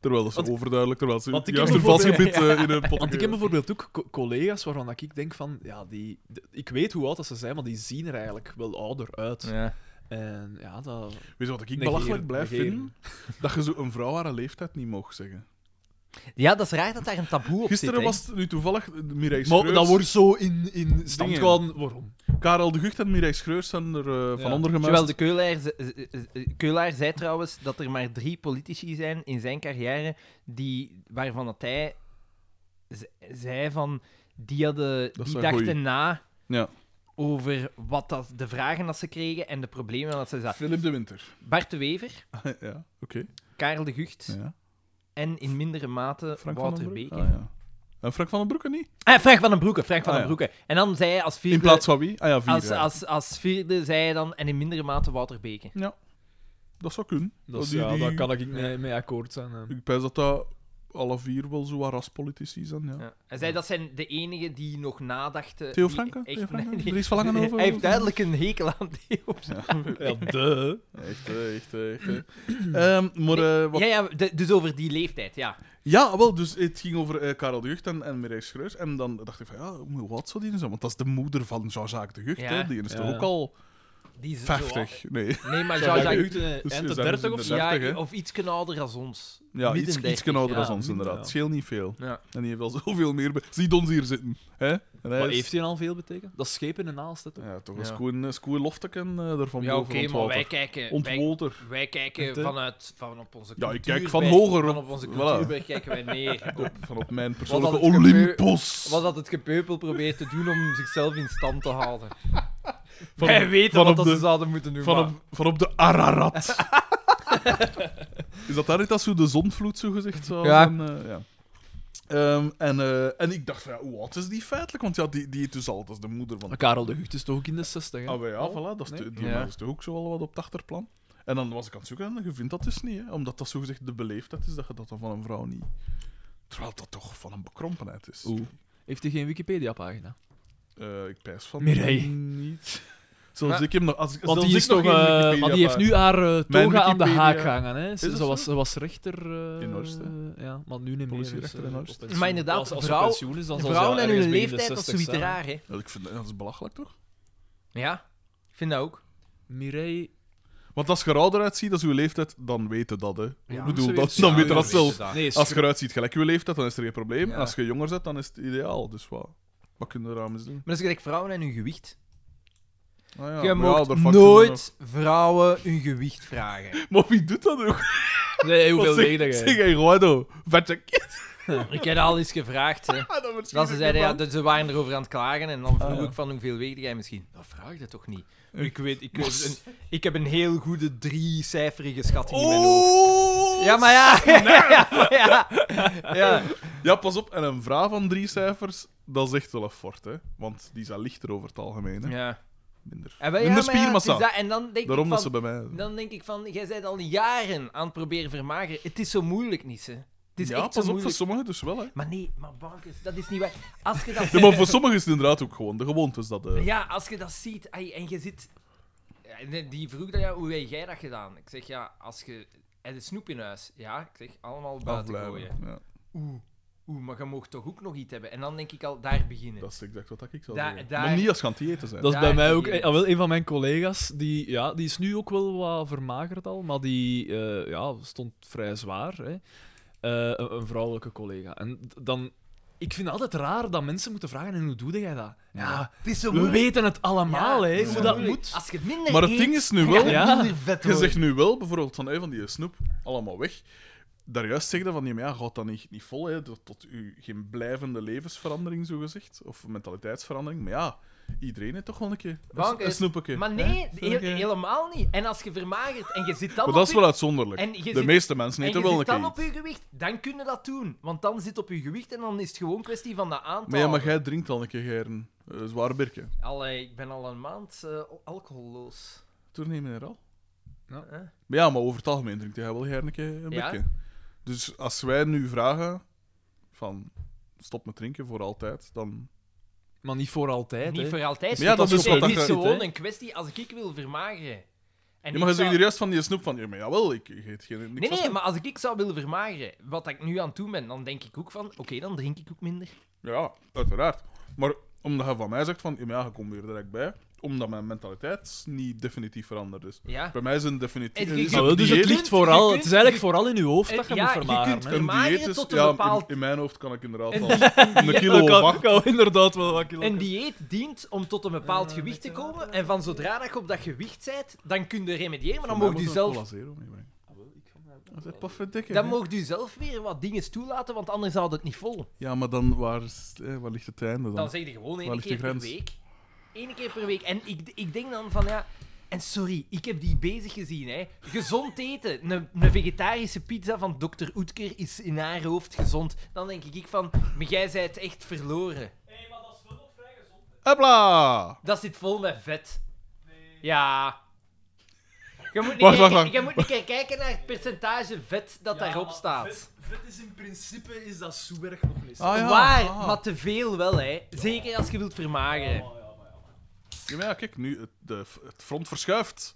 Speaker 2: Terwijl dat is
Speaker 3: Want-
Speaker 2: overduidelijk, terwijl ze
Speaker 3: want ik
Speaker 2: juist
Speaker 3: heb
Speaker 2: een vast
Speaker 3: bijvoorbeeld-
Speaker 2: gebied eh, in een pot.
Speaker 3: Want ik heb bijvoorbeeld ook co- collega's waarvan dat ik denk van, ja, die, de- ik weet hoe oud dat ze zijn, maar die zien er eigenlijk wel ouder uit.
Speaker 4: Ja.
Speaker 3: En ja, dat...
Speaker 2: Weet je wat ik
Speaker 3: Negeren,
Speaker 2: belachelijk blijf
Speaker 3: negeren.
Speaker 2: vinden? Dat je zo een vrouw haar leeftijd niet mag zeggen.
Speaker 4: Ja, dat is raar dat daar een taboe op
Speaker 2: Gisteren
Speaker 4: zit.
Speaker 2: was het nu toevallig eh, Mireille
Speaker 3: Maar
Speaker 2: Schreurs.
Speaker 3: dat wordt zo in, in stand
Speaker 2: Dingen.
Speaker 3: gehouden. Waarom?
Speaker 2: Karel de Gucht en Mireille Schreurs zijn er eh, van
Speaker 3: Ja.
Speaker 2: onder gemaakt.
Speaker 4: Terwijl de Keulaar, ze- ze- ze- Keulaar zei trouwens dat er maar drie politici zijn in zijn carrière die, waarvan dat hij ze- zei van die, hadden,
Speaker 2: Dat
Speaker 4: die
Speaker 2: zijn
Speaker 4: dachten
Speaker 2: goeie.
Speaker 4: na
Speaker 2: Ja.
Speaker 4: over wat dat, de vragen dat ze kregen en de problemen dat ze zaten.
Speaker 2: Philip de Winter.
Speaker 4: Bart de Wever,
Speaker 2: ja, oké.
Speaker 4: Karel de Gucht
Speaker 2: Ja.
Speaker 4: en in mindere mate
Speaker 2: Frank van
Speaker 4: Wouter
Speaker 2: den
Speaker 4: Beek.
Speaker 2: Broeke.
Speaker 4: hè.
Speaker 2: Ah, ja. En Frank van den Broeke niet?
Speaker 4: Ah, Frank van den Broeke, Frank van
Speaker 2: Ah,
Speaker 4: den
Speaker 2: ja.
Speaker 4: Broeke. En dan zei hij als vierde...
Speaker 2: In plaats van wie? Ah ja, vier.
Speaker 4: als,
Speaker 2: ja.
Speaker 4: als, als vierde zei hij dan en in mindere mate Wouter Beke.
Speaker 2: Dat zou kunnen.
Speaker 3: Dat is,
Speaker 2: Die-
Speaker 3: ja,
Speaker 2: die-
Speaker 3: daar kan ik mee, mee akkoord zijn. hè.
Speaker 2: Ik pijs dat dat alle vier wel zo wat raspolitici zijn, ja.
Speaker 4: Ja. Hij zei dat zijn de enigen die nog nadachten.
Speaker 2: Theo
Speaker 4: die
Speaker 2: Franken?
Speaker 4: echt-
Speaker 2: Theo Franken?
Speaker 4: die-
Speaker 2: Dries Verlangen over?
Speaker 4: Hij heeft duidelijk een hekel aan Theo.
Speaker 3: Ja, duh.
Speaker 2: Echt, hè, echt, hè, echt. hè. Ehm, maar eh, wat
Speaker 4: Ja, ja, de- dus over die leeftijd, ja.
Speaker 2: Ja, wel, dus het ging over eh, Karel de Gucht en, en Mireille Schreurs. En dan dacht ik van, ja, hoe oud zou die nu zijn? Want dat is de moeder van Jean-Jacques de Gucht,
Speaker 4: Ja.
Speaker 2: hè? Die is toch
Speaker 3: Ja.
Speaker 2: ook al
Speaker 4: Die is zo
Speaker 2: 50? Nee.
Speaker 4: oud. Nee, maar
Speaker 2: Ja,
Speaker 3: Ja,
Speaker 2: ja,
Speaker 4: Jean-Jacques.
Speaker 3: Hugt, eh,
Speaker 2: Dus
Speaker 3: eind
Speaker 2: is
Speaker 3: de
Speaker 2: daar
Speaker 3: 30
Speaker 2: dus
Speaker 3: of
Speaker 2: in
Speaker 3: zo.
Speaker 2: de
Speaker 4: Ja,
Speaker 2: 30, hè?
Speaker 4: of iets ouder als ons.
Speaker 2: Ja,
Speaker 4: Midden
Speaker 2: iets,
Speaker 4: 30,
Speaker 2: iets ouder
Speaker 4: ja,
Speaker 2: dan ons,
Speaker 3: midden,
Speaker 2: inderdaad.
Speaker 3: ja.
Speaker 2: Scheelt niet veel.
Speaker 4: Ja.
Speaker 2: En die heeft al zoveel meer... be- Ziet ons hier zitten, hè? En hij
Speaker 3: Maar
Speaker 2: is-
Speaker 3: heeft hij al veel betekend? Dat is schepen en naast, hè, toch?
Speaker 2: Ja, toch
Speaker 4: Ja.
Speaker 2: een schoen, een schoen lofteken eh, ervan
Speaker 4: Ja, oké,
Speaker 2: boven
Speaker 4: maar wij
Speaker 2: ontwater.
Speaker 4: kijken, wij,
Speaker 2: Ontwater.
Speaker 4: wij kijken
Speaker 2: Echt, hè?
Speaker 4: vanuit van op onze
Speaker 2: Ja,
Speaker 4: cultuur.
Speaker 2: ik kijk van
Speaker 4: bij-
Speaker 2: hoger
Speaker 4: Van
Speaker 2: op.
Speaker 4: op onze
Speaker 2: Voilà.
Speaker 4: cultuurberg kijken wij neer.
Speaker 2: Op- Van op mijn persoonlijke
Speaker 4: het gebeur-
Speaker 2: Olympus.
Speaker 4: Wat dat het gepeupel probeert te doen om zichzelf in stand te houden.
Speaker 2: Van
Speaker 4: wij
Speaker 2: op-
Speaker 4: weten
Speaker 2: van
Speaker 4: wat
Speaker 2: op
Speaker 4: dat ze
Speaker 2: de-
Speaker 4: zouden moeten doen.
Speaker 2: Van
Speaker 4: maar-
Speaker 2: op, van op de Ararat. Is dat daar niet als zo de zonvloed, zo gezegd? Zo,
Speaker 4: Ja.
Speaker 2: van, eh, ja. Ehm, en, eh, en ik dacht, van, ja, hoe oud is die feitelijk? Want ja, die, die is dus al, dat is de moeder van...
Speaker 3: Maar Karel de Gucht is toch ook in de 60, hè?
Speaker 2: Ah, maar ja, voilà, dat is
Speaker 3: Oh, Nee?
Speaker 2: te- die
Speaker 4: Ja.
Speaker 2: man is toch ook zo al wat op het achterplan. En dan was ik aan het zoeken en je vindt dat dus niet, hè, omdat dat zogezegd de beleefdheid is, dat je dat dan van een vrouw niet... Terwijl dat toch van een bekrompenheid is.
Speaker 3: Oeh. Heeft hij geen Wikipedia-pagina?
Speaker 2: Eh, ik pijs van
Speaker 3: Mireille.
Speaker 2: niet. Zelfs
Speaker 4: Maar-
Speaker 2: ik hem nog... Als,
Speaker 3: Want
Speaker 2: zelfs
Speaker 3: die,
Speaker 2: ik
Speaker 3: is
Speaker 2: nog
Speaker 3: toch,
Speaker 2: geen
Speaker 3: eh,
Speaker 2: Wikipedia
Speaker 3: want die heeft nu haar eh, toga aan de
Speaker 2: Wikipedia-
Speaker 3: haak hangen. Hè. Ze,
Speaker 2: dat
Speaker 3: ze was,
Speaker 2: zo?
Speaker 3: ze was rechter. eh,
Speaker 2: In Horst, hè?
Speaker 3: Ja, maar nu niet meer.
Speaker 2: Politierechter
Speaker 3: dus,
Speaker 2: in
Speaker 3: eh,
Speaker 2: Horst.
Speaker 3: op pensioen.
Speaker 4: Maar inderdaad,
Speaker 3: als, als ze
Speaker 4: vrouw-
Speaker 3: op pensioen is, dan zal ze
Speaker 4: Vrouwen en
Speaker 3: ergens
Speaker 4: hun
Speaker 3: binnen de
Speaker 4: leeftijd, dat is
Speaker 3: 60
Speaker 4: zoiets
Speaker 3: zijn.
Speaker 4: raar, hè?
Speaker 2: Ja, ik vind, dat is belachelijk, toch?
Speaker 4: Ja, ik vind dat ook.
Speaker 3: Mireille...
Speaker 2: Want als je er ouder uitziet dan uw leeftijd, dan weet je dat, hè.
Speaker 4: Ja.
Speaker 2: ik bedoel,
Speaker 3: Zoiets,
Speaker 2: dan,
Speaker 3: ja,
Speaker 2: dan weet je
Speaker 4: ja,
Speaker 2: dat
Speaker 4: ja,
Speaker 2: zelf. Ah,
Speaker 4: ja.
Speaker 3: Nee,
Speaker 2: Als je eruit ziet gelijk je leeftijd, dan is er geen probleem.
Speaker 4: Ja.
Speaker 2: En als je jonger bent, dan is het ideaal. Dus wat, wat kun je er aan eens doen?
Speaker 4: Maar dat is gelijk vrouwen en hun gewicht.
Speaker 2: Ah, ja,
Speaker 4: je
Speaker 2: maar ja,
Speaker 4: mag
Speaker 2: daar fuckt ze nog.
Speaker 4: nooit vrouwen hun gewicht vragen.
Speaker 2: Maar wie doet dat ook?
Speaker 3: Nee, hoeveel
Speaker 2: Wat zeg-
Speaker 3: weeg
Speaker 2: Zeg,
Speaker 3: jij?
Speaker 2: hey, Guido, vette kid.
Speaker 4: Ik heb dat al eens gevraagd, hè.
Speaker 2: Ah, dat misschien
Speaker 4: Dat ze
Speaker 2: is
Speaker 4: zeiden, ja,
Speaker 2: ervan.
Speaker 4: dat ze waren erover aan het klagen en dan vroeg
Speaker 2: Ah, ja.
Speaker 4: ik van hoeveel weegde jij misschien? Dat vraag je toch niet? Ik weet, ik, weet een- ik heb een heel goede drie-cijferige schatting in mijn hoofd.
Speaker 2: Oeh!
Speaker 4: Ja, maar ja. ja, maar ja. ja.
Speaker 2: Ja, pas op. En een vrouw van drie cijfers, dat is echt wel een fort, hè. Want die zijn lichter over het algemeen, hè.
Speaker 4: ja.
Speaker 2: Minder.
Speaker 4: En, wel, ja,
Speaker 2: Minder
Speaker 4: maar ja,
Speaker 2: spiermassa.
Speaker 4: het is dat. En dan denk
Speaker 2: Daarom
Speaker 4: ik
Speaker 2: dat
Speaker 4: van,
Speaker 2: ze bij mij...
Speaker 4: Dan denk ik van, jij bent al jaren aan het proberen vermageren. Het is zo moeilijk, niet hè? Het is
Speaker 2: ja,
Speaker 4: echt
Speaker 2: pas
Speaker 4: zo
Speaker 2: op, voor
Speaker 4: moeilijk.
Speaker 2: sommigen dus wel, hè.
Speaker 4: Maar nee, maar bankers, dat is niet waar. Als je dat,
Speaker 2: Ja, maar voor sommigen is het inderdaad ook gewoon de gewoontes dat... eh,
Speaker 4: ja, als je dat ziet ai, en je zit... Ja, en Die vroeg dan, ja, hoe heb jij dat gedaan? Ik zeg, ja, als je... En de snoep in huis. Ja, ik zeg, allemaal buiten
Speaker 2: afblijven.
Speaker 4: gooien.
Speaker 2: Ja,
Speaker 4: Oeh, oeh, maar je mag toch ook nog iets hebben? En dan denk ik al, daar beginnen.
Speaker 2: dat is exact wat ik zou
Speaker 4: Daar-
Speaker 2: zeggen.
Speaker 4: daar-
Speaker 2: Maar niet als je aan het eten zijn.
Speaker 3: Dat is
Speaker 4: Ja,
Speaker 3: bij mij
Speaker 4: die
Speaker 3: ook
Speaker 4: is-
Speaker 3: eh, wel een van mijn collega's. Die, ja, die is nu ook wel wat vermagerd al, maar die eh, ja, stond vrij zwaar. Hè. Eh, een, een vrouwelijke collega. En d- dan, ik vind het altijd raar dat mensen moeten vragen: en hoe doe jij dat? Ja,
Speaker 4: Het is zo
Speaker 3: we weten het allemaal, hè, hoe
Speaker 2: zo
Speaker 3: dat
Speaker 2: moeilijk.
Speaker 3: moet.
Speaker 4: Als je minder
Speaker 2: Maar het
Speaker 4: eet,
Speaker 2: ding is nu
Speaker 4: dan
Speaker 2: wel-
Speaker 4: gaat het
Speaker 3: Ja.
Speaker 4: minder vet
Speaker 2: Je
Speaker 4: worden.
Speaker 2: zegt nu wel bijvoorbeeld van, hey, van die snoep, allemaal weg. Daar juist zeg je van, ja, maar ja, gaat dat niet, niet vol, hè? Tot, tot u geen blijvende levensverandering, zo gezegd. Of mentaliteitsverandering. Maar ja, iedereen heeft toch wel een keer een,
Speaker 4: Bank
Speaker 2: s- een
Speaker 4: is-
Speaker 2: snoepje.
Speaker 4: Maar
Speaker 2: hè?
Speaker 4: nee,
Speaker 2: Zeg
Speaker 4: he-
Speaker 2: je.
Speaker 4: helemaal niet. En als je vermagert en je zit dan
Speaker 2: Maar
Speaker 4: op
Speaker 2: dat is
Speaker 4: je-
Speaker 2: wel uitzonderlijk.
Speaker 4: En je
Speaker 2: de
Speaker 4: zit-
Speaker 2: meeste mensen
Speaker 4: en je
Speaker 2: eten wel een
Speaker 4: zit
Speaker 2: keer
Speaker 4: dan op
Speaker 2: iets.
Speaker 4: je gewicht, dan kunnen dat doen. Want dan zit op je gewicht en dan is het gewoon kwestie van dat aantal.
Speaker 2: Maar ja, maar jij drinkt al een keer geren. eh, zwaar birken.
Speaker 4: Allee, ik ben al een maand eh, alcoholloos.
Speaker 2: Toenemen er al.
Speaker 4: Hè?
Speaker 2: Maar ja, maar over het algemeen drinkt hij wel gerne een keer een
Speaker 4: Eh? Ja.
Speaker 2: beetje. Dus als wij nu vragen van stop met drinken voor altijd, dan...
Speaker 3: Maar niet voor altijd.
Speaker 4: Niet
Speaker 3: hè.
Speaker 4: voor altijd.
Speaker 2: Maar ja, dat
Speaker 4: want
Speaker 2: is
Speaker 4: het
Speaker 2: wat
Speaker 4: Het
Speaker 2: dat
Speaker 4: is
Speaker 2: je-
Speaker 4: gewoon
Speaker 3: hè?
Speaker 4: een kwestie als ik wil vermageren. En
Speaker 2: Je mag
Speaker 4: ik
Speaker 2: zeggen
Speaker 4: zou-
Speaker 2: hier juist van die snoep van, ja, maar jawel, ik ik eet geen... niks
Speaker 4: Nee,
Speaker 2: van
Speaker 4: nee,
Speaker 2: snoep.
Speaker 4: maar als ik zou willen vermageren, wat ik nu aan het doen ben, dan denk ik ook van, oké, dan drink ik ook minder.
Speaker 2: Ja, uiteraard. Maar omdat je van mij zegt van, ja, maar ja, je komt weer direct bij, omdat mijn mentaliteit niet definitief veranderd is.
Speaker 4: Ja.
Speaker 2: Bij mij is een definitief...
Speaker 4: En je-
Speaker 2: is
Speaker 4: je-
Speaker 3: Ah,
Speaker 2: een
Speaker 3: wel, dus het
Speaker 2: dieet-
Speaker 4: kunt-
Speaker 3: ligt vooral,
Speaker 4: je
Speaker 3: het is
Speaker 4: kunt-
Speaker 3: eigenlijk vooral in je hoofd dat je
Speaker 4: Ja,
Speaker 3: moet
Speaker 4: je kunt
Speaker 3: vermageren. hè.
Speaker 2: een
Speaker 4: vermageren
Speaker 2: dieet is-
Speaker 4: tot een
Speaker 2: ja, in-
Speaker 4: bepaald-
Speaker 2: in, mijn hoofd kan ik inderdaad
Speaker 4: Een
Speaker 2: al een kilo
Speaker 3: Ik
Speaker 2: of
Speaker 3: hou-
Speaker 2: acht.
Speaker 3: ik hou inderdaad wel wat kilo.
Speaker 4: Een dieet dient om tot een bepaald gewicht te komen. En van zodra dat je op dat gewicht bent, dan kun je remediëren. Maar dan
Speaker 2: Voor
Speaker 4: mogen
Speaker 2: mij
Speaker 4: je
Speaker 2: moet er een
Speaker 4: zelf,
Speaker 2: cola zero meebrengen. Dat is echt pafverdikke,
Speaker 4: dan
Speaker 2: hè.
Speaker 4: mogen je zelf weer wat dingen toelaten, want anders houdt het niet vol.
Speaker 2: Ja, maar dan, waar, is- eh, waar ligt het einde dan?
Speaker 4: Dan zeg je gewoon
Speaker 2: Waar
Speaker 4: één
Speaker 2: ligt
Speaker 4: keer
Speaker 2: de
Speaker 4: per
Speaker 2: grens?
Speaker 4: week. Eén keer per week. En ik, ik denk dan van ja. En sorry, ik heb die bezig gezien. Hè. Gezond eten. Een, een vegetarische pizza van Dr. Oetker is in haar hoofd gezond. Dan denk ik van, maar jij zijt echt verloren.
Speaker 2: Hopla!
Speaker 4: Dat zit vol met vet. Ja. Je moet, niet
Speaker 2: Wacht, wacht,
Speaker 4: kijken-
Speaker 2: wacht.
Speaker 4: je moet een keer kijken naar het percentage vet dat daarop staat.
Speaker 3: is in principe is dat zo erg nog niet.
Speaker 2: Ah, ja.
Speaker 4: Waar,
Speaker 2: ah.
Speaker 4: maar te veel wel, hè. Zeker als je wilt vermageren.
Speaker 2: Ja, maar ja, kijk, nu het, de, het front verschuift.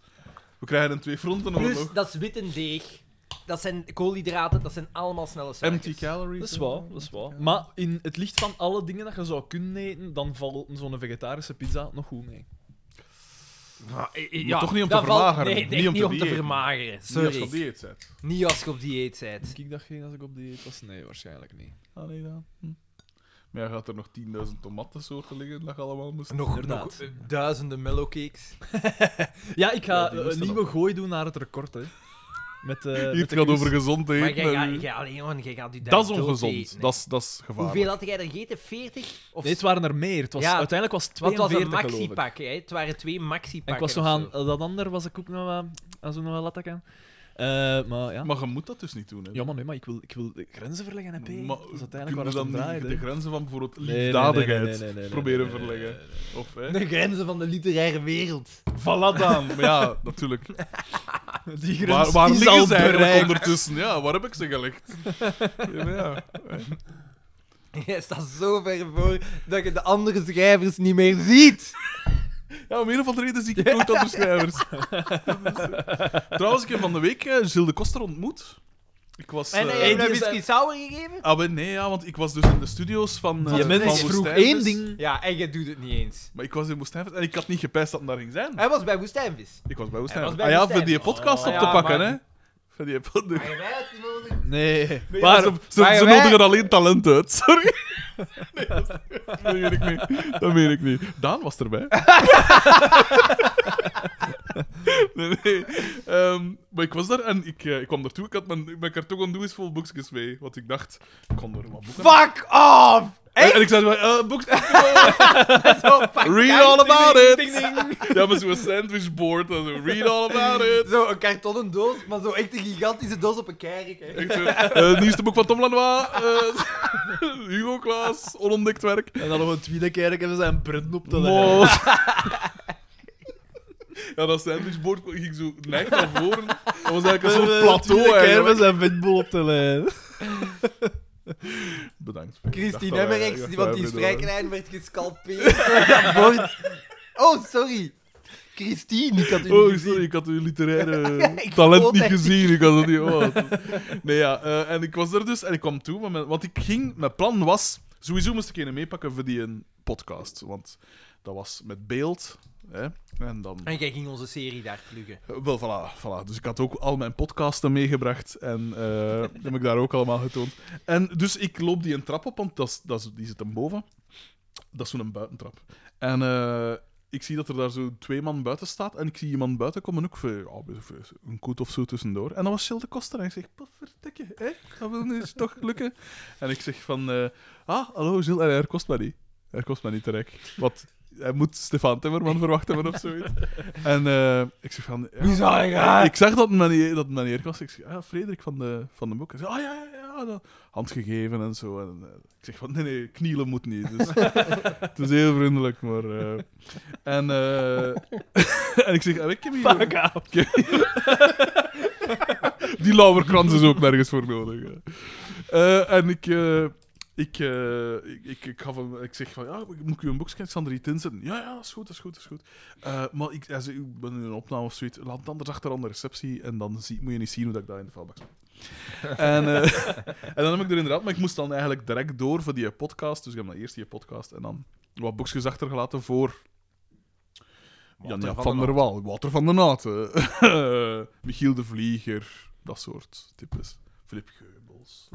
Speaker 2: We krijgen een twee fronten
Speaker 4: Plus,
Speaker 2: oorlog.
Speaker 4: Dus dat is witte deeg. Dat zijn koolhydraten, dat zijn allemaal snelle
Speaker 2: Empty
Speaker 4: suikers.
Speaker 2: calories.
Speaker 3: Dat is waar, dat is waar. Maar in het licht van alle dingen dat je zou kunnen eten, dan valt zo'n vegetarische pizza nog goed mee.
Speaker 4: Maar, eh, eh,
Speaker 2: Maar toch niet om te
Speaker 4: dat valt-
Speaker 2: vermageren,
Speaker 4: Nee, nee,
Speaker 2: niet om te
Speaker 4: te
Speaker 2: diëten.
Speaker 4: vermageren.
Speaker 2: Sorry.
Speaker 4: Sorry.
Speaker 2: dieet zet.
Speaker 4: Niet als je op dieet bent.
Speaker 3: Denk ik dat geen als ik op dieet was? Nee, waarschijnlijk niet.
Speaker 2: Ah, nee, dan. Hm. Maar ja, gaat er nog 10.000 tomatensoorten liggen dat je allemaal moest...
Speaker 4: Nog,
Speaker 3: Inderdaad.
Speaker 4: nog eh, duizenden mellowcakes.
Speaker 3: Ja, ik
Speaker 2: Ja,
Speaker 3: ga
Speaker 2: die
Speaker 3: eh,
Speaker 2: moesten
Speaker 3: een nieuwe
Speaker 2: nog.
Speaker 3: gooi doen naar het record, hè. Met, eh
Speaker 2: Hier,
Speaker 3: met
Speaker 2: het
Speaker 3: de
Speaker 2: gaat
Speaker 3: quiz.
Speaker 2: over gezond eten.
Speaker 4: Maar jij
Speaker 2: en-
Speaker 4: gaat, jij- allee, jongen, jij gaat je daar
Speaker 2: dat is
Speaker 4: dood
Speaker 2: ongezond.
Speaker 4: eten, hè.
Speaker 2: dat, is, dat is gevaarlijk.
Speaker 4: Hoeveel had jij er gegeten? 40? Of
Speaker 3: Nee, het waren er meer. Het was,
Speaker 4: Ja,
Speaker 3: uiteindelijk was het
Speaker 4: Want het was
Speaker 3: 42,
Speaker 4: een
Speaker 3: geloof ik.
Speaker 4: maxi-pak, hè? Het waren twee
Speaker 3: En ik
Speaker 4: maxi-pakken.
Speaker 3: was nog
Speaker 4: of
Speaker 3: aan...
Speaker 4: zo.
Speaker 3: Dat ander was ik ook nog wel... Als we nog wel latten kan. Eh, maar ja.
Speaker 2: Maar je moet dat dus niet doen. Hè.
Speaker 3: Ja, maar nee, maar ik wil, ik wil de grenzen verleggen, hè, P.
Speaker 2: Maar
Speaker 3: dat is
Speaker 2: kun
Speaker 3: uiteindelijk
Speaker 2: je
Speaker 3: waar het
Speaker 2: dan
Speaker 3: om draait.
Speaker 2: niet
Speaker 3: hè.
Speaker 2: de grenzen van bijvoorbeeld
Speaker 3: Nee, nee, nee, nee,
Speaker 2: liefdadigheid
Speaker 3: nee, nee, nee, nee,
Speaker 2: proberen
Speaker 3: nee, nee,
Speaker 2: verleggen?
Speaker 3: nee, nee,
Speaker 2: Of, hè?
Speaker 4: De grenzen van de literaire wereld.
Speaker 2: Voilà dan. Maar ja, natuurlijk.
Speaker 3: nee. Die grens
Speaker 2: Waar, waar
Speaker 3: is
Speaker 2: liggen
Speaker 3: al
Speaker 2: ze eigenlijk
Speaker 3: bereikt.
Speaker 2: ondertussen? Ja, waar heb ik ze gelegd? Ja, maar ja.
Speaker 4: Je staat zo ver voor dat je de andere schrijvers niet meer ziet.
Speaker 2: Ja, om een of andere reden zie ik nooit andere schrijvers. Trouwens, ik heb van de week eh, Gilles de Koster ontmoet. Ik was...
Speaker 4: En
Speaker 2: eh,
Speaker 4: heb je
Speaker 3: die
Speaker 4: een
Speaker 3: is-
Speaker 4: whisky sour gegeven?
Speaker 2: Ah, wel, nee, ja, want ik was dus in de studio's van... eh,
Speaker 3: Die mens
Speaker 2: van
Speaker 3: vroeg
Speaker 2: Woestijnvis.
Speaker 3: één ding.
Speaker 4: Ja, en je doet het niet eens.
Speaker 2: Maar ik was in Woestijnvis en ik had niet gepijst dat het daar ging zijn.
Speaker 4: Hij was bij Woestijnvis.
Speaker 2: Ik was bij Woestijnvis.
Speaker 4: was bij
Speaker 2: Ah ja, voor
Speaker 4: Woestijnvis.
Speaker 2: die podcast
Speaker 4: Oh,
Speaker 2: op te
Speaker 4: ja,
Speaker 2: pakken,
Speaker 4: maar-
Speaker 2: hè. Voor die podcast.
Speaker 4: Maar je mij uitgenodigd?
Speaker 3: Nee.
Speaker 2: Maar
Speaker 3: Waar?
Speaker 2: ze, ze,
Speaker 4: maar
Speaker 2: ze
Speaker 4: wij-
Speaker 2: nodigen alleen talent uit, sorry. Nee, dat, is- dat meen ik niet. Dat meen ik niet. Daan was erbij. nee, nee. Ehm, maar ik was daar en ik, eh, ik kwam daartoe. Ik had mijn, mijn karton aan doen is vol boekjes mee. Want ik dacht, ik kon er wat boeken
Speaker 4: Fuck off!
Speaker 2: en,
Speaker 4: Echt?
Speaker 2: en ik zei, eh boeks...
Speaker 4: Zo, pak-
Speaker 2: Read all about it!
Speaker 4: Ding, ding, ding.
Speaker 2: Ja, maar zo'n sandwichboard. en zo, Read all about it!
Speaker 4: Zo een kartonnen doos, maar zo echt een gigantische doos op een kerk. hè.
Speaker 2: Echt zo, eh, het nieuwste boek van Tom Lanois. eh, Hugo Klaas, onontdekt werk.
Speaker 3: En dan nog een tweede keer hebben ze zijn print op te leggen.
Speaker 2: Wow. ja, dat sandwichbord ging zo lijkt naar voren. Dat was eigenlijk een soort plateau
Speaker 3: hebben
Speaker 2: eigenlijk.
Speaker 3: zijn windbol op te leggen.
Speaker 2: Bedankt.
Speaker 4: Christine
Speaker 2: Dag,
Speaker 4: Emmerich,
Speaker 2: dag,
Speaker 4: die want
Speaker 2: dag,
Speaker 4: die
Speaker 2: dag.
Speaker 4: strijklijn werd gescalpeerd. Dat bord. Oh, sorry. Christine, ik had u
Speaker 2: Oh,
Speaker 4: niet gezien.
Speaker 2: sorry, ik had uw literaire
Speaker 4: ik
Speaker 2: talent
Speaker 4: vond
Speaker 2: niet
Speaker 4: echt niet.
Speaker 2: gezien. Ik had het niet... oh, dat is- Nee, ja. eh, en ik was er dus en ik kwam toe. Maar mijn- want ik ging... Mijn plan was... Sowieso moest ik een meepakken voor die een podcast. Want dat was met beeld. Hè, en dan...
Speaker 4: En jij ging onze serie daar pluggen.
Speaker 2: Eh, Wel, voilà, voilà. Dus ik had ook al mijn podcasten meegebracht en eh die heb ik daar ook allemaal getoond. En dus ik loop die een trap op, want dat is, dat is, die zit hem boven. Dat is zo'n buitentrap. En eh, ik zie dat er daar zo twee man buiten staat en ik zie iemand buiten komen ook voor, ja, weet ik veel, een koet of zo tussendoor. En dat was Gilles de Koster en ik zeg, potverdikke, hè? Dat wil nu eens toch lukken. En ik zeg van, eh, ah, hallo Gilles, en hij kost mij niet. Hij kost mij niet te rijk. Wat... Hij moet Stefan Timmerman verwachten of zoiets. En eh, ik zeg van... ja,
Speaker 4: zou
Speaker 2: ik zag dat het meneer, dat het meneer was. Ik zeg, ah, Frederik van de, van de Boek. Hij zei, ah ja, ja, ja, dat- handgegeven en zo. En, eh, ik zeg van, nee, nee, knielen moet niet. Dus, het is heel vriendelijk, maar... eh, en, eh, en ik zeg, ah, ik heb hier... ik heb hier- Die lauwerkrans is ook nergens voor nodig. hè. Eh, en ik... eh, ik, eh, ik, ik, ik, gaf hem, ik zeg van, ja, moet ik u een boekje, ik zal er iets in zetten. Ja, ja, dat is goed, dat is goed, dat is goed. Eh, maar ik, hij zei, ik ben in een opname of zoiets. Laat het anders achter aan de receptie en dan zie, moet je niet zien hoe dat ik daar in de vuilbak zet. en, eh, en dan heb ik er inderdaad... Maar ik moest dan eigenlijk direct door voor die podcast. Dus ik heb dan eerst die podcast en dan wat boekjes achtergelaten voor... Jan van, van der Waal, Wouter van der Naten, Michiel de Vlieger, dat soort types. Filip Geubels.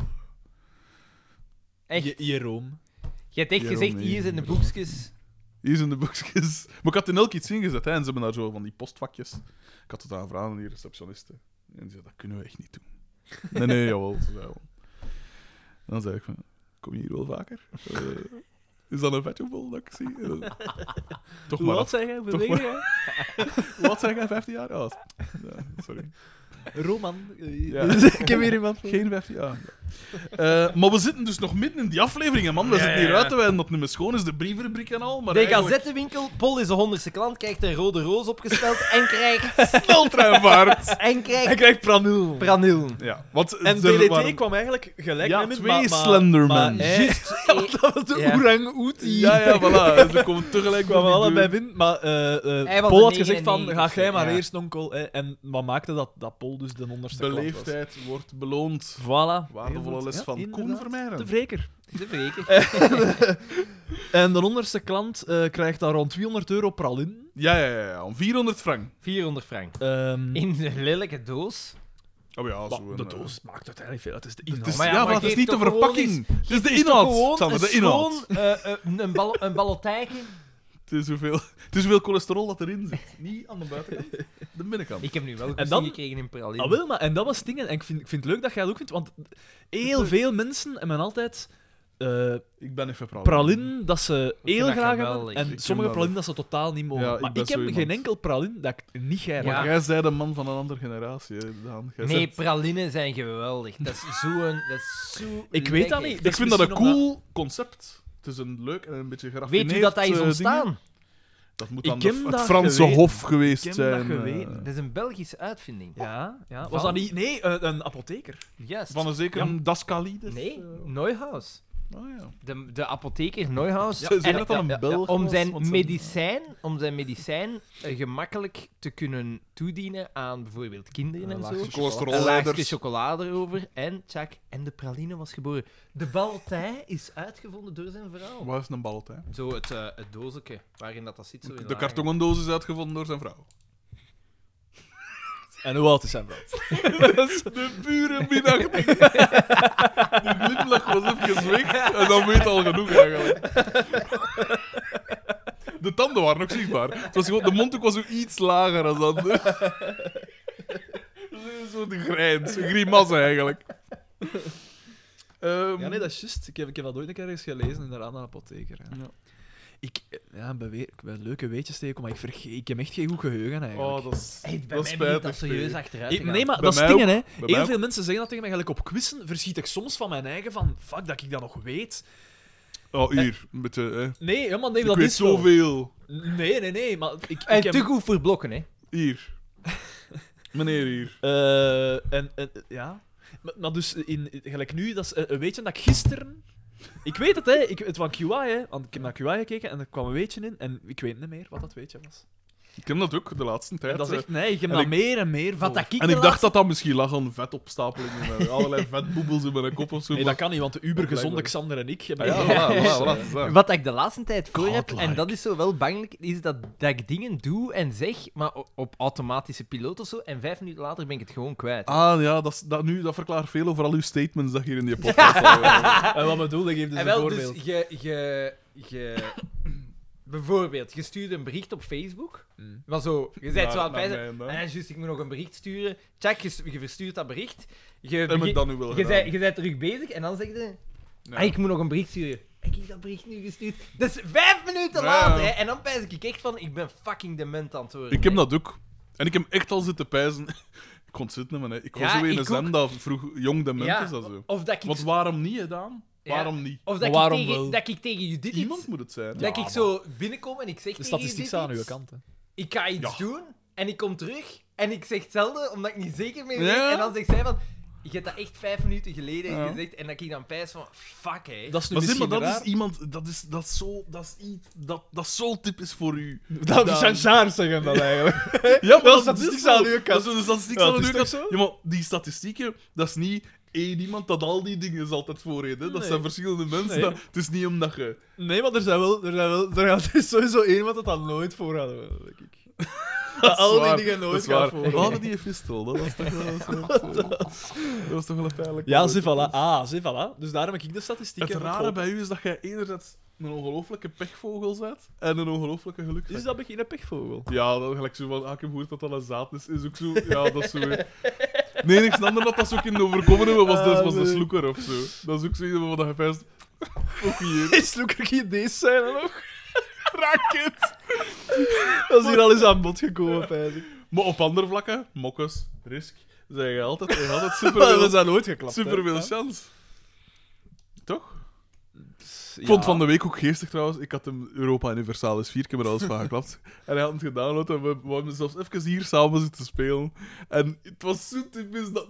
Speaker 4: Echt.
Speaker 3: Je- Jeroen.
Speaker 4: Je hebt echt
Speaker 2: Jeroen,
Speaker 4: gezegd,
Speaker 2: nee,
Speaker 4: hier zijn de
Speaker 2: Jeroen.
Speaker 4: boekjes.
Speaker 2: Hier zijn de boekjes. Maar ik had in elk iets ingezet, hè, en ze hebben daar zo van die postvakjes. Ik had het aangevraagd aan die receptionisten. En die zei, dat kunnen we echt niet doen. Nee, nee, jawel. Ze zei, wel. En dan zei ik van, kom je hier wel vaker? Eh, is dat een vegetable dat ik zie? Eh, toch maar
Speaker 3: Wat
Speaker 2: af.
Speaker 3: zeg jij?
Speaker 2: Toch
Speaker 3: Wat jij?
Speaker 2: Wat zeg jij, 15 jaar? Ja, ja, sorry.
Speaker 3: Roman. eh,
Speaker 2: Ja.
Speaker 3: ik heb hier iemand.
Speaker 2: Geen 15 jaar. Eh, maar we zitten dus nog midden in die aflevering, hè, man. We zitten hier uit te wijden dat het niet meer schoon is, de brievenrubriek en al. Maar
Speaker 4: De
Speaker 2: eigenlijk-
Speaker 4: gazettenwinkel, Paul is de honderdste klant, krijgt een rode roos opgesteld en krijgt...
Speaker 2: sneltreinvaart.
Speaker 4: en
Speaker 3: Hij
Speaker 4: krijgt...
Speaker 3: krijgt pranul.
Speaker 4: Pranil.
Speaker 2: Ja, want er
Speaker 3: En DDT
Speaker 2: waren-
Speaker 3: kwam eigenlijk gelijk
Speaker 2: Ja,
Speaker 3: met hem,
Speaker 2: twee
Speaker 3: maar- maar-
Speaker 2: Slendermen.
Speaker 3: maar- eh,
Speaker 4: Just...
Speaker 3: Dat was de
Speaker 4: Ja.
Speaker 3: orang-oetie.
Speaker 2: Ja, ja, voilà. Ze komen tegelijk door
Speaker 3: kwamen
Speaker 2: die
Speaker 3: allebei
Speaker 2: deur.
Speaker 3: binnen, maar eh, eh,
Speaker 4: Hij was
Speaker 3: Paul
Speaker 4: een
Speaker 3: had gezegd van,
Speaker 4: 99,
Speaker 3: ga jij maar
Speaker 4: ja.
Speaker 3: eerst, onkel. eh, en wat maakte dat, dat Paul dus de onderste klant was?
Speaker 2: Beleefdheid wordt beloond.
Speaker 3: Voilà.
Speaker 2: Waardevolle les
Speaker 3: Ja,
Speaker 2: van Koen
Speaker 3: inderdaad. De
Speaker 2: Vermeijeren.
Speaker 3: wreker.
Speaker 4: De
Speaker 3: Eh.
Speaker 4: weken.
Speaker 3: En de onderste klant eh, krijgt daar rond 200 euro pral in.
Speaker 2: Ja, ja, ja, ja. Om 400 frank.
Speaker 4: 400 frank.
Speaker 3: Ehm,
Speaker 4: In de lelijke doos.
Speaker 2: Oh ja,
Speaker 3: maar
Speaker 2: zo een,
Speaker 3: de
Speaker 2: eh,
Speaker 3: doos maakt uiteindelijk veel. Het is de
Speaker 2: Het
Speaker 3: inhoud.
Speaker 2: is,
Speaker 4: maar
Speaker 2: ja,
Speaker 4: ja,
Speaker 2: maar
Speaker 4: maar
Speaker 2: het is
Speaker 4: geef
Speaker 2: niet de
Speaker 4: toch gewoon
Speaker 2: verpakking. Het is de
Speaker 4: Gewoon
Speaker 2: inhoud. Sander,
Speaker 4: een
Speaker 2: de inhoud.
Speaker 4: schoon, eh, eh, een, bal een ballotijke.
Speaker 2: Het is, hoeveel, het is hoeveel cholesterol dat erin zit. Niet aan de buitenkant, de binnenkant.
Speaker 4: Ik heb nu wel
Speaker 3: En
Speaker 4: goesting
Speaker 3: dan-
Speaker 4: gekregen in praline.
Speaker 3: Ah, wel, maar en dat was het ding. En ik vind, ik vind het leuk dat jij dat ook vindt, want heel veel mensen hebben altijd eh,
Speaker 2: Ik ben even praten.
Speaker 3: pralin dat ze heel
Speaker 4: dat
Speaker 3: graag hebben
Speaker 4: geweldig.
Speaker 3: en
Speaker 2: Ik vind
Speaker 3: sommige
Speaker 2: dat
Speaker 3: pralin dat ze totaal niet mogen.
Speaker 2: Ja, ik
Speaker 3: maar
Speaker 2: ben
Speaker 3: ik heb
Speaker 2: zo
Speaker 3: geen
Speaker 2: iemand.
Speaker 3: enkel pralin dat ik niet ga
Speaker 2: Maar
Speaker 4: Ja.
Speaker 2: jij zei de man van een andere generatie, hè, Daan. Jij
Speaker 4: Nee,
Speaker 2: zegt-
Speaker 4: pralinen zijn geweldig. Dat is zo'n... Dat is zo
Speaker 3: Ik weet dat
Speaker 4: lekker.
Speaker 3: niet.
Speaker 2: ik
Speaker 3: is
Speaker 2: vind dat een
Speaker 3: misschien omdat-
Speaker 2: cool concept. Het is een leuk en een beetje geraffineerd...
Speaker 4: Weet u dat dat is
Speaker 2: eh,
Speaker 4: ontstaan?
Speaker 2: ding. Dat moet
Speaker 3: Ik
Speaker 2: dan de-
Speaker 3: heb
Speaker 2: het
Speaker 3: dat
Speaker 2: Franse
Speaker 3: geweten.
Speaker 2: hof geweest
Speaker 3: Ik heb dat
Speaker 2: zijn. eh,
Speaker 3: geweten.
Speaker 4: Dat is een Belgische uitvinding.
Speaker 3: Ja, ja.
Speaker 4: Van?
Speaker 3: Was dat niet? Nee, een, een apotheker.
Speaker 4: Juist.
Speaker 2: van een zeker
Speaker 3: Ja.
Speaker 2: Dascalides.
Speaker 4: Nee,
Speaker 2: eh,
Speaker 4: Neuhaus.
Speaker 2: oh ja.
Speaker 4: De, de apotheker Neuhaus.
Speaker 2: Ze zeggen
Speaker 4: En-
Speaker 2: dat dat een
Speaker 4: ja, ja,
Speaker 2: Belg
Speaker 4: om
Speaker 2: was,
Speaker 4: zijn
Speaker 2: want ze-
Speaker 4: medicijn, Om zijn medicijn eh, gemakkelijk te kunnen toedienen aan bijvoorbeeld kinderen en zo. Een laagje
Speaker 2: Chocoladers.
Speaker 4: chocolade erover. En tjak, en de praline was geboren. De baltij is uitgevonden door zijn vrouw.
Speaker 2: Wat is een balt, hè?
Speaker 4: Zo het, eh het doosje waarin dat, dat zit. Zo in
Speaker 2: De
Speaker 4: lagen.
Speaker 2: kartongendoos is uitgevonden door zijn vrouw.
Speaker 3: En hoe oud is hij wel?
Speaker 2: De pure minachting. Die glimlach was even weg. En dan weet al genoeg, eigenlijk. De tanden waren nog zichtbaar. Het was gewoon, de mondhoek was zo iets lager dan anders. Zo'n grijns, een grimas eigenlijk. Ehm,
Speaker 3: Ja, nee, dat is juist. Ik heb, ik heb dat ooit een keer eens gelezen inderdaad aan een apotheker. Ja.
Speaker 2: Ja.
Speaker 3: Ik, eh, ja, bij, weer- bij leuke weetjes tegenkomen, maar ik, vergeet, ik heb echt geen goed geheugen eigenlijk.
Speaker 2: Oh, dat is,
Speaker 4: Hey, bij
Speaker 2: dat is
Speaker 4: mij begint dat
Speaker 2: spijtig,
Speaker 4: serieus
Speaker 2: P.
Speaker 4: achteruit.
Speaker 3: Ik-
Speaker 4: te gaan.
Speaker 3: nee, maar
Speaker 2: Bij
Speaker 3: dat is
Speaker 2: mij
Speaker 3: het ding, hè.
Speaker 2: Bij mij
Speaker 3: Heel
Speaker 2: ook.
Speaker 3: veel mensen zeggen dat tegen mij. Gelijk op quizzen verschiet ik soms van mijn eigen van... Fuck, dat ik dat nog weet.
Speaker 2: Oh, hier. Een beetje, hè.
Speaker 3: Nee, helemaal nee,
Speaker 2: Ik
Speaker 3: dat
Speaker 2: weet
Speaker 3: is wel-
Speaker 2: zoveel.
Speaker 3: Nee, nee, nee, maar ik, ik
Speaker 4: En
Speaker 3: heb...
Speaker 4: te goed voor blokken, hè.
Speaker 2: Hier. Meneer hier.
Speaker 3: eh, en, en, ja... Maar, maar dus, in, in- gelijk nu, dat is, eh, een weetje dat ik gisteren... Ik weet het, hè. Ik, het van QI, hè. Want ik heb naar QI gekeken en er kwam een weetje in en ik weet niet meer wat dat weetje was.
Speaker 2: Ik ken dat ook, de laatste tijd.
Speaker 3: En dat is
Speaker 2: eh.
Speaker 3: echt... Nee, ik heb
Speaker 2: En
Speaker 3: dat
Speaker 2: ik-
Speaker 3: meer en meer van.
Speaker 4: Wat dat ik
Speaker 2: En ik dacht dat dat misschien lag aan vetopstapelingen. en eh, Allerlei vetboebels in mijn kop of zo.
Speaker 3: Nee, dat kan niet, want de ubergezonde
Speaker 2: Blijkbaar.
Speaker 3: Xander en ik
Speaker 2: maar-
Speaker 3: hebben...
Speaker 2: Ja, voilà, voilà, voilà, het is dat.
Speaker 4: Wat ik de laatste tijd voor heb, en
Speaker 3: Godlike.
Speaker 4: dat is zo wel bangelijk, is dat, dat ik dingen doe en zeg, maar o- op automatische piloot of zo, en vijf minuten later ben ik het gewoon kwijt.
Speaker 2: Ah ja, dat, is- dat, nu, dat verklaart veel over al uw statements dat je hier in die podcast al- eh,
Speaker 3: En wat bedoel ik? Geef dus
Speaker 4: en
Speaker 3: een
Speaker 4: wel,
Speaker 3: voorbeeld.
Speaker 4: dus je... je, je bijvoorbeeld, je stuurt een bericht op Facebook,
Speaker 3: Mm.
Speaker 4: maar zo, je bent
Speaker 2: Naar-
Speaker 4: zo aan het
Speaker 2: naar
Speaker 4: wijzen,
Speaker 2: mij,
Speaker 4: ah,
Speaker 2: hè.
Speaker 4: juist, ik moet nog een bericht sturen, check, je, s- je verstuurt dat bericht, je,
Speaker 2: Heb ik
Speaker 4: begin-
Speaker 2: dat nu wel
Speaker 4: je,
Speaker 2: gedaan?
Speaker 4: bent- je bent terug bezig, en dan zeg je,
Speaker 2: Ja.
Speaker 4: Ah, ik moet nog een bericht sturen. Heb ik dat bericht nu gestuurd? Dat is vijf minuten
Speaker 2: Ja.
Speaker 4: later, hè. En dan pijs ik echt van, ik ben fucking dement aan het worden.
Speaker 2: Ik heb
Speaker 4: hè.
Speaker 2: dat ook. En ik heb echt al zitten pijzen. Ik kon het zitten, maar nee, ik was
Speaker 4: Ja,
Speaker 2: zo in een
Speaker 4: ik ook.
Speaker 2: zend dat vroeg jong de
Speaker 4: Ja,
Speaker 2: mensen dat zo.
Speaker 4: Of dat ik,
Speaker 2: Want waarom niet, hè, Daan?
Speaker 4: Ja.
Speaker 2: Waarom niet?
Speaker 4: of dat
Speaker 3: Maar
Speaker 4: ik,
Speaker 3: waarom
Speaker 4: tegen,
Speaker 3: wel?
Speaker 4: dat ik tegen Judith iets...
Speaker 2: Iemand moet het zijn.
Speaker 4: dat ik zo binnenkom en ik zeg
Speaker 3: De
Speaker 4: tegen
Speaker 3: statistiek
Speaker 4: Judith
Speaker 3: staat aan uw
Speaker 4: iets.
Speaker 3: kant. Hè.
Speaker 4: Ik ga iets
Speaker 2: Ja.
Speaker 4: doen en ik kom terug en ik zeg hetzelfde, omdat ik niet zeker meer weet.
Speaker 2: Ja.
Speaker 4: En dan zegt zij van... Je hebt dat echt vijf minuten geleden
Speaker 2: Ja.
Speaker 4: gezegd en dat ik dan pijs van... Fuck, hè.
Speaker 3: Dat is nu
Speaker 2: Maar zeg
Speaker 3: misschien
Speaker 2: maar, dat
Speaker 3: raar.
Speaker 2: is iemand... Dat is, dat is zo... Dat is iets... Dat, dat is zo typisch voor u.
Speaker 3: Dat
Speaker 2: Dan-
Speaker 3: chanchaars zeggen dat eigenlijk.
Speaker 2: Ja, maar
Speaker 3: Dat
Speaker 2: dat,
Speaker 3: is statistiek
Speaker 2: is wel-
Speaker 3: aan uw kant.
Speaker 2: Dat is een statistiek
Speaker 3: Ja,
Speaker 2: aan
Speaker 3: het
Speaker 2: uw
Speaker 3: is
Speaker 2: kant.
Speaker 3: toch zo?
Speaker 2: Ja, maar die statistieken, dat is niet één iemand dat al die dingen is altijd voorheen. Hè? Dat
Speaker 3: Nee.
Speaker 2: zijn verschillende mensen.
Speaker 3: Nee.
Speaker 2: dat- het is niet omdat je...
Speaker 3: Nee, maar er, zijn wel, er, zijn wel, er gaat- er is sowieso iemand dat dat nooit voor had, denk ik.
Speaker 2: Dat is
Speaker 3: Al die
Speaker 2: waar,
Speaker 3: dingen nooit
Speaker 2: dat is
Speaker 3: gaat
Speaker 2: waar.
Speaker 3: voor.
Speaker 2: Oh, die epistel, dat was toch wel... dat was toch wel een pijnlijk...
Speaker 3: Ja, zie, voilà. Ah, zie, voilà. Dus daarom heb ik de statistiek.
Speaker 2: Het rare bij u is dat jij enerzijds een ongelooflijke pechvogel bent en een ongelooflijke geluksvogel.
Speaker 3: Is dat begin een pechvogel?
Speaker 2: Ja, dat gelijk zo van, ah, ik heb gehoord dat dat een zaad is, is ook zo. Ja, dat is zo. hè. Nee, niks ander dat dat zo kunnen overkomen hebben, was, de,
Speaker 3: Ah,
Speaker 2: was de
Speaker 3: nee.
Speaker 2: sloeker of zo. Dat is ook zoiets wat je vijst... Ook hier.
Speaker 3: Is Loeker geen deze zijn dan nog?
Speaker 2: Raket!
Speaker 3: Dat is hier al eens aan bod gekomen, pijs ik.
Speaker 2: Maar op andere vlakken, mokkes, risk, zijn je altijd, je hebt altijd
Speaker 3: Maar we
Speaker 2: superveel,
Speaker 3: zijn nooit geklapt. hè.
Speaker 2: superveel chance. Toch?
Speaker 3: Ja.
Speaker 2: Ik vond van de week ook geestig trouwens. Ik had hem Europa Universalis 4, ik heb er alles van geklapt. en hij had hem gedownload en we, we hebben zelfs even hier samen zitten spelen. En het was zo typisch dat...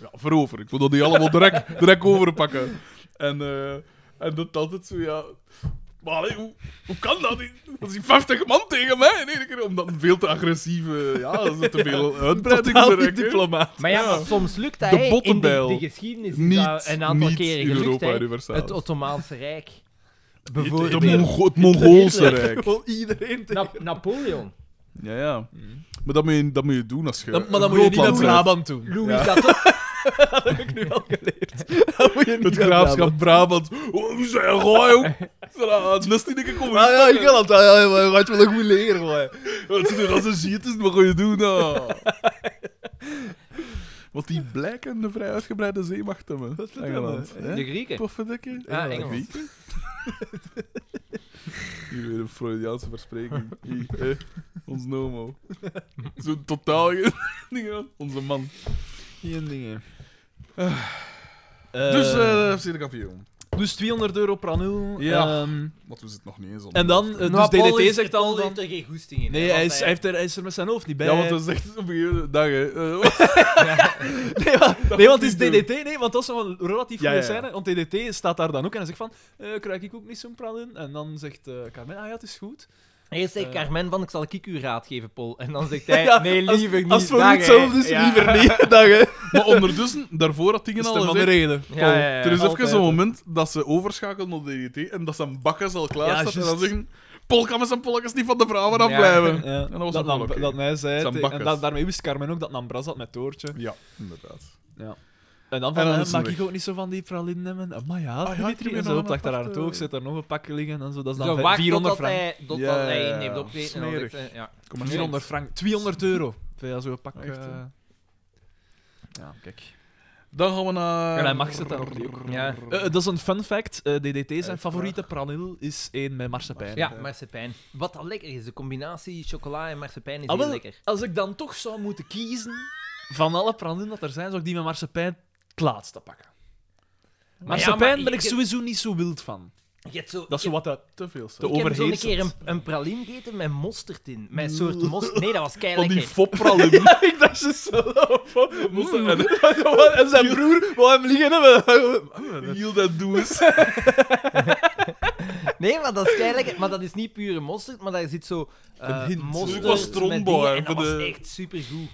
Speaker 2: Ja, verover. Ik vond dat die allemaal direct, direct overpakken. En, eh, en dat altijd zo, ja... Maar allee, hoe, hoe kan dat? Dat is die 50 man tegen mij in één keer. Omdat een veel te agressieve... Ja, dat is te veel uitbreiding.
Speaker 3: Totaal niet
Speaker 2: direct, hè.
Speaker 3: diplomaat.
Speaker 4: Maar ja,
Speaker 2: Ja.
Speaker 4: maar soms lukt dat,
Speaker 2: De
Speaker 4: hè. In
Speaker 2: bottenbijl.
Speaker 4: de geschiedenis is dat
Speaker 2: Niet,
Speaker 4: een aantal
Speaker 2: niet
Speaker 4: keren
Speaker 2: in
Speaker 4: gelukt,
Speaker 2: Europa
Speaker 4: hè.
Speaker 2: Universalis.
Speaker 4: Het Ottomaanse Rijk.
Speaker 2: De
Speaker 4: Bijvoorbeeld.
Speaker 2: Mongo- het Mongoolse
Speaker 4: Hitler.
Speaker 2: Rijk.
Speaker 3: Gewoon iedereen tegen.
Speaker 4: Na- Napoleon.
Speaker 2: Ja, ja. Maar dat moet je, dat moet je doen als je.
Speaker 3: Dan- maar dan moet je niet met
Speaker 2: Grootland bent.
Speaker 3: Brabant doen.
Speaker 4: Louis XIV.
Speaker 3: Dat heb ik nu al geleerd. Dat moet je
Speaker 2: Het
Speaker 3: niet met
Speaker 2: graafschap Brabant. Oh, ze zijn gooi, ook. Het is niet een komen.
Speaker 3: Maar Ah, ja, ik wil dat. Ja, ja, maar wat wil ik goed leren, man.
Speaker 2: Het is een rasse shit, is wat ga je doen? nou? Want die blijken de vrij uitgebreide zeemacht te hebben. Engeland. hè?
Speaker 4: De Grieken.
Speaker 2: Pofferdikke?
Speaker 4: Ja, Engeland.
Speaker 2: Grieken? Hier weer een Freudiaanse verspreking. Hier, hè, ons nomo. Zo'n totaal geen ding aan. Onze man.
Speaker 3: Geen dingen.
Speaker 2: Dus eh FC de kampioen.
Speaker 3: dus 200 euro per annul.
Speaker 2: Ja.
Speaker 3: ehm,
Speaker 2: Want we zitten nog niet eens op.
Speaker 3: en dan, eh, dus
Speaker 4: Maar Paul
Speaker 3: DDT
Speaker 4: heeft-
Speaker 3: zegt
Speaker 4: Paul
Speaker 3: dan... van-
Speaker 4: heeft er geen goesting in. hè,
Speaker 3: Nee,
Speaker 4: want
Speaker 3: hij is, hij, heeft er, hij is er met zijn hoofd niet bij.
Speaker 2: Ja, want dat is echt op een gegeven moment... Dag, hè. Eh,
Speaker 3: Nee, maar- nee, want het is
Speaker 2: moet je niet
Speaker 3: DDT. Nee, want dat is nog een relatief
Speaker 2: Ja,
Speaker 3: goede
Speaker 2: ja, ja.
Speaker 3: scène. Want DDT staat daar dan ook en hij zegt van... eh krijg ik ook niet zo'n pral in? En dan zegt eh Carmen, ah ja, het is goed.
Speaker 4: Eerst zegt Carmen van, ik zal Kiku raad geven, Paul. En dan zegt
Speaker 3: Ja,
Speaker 4: hij,
Speaker 3: Eh. ja,
Speaker 4: nee,
Speaker 3: als-
Speaker 4: liever niet.
Speaker 3: Als het voor
Speaker 4: dag,
Speaker 3: u hetzelfde
Speaker 4: hè.
Speaker 3: is,
Speaker 4: Ja.
Speaker 3: liever niet. Dag, hè.
Speaker 2: maar ondertussen, daarvoor had dingen
Speaker 3: Dat is
Speaker 2: al
Speaker 3: de van de
Speaker 2: gezegd...
Speaker 3: reden.
Speaker 4: Ja, ja, ja.
Speaker 2: er is
Speaker 3: altijd,
Speaker 2: even zo'n
Speaker 3: hè.
Speaker 2: moment dat ze overschakelen op DDT E en dat zijn bakkers al klaar
Speaker 3: Ja,
Speaker 2: staat en dan
Speaker 3: juist.
Speaker 2: zeggen... Polka met zijn polkjes niet van de vrouwen
Speaker 4: Ja.
Speaker 2: afblijven.
Speaker 3: Ja,
Speaker 2: dat was
Speaker 3: dat,
Speaker 2: ook wel
Speaker 3: Nam-
Speaker 2: oké.
Speaker 3: dat mij zei
Speaker 2: Zijn
Speaker 3: het,
Speaker 2: bakkers.
Speaker 3: en da- daarmee wist Carmen ook dat Nambras had met Toortje.
Speaker 2: Ja, inderdaad.
Speaker 3: En dan van,
Speaker 2: En dan
Speaker 3: eh,
Speaker 2: is ze
Speaker 3: maak
Speaker 2: weg. Ah,
Speaker 3: ik ook niet zo van die pralinen nemen. Ah, Maar ja,
Speaker 2: ja, ik heb
Speaker 3: Dimitri.
Speaker 2: hier
Speaker 3: en
Speaker 2: nog
Speaker 3: zo
Speaker 2: een
Speaker 3: op achter haar
Speaker 2: aparte-
Speaker 3: toog zit er nog een pak liggen en zo. Dat is
Speaker 4: Zo
Speaker 3: dan
Speaker 4: wacht
Speaker 3: 400
Speaker 4: totdat
Speaker 3: frank.
Speaker 4: hij, totdat
Speaker 2: Ja,
Speaker 4: hij
Speaker 2: ja,
Speaker 4: in heeft
Speaker 2: ja.
Speaker 4: opgegeten en dan
Speaker 2: Smerig.
Speaker 4: zegt hij, ja.
Speaker 2: Kom maar
Speaker 3: 400 frank. 200 euro. Vind je dat zo'n pak?
Speaker 2: Echt, hè?
Speaker 3: eh, Ja, kijk.
Speaker 2: Dan gaan we naar...
Speaker 3: En hij mag zitten opnieuw.
Speaker 4: Ja.
Speaker 3: Eh, dat is een fun fact. Eh, DDT, zijn
Speaker 2: Uiteraard.
Speaker 3: favoriete pranil is één met marsepein.
Speaker 4: Ja, marsepein. Wat al lekker is, de combinatie chocola en marsepein is
Speaker 3: Ah,
Speaker 4: heel
Speaker 3: wel,
Speaker 4: lekker.
Speaker 3: Als ik dan toch zou moeten kiezen van alle pralinen dat er zijn, zou ik die met marsepein het laatste pakken. Marsepein
Speaker 4: ja, maar
Speaker 3: ben ik
Speaker 4: je-
Speaker 3: sowieso niet zo wild van.
Speaker 4: Je hebt zo,
Speaker 3: Dat is zo
Speaker 4: je-
Speaker 3: wat dat...
Speaker 2: Te veel
Speaker 3: De
Speaker 2: zelfs.
Speaker 4: ik heb zo een
Speaker 3: overheersend.
Speaker 4: keer een, een praline gegeten met mosterd in. Met een soort mosterd. Nee, dat was
Speaker 2: Van
Speaker 4: keihard
Speaker 2: die
Speaker 4: lekker.
Speaker 2: foppralin.
Speaker 3: Ja, ik dacht ze zo. Mm. En zijn broer wou hem liggen hebben.
Speaker 2: Heel dat doe eens.
Speaker 4: Nee, maar dat is keihard lekker. Maar dat is niet pure mosterd, maar daar zit zo eh,
Speaker 3: Een hint.
Speaker 4: mosterd
Speaker 2: Ik was
Speaker 4: met
Speaker 2: Trombo,
Speaker 4: dingen,
Speaker 2: hè,
Speaker 4: En dat
Speaker 2: voor
Speaker 4: was
Speaker 2: de-
Speaker 4: echt supergoed.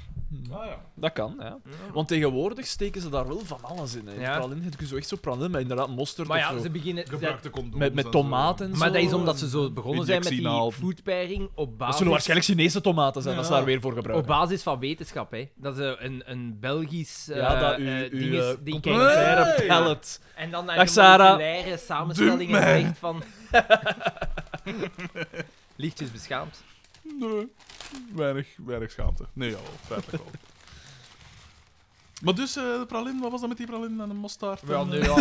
Speaker 3: Dat kan, ja. Want tegenwoordig steken ze daar wel van alles in. Hè.
Speaker 4: Ja.
Speaker 3: Ja. Pralin, heb je zo echt zo pralin met inderdaad mosterd
Speaker 4: Maar ja,
Speaker 3: of zo.
Speaker 4: ze beginnen... ze-
Speaker 2: Gebruikte condooms
Speaker 3: Met,
Speaker 2: en
Speaker 3: met
Speaker 2: zo.
Speaker 3: tomaten en zo.
Speaker 4: maar dat is omdat ze zo begonnen zijn met die
Speaker 2: Injectienaald.
Speaker 4: foodpairing op
Speaker 3: Dat
Speaker 4: basis...
Speaker 3: zullen waarschijnlijk Chinese tomaten zijn, dat ze daar weer voor
Speaker 4: Op
Speaker 3: gebruiken.
Speaker 4: basis van wetenschap, hè. Dat is eh, een, een Belgisch... eh,
Speaker 3: ja, dat u,
Speaker 4: eh,
Speaker 3: u
Speaker 4: ding is-
Speaker 3: eh,
Speaker 4: die kijkt-
Speaker 3: complementaire
Speaker 2: Hey!
Speaker 3: pallet.
Speaker 4: En dan naar
Speaker 3: Dag,
Speaker 4: de
Speaker 3: Sarah.
Speaker 4: moleculaire
Speaker 2: Dump
Speaker 4: samenstellingen
Speaker 2: mij.
Speaker 4: zegt van... Lichtjes beschaamd.
Speaker 2: Nee. Weinig, weinig schaamte. Nee, ja, wel, feitelijk wel. Maar dus, eh, de pralin, wat was dat met die pralin en de mosterd? en, eh,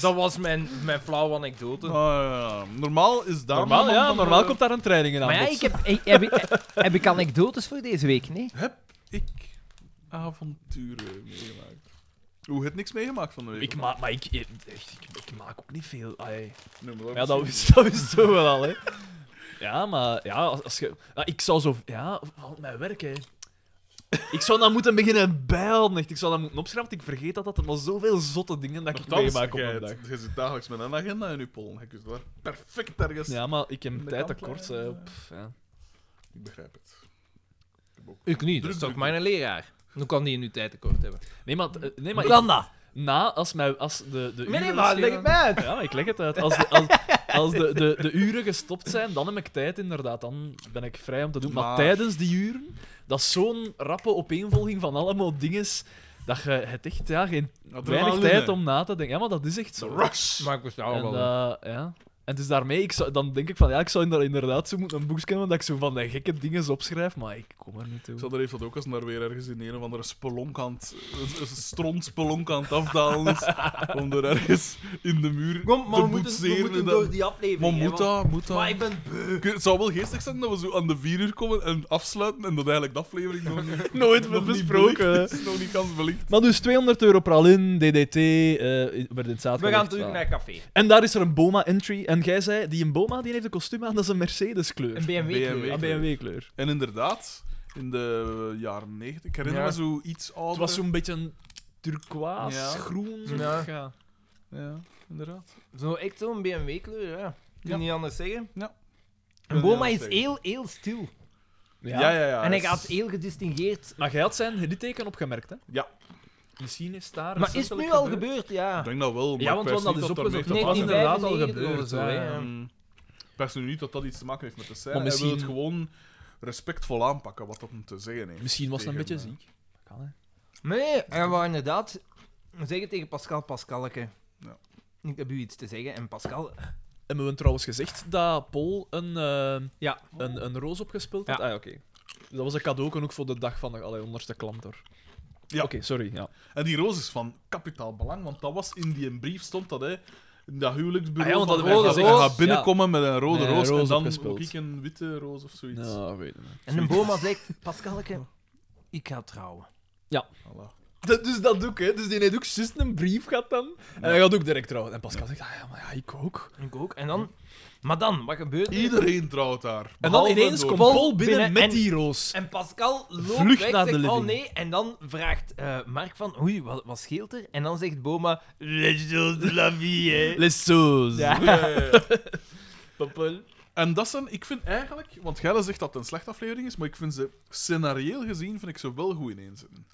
Speaker 4: dat, was mijn, mijn flauwe anekdote.
Speaker 2: Ah, ja. Normaal is daar...
Speaker 3: Normaal,
Speaker 2: man
Speaker 3: ja,
Speaker 2: van,
Speaker 3: normaal
Speaker 2: eh,
Speaker 3: komt daar een training in aan.
Speaker 4: Maar ja,
Speaker 3: bod.
Speaker 4: ik heb, ik, heb, ik- heb ik anekdotes voor deze week? Nee?
Speaker 2: Heb ik avonturen meegemaakt? Hoe het niks meegemaakt van de week?
Speaker 3: Ik maak, maar ik, ik, ik- ik maak ook niet veel. ai.
Speaker 2: Noem maar op.
Speaker 3: Ja, dat wist, dat wist zo wel al, hè. Ja, maar ja, als, als je... Ja, ik zou zo... Ja, al mijn werk, hè. Ik zou dan moeten beginnen bijhouden, echt. Ik zou dat moeten opschrijven, want ik vergeet dat dat er maar zoveel zotte dingen dat ik
Speaker 2: Nochtans,
Speaker 3: meemaak op
Speaker 2: jij-
Speaker 3: een dag.
Speaker 2: Je zit dagelijks met een agenda in je pollen. Je kunt daar perfect ergens...
Speaker 3: Ja, maar ik heb
Speaker 2: de
Speaker 3: tijd
Speaker 2: kant
Speaker 3: tekort.
Speaker 2: leggen,
Speaker 3: hè.
Speaker 2: ja.
Speaker 3: Pff, ja.
Speaker 2: Ik begrijp het.
Speaker 4: Ik niet,
Speaker 2: dat is toch
Speaker 4: mijn leraar. Hoe kan die in uw tijd tekort hebben?
Speaker 3: Nee, maar, eh, nee, maar
Speaker 4: Maar
Speaker 3: ik-
Speaker 4: kan dat?
Speaker 3: na, als, mijn, als de, de
Speaker 4: Nee, nee,
Speaker 3: uren
Speaker 4: maar
Speaker 3: geschreven-
Speaker 4: leg het mij uit.
Speaker 3: Ja, ik leg het uit. Als, de, als, als de, de, de uren gestopt zijn, dan heb ik tijd inderdaad. Dan ben ik vrij om te doen. Maar,
Speaker 2: Maar-
Speaker 3: tijdens die uren, dat is zo'n rappe opeenvolging van allemaal dingen. Dat je het echt ja, geen, weinig
Speaker 2: Adrenaline.
Speaker 3: tijd om na te denken. Ja, maar dat is echt zo.
Speaker 2: Rush!
Speaker 4: Maar ik bestaal
Speaker 3: En, eh, ja. en dus daarmee, ik zou, dan denk ik van ja, ik zou inder- inderdaad zo moeten een boek kennen dat ik zo van die gekke dingen opschrijf, maar ik kom er niet toe.
Speaker 2: Sander heeft dat ook als naar weer ergens in een of andere spelonkant, een stronspelonk aan het afdalen is, om er ergens in de muur
Speaker 4: Kom, maar
Speaker 2: te
Speaker 4: we moeten, we
Speaker 2: boetseren.
Speaker 4: moeten
Speaker 2: en
Speaker 4: door
Speaker 2: dan-
Speaker 4: die aflevering.
Speaker 2: Maar
Speaker 4: hè,
Speaker 2: moet
Speaker 4: want-
Speaker 2: dat, moet dat.
Speaker 4: Maar ik ben beu.
Speaker 2: Ik- Het zou wel geestig zijn dat we zo aan de vier uur komen en afsluiten en dat eigenlijk de aflevering nog niet,
Speaker 3: Nooit
Speaker 2: nog niet
Speaker 3: besproken.
Speaker 2: belicht is, nog niet kans belicht.
Speaker 3: Maar dus 200 euro pralin, DDT, eh werd in zaterdag.
Speaker 4: We gaan terug naar café.
Speaker 3: En daar is er een Boma entry. En jij zei, die een Boma die heeft een kostuum aan, dat is een Mercedes kleur.
Speaker 4: Een BMW.
Speaker 2: BMW.
Speaker 4: kleur.
Speaker 3: Een BMW kleur.
Speaker 2: En inderdaad, in de jaren negentig, ik herinner
Speaker 4: Ja.
Speaker 2: me zo iets ouder.
Speaker 3: Het was zo'n beetje een turquoise,
Speaker 2: Ja.
Speaker 3: groen. zo.
Speaker 4: Ja.
Speaker 3: Ja.
Speaker 2: Ja, inderdaad.
Speaker 4: Zo, echt zo'n BMW-kleur, ja. Kun je
Speaker 2: Ja.
Speaker 4: niet anders zeggen?
Speaker 2: Ja.
Speaker 4: En Boma
Speaker 2: Ja,
Speaker 4: is
Speaker 2: zeker.
Speaker 4: heel, heel stil.
Speaker 3: Ja.
Speaker 2: Ja, ja, ja.
Speaker 4: en hij
Speaker 2: is-
Speaker 4: gaat heel gedistingeerd.
Speaker 3: Maar jij had zijn litteken opgemerkt, hè?
Speaker 2: Ja.
Speaker 3: Misschien is daar...
Speaker 4: Maar is het nu al gebeurd, ja.
Speaker 2: Ik denk dat wel, maar
Speaker 3: Ja, want
Speaker 2: ik
Speaker 3: want
Speaker 2: wijs niet
Speaker 3: dat is
Speaker 2: daarmee
Speaker 3: opgezocht.
Speaker 2: te maken
Speaker 3: Dat was
Speaker 2: heeft.
Speaker 3: inderdaad al
Speaker 4: 1995 of
Speaker 3: gebeurd.
Speaker 4: zo, hè,
Speaker 3: ja.
Speaker 4: ja.
Speaker 2: Ehm, Ik pers nu niet dat dat iets te maken heeft met de scène.
Speaker 3: Maar
Speaker 2: Hij wil het
Speaker 3: misschien-
Speaker 2: gewoon respectvol aanpakken wat dat hem te zeggen heeft.
Speaker 3: Misschien was het een
Speaker 2: Tegen,
Speaker 3: beetje
Speaker 2: eh,
Speaker 3: ziek. Kan, hè.
Speaker 4: Nee, en wou inderdaad zeggen tegen Pascal Pascalke.
Speaker 2: Ja.
Speaker 4: Ik heb u iets te zeggen. En Pascal...
Speaker 3: Hebben we trouwens gezegd dat Paul een, eh,
Speaker 4: Ja.
Speaker 3: een, een roos opgespeeld had?
Speaker 4: Ja.
Speaker 3: Ah, oké. Dat was een cadeau ook voor de dag van de allerhonderste klant, hoor.
Speaker 2: Ja.
Speaker 3: Oké, sorry. Ja.
Speaker 2: En die roos is van kapitaal belang, want dat was in die brief stond dat, hè. In dat
Speaker 3: Ah ja,
Speaker 2: huwelijksbureau.
Speaker 3: want
Speaker 2: van,
Speaker 3: dat
Speaker 2: wij
Speaker 3: rode
Speaker 2: gaan- wij
Speaker 3: roos,
Speaker 2: gaan binnenkomen met een rode
Speaker 3: Nee,
Speaker 2: roos,
Speaker 3: roos
Speaker 2: en dan
Speaker 3: opgespeeld.
Speaker 2: ook ik een witte roos of zoiets.
Speaker 3: Nou, weet ik niet.
Speaker 4: En een boma zegt, Pascalke, ik ga trouwen.
Speaker 2: Voilà.
Speaker 3: Dat, dus dat doe ik, hè. Dus die heeft ook juist een brief gehad dan. En hij gaat ook direct trouwen. En Pascal zegt, ah ja, maar ja, ik ook.
Speaker 4: Ik ook. En dan... Maar dan, wat gebeurt er?
Speaker 2: Iedereen trouwt daar.
Speaker 3: En dan
Speaker 2: behalve
Speaker 3: ineens
Speaker 2: Doorn.
Speaker 3: komt Paul
Speaker 4: binnen
Speaker 3: binnen met
Speaker 4: en-
Speaker 3: die roos.
Speaker 4: En Pascal loopt
Speaker 3: Vlucht
Speaker 4: weg,
Speaker 3: naar
Speaker 4: zegt,
Speaker 3: de
Speaker 4: oh
Speaker 3: living.
Speaker 4: nee, en dan vraagt eh, Mark van, oei, wat, wat scheelt er? En dan zegt Boma, les choses de la vie, hè.
Speaker 3: Les sauces.
Speaker 4: Ja.
Speaker 2: Ja, ja, ja.
Speaker 4: Papel.
Speaker 2: En dat zijn, ik vind eigenlijk, want Gelle zegt dat het een slechte aflevering is, maar ik vind ze scenarioel gezien vind ik ze wel goed ineenzetten.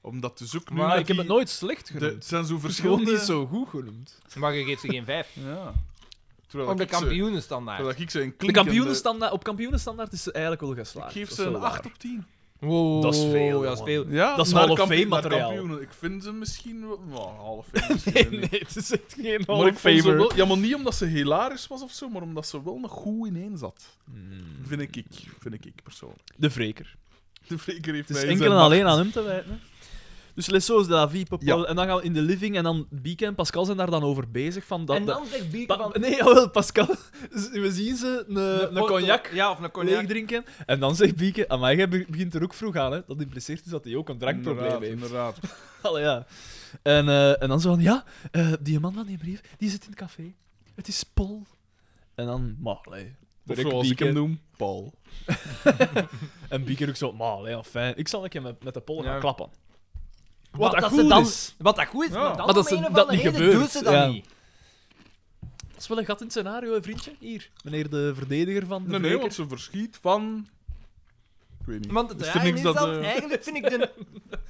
Speaker 2: Omdat dus ook nu.
Speaker 3: Maar
Speaker 2: met
Speaker 3: ik heb het
Speaker 2: die-
Speaker 3: nooit slecht
Speaker 2: de- Het
Speaker 3: genoemd.
Speaker 2: zijn zo
Speaker 3: Het is gewoon
Speaker 2: verschillende.
Speaker 3: niet zo goed genoemd.
Speaker 4: Maar je geeft ze geen vijf.
Speaker 2: Ja. Terwijl
Speaker 4: Om de
Speaker 2: ik ze-
Speaker 4: kampioenenstandaard.
Speaker 2: terwijl ik ze een
Speaker 3: De
Speaker 2: klinkende-
Speaker 3: kampioenenstandaard, op kampioenenstandaard is ze eigenlijk wel geslaagd.
Speaker 2: Ik geef
Speaker 3: Dat
Speaker 2: ze
Speaker 3: is
Speaker 2: een
Speaker 3: wel
Speaker 2: 8
Speaker 3: waar.
Speaker 2: op 10.
Speaker 4: Wow,
Speaker 3: Dat is veel,
Speaker 4: Dat
Speaker 3: man.
Speaker 4: is veel.
Speaker 2: Ja,
Speaker 3: Dat is
Speaker 2: naar
Speaker 3: Hall of
Speaker 2: kampioen-
Speaker 3: Fame
Speaker 2: naar
Speaker 3: materiaal.
Speaker 2: kampioenen. Ik vind ze misschien wel. Nou, half fame. misschien
Speaker 3: Nee,
Speaker 2: niet.
Speaker 3: nee, het is echt geen
Speaker 2: Maar
Speaker 3: Hall
Speaker 2: ik
Speaker 3: of
Speaker 2: vond ze
Speaker 3: Famer.
Speaker 2: wel, ja, maar niet omdat ze hilarisch was of zo, maar omdat ze wel nog goed ineen zat.
Speaker 3: Hmm.
Speaker 2: Vind ik, ik, vind ik, ik persoonlijk.
Speaker 3: De wreker.
Speaker 2: De Freker heeft
Speaker 3: Het is
Speaker 2: mij
Speaker 3: enkel en alleen aan hem te wijten. hè. Dus Les Sauces de la Vie, Papal.
Speaker 2: Ja.
Speaker 3: En dan gaan we in de living en dan Bieke en Pascal zijn daar dan over bezig. Van dat,
Speaker 4: en
Speaker 3: dat-
Speaker 4: dan zegt Bieke
Speaker 3: Pa-
Speaker 4: van...
Speaker 3: nee, jawel, Pascal. We zien ze een, een
Speaker 4: Porto-
Speaker 3: cognac
Speaker 4: Ja, of een
Speaker 3: leeg
Speaker 4: cognac.
Speaker 3: drinken. En dan zegt Bieke, amai, jij be- begint er ook vroeg aan. Hè. Dat impliceert dus dat hij ook een drankprobleem heeft.
Speaker 2: Inderdaad.
Speaker 3: Allee, ja. En, eh, en dan zo van, ja, eh, die man van die brief, die zit in het café. Het is Paul. En dan, maar, allee.
Speaker 2: Of
Speaker 3: direct
Speaker 2: zoals ik
Speaker 3: Bieke.
Speaker 2: hem noem, Paul.
Speaker 3: En Bieke ook zo, maar, allee, ja, fijn. Ik zal een keer met, met de Paul gaan
Speaker 4: Ja.
Speaker 3: klappen. Wat,
Speaker 4: Wat
Speaker 3: dat
Speaker 4: dat ze
Speaker 3: goed
Speaker 4: dan-
Speaker 3: is.
Speaker 4: Wat dat goed is,
Speaker 2: Ja.
Speaker 4: maar dan
Speaker 3: Maar dat
Speaker 4: om
Speaker 3: ze-
Speaker 4: een of
Speaker 3: dat
Speaker 4: andere
Speaker 3: niet
Speaker 4: reden
Speaker 3: gebeurt.
Speaker 4: doet ze dat
Speaker 3: Ja.
Speaker 4: niet.
Speaker 3: Dat is wel een gat in het scenario, hè, vriendje. Hier, meneer de verdediger van de
Speaker 2: Nee, nee,
Speaker 3: wreker.
Speaker 2: want ze verschiet van... Ik weet niet.
Speaker 4: Want het
Speaker 2: Is er
Speaker 4: raar
Speaker 2: niks
Speaker 4: is
Speaker 2: dat,
Speaker 4: dat...
Speaker 2: eh,
Speaker 4: Eigenlijk vind ik de...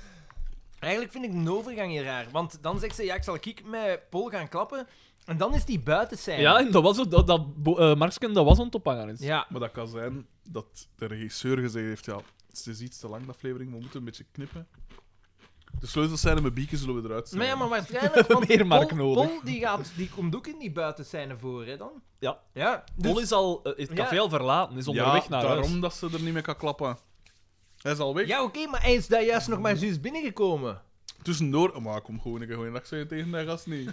Speaker 4: Eigenlijk vind ik een overgang hier raar. Want dan zegt ze, ja, ik zal kiek met Paul gaan klappen. En dan is die buiten zijn.
Speaker 3: Ja, en dat was het, dat, dat bo- eh, Marsken, dat was ontophangen is.
Speaker 4: Ja.
Speaker 2: Maar dat kan zijn dat de regisseur gezegd heeft, ja, het is iets te lang, de aflevering, we moeten een beetje knippen. De sleutels zijn en mijn bieken zullen we eruit
Speaker 4: Maar ja,
Speaker 2: snijden.
Speaker 4: maar waarschijnlijk... Want
Speaker 3: Meer Mark
Speaker 4: Paul,
Speaker 3: nodig.
Speaker 4: Paul, die, gaat, die komt ook in die buitenscène voor, hè, dan?
Speaker 3: Ja.
Speaker 4: Ja.
Speaker 3: Paul
Speaker 4: Dus,
Speaker 3: is al eh, het café
Speaker 4: Ja.
Speaker 3: al verlaten, is
Speaker 2: Ja,
Speaker 3: onderweg naar
Speaker 2: daarom
Speaker 3: huis.
Speaker 2: dat ze er niet mee kan klappen. Hij is al weg.
Speaker 4: ja, oké, maar hij is daar juist nog maar juist binnengekomen.
Speaker 2: Tussendoor... oh, Maar kom gewoon een keer goeiedag zeggen tegen dat gast niet.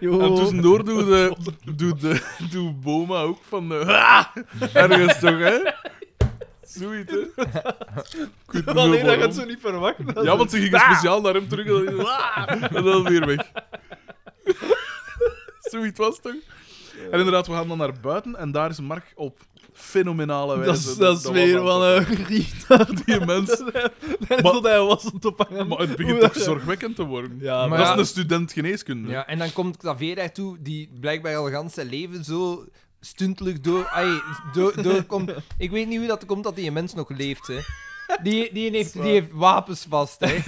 Speaker 3: Yo.
Speaker 2: En tussendoor doet de, doet de, doet Boma ook van... eh, "Ha!" Ergens toch, hè? Zoiets, hè? Ik weet niet
Speaker 3: Wanneer dat je
Speaker 2: waarom.
Speaker 3: het zo niet verwacht. dat
Speaker 2: Ja,
Speaker 3: is-
Speaker 2: want ze gingen speciaal naar hem terug en dan- en dan weer weg. Zoiets was het toch? En inderdaad, we gaan dan naar buiten en daar is Mark op fenomenale wijze.
Speaker 3: Dat is, dat is weer van
Speaker 2: een
Speaker 3: een Rita.
Speaker 2: Die mens. Maar-
Speaker 3: Dat hij was ontophangen.
Speaker 2: Maar het begint toch zorgwekkend te worden.
Speaker 3: Ja,
Speaker 4: Maar
Speaker 2: dat
Speaker 4: ja.
Speaker 2: is een student geneeskunde.
Speaker 4: Ja, en dan komt Xavier daartoe, die blijkbaar al gans zijn leven zo stuntelijk door, ai, door, doorkomt. Ik weet niet hoe dat komt dat die mens nog leeft, hè. Die, die, heeft, die heeft wapens vast, hè.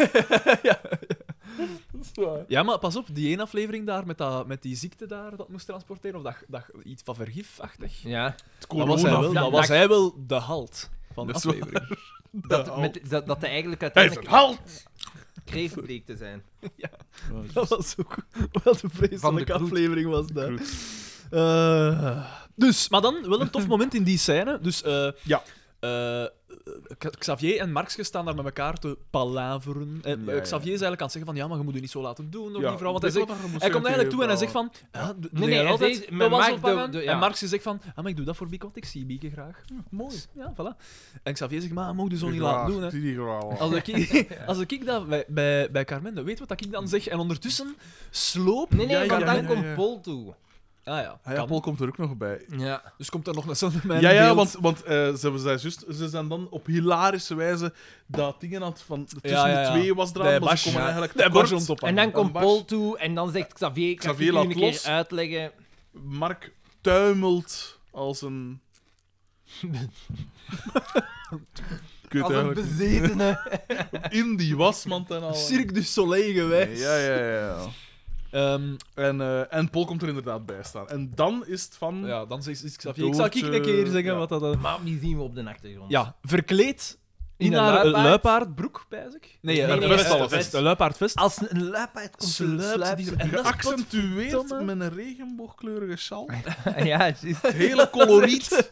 Speaker 3: Ja, maar pas op, die ene aflevering daar met, dat, met die ziekte daar dat moest transporteren, of dat, dat, iets van vergifachtig.
Speaker 4: Ja.
Speaker 2: Het
Speaker 3: Dat
Speaker 2: corona.
Speaker 3: was, hij wel,
Speaker 4: Ja,
Speaker 3: dat
Speaker 4: dat-
Speaker 3: was hij wel de halt van de
Speaker 2: Dat is waar.
Speaker 3: aflevering.
Speaker 4: Dat, met, dat, dat hij eigenlijk
Speaker 2: Hij is een
Speaker 4: uiteindelijk
Speaker 2: halt!
Speaker 4: kreeft bleek te zijn.
Speaker 3: Dat was ook wat een
Speaker 4: Van de
Speaker 3: vreselijke
Speaker 4: Kroet.
Speaker 3: aflevering was dat. Eh, dus, maar dan wel een tof moment in die scène. Dus eh,
Speaker 2: Ja.
Speaker 3: eh, K- Xavier en Markske staan daar met elkaar te palaveren. En, eh,
Speaker 2: Ja, ja.
Speaker 3: Xavier is eigenlijk aan het zeggen van ja, maar je moet je niet zo laten doen door
Speaker 2: Ja,
Speaker 3: die vrouw. Want hij,
Speaker 2: dit
Speaker 3: zegt,
Speaker 2: wat er moest
Speaker 3: hij komt
Speaker 2: zijn
Speaker 3: eigenlijk toe en hij zegt
Speaker 2: tegen
Speaker 3: van ja, nee,
Speaker 4: nee,
Speaker 3: nee,
Speaker 4: hij
Speaker 3: altijd,
Speaker 4: zegt,
Speaker 3: dat
Speaker 4: mijn
Speaker 3: was
Speaker 4: Mark,
Speaker 3: ophangen.
Speaker 4: de- de- ja.
Speaker 3: En Markske zegt van ah, maar ik doe dat voor Bieke, want ik zie Bieke graag. mooi. Ja, voilà. En Xavier zegt maar mogen je zo niet laten doen. Hè.
Speaker 2: Die die grauwe.
Speaker 3: Als ik, als ik dat bij, bij, bij Carmen, doe, weet wat dat ik dan zeg? En ondertussen sloop.
Speaker 4: Nee, nee,
Speaker 2: Ja,
Speaker 4: want
Speaker 2: ja,
Speaker 4: dan
Speaker 2: ja, ja,
Speaker 4: komt
Speaker 2: ja.
Speaker 4: Paul toe.
Speaker 3: Ah ja,
Speaker 2: Ah ja,
Speaker 3: kan.
Speaker 2: Paul komt er ook nog bij.
Speaker 4: Ja.
Speaker 3: Dus komt er nog een Sandman
Speaker 2: Ja, ja,
Speaker 3: beeld.
Speaker 2: want, want eh, ze, hebben- zij juist- ze zijn dan op hilarische wijze dat dingen aan het van tussen
Speaker 3: Ja, ja, ja.
Speaker 2: de twee was
Speaker 3: Bij
Speaker 2: eraan, maar
Speaker 3: Bas,
Speaker 2: ze komen
Speaker 3: ja.
Speaker 2: eigenlijk
Speaker 3: Bij
Speaker 2: tekort.
Speaker 3: Bas rond op aan.
Speaker 4: En dan komt
Speaker 2: Bas-
Speaker 4: Paul toe en dan zegt Xavier, kan
Speaker 2: Xavier
Speaker 4: ik
Speaker 2: laat
Speaker 4: jullie een keer
Speaker 2: los.
Speaker 4: uitleggen.
Speaker 2: Mark tuimelt als een... Ik weet
Speaker 4: Als een
Speaker 2: eigenlijk niet.
Speaker 4: bezetene.
Speaker 2: In die wasmand en al.
Speaker 3: Cirque du Soleil geweest.
Speaker 2: Ja, ja, ja. ja.
Speaker 3: Ehm,
Speaker 2: En, eh, en Paul komt er inderdaad bij staan. En dan is het van...
Speaker 3: ja, dan zegt zegt Xavier. Ik zal ik
Speaker 2: Doortje,
Speaker 3: een keer zeggen
Speaker 2: Hm. ja.
Speaker 3: wat dat... eh,
Speaker 4: Maar wie zien we op de achtergrond?
Speaker 3: Ja, verkleed in,
Speaker 4: In een
Speaker 3: haar eh,
Speaker 4: luipaard.
Speaker 3: luipaardbroek, pijs ik. Nee, eh,
Speaker 4: Nee, nee,
Speaker 3: een
Speaker 2: vest,
Speaker 3: vest,
Speaker 2: een
Speaker 3: vest. Een luipaardvest.
Speaker 4: Als een luipaard komt,
Speaker 3: Sluipt
Speaker 4: sluipt
Speaker 3: die-
Speaker 4: ze-
Speaker 3: en dat is
Speaker 2: Geaccentueerd
Speaker 3: potverdomme.
Speaker 2: met een regenboogkleurige sjaal.
Speaker 4: Ja, juist.
Speaker 2: Het hele coloriet.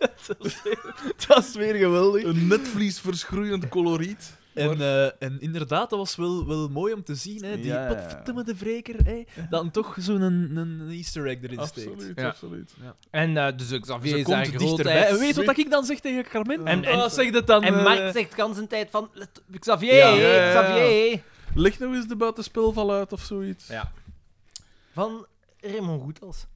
Speaker 3: dat is weer geweldig.
Speaker 2: Een netvlies verschroeiend coloriet.
Speaker 3: En, eh, en inderdaad, dat was wel, wel mooi om te zien. Hè? Die
Speaker 4: Ja, ja, ja.
Speaker 3: potverdomme de wreker, hè? dat hem toch zo'n een, een easter egg erin steekt.
Speaker 2: Absoluut,
Speaker 4: Ja.
Speaker 2: absoluut.
Speaker 5: En eh, dus Xavier
Speaker 3: Ze
Speaker 5: is daar
Speaker 3: komt
Speaker 5: grootheid.
Speaker 3: dichterbij. En weet wat ik dan zeg tegen Carmen?
Speaker 5: En- en-
Speaker 3: Ah, zeg dat dan.
Speaker 5: En
Speaker 3: eh,
Speaker 5: Mark zegt de hele tijd van... "Let- Xavier,
Speaker 3: Ja.
Speaker 2: Ja, ja, ja.
Speaker 5: Xavier.
Speaker 2: Leg nou eens de buitenspel van uit of zoiets.
Speaker 5: Ja.
Speaker 4: Van Raymond Goethals.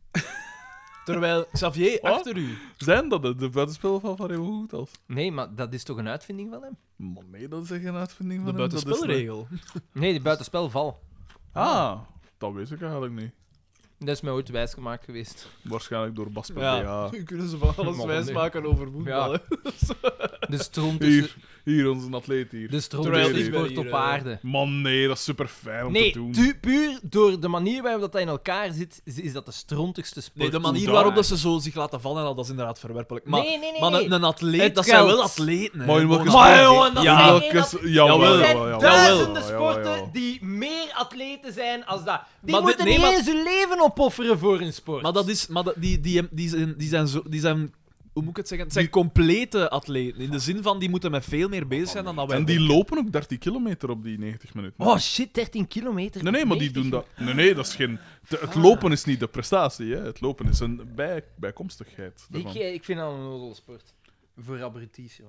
Speaker 3: Terwijl Xavier
Speaker 2: Wat?
Speaker 3: achter u.
Speaker 2: Zijn dat de, de buitenspel van Van Raymond Goethals?
Speaker 4: Nee, maar dat is toch een uitvinding van hem?
Speaker 2: Man, nee, dat is echt een uitvinding van
Speaker 3: De
Speaker 2: hem, dat is
Speaker 3: buitenspelregel.
Speaker 4: Nee, die buitenspelval.
Speaker 2: een- Ah, dat weet ik eigenlijk niet.
Speaker 4: Dat is mij ooit wijsgemaakt geweest.
Speaker 2: Waarschijnlijk door Bas Perdea.
Speaker 3: Ja. Nu kunnen ze van alles
Speaker 4: Man,
Speaker 3: wijsmaken over voetbal.
Speaker 4: Ja.
Speaker 3: hè.
Speaker 4: De stroom tussen,
Speaker 2: Hier, hier, onze atleet hier.
Speaker 4: de stroom
Speaker 3: Terwijl
Speaker 4: tussen
Speaker 2: die
Speaker 3: ben
Speaker 4: sport
Speaker 3: hier,
Speaker 4: op
Speaker 3: eh,
Speaker 4: aarde.
Speaker 2: Man, nee, dat is super fijn om
Speaker 4: Nee,
Speaker 2: te doen.
Speaker 4: tu- puur door de manier waarop dat, dat in elkaar zit, is, is dat de strontigste sport.
Speaker 3: Nee, de manier
Speaker 2: daar.
Speaker 3: waarop dat ze zo zich laten vallen, en al, dat is inderdaad verwerpelijk. Maar,
Speaker 4: nee, nee, nee.
Speaker 3: maar
Speaker 4: nee.
Speaker 3: een, een atleet,
Speaker 4: Het
Speaker 3: dat zijn
Speaker 4: geldt.
Speaker 3: wel atleten. hè.
Speaker 2: Maar in welke
Speaker 3: Gewoon-
Speaker 2: sport?
Speaker 4: Maar jongen, dat
Speaker 3: Ja.
Speaker 4: zijn
Speaker 2: Welke
Speaker 4: geen
Speaker 2: s-
Speaker 4: at-
Speaker 2: jawel,
Speaker 3: Jawel.
Speaker 4: Er zijn
Speaker 2: jawel, jawel,
Speaker 4: duizenden
Speaker 2: jawel, jawel,
Speaker 4: sporten
Speaker 2: jawel.
Speaker 4: die meer atleten zijn als dat. Die
Speaker 3: Maar dit-
Speaker 4: moeten
Speaker 3: nee,
Speaker 4: niet
Speaker 3: maar-
Speaker 4: eens hun leven opofferen voor hun sport.
Speaker 3: Maar dat is, maar dat, die, die, die, zijn, die, zijn zo, die zijn, hoe moet ik het zeggen? Het zijn complete atleten. In de zin van die moeten met veel meer bezig zijn dan dat wij.
Speaker 2: En die lopen ook 30 kilometer op die 90 minuten.
Speaker 4: Oh shit, 13 kilometer.
Speaker 2: Nee, nee, maar die
Speaker 4: 90.
Speaker 2: doen dat. Nee, nee, dat is geen. de- het lopen is niet de prestatie, hè. Het lopen is een bij, bijkomstigheid.
Speaker 4: Ik,
Speaker 2: daarvan.
Speaker 4: eh, ik vind dat een nodelsport. Voor aperitief, joh.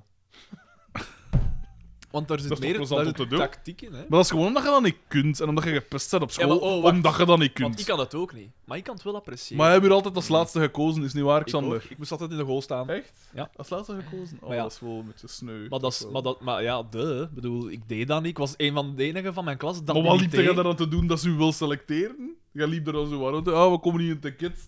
Speaker 3: Want daar zit
Speaker 2: Dat is toch
Speaker 3: meer
Speaker 2: plezant
Speaker 3: daar
Speaker 2: om
Speaker 3: zit
Speaker 2: te doen?
Speaker 3: tactiek in. Hè?
Speaker 2: Maar dat is gewoon omdat je dat niet kunt en omdat je gepest bent op school,
Speaker 3: maar- oh, wacht.
Speaker 2: omdat je dat niet
Speaker 3: Want
Speaker 2: kunt.
Speaker 3: ik kan het ook niet. Maar ik kan het wel appreciëren.
Speaker 2: Maar jij hebt hier altijd als laatste gekozen, is niet waar,
Speaker 3: ik, ook.
Speaker 2: Xander?
Speaker 3: ik moest altijd in de goal staan.
Speaker 2: Echt?
Speaker 3: Ja.
Speaker 2: Als laatste gekozen? Oh,
Speaker 3: Maar ja.
Speaker 2: dat is wel een beetje sneu.
Speaker 3: Maar, dat is,
Speaker 2: wel-
Speaker 3: maar, dat, maar ja, de. Ik bedoel, ik deed dat niet. Ik was een van de enigen van mijn klas. Dat
Speaker 2: Maar wat
Speaker 3: niet
Speaker 2: liep je
Speaker 3: deed.
Speaker 2: daar aan te doen dat ze u wil selecteren? Je liep er dan zo aan rond. Ah, we komen niet in het ticket.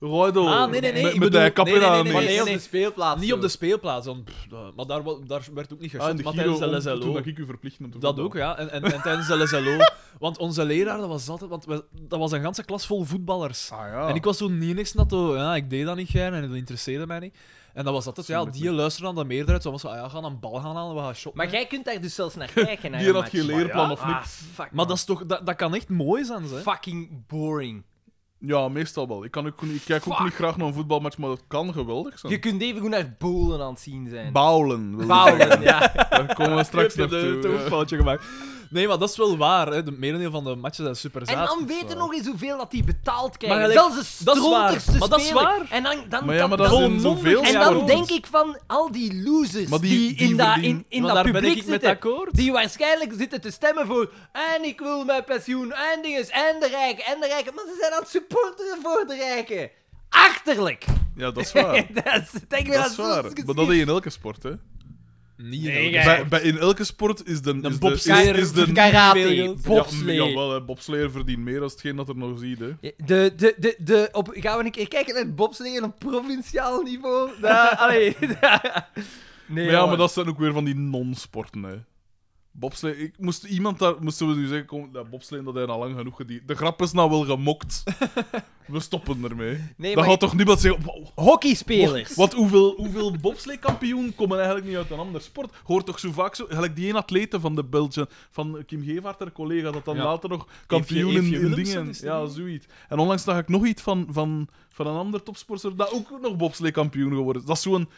Speaker 2: Roido.
Speaker 3: Ah, nee, nee, nee,
Speaker 2: Met,
Speaker 3: ik
Speaker 2: met
Speaker 3: bedoel-
Speaker 2: die kap
Speaker 3: nee, nee,
Speaker 2: in aan.
Speaker 3: nee,
Speaker 4: Maar
Speaker 2: nee.
Speaker 4: nee, op
Speaker 3: nee.
Speaker 4: de speelplaats.
Speaker 3: Niet op de
Speaker 4: joh.
Speaker 3: speelplaats. want, pff, dat- maar daar, wa- daar werd ook niet
Speaker 2: eh. Ah, en
Speaker 3: geschoten.
Speaker 2: de
Speaker 3: maar
Speaker 2: Giro,
Speaker 3: tijdens de
Speaker 2: om- toen
Speaker 3: LSLO.
Speaker 2: dat ik u verplicht om te
Speaker 3: Dat
Speaker 2: voetballen.
Speaker 3: ook, ja. En, en, en tijdens de LSLO. Want onze leraar, dat was altijd... Want we- dat was een ganse klas vol voetballers.
Speaker 2: Ah, ja.
Speaker 3: En ik was toen niet niks dat zo, ja, ik deed dat niet gern en dat interesseerde mij niet. En dat was altijd, ja, die luisteren aan de meerderheid. Zo was zo, ah, ja, we gaan een bal gaan halen, we gaan shoppen.
Speaker 4: Maar jij kunt daar dus zelfs naar kijken. naar
Speaker 2: Die
Speaker 4: een
Speaker 2: had geen
Speaker 4: match.
Speaker 2: leerplan
Speaker 4: Maar
Speaker 2: of
Speaker 4: ja.
Speaker 2: niks.
Speaker 4: Ah, fuck,
Speaker 3: Maar dat, is toch, dat, dat kan echt mooi zijn,
Speaker 4: man.
Speaker 3: zeg.
Speaker 4: fucking boring.
Speaker 2: Ja, meestal wel. Ik, kan ook, ik kijk ook
Speaker 4: Fuck.
Speaker 2: niet graag naar een voetbalmatch, maar dat kan geweldig
Speaker 4: Je
Speaker 2: zijn.
Speaker 4: kunt even goed naar bolen aan het zien zijn.
Speaker 2: Bouwen. wil ik
Speaker 4: Bouwen,
Speaker 2: zeggen.
Speaker 4: ja.
Speaker 2: Daar komen we straks
Speaker 3: Ik heb je
Speaker 2: naartoe.
Speaker 3: de- toch een foutje gemaakt. Nee, maar dat is wel waar. Hè. De merendeel van de matchen zijn super
Speaker 4: En
Speaker 3: zaad. dus, eh.
Speaker 4: dan weten nog eens hoeveel dat die betaald krijgen.
Speaker 3: gelijk,
Speaker 4: Zelfs de
Speaker 3: dat is waar.
Speaker 4: strontigste
Speaker 3: Maar dat is
Speaker 4: speler.
Speaker 3: waar.
Speaker 4: En dan, dan,
Speaker 2: Maar ja, maar
Speaker 4: dan-
Speaker 2: dat is in
Speaker 3: volmondig.
Speaker 2: zoveel
Speaker 4: en
Speaker 3: ja,
Speaker 4: dan
Speaker 3: goed.
Speaker 2: sporten.
Speaker 4: denk ik van al die losers
Speaker 2: Maar
Speaker 4: die,
Speaker 2: die-
Speaker 4: in
Speaker 2: die
Speaker 4: dat in,
Speaker 2: verdienen-
Speaker 4: in
Speaker 3: Maar
Speaker 4: dat
Speaker 3: daar ben
Speaker 4: publiek
Speaker 3: ik met
Speaker 4: zitten.
Speaker 3: akkoord.
Speaker 4: Die waarschijnlijk zitten te stemmen voor en ik wil mijn pensioen en dinges en de rijken en de rijken. Maar ze zijn aan het supporteren voor de rijken. Achterlijk.
Speaker 2: Ja, dat is waar.
Speaker 4: dat is, denk ik,
Speaker 2: Ah. Dat is waar. Maar dat is in elke sport, hè.
Speaker 3: Niet
Speaker 4: Nee,
Speaker 3: in elke
Speaker 4: jij-
Speaker 3: sport.
Speaker 2: Bij, bij in elke sport is de...
Speaker 3: Een
Speaker 2: is de- is-
Speaker 3: bobsleier
Speaker 2: is de-
Speaker 4: karate,
Speaker 2: Ja,
Speaker 4: bobslee.
Speaker 2: jawel, hè. bobsleer verdient meer dan hetgeen dat er nog ziet, hè.
Speaker 4: De, de, de, de, op, gaan we een keer kijken naar het bobsleeën op provinciaal niveau? Da, allee, da- Nee,
Speaker 2: Maar ja,
Speaker 4: jongen.
Speaker 2: maar dat zijn ook weer van die non-sporten, hè. Bobslee, ik moest iemand daar, moesten we nu zeggen, kom, dat bobslee, dat hij al lang genoeg gedaan. De grap is nou wel gemokt. we stoppen ermee.
Speaker 4: Nee,
Speaker 2: dan
Speaker 4: maar-
Speaker 2: gaat toch niemand zeggen, "Wa- wa-
Speaker 4: Hockeyspelers.
Speaker 2: want hoeveel, hoeveel bobsleekampioen komen eigenlijk niet uit een ander sport? Hoort toch zo vaak zo, gelijk die één atlete van de Belgian, van Kim Gevaert, haar collega, dat dan
Speaker 3: Ja.
Speaker 2: later nog kampioen
Speaker 3: Eefje-
Speaker 2: in-
Speaker 3: Eefje
Speaker 2: in,
Speaker 3: Willemsen
Speaker 2: dingen.
Speaker 3: is die
Speaker 2: Ja,
Speaker 3: niet?
Speaker 2: zoiets. En onlangs zag ik nog iets van, van, van een ander topsporter, dat ook nog bobsleekampioen geworden is. Dat is zo'n...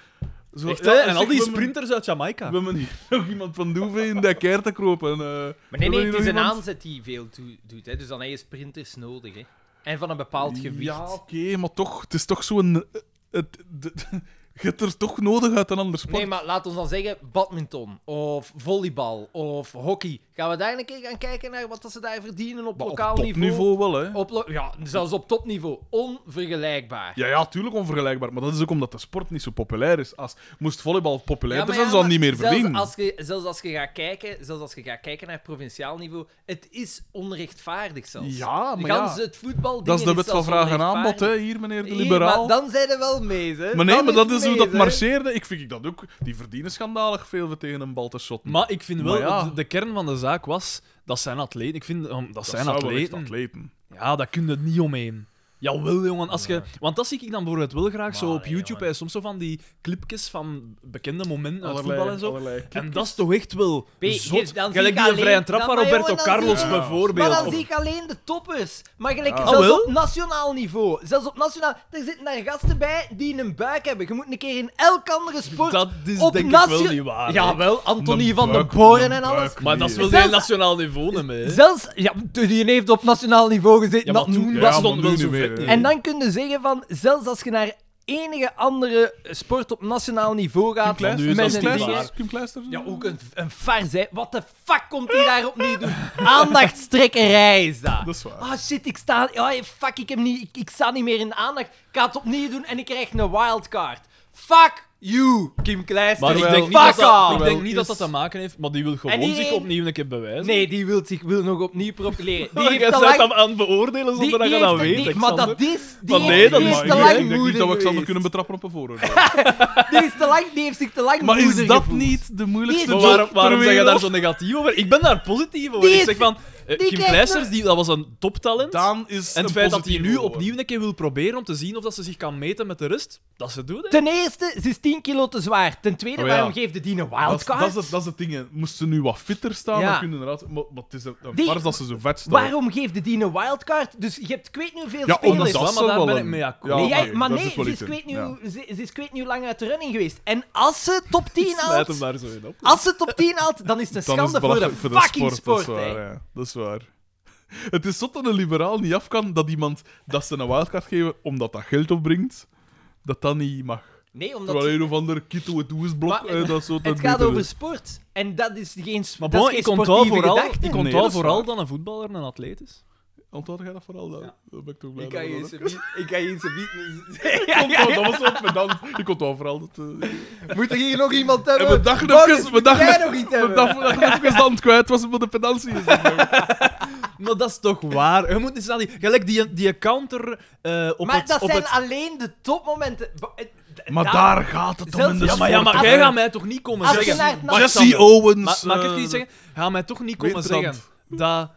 Speaker 2: Zo,
Speaker 3: Echt,
Speaker 2: ja,
Speaker 3: hè?
Speaker 2: dat
Speaker 3: en
Speaker 2: is
Speaker 3: al
Speaker 2: echt
Speaker 3: die
Speaker 2: wel mijn-
Speaker 3: sprinters uit Jamaica.
Speaker 2: we hebben hier nog iemand van Doeve in de keer te kropen. eh.
Speaker 4: Maar nee, nee, het is een aanzet die veel toe- doet. Hè. Dus dan heb je sprinters nodig. Hè. En van een bepaald gewicht.
Speaker 2: Ja, oké, maar toch, het is toch zo'n. eh, Het, de- je hebt er toch nodig uit een ander sport.
Speaker 4: Nee, maar laat ons dan zeggen, badminton of volleybal of hockey. Gaan we daar een keer gaan kijken naar wat dat ze daar verdienen op
Speaker 2: Maar op
Speaker 4: lokaal
Speaker 2: topniveau
Speaker 4: niveau?
Speaker 2: wel, hè?
Speaker 4: Op lo- ja, zelfs op topniveau. Onvergelijkbaar.
Speaker 2: Ja, ja, tuurlijk onvergelijkbaar. Maar dat is ook omdat de sport niet zo populair is. Als, moest volleybal populair
Speaker 4: maar
Speaker 2: zijn, zou het
Speaker 4: maar
Speaker 2: niet meer
Speaker 4: zelfs
Speaker 2: verdienen.
Speaker 4: Als je, zelfs, als je gaat kijken, zelfs als je gaat kijken naar provinciaal niveau, het is onrechtvaardig zelfs.
Speaker 2: Ja, maar
Speaker 4: Gans
Speaker 2: ja.
Speaker 4: het voetbal
Speaker 2: Dat is de wet van vraag en aanbod, hè, hier, meneer de liberaal.
Speaker 4: maar dan zijn er wel mee, hè.
Speaker 2: Maar nee,
Speaker 4: Dan
Speaker 2: maar dat is hoe
Speaker 4: mee,
Speaker 2: dat
Speaker 4: hè.
Speaker 2: marcheerde. Ik vind ik dat ook. Die verdienen schandalig veel voor tegen een bal te shotten.
Speaker 3: Maar ik vind wel,
Speaker 2: Maar ja.
Speaker 3: de, de kern van de zaak was, dat zijn atleten. Ik vind, um, dat, zijn
Speaker 2: zou wel echt
Speaker 3: atleten.
Speaker 2: atleten.
Speaker 3: Ja, daar kun je niet omheen. Jawel, jongen. Als je, want dat zie ik dan bijvoorbeeld wel graag zo
Speaker 6: Maar,
Speaker 3: op YouTube.
Speaker 6: jongen.
Speaker 3: hè, soms zo van die clipjes van bekende momenten uit
Speaker 6: Allerlei-
Speaker 3: voetbal en zo.
Speaker 6: allerlei.
Speaker 3: En dat is toch echt wel
Speaker 4: Pee,
Speaker 3: zot.
Speaker 4: hier, dan
Speaker 3: Gelijk
Speaker 4: zie
Speaker 3: die
Speaker 4: ik
Speaker 3: een vrije
Speaker 4: alleen-
Speaker 3: trap
Speaker 4: dan-
Speaker 3: van
Speaker 4: maar
Speaker 3: Roberto
Speaker 4: jongen, dan
Speaker 3: Carlos
Speaker 4: zie ik-
Speaker 3: bijvoorbeeld.
Speaker 4: Maar dan
Speaker 3: Of-
Speaker 4: zie ik alleen de toppers. Maar gelijk,
Speaker 3: Ah,
Speaker 4: zelfs
Speaker 3: wel?
Speaker 4: op nationaal niveau. Zelfs op nationaal... Er zitten daar gasten bij die een buik hebben. Je moet een keer in elk andere sport...
Speaker 3: dat is
Speaker 4: op
Speaker 3: denk ik wel
Speaker 4: natio-
Speaker 3: niet waar. hè.
Speaker 4: Jawel, Anthony
Speaker 2: Een
Speaker 4: van den
Speaker 2: buik,
Speaker 4: Boren
Speaker 2: een
Speaker 4: en alles.
Speaker 2: buik,
Speaker 3: Maar dat is
Speaker 2: nee.
Speaker 3: wel
Speaker 4: Zelfs-
Speaker 3: geen nationaal niveau, hè. mee, hè.
Speaker 4: Zelfs... Ja, die heeft op nationaal niveau gezeten.
Speaker 3: Ja, maar
Speaker 4: dat
Speaker 3: toen
Speaker 4: noem-
Speaker 2: Ja,
Speaker 3: was
Speaker 2: maar
Speaker 3: stond
Speaker 2: nu
Speaker 3: wel
Speaker 2: niet
Speaker 3: zo
Speaker 2: meer, hè.
Speaker 3: vet. niet.
Speaker 4: En dan kun je zeggen van... Zelfs als je naar enige andere sport op nationaal niveau
Speaker 2: Kim
Speaker 4: gaat...
Speaker 2: Kleisters?
Speaker 3: nu is
Speaker 4: met
Speaker 3: dat
Speaker 4: een
Speaker 3: niet
Speaker 4: dingen-
Speaker 3: waar.
Speaker 2: Kim Kleisters?
Speaker 4: Ja, ook een, een farce, hè. Wat de fuck komt hij daarop nu doen? Aandachtstrekkerij is dat.
Speaker 2: Dat is waar.
Speaker 4: Ah shit, ik sta... ah, fuck, ik, heb niet, ik, ik sta niet meer in de aandacht. Ik ga het opnieuw doen en ik krijg een wildcard. Fuck you, Kim Kleister.
Speaker 3: Maar ik denk, niet dat
Speaker 4: fuck
Speaker 3: dat,
Speaker 4: off.
Speaker 3: ik denk niet
Speaker 2: dus-
Speaker 3: dat dat te maken heeft, maar die wil gewoon
Speaker 4: die-
Speaker 3: zich opnieuw een keer bewijzen.
Speaker 4: Nee, die wil zich wil nog opnieuw profileren. Die
Speaker 3: die
Speaker 4: heeft te
Speaker 3: gaat
Speaker 4: lang...
Speaker 3: zelf aan, aan het beoordelen
Speaker 4: die-
Speaker 3: zonder dat
Speaker 4: die
Speaker 3: je dat
Speaker 4: heeft-
Speaker 3: weet.
Speaker 4: die- maar
Speaker 3: Alexander.
Speaker 4: dat is... Die,
Speaker 3: Maar nee,
Speaker 4: heeft,
Speaker 3: dat
Speaker 4: die is
Speaker 3: mag
Speaker 4: te
Speaker 3: niet,
Speaker 2: ik
Speaker 4: lang
Speaker 2: denk niet
Speaker 4: moeder
Speaker 2: dat we Xander
Speaker 4: geweest.
Speaker 2: kunnen betrappen op een vooroordeel.
Speaker 4: Die is te lang... Die heeft zich te lang
Speaker 2: maar is
Speaker 4: moeder
Speaker 2: dat
Speaker 4: gevoeld.
Speaker 2: niet de moeilijkste
Speaker 4: Die
Speaker 3: Maar
Speaker 4: is-
Speaker 2: job
Speaker 3: waarom, waarom
Speaker 2: ter
Speaker 3: zeg je daar
Speaker 2: wereld?
Speaker 3: zo negatief over? Ik ben daar positief over.
Speaker 4: Die
Speaker 3: Ik
Speaker 4: is-
Speaker 3: zeg van, eh,
Speaker 4: die
Speaker 3: Kim
Speaker 4: krijgt
Speaker 3: Kleisters,
Speaker 4: er-
Speaker 3: die, dat was een toptalent.
Speaker 2: Daan is
Speaker 3: en
Speaker 2: een
Speaker 3: het feit dat hij
Speaker 2: positieve
Speaker 3: nu
Speaker 2: hoor.
Speaker 3: opnieuw een keer wil proberen om te zien of dat ze zich kan meten met de rest, dat ze doet. hè.
Speaker 4: Ten eerste, ze is 10 kilo te zwaar. Ten tweede,
Speaker 2: Oh ja.
Speaker 4: waarom geeft de die een
Speaker 2: Dat is,
Speaker 4: wildcard?
Speaker 2: dat, is het, dat is het ding. hè. Moest ze nu wat fitter staan,
Speaker 4: Ja.
Speaker 2: dan kunnen inderdaad... Maar, maar het is een een
Speaker 4: Die-
Speaker 2: farce dat ze zo vet staan.
Speaker 4: Waarom geeft de die een wildcard? Dus je hebt ik weet niet hoeveel
Speaker 2: Ja,
Speaker 4: spelers.
Speaker 2: omdat
Speaker 3: wel,
Speaker 2: dat
Speaker 3: maar daar
Speaker 2: wel
Speaker 3: ben
Speaker 2: een-
Speaker 3: ik mee akkoord.
Speaker 2: Ja,
Speaker 4: Nee, jij-
Speaker 2: oké,
Speaker 4: maar
Speaker 2: daar
Speaker 4: nee,
Speaker 2: zit wel
Speaker 4: ze is,
Speaker 2: iets in.
Speaker 4: kwijt nu,
Speaker 2: Ja.
Speaker 4: ze, ze is kwijt nu lang uit de running geweest. En als ze top 10
Speaker 3: Sluit
Speaker 4: haalt,
Speaker 3: hem daar zo in op.
Speaker 4: als ze top 10 haalt, dan is het een
Speaker 2: Dan
Speaker 4: schande
Speaker 2: is het
Speaker 4: voor de
Speaker 2: belachelijk
Speaker 4: fucking sport.
Speaker 2: dat is waar.
Speaker 4: hè.
Speaker 2: ja. Dat is waar. Het is zot dat een liberaal niet af kan dat iemand dat ze een wildcard geven omdat dat geld opbrengt, dat dat niet mag.
Speaker 4: Nee, omdat
Speaker 2: Terwijl een of ander kitto het blok
Speaker 4: Maar-
Speaker 2: eh, dat zo
Speaker 4: het gaat over sport. En dat is geen,
Speaker 3: Maar
Speaker 4: dat is
Speaker 3: bon,
Speaker 4: geen
Speaker 3: ik onthoud
Speaker 4: sportieve
Speaker 3: vooral,
Speaker 4: gedachte.
Speaker 2: Nee,
Speaker 3: ik onthoud
Speaker 2: dat is
Speaker 3: vooral
Speaker 2: waar.
Speaker 3: dat een voetballer een atleet is.
Speaker 2: Onthoud jij dat vooral dan? Daar ben ik toch blij
Speaker 7: Ik kan je
Speaker 2: mee.
Speaker 7: ze bieden. Ik kan je ze bieden.
Speaker 2: Ik onthoud- Dat was zo pedant. Ik onthoud vooral dat... eh,
Speaker 7: Moet er hier nog iemand hebben?
Speaker 2: En we dachten
Speaker 7: Boris,
Speaker 2: even- we
Speaker 7: moet
Speaker 2: dachten-
Speaker 7: jij nog iets
Speaker 2: Dat
Speaker 7: hebben?
Speaker 2: dat even stand kwijt was omdat de pedantie is.
Speaker 3: Maar dat is toch waar? Je moet eens aan die... Gelijk die, die counter eh, op
Speaker 4: Maar
Speaker 3: het...
Speaker 4: dat
Speaker 3: op
Speaker 4: zijn
Speaker 3: het...
Speaker 4: alleen de topmomenten. Ba- eh, d-
Speaker 2: Maar daar gaat het om
Speaker 4: Zelfs-
Speaker 2: in de
Speaker 4: Ja,
Speaker 3: Ja, maar, ja, maar
Speaker 2: sport.
Speaker 3: jij gaat mij toch niet komen
Speaker 4: Als je
Speaker 3: zeggen...
Speaker 4: naar het
Speaker 3: Wacht,
Speaker 2: Jesse
Speaker 3: Sander.
Speaker 2: Owens...
Speaker 3: Ma mag ik
Speaker 2: eh,
Speaker 3: iets zeggen? Ga mij toch niet komen
Speaker 2: Weerstand.
Speaker 3: zeggen dat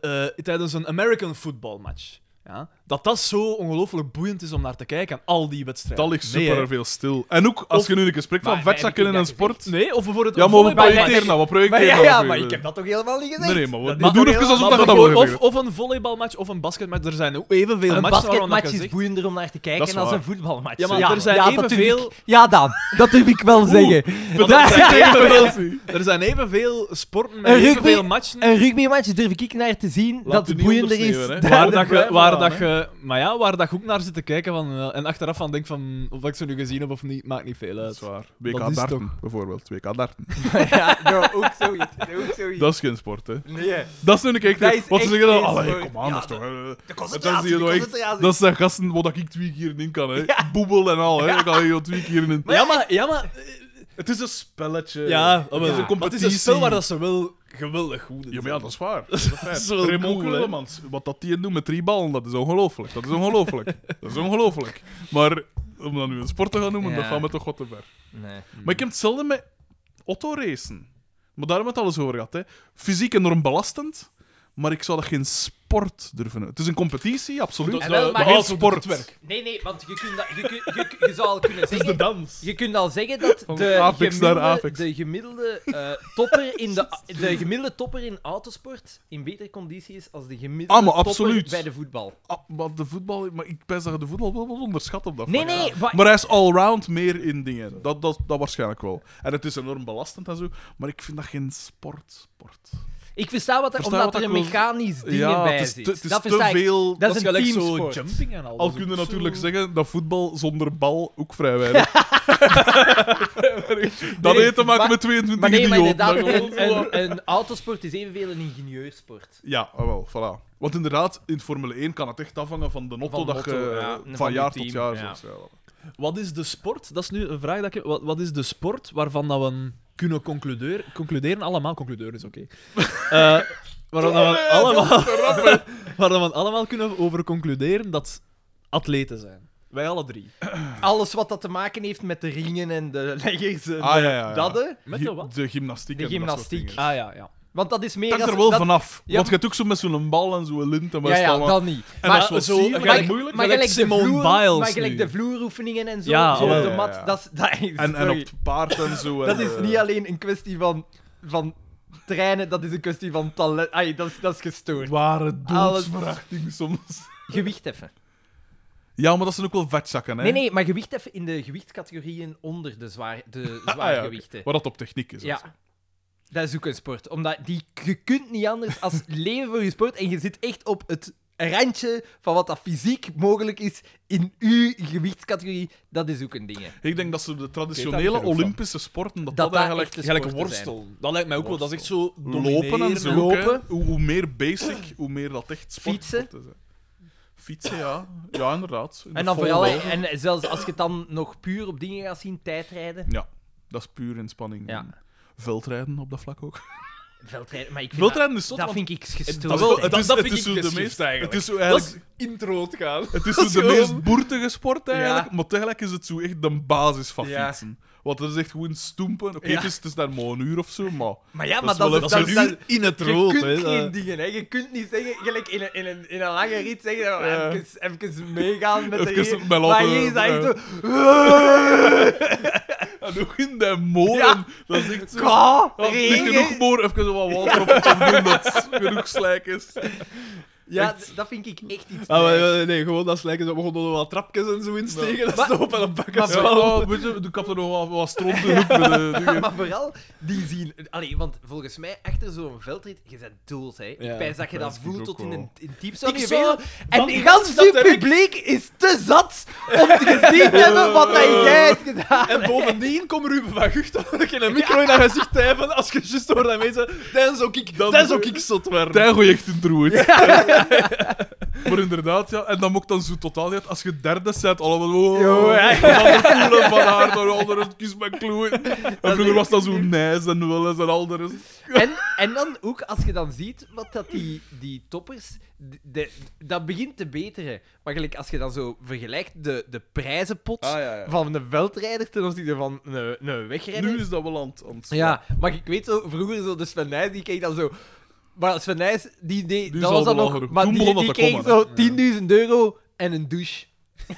Speaker 3: eh, eh, tijdens een American football match. Ja, dat dat zo ongelooflijk boeiend is om naar te kijken, aan al die wedstrijden.
Speaker 2: Dat ligt
Speaker 3: Nee,
Speaker 2: super
Speaker 3: hè.
Speaker 2: veel stil. En ook als
Speaker 3: Of-
Speaker 2: je nu een gesprek van
Speaker 4: Maar- maar
Speaker 2: vetzakken
Speaker 4: heb ik
Speaker 2: in
Speaker 4: dat
Speaker 2: een sport.
Speaker 3: Nee, of bijvoorbeeld...
Speaker 2: Ja,
Speaker 3: een
Speaker 2: maar we
Speaker 3: volleybal-
Speaker 2: projecteren nou, we
Speaker 7: Maar
Speaker 2: projecteren
Speaker 7: ja,
Speaker 2: nou
Speaker 7: ja,
Speaker 2: voor
Speaker 7: maar
Speaker 2: je.
Speaker 7: ik heb dat toch helemaal niet gezegd?
Speaker 2: Nee, nee, maar we,
Speaker 3: Maar-
Speaker 2: we doen even alsof dat je dat
Speaker 3: bijvoorbeeld-
Speaker 2: al
Speaker 3: Of,
Speaker 2: gezegd
Speaker 3: of een volleybalmatch of een basketmatch. Er zijn evenveel
Speaker 4: Een
Speaker 3: matchen waarvan dat
Speaker 4: basketmatch
Speaker 3: je
Speaker 4: is
Speaker 3: zegt-
Speaker 4: boeiender om naar te
Speaker 2: Dat
Speaker 4: kijken
Speaker 2: is
Speaker 4: dan
Speaker 2: waar.
Speaker 4: een voetbalmatch.
Speaker 3: Ja, maar
Speaker 4: Zo,
Speaker 3: er zijn
Speaker 4: dat durf
Speaker 3: evenveel-
Speaker 4: ik- Ja, dan. Dat durf ik wel zeggen.
Speaker 3: Want
Speaker 4: Daar-
Speaker 3: er, zijn evenveel,
Speaker 2: hebben.
Speaker 3: er zijn evenveel sporten met
Speaker 4: Een rugby-
Speaker 3: evenveel matchen
Speaker 4: Een rugbymatch durf ik naar te zien
Speaker 2: Laat
Speaker 4: dat
Speaker 2: u
Speaker 4: het
Speaker 2: niet
Speaker 4: boeiender is.
Speaker 2: ondersneeuwen, hè.
Speaker 4: dan
Speaker 3: Waar
Speaker 4: de
Speaker 3: dat je,
Speaker 2: blijven
Speaker 3: waar
Speaker 2: aan,
Speaker 3: dat
Speaker 2: hè.
Speaker 3: je, maar ja, waar dat je ook naar zit te kijken van, eh, en achteraf van denk van of ik ze nu gezien heb of niet, maakt niet veel
Speaker 2: Dat
Speaker 3: uit.
Speaker 2: is waar.
Speaker 3: Dat
Speaker 2: WK
Speaker 3: is
Speaker 2: darten, bijvoorbeeld. WK darten.
Speaker 7: Ja, nou, ook zoiets. Ook zoiets.
Speaker 2: Dat is geen sport, hè.
Speaker 7: Nee.
Speaker 2: Dat is nu een
Speaker 7: Dat
Speaker 2: keer.
Speaker 7: is
Speaker 2: Wat ze
Speaker 7: echt
Speaker 2: zeggen dan,
Speaker 7: geen
Speaker 2: allee,
Speaker 7: sport.
Speaker 2: kom aan,
Speaker 7: Ja,
Speaker 2: dat is toch... eh, Dat, is
Speaker 7: Concentratie,
Speaker 2: hier nog echt-
Speaker 7: concentratie.
Speaker 2: dat zijn gasten waar ik twee keer in kan, hè. Boebel en al, hè. Ik kan hier twee keer in.
Speaker 3: Ja, maar, ja, maar
Speaker 2: Het is een spelletje.
Speaker 3: Ja, maar
Speaker 2: Eh, het is een
Speaker 3: maar het
Speaker 2: competitie.
Speaker 3: is een spel waar dat ze wel geweldig goed in
Speaker 2: Ja, maar
Speaker 3: zijn.
Speaker 2: ja, dat is waar. Dat is een feit.
Speaker 3: is wel
Speaker 2: Raymond
Speaker 3: cool, hè?
Speaker 2: Kullemans, wat dat die doet met drie ballen, dat is ongelooflijk. Dat is ongelooflijk. dat is ongelooflijk. Maar om dat nu een sport te gaan noemen, dat
Speaker 7: Ja.
Speaker 2: gaan we toch wat te ver.
Speaker 7: Nee.
Speaker 2: Maar ik heb hetzelfde met autoracen. Maar daar hebben we het alles over gehad. Hè. Fysiek enorm belastend, maar ik zou dat geen sport durven noemen. Het is een competitie, absoluut.
Speaker 4: En wel, maar-
Speaker 2: geen
Speaker 3: hout doet
Speaker 2: sport.
Speaker 3: het werk.
Speaker 4: Nee, nee, want je, kunt dat, je, kunt- je, kunt- je zou al kunnen
Speaker 2: Het is de
Speaker 4: zeggen...
Speaker 2: dans.
Speaker 4: Je kunt al zeggen dat
Speaker 2: Van
Speaker 4: de
Speaker 2: Apex naar
Speaker 4: gemiddelde,
Speaker 2: Apex.
Speaker 4: De gemiddelde, eh, topper in de, de gemiddelde topper in autosport in betere conditie is als de gemiddelde
Speaker 2: Ah, maar
Speaker 4: topper
Speaker 2: absoluut.
Speaker 4: bij de voetbal.
Speaker 2: Ah, maar de voetbal, maar ik pijs dat je de voetbal wel wat onderschat op dat
Speaker 4: Nee,
Speaker 2: vlak.
Speaker 4: nee, wa-
Speaker 2: Maar hij is allround meer in dingen. Dat, dat, dat waarschijnlijk wel. En het is enorm belastend en zo. Maar ik vind dat geen sport. sport.
Speaker 4: ik versta wat er,
Speaker 2: Versta
Speaker 4: omdat
Speaker 2: wat
Speaker 4: er een
Speaker 2: ik wil-
Speaker 4: mechanisch ding bij
Speaker 2: het is
Speaker 4: zit.
Speaker 2: te, het is
Speaker 4: dat
Speaker 2: te
Speaker 4: versta ik.
Speaker 2: veel.
Speaker 4: Dat is
Speaker 3: Dat is
Speaker 4: een
Speaker 3: gelijk zo
Speaker 4: teamsport.
Speaker 3: jumping en alles.
Speaker 2: Al kun je natuurlijk zeggen dat voetbal zonder bal ook vrij weinig. dat
Speaker 4: Nee,
Speaker 2: heeft te maken
Speaker 4: maar-
Speaker 2: met 22
Speaker 4: Maar nee, maar
Speaker 2: idioten.
Speaker 4: inderdaad,
Speaker 2: dat
Speaker 4: een,
Speaker 2: gewoon zo-
Speaker 4: een, een autosport is evenveel een ingenieursport.
Speaker 2: Ja, ah, wel, voilà. Want inderdaad, in Formule 1 kan het echt afhangen van de auto
Speaker 4: Van
Speaker 2: dat
Speaker 4: motto,
Speaker 2: je
Speaker 4: ja.
Speaker 2: van,
Speaker 4: Van je
Speaker 2: jaar
Speaker 4: team,
Speaker 2: tot jaar
Speaker 4: ja.
Speaker 2: zo- zo.
Speaker 3: Wat is de sport? Dat is nu een vraag dat ik heb. Wat, wat is de sport waarvan dat we kunnen concluderen? Concluderen allemaal. Concluderen is oké. Eh, waarvan dat we allemaal, waarvan we allemaal kunnen over concluderen dat atleten zijn. Wij alle drie.
Speaker 4: Alles wat dat te maken heeft met de ringen en de leggers en
Speaker 2: Ah, ja, ja, ja.
Speaker 4: dat, hè.
Speaker 3: Met de wat?
Speaker 2: Gi- De gymnastiek.
Speaker 4: De
Speaker 2: en dat soort
Speaker 4: gymnastiek.
Speaker 2: dingen.
Speaker 3: Ah ja, ja.
Speaker 4: Want dat is meer
Speaker 2: hangt
Speaker 4: als-
Speaker 2: er wel
Speaker 4: dat-
Speaker 2: vanaf.
Speaker 4: Ja,
Speaker 2: Want je hebt ook zo met zo'n bal en zo'n lint en wat
Speaker 4: Ja,
Speaker 2: is het
Speaker 4: ja,
Speaker 2: allemaal.
Speaker 4: dat niet.
Speaker 2: En
Speaker 4: Maar-
Speaker 2: dat is wel zo,
Speaker 3: zo- gelijk-
Speaker 2: gelijk
Speaker 3: gelijk- moeilijk,
Speaker 4: maar
Speaker 3: gelijk
Speaker 4: gelijk de
Speaker 3: Simone
Speaker 4: vloer-
Speaker 3: Biles
Speaker 4: Maar gelijk
Speaker 3: nu.
Speaker 4: de vloeroefeningen en zo,
Speaker 3: Ja,
Speaker 4: op zo
Speaker 2: ja,
Speaker 4: op de
Speaker 2: ja,
Speaker 4: mat,
Speaker 2: ja.
Speaker 4: Dat, is, dat, is,
Speaker 2: en, en op
Speaker 4: sorry.
Speaker 2: het paard en zo.
Speaker 4: dat
Speaker 2: en,
Speaker 4: is
Speaker 2: eh,
Speaker 4: niet alleen een kwestie van, van trainen, dat is een kwestie van talent. Ai, dat, is, dat is gestoord.
Speaker 2: Ware
Speaker 4: Alles-
Speaker 2: doodsverachting soms.
Speaker 4: Gewicht heffen.
Speaker 2: Ja, maar dat zijn ook wel vetzakken, hè?
Speaker 4: Nee, nee, maar gewicht heffen in de gewichtscategorieën onder de, zwaar, de
Speaker 2: Ah, ja, oké.
Speaker 4: zwaargewichten.
Speaker 2: Waar dat op techniek is.
Speaker 4: Ja. Dat is ook een sport. Omdat die, je kunt niet anders als leven voor je sport. En je zit echt op het randje van wat dat fysiek mogelijk is in uw gewichtscategorie. Dat is ook een ding. hè.
Speaker 2: Ik denk dat ze de
Speaker 3: Ik weet
Speaker 2: traditionele
Speaker 3: daar ook van.
Speaker 2: Olympische sporten, dat dat,
Speaker 4: Dat dat
Speaker 2: eigenlijk...
Speaker 4: echt de
Speaker 3: Gelijk
Speaker 4: sporten zijn.
Speaker 3: worstel. Dat lijkt mij ook wel. Dat is echt zo
Speaker 2: Lopen en zo.
Speaker 3: domineren.
Speaker 2: ook, hè. Hoe, hoe meer basic, hoe meer dat echt sport
Speaker 4: Fietsen.
Speaker 2: sport is, hè. Fietsen, ja. Ja, inderdaad. In de
Speaker 4: En dan
Speaker 2: volle
Speaker 4: vooral,
Speaker 2: bal.
Speaker 4: en zelfs als je het dan nog puur op dingen gaat zien, tijdrijden.
Speaker 2: Ja, dat is puur inspanning.
Speaker 4: Ja.
Speaker 2: En Veldrijden op dat vlak ook.
Speaker 4: Veldrijden, maar ik vind dat,
Speaker 2: Veldrijden is zot,
Speaker 4: dat
Speaker 2: want
Speaker 4: vind ik gestoord.
Speaker 3: Dat,
Speaker 2: wel-
Speaker 3: wel,
Speaker 2: het
Speaker 3: dat,
Speaker 2: is-
Speaker 3: dat
Speaker 2: het
Speaker 3: vind
Speaker 2: is
Speaker 3: ik
Speaker 2: zo de
Speaker 3: geschikt
Speaker 2: meest-
Speaker 3: eigenlijk.
Speaker 2: het is zo
Speaker 3: dat
Speaker 2: eigenlijk...
Speaker 3: is intro te gaan.
Speaker 2: Het is
Speaker 3: dat
Speaker 2: zo de
Speaker 3: is gewoon-
Speaker 2: meest boertige sport eigenlijk, maar tegelijk is het zo echt de basis van
Speaker 4: Ja.
Speaker 2: fietsen. Want dat is echt gewoon stoempen. Oké,
Speaker 4: Ja.
Speaker 2: het, is, het is daar maar een uur of zo, maar...
Speaker 4: Maar ja,
Speaker 2: Dat
Speaker 4: maar
Speaker 2: is
Speaker 4: dat,
Speaker 2: wel
Speaker 4: is-
Speaker 2: een-
Speaker 4: dat,
Speaker 2: dat is
Speaker 4: dat-
Speaker 2: een
Speaker 3: In het
Speaker 4: je
Speaker 3: rood,
Speaker 4: kunt
Speaker 3: hè.
Speaker 4: geen
Speaker 3: dat-
Speaker 4: dingen, hè. Je kunt niet zeggen, gelijk in een, in een, in een lange rit zeggen,
Speaker 2: Ja.
Speaker 4: even, even meegaan met
Speaker 2: Even
Speaker 4: de rit.
Speaker 2: met
Speaker 4: Maar
Speaker 2: laten-
Speaker 4: hier is dat echt
Speaker 2: ja.
Speaker 4: zo...
Speaker 2: En ook in de molen,
Speaker 4: Ja.
Speaker 2: dat is echt zo...
Speaker 4: Ka,
Speaker 2: Ja, niet
Speaker 4: regen.
Speaker 2: genoeg moor, even zo wat water op het hoofd doen dat genoeg slijk is.
Speaker 4: Ja, d- dat vind ik echt iets.
Speaker 3: Ah, maar,
Speaker 4: nice.
Speaker 3: eh, nee, gewoon dat lijken. We begonnen er wat trapjes en zo insteken. Dat is
Speaker 4: Maar-
Speaker 3: toch op en een bakken.
Speaker 2: Ja, oh, weet je, ik heb er nog wat, wat stront in. ook met de dingen.
Speaker 4: maar vooral, die zien... Allee, want volgens mij, achter zo'n veldrit, je bent dood, hè.
Speaker 3: Ja,
Speaker 4: ik pijs dat je
Speaker 2: dat
Speaker 4: dat
Speaker 2: is
Speaker 4: voelt
Speaker 2: ook
Speaker 4: tot in
Speaker 2: wel.
Speaker 4: een in diep zou
Speaker 3: Ik
Speaker 4: je
Speaker 3: zou-
Speaker 4: weten. En
Speaker 3: van-
Speaker 4: gans
Speaker 3: dat
Speaker 4: het
Speaker 3: heb ik-
Speaker 4: publiek is te zat om te gezien te hebben wat dat jij hebt gedaan.
Speaker 2: Oh,
Speaker 3: En bovendien komt Ruben van Gucht dan een keer een micro in haar gezicht tijven als je juist hoort dat mensen... Dan zou ik,
Speaker 2: Dan-
Speaker 3: dan zou ik zot werden.
Speaker 2: Daar gooi je echt in trooi. Maar inderdaad, ja. En dan ook dan zo totaal niet. Als je derde zet, allemaal... Oh,
Speaker 4: Jo, ja.
Speaker 2: en dan de koelen van haar, dan al de rest, kies mijn kloe. En vroeger was dat zo nijs en wel eens en al de rest.
Speaker 4: En, en dan ook, als je dan ziet wat dat die, die toppers... de- de- dat begint te beteren. Maar gelijk, als je dan zo vergelijkt de, de prijzenpot
Speaker 3: Ah,
Speaker 4: van een veldrijder ten opzichte van een, een wegrijder...
Speaker 2: Nu is dat wel aan het- aan het...
Speaker 4: Ja, maar ik weet zo, vroeger zo de Sven Nys, die keek dan zo... Maar Sven Nys, die deed...
Speaker 2: Die
Speaker 4: dat
Speaker 2: is
Speaker 4: was
Speaker 2: al
Speaker 4: dan nog...
Speaker 2: belachelijk.
Speaker 4: Maar
Speaker 2: Toen
Speaker 4: die,
Speaker 2: begon
Speaker 4: die
Speaker 2: dat te
Speaker 4: kreeg
Speaker 2: komen,
Speaker 4: zo 10.000 euro en een douche.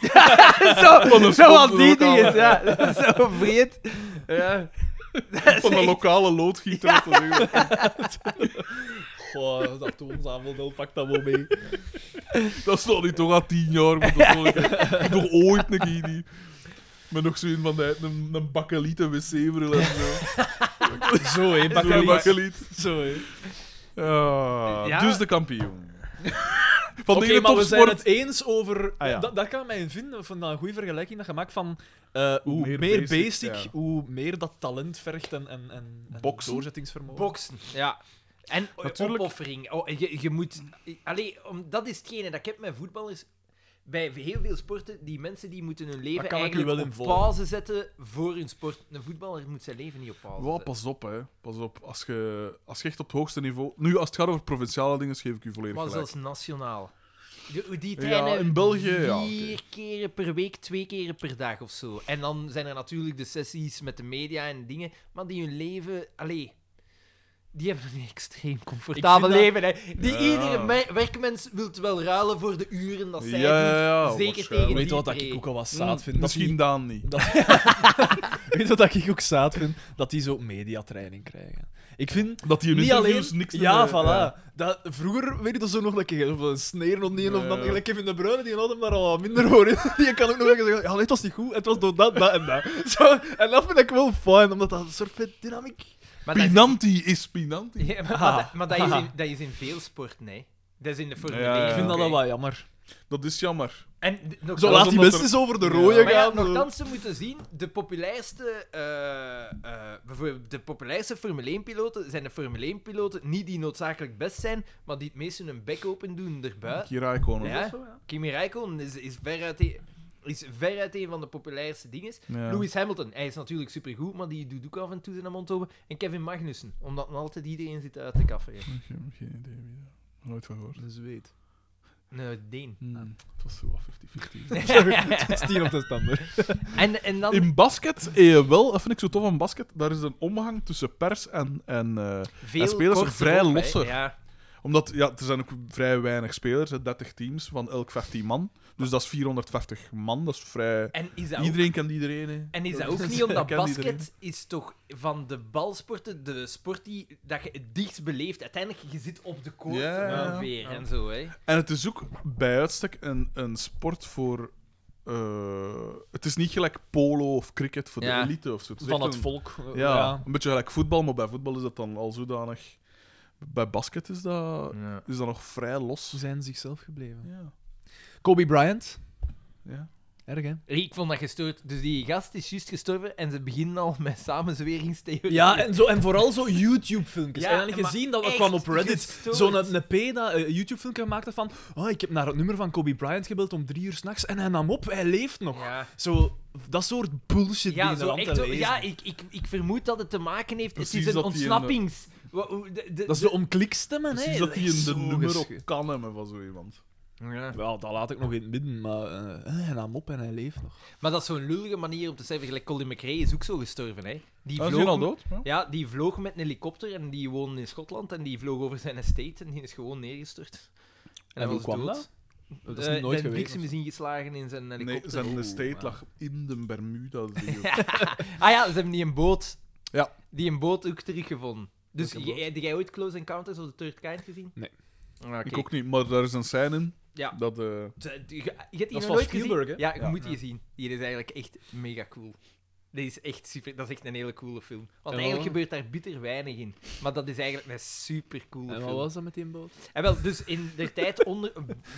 Speaker 4: zo, zo
Speaker 2: sponsor
Speaker 4: wat die
Speaker 2: ook al.
Speaker 4: dingen, ja. zo vreed. Ja.
Speaker 2: Van de lokale loodgieter. om te zeggen.
Speaker 3: Goh, dat toonzameldeel pakt dat wel mee.
Speaker 2: Dat is nog niet toch al tien jaar. Maar dat is nog- nog ooit een keer die... Met nog zo'n van die, een, een bakkeliet, een wc-bril en zo.
Speaker 3: Zo, hé.
Speaker 2: Zo'n bakkeliet.
Speaker 3: Zo, hé.
Speaker 2: Ah,
Speaker 4: Ja.
Speaker 2: Dus de kampioen. Van
Speaker 3: Oké,
Speaker 2: de ene
Speaker 3: maar we zijn
Speaker 2: topsport...
Speaker 3: het eens over...
Speaker 2: Ah, ja.
Speaker 3: dat, dat kan mij in vinden, van een goede vergelijking dat je maakt van... eh, hoe,
Speaker 2: Hoe
Speaker 3: meer,
Speaker 2: meer
Speaker 3: basic,
Speaker 2: basic, ja.
Speaker 3: hoe meer dat talent vergt en, en, en, en
Speaker 2: Boksen.
Speaker 3: doorzettingsvermogen.
Speaker 4: Boksen, ja. En eh,
Speaker 2: Natuurlijk.
Speaker 4: opoffering. Oh, je, je moet... Allee, om, dat is hetgene dat ik heb met voetballers. Bij heel veel sporten, die mensen die moeten hun leven
Speaker 3: kan ik u
Speaker 4: eigenlijk
Speaker 3: wel
Speaker 4: op
Speaker 3: in volgen.
Speaker 4: pauze zetten voor hun sport. Een voetballer moet zijn leven niet op pauze
Speaker 2: Wel,
Speaker 4: zetten.
Speaker 2: pas op, hè. Pas op. Als je, als je echt op het hoogste niveau... Nu, als het gaat over provinciale dingen, geef ik u volledig
Speaker 4: Maar
Speaker 2: gelijk.
Speaker 4: zelfs nationaal. De- hoe Die
Speaker 2: Ja,
Speaker 4: trainen
Speaker 2: in België,
Speaker 4: vier
Speaker 2: ja,
Speaker 4: keren per week, twee keren per dag of zo. En dan zijn er natuurlijk de sessies met de media en dingen, maar die hun leven... Allee, die hebben een extreem comfortabel
Speaker 3: Ik vind
Speaker 4: leven. Hè. Die
Speaker 2: Ja.
Speaker 4: Iedere me- werkmens wil wel ruilen voor de uren dat zij
Speaker 2: Ja, ja, ja,
Speaker 4: doen. Zeker
Speaker 2: waarschijnlijk.
Speaker 4: tegen
Speaker 3: Weet je
Speaker 4: die
Speaker 3: wat dat
Speaker 4: pre.
Speaker 3: ik ook al wat
Speaker 2: Mm.
Speaker 3: zaad vind? Dat
Speaker 2: Misschien
Speaker 3: die-
Speaker 2: Daan niet.
Speaker 3: Weet je wat ik ook zaad vind? Dat die zo mediatraining krijgen. Ik vind...
Speaker 2: Dat die hun
Speaker 3: Niet alleen...
Speaker 2: interviews niks
Speaker 3: ja,
Speaker 2: meer-
Speaker 3: voilà. Dat, vroeger weet je dat zo nog een keer. Of een sneer of niet. Of dan
Speaker 2: Ja.
Speaker 3: gelijk Kevin De Bruyne, die had hem daar al wat minder voor in. Die kan ook nog wel zeggen, ja, nee, het was niet goed. Het was door dat, dat en dat. Zo, en dat vind ik wel fijn, omdat dat een soort van dynamiek...
Speaker 4: Maar dat,
Speaker 2: Pinanti is Pinanti.
Speaker 4: Ja, maar,
Speaker 3: Ah.
Speaker 4: maar dat- maar dat, is in, dat is in veel sporten, hè. Dat is in de Formule
Speaker 2: Ja, ja,
Speaker 4: 1.
Speaker 2: Ik
Speaker 3: Ik vind dat
Speaker 4: oké.
Speaker 3: wel wat jammer.
Speaker 2: Dat is jammer.
Speaker 4: En d- nog
Speaker 2: dat
Speaker 3: Zo
Speaker 2: is
Speaker 3: laat die
Speaker 2: omdat
Speaker 3: best
Speaker 2: er-
Speaker 3: eens over de
Speaker 2: Ja.
Speaker 3: rode
Speaker 4: Maar ja,
Speaker 3: gaan. zo.
Speaker 4: nogthans, ze moeten zien, de populairste, eh, eh, bijvoorbeeld de populairste Formule 1-piloten zijn de Formule 1-piloten niet die noodzakelijk best zijn, maar die het meest hun bek open doen erbuiten.
Speaker 2: Hier Räikkönen.
Speaker 4: Ja. Kimi Räikkönen is, is, veruit een, is veruit een van de populairste dingen.
Speaker 2: Ja.
Speaker 4: Lewis Hamilton, hij is natuurlijk supergoed, maar die doet ook af en toe zijn mond open. En Kevin Magnussen, omdat nog altijd iedereen zit uit te kaffen.
Speaker 2: Geen, geen idee wie dat. Nooit van gehoord. Hmm.
Speaker 3: Zweet.
Speaker 4: Nee, Deen.
Speaker 3: Ah.
Speaker 2: Het was zo wat 50-50.
Speaker 3: Steven Testander.
Speaker 4: En, en dan...
Speaker 2: In basket, eh, wel, dat vind ik zo tof aan basket, daar is een omgang tussen pers en, en eh,
Speaker 4: Veel
Speaker 2: en spelers
Speaker 4: korter
Speaker 2: vrij
Speaker 4: op, hè.
Speaker 2: losser.
Speaker 4: Ja.
Speaker 2: Omdat ja, er zijn ook vrij weinig spelers, hè, 30 teams van elk 15 man. Dus dat is 450 man, dat is vrij.
Speaker 4: En is dat ook
Speaker 2: Iedereen kent iedereen. hè.
Speaker 4: En is dat
Speaker 2: Dus
Speaker 4: ook niet omdat
Speaker 2: kent iedereen.
Speaker 4: basket is toch van de balsporten de sport die dat je het dichtst beleeft. Uiteindelijk, je zit op de koord
Speaker 2: Ja, ja, ja.
Speaker 4: ongeveer en zo, hè.
Speaker 2: En het is ook bij uitstek een, een sport voor. eh, het is niet gelijk polo of cricket voor
Speaker 4: Ja.
Speaker 2: de elite of zo. is
Speaker 3: Van
Speaker 2: echt
Speaker 3: het
Speaker 2: een-
Speaker 3: volk. eh,
Speaker 2: Ja, een beetje gelijk voetbal, maar bij voetbal is dat dan al zodanig. Bij basket is dat, is dat nog vrij
Speaker 3: Ze
Speaker 2: los.
Speaker 3: zijn zichzelf gebleven.
Speaker 2: Ja.
Speaker 3: Kobe Bryant.
Speaker 2: ja.
Speaker 3: Erg, hè?
Speaker 4: Ik vond dat gestoord. Dus die gast is juist gestorven en ze beginnen al met samenzweringstheorieën.
Speaker 3: Ja, en, zo, en vooral zo YouTube-filmpjes.
Speaker 4: Ja,
Speaker 3: en dan
Speaker 4: maar
Speaker 3: gezien dat dat
Speaker 4: echt
Speaker 3: kwam op Reddit.
Speaker 4: gestoord.
Speaker 3: Zo'n een, peda YouTube-filmpje maakte van... Oh, ik heb naar het nummer van Kobe Bryant gebeld om drie uur s'nachts en hij nam op, hij leeft nog.
Speaker 4: Ja.
Speaker 3: Zo, dat soort bullshit die
Speaker 4: Ja,
Speaker 3: in de
Speaker 4: zo
Speaker 3: land
Speaker 4: echt,
Speaker 3: te
Speaker 4: zo-
Speaker 3: lezen.
Speaker 4: ja ik, ik, ik vermoed dat het te maken heeft. het
Speaker 2: Precies
Speaker 4: is een
Speaker 2: dat die een-
Speaker 4: ontsnappings. Wa- hoe- de- de-
Speaker 3: Dat is
Speaker 4: de-
Speaker 3: zo om klikstemmen, hè.
Speaker 2: Precies dat hij
Speaker 3: is
Speaker 2: een de
Speaker 3: zo
Speaker 2: nummer op
Speaker 3: gesche-
Speaker 2: kan hebben van zo iemand.
Speaker 4: Ja.
Speaker 3: Wel, dat laat ik nog in het midden, maar eh, hij nam op en hij leeft nog.
Speaker 4: Maar dat is zo'n lullige manier om te zeggen. Gelijk Colin McRae is ook zo gestorven, hè. Die
Speaker 3: Oh,
Speaker 2: Ah, is
Speaker 4: vloog
Speaker 2: hij al
Speaker 4: met-
Speaker 2: dood? Ja.
Speaker 4: Ja, die vloog met een helikopter en die woonde in Schotland en die vloog over zijn estate en die is gewoon neergestort.
Speaker 3: En hoe kwam dat? Dat is niet nooit
Speaker 4: De
Speaker 3: geweest.
Speaker 4: bliksem Eh, is ingeslagen in zijn
Speaker 2: Nee,
Speaker 4: helikopter.
Speaker 2: zijn
Speaker 4: Oeh,
Speaker 2: estate
Speaker 4: man.
Speaker 2: lag in de Bermuda.
Speaker 4: Ah ja, ze hebben die een boot.
Speaker 2: Ja.
Speaker 4: Die een boot ook teruggevonden. Dus
Speaker 3: Welke boot?
Speaker 4: jij- heb jij ooit Close Encounters of the Third Kind gezien?
Speaker 3: Nee.
Speaker 4: Ah, oké.
Speaker 2: Ik ook niet, maar daar is een scène in.
Speaker 4: Ja. Mm.
Speaker 2: Dat, eh,
Speaker 4: Ze- die- Je, je hebt die
Speaker 3: Dat is
Speaker 4: nog
Speaker 3: van
Speaker 4: nooit
Speaker 3: Spielberg,
Speaker 4: gezien?
Speaker 3: hè?
Speaker 4: Ja, je
Speaker 2: Ja.
Speaker 4: moet die zien. Die is eigenlijk echt mega cool. Dit is echt super, dat is echt een hele coole film. Want
Speaker 3: En wat
Speaker 4: eigenlijk
Speaker 3: was-
Speaker 4: gebeurt daar bitter weinig in. Maar dat is eigenlijk een super coole
Speaker 3: En
Speaker 4: film.
Speaker 3: wat was dat met die boot?
Speaker 4: En wel, dus in de tijd, onder,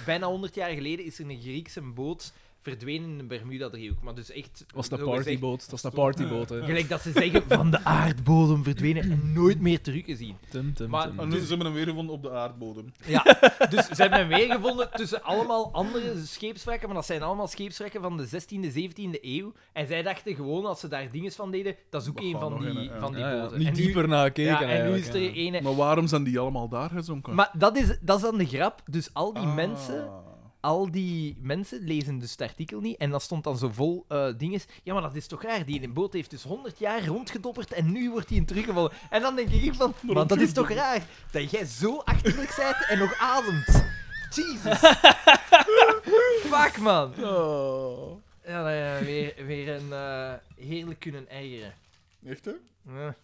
Speaker 4: bijna 100 jaar geleden, is er een Griekse boot verdwenen in de Bermuda-driehoek. Maar dus echt...
Speaker 3: Was dat een
Speaker 4: zo gezegd-
Speaker 3: partyboot? Dat was een partyboot, hè.
Speaker 4: Gelijk dat ze zeggen, van de aardbodem verdwenen en nooit meer teruggezien.
Speaker 3: Tum, tum,
Speaker 4: Maar-
Speaker 3: tum.
Speaker 2: en nu zijn we hem weer gevonden op de aardbodem.
Speaker 4: Ja, dus ze hebben hem weergevonden tussen allemaal andere scheepswrekken, maar dat zijn allemaal scheepswrekken van de 16e, 17e eeuw. En zij dachten gewoon, als ze daar dingen van deden, dat is ook
Speaker 2: We
Speaker 4: een
Speaker 2: gaan
Speaker 4: van
Speaker 2: nog
Speaker 4: die,
Speaker 2: in, ja.
Speaker 4: van die
Speaker 3: Ja, ja,
Speaker 4: boten.
Speaker 3: Niet
Speaker 4: en nu-
Speaker 3: dieper naar gekeken,
Speaker 4: ja, en nu
Speaker 3: eigenlijk,
Speaker 4: is er
Speaker 3: ja.
Speaker 4: ene...
Speaker 2: Maar waarom zijn die allemaal daar gezonken?
Speaker 4: Maar dat is, dat is dan de grap. Dus al die
Speaker 2: Ah.
Speaker 4: mensen al die mensen lezen dus het artikel niet. En dat stond dan zo vol eh dinges. Ja, maar dat is toch raar? Die in een boot heeft dus 100 jaar rondgedopperd en nu wordt hij in teruggevallen. En dan denk ik van, maar dat is toch raar? Dat jij zo achterlijk bent en nog ademt. Jesus. Fuck, man. Ja, nou ja, weer, weer een eh, heerlijk kunnen eieren.
Speaker 2: Echt, hè?
Speaker 4: Ja.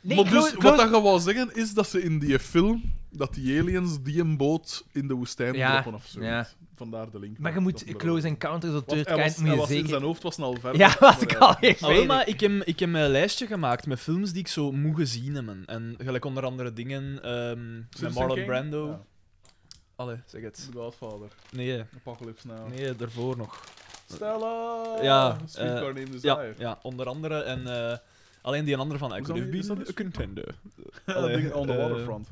Speaker 2: maar dus,
Speaker 4: Clo- Clo-
Speaker 2: wat dat je wou zeggen, is dat ze in die film, dat die aliens die een boot in de woestijn
Speaker 4: Ja,
Speaker 2: droppen of zo.
Speaker 4: ja.
Speaker 2: Vandaar de link.
Speaker 4: maar je
Speaker 2: Dat
Speaker 4: moet
Speaker 2: bedoel ik.
Speaker 4: Close Encounters of
Speaker 2: Want
Speaker 4: Third
Speaker 2: hij was-
Speaker 4: Kind moet
Speaker 2: hij
Speaker 4: je
Speaker 2: was in
Speaker 4: zeker...
Speaker 2: zijn hoofd was al ver.
Speaker 4: Ja, was ik al echt
Speaker 3: Ah, wel, maar ik heb, ik heb een lijstje gemaakt met films die ik zo moe gezien heb. En gelijk onder andere dingen ehm met Marlon Brando. Allee, zeg het.
Speaker 2: De Godfather,
Speaker 3: Nee,
Speaker 2: Apocalypse Now.
Speaker 3: nee, daarvoor nog.
Speaker 2: Stella!
Speaker 3: Ja,
Speaker 2: Sweet
Speaker 3: eh,
Speaker 2: Car Named
Speaker 3: Ja,
Speaker 2: Desire.
Speaker 3: ja onder andere. En eh, alleen die andere van I
Speaker 2: Hoe
Speaker 3: could have
Speaker 2: zou die- hoe zou
Speaker 3: been
Speaker 2: die-
Speaker 3: a contender.
Speaker 2: Dat
Speaker 3: Allee,
Speaker 2: ding on the
Speaker 3: eh,
Speaker 2: waterfront.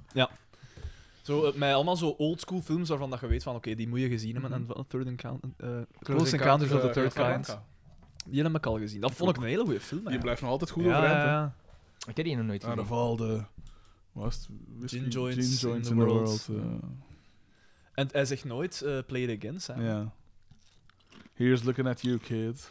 Speaker 3: Zo, eh, met allemaal zo oldschool films waarvan dat je weet van, oké, die moet je gezien hebben. En van Third Encounter, eh, Close Encounters of
Speaker 2: Mhm.
Speaker 3: the
Speaker 2: Eh,
Speaker 3: Third
Speaker 2: Casablanca.
Speaker 3: Kind. Die heb ik al gezien. Dat vond ik een hele goede film.
Speaker 2: Die
Speaker 3: eigenlijk.
Speaker 2: blijft nog altijd goed
Speaker 3: ja,
Speaker 2: overeind.
Speaker 3: ja,
Speaker 2: hè.
Speaker 3: ja.
Speaker 4: Ik heb die nog nooit
Speaker 2: Out
Speaker 4: gezien.
Speaker 2: of all the... Was het? Whisky-
Speaker 3: Gin joints in the world.
Speaker 2: eh,
Speaker 3: En hij zegt nooit eh, Play It Again,
Speaker 2: Ja.
Speaker 3: Simon.
Speaker 2: Here's looking at you, kid.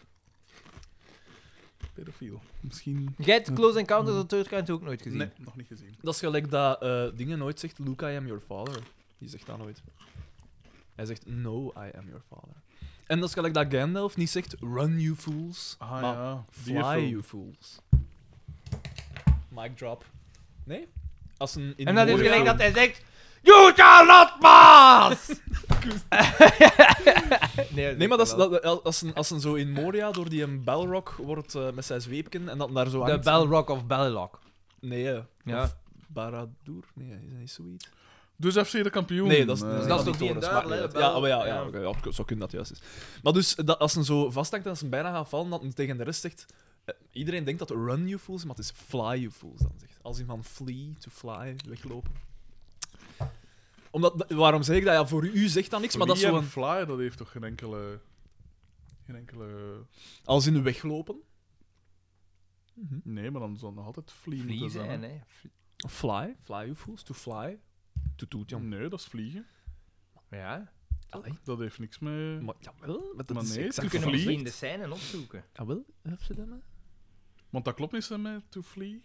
Speaker 2: Pedofiel. Misschien...
Speaker 4: Jij hebt Close Encounters of the Third Kind ook nooit gezien?
Speaker 2: Nee, nog niet gezien.
Speaker 3: Dat is gelijk dat eh, dingen nooit zegt, Luke, I am your father. Die zegt dat nooit. Hij zegt, no, I am your father. En dat is gelijk dat Gandalf niet zegt, run you fools,
Speaker 2: Ah
Speaker 3: maar
Speaker 2: ja.
Speaker 3: fly you fools. Mic drop. Nee? Als een in
Speaker 4: En dat is
Speaker 3: mooie
Speaker 4: gelijk
Speaker 3: film.
Speaker 4: dat hij zegt... You shall not pass! nee,
Speaker 3: Nee, maar dat is, dat, als, een, als een zo in Moria door die een Balrog wordt eh, met zijn zweepken en dat daar zo
Speaker 4: De
Speaker 3: hangt.
Speaker 4: Balrog of Balrog.
Speaker 3: Nee, eh,
Speaker 4: Ja.
Speaker 3: Of Baradur? Nee, is dat niet zoiets?
Speaker 2: Dus FC de kampioen.
Speaker 3: Nee, dat is,
Speaker 2: eh,
Speaker 3: dat is,
Speaker 4: dat is
Speaker 3: niet
Speaker 4: toch die
Speaker 3: Torres,
Speaker 4: in
Speaker 3: maar
Speaker 4: Duivel,
Speaker 3: niet
Speaker 4: hè,
Speaker 3: uit.
Speaker 4: wel?
Speaker 3: Ja, maar ja, ja,
Speaker 4: Ja.
Speaker 3: oké, ja, zo kunnen dat juist is. Maar dus, dat, als ze zo vasthangt en ze bijna gaan vallen, dat ze tegen de rest zegt... eh, iedereen denkt dat run you fools, maar het is fly you fools dan zegt. Als in van flee, to fly, weglopen. Omdat, da- waarom zeg ik dat? Ja, voor u zegt dat niks, maar dat is
Speaker 2: Lee
Speaker 3: zo
Speaker 2: en
Speaker 3: een...
Speaker 2: Fly, dat heeft toch geen enkele... Geen enkele...
Speaker 3: Als in weglopen. Mhm.
Speaker 2: Nee, maar dan zal het nog altijd Vlie moeten
Speaker 4: Vliezen
Speaker 2: zijn.
Speaker 4: en
Speaker 2: hè.
Speaker 4: hè.
Speaker 3: Fly, fly you fools, to fly, to toet, jong.
Speaker 4: Mm.
Speaker 2: Nee, dat is vliegen.
Speaker 5: Ja.
Speaker 2: Dat heeft niks met...
Speaker 3: Maar, jawel, maar dat
Speaker 2: Maar
Speaker 3: is
Speaker 2: nee,
Speaker 3: exact-
Speaker 2: te
Speaker 5: Kunnen we
Speaker 2: vliegen.
Speaker 5: misschien de scène opzoeken?
Speaker 3: Jawel, heb ze dat nou? maar?
Speaker 2: Want dat klopt niet hè, met To Flee.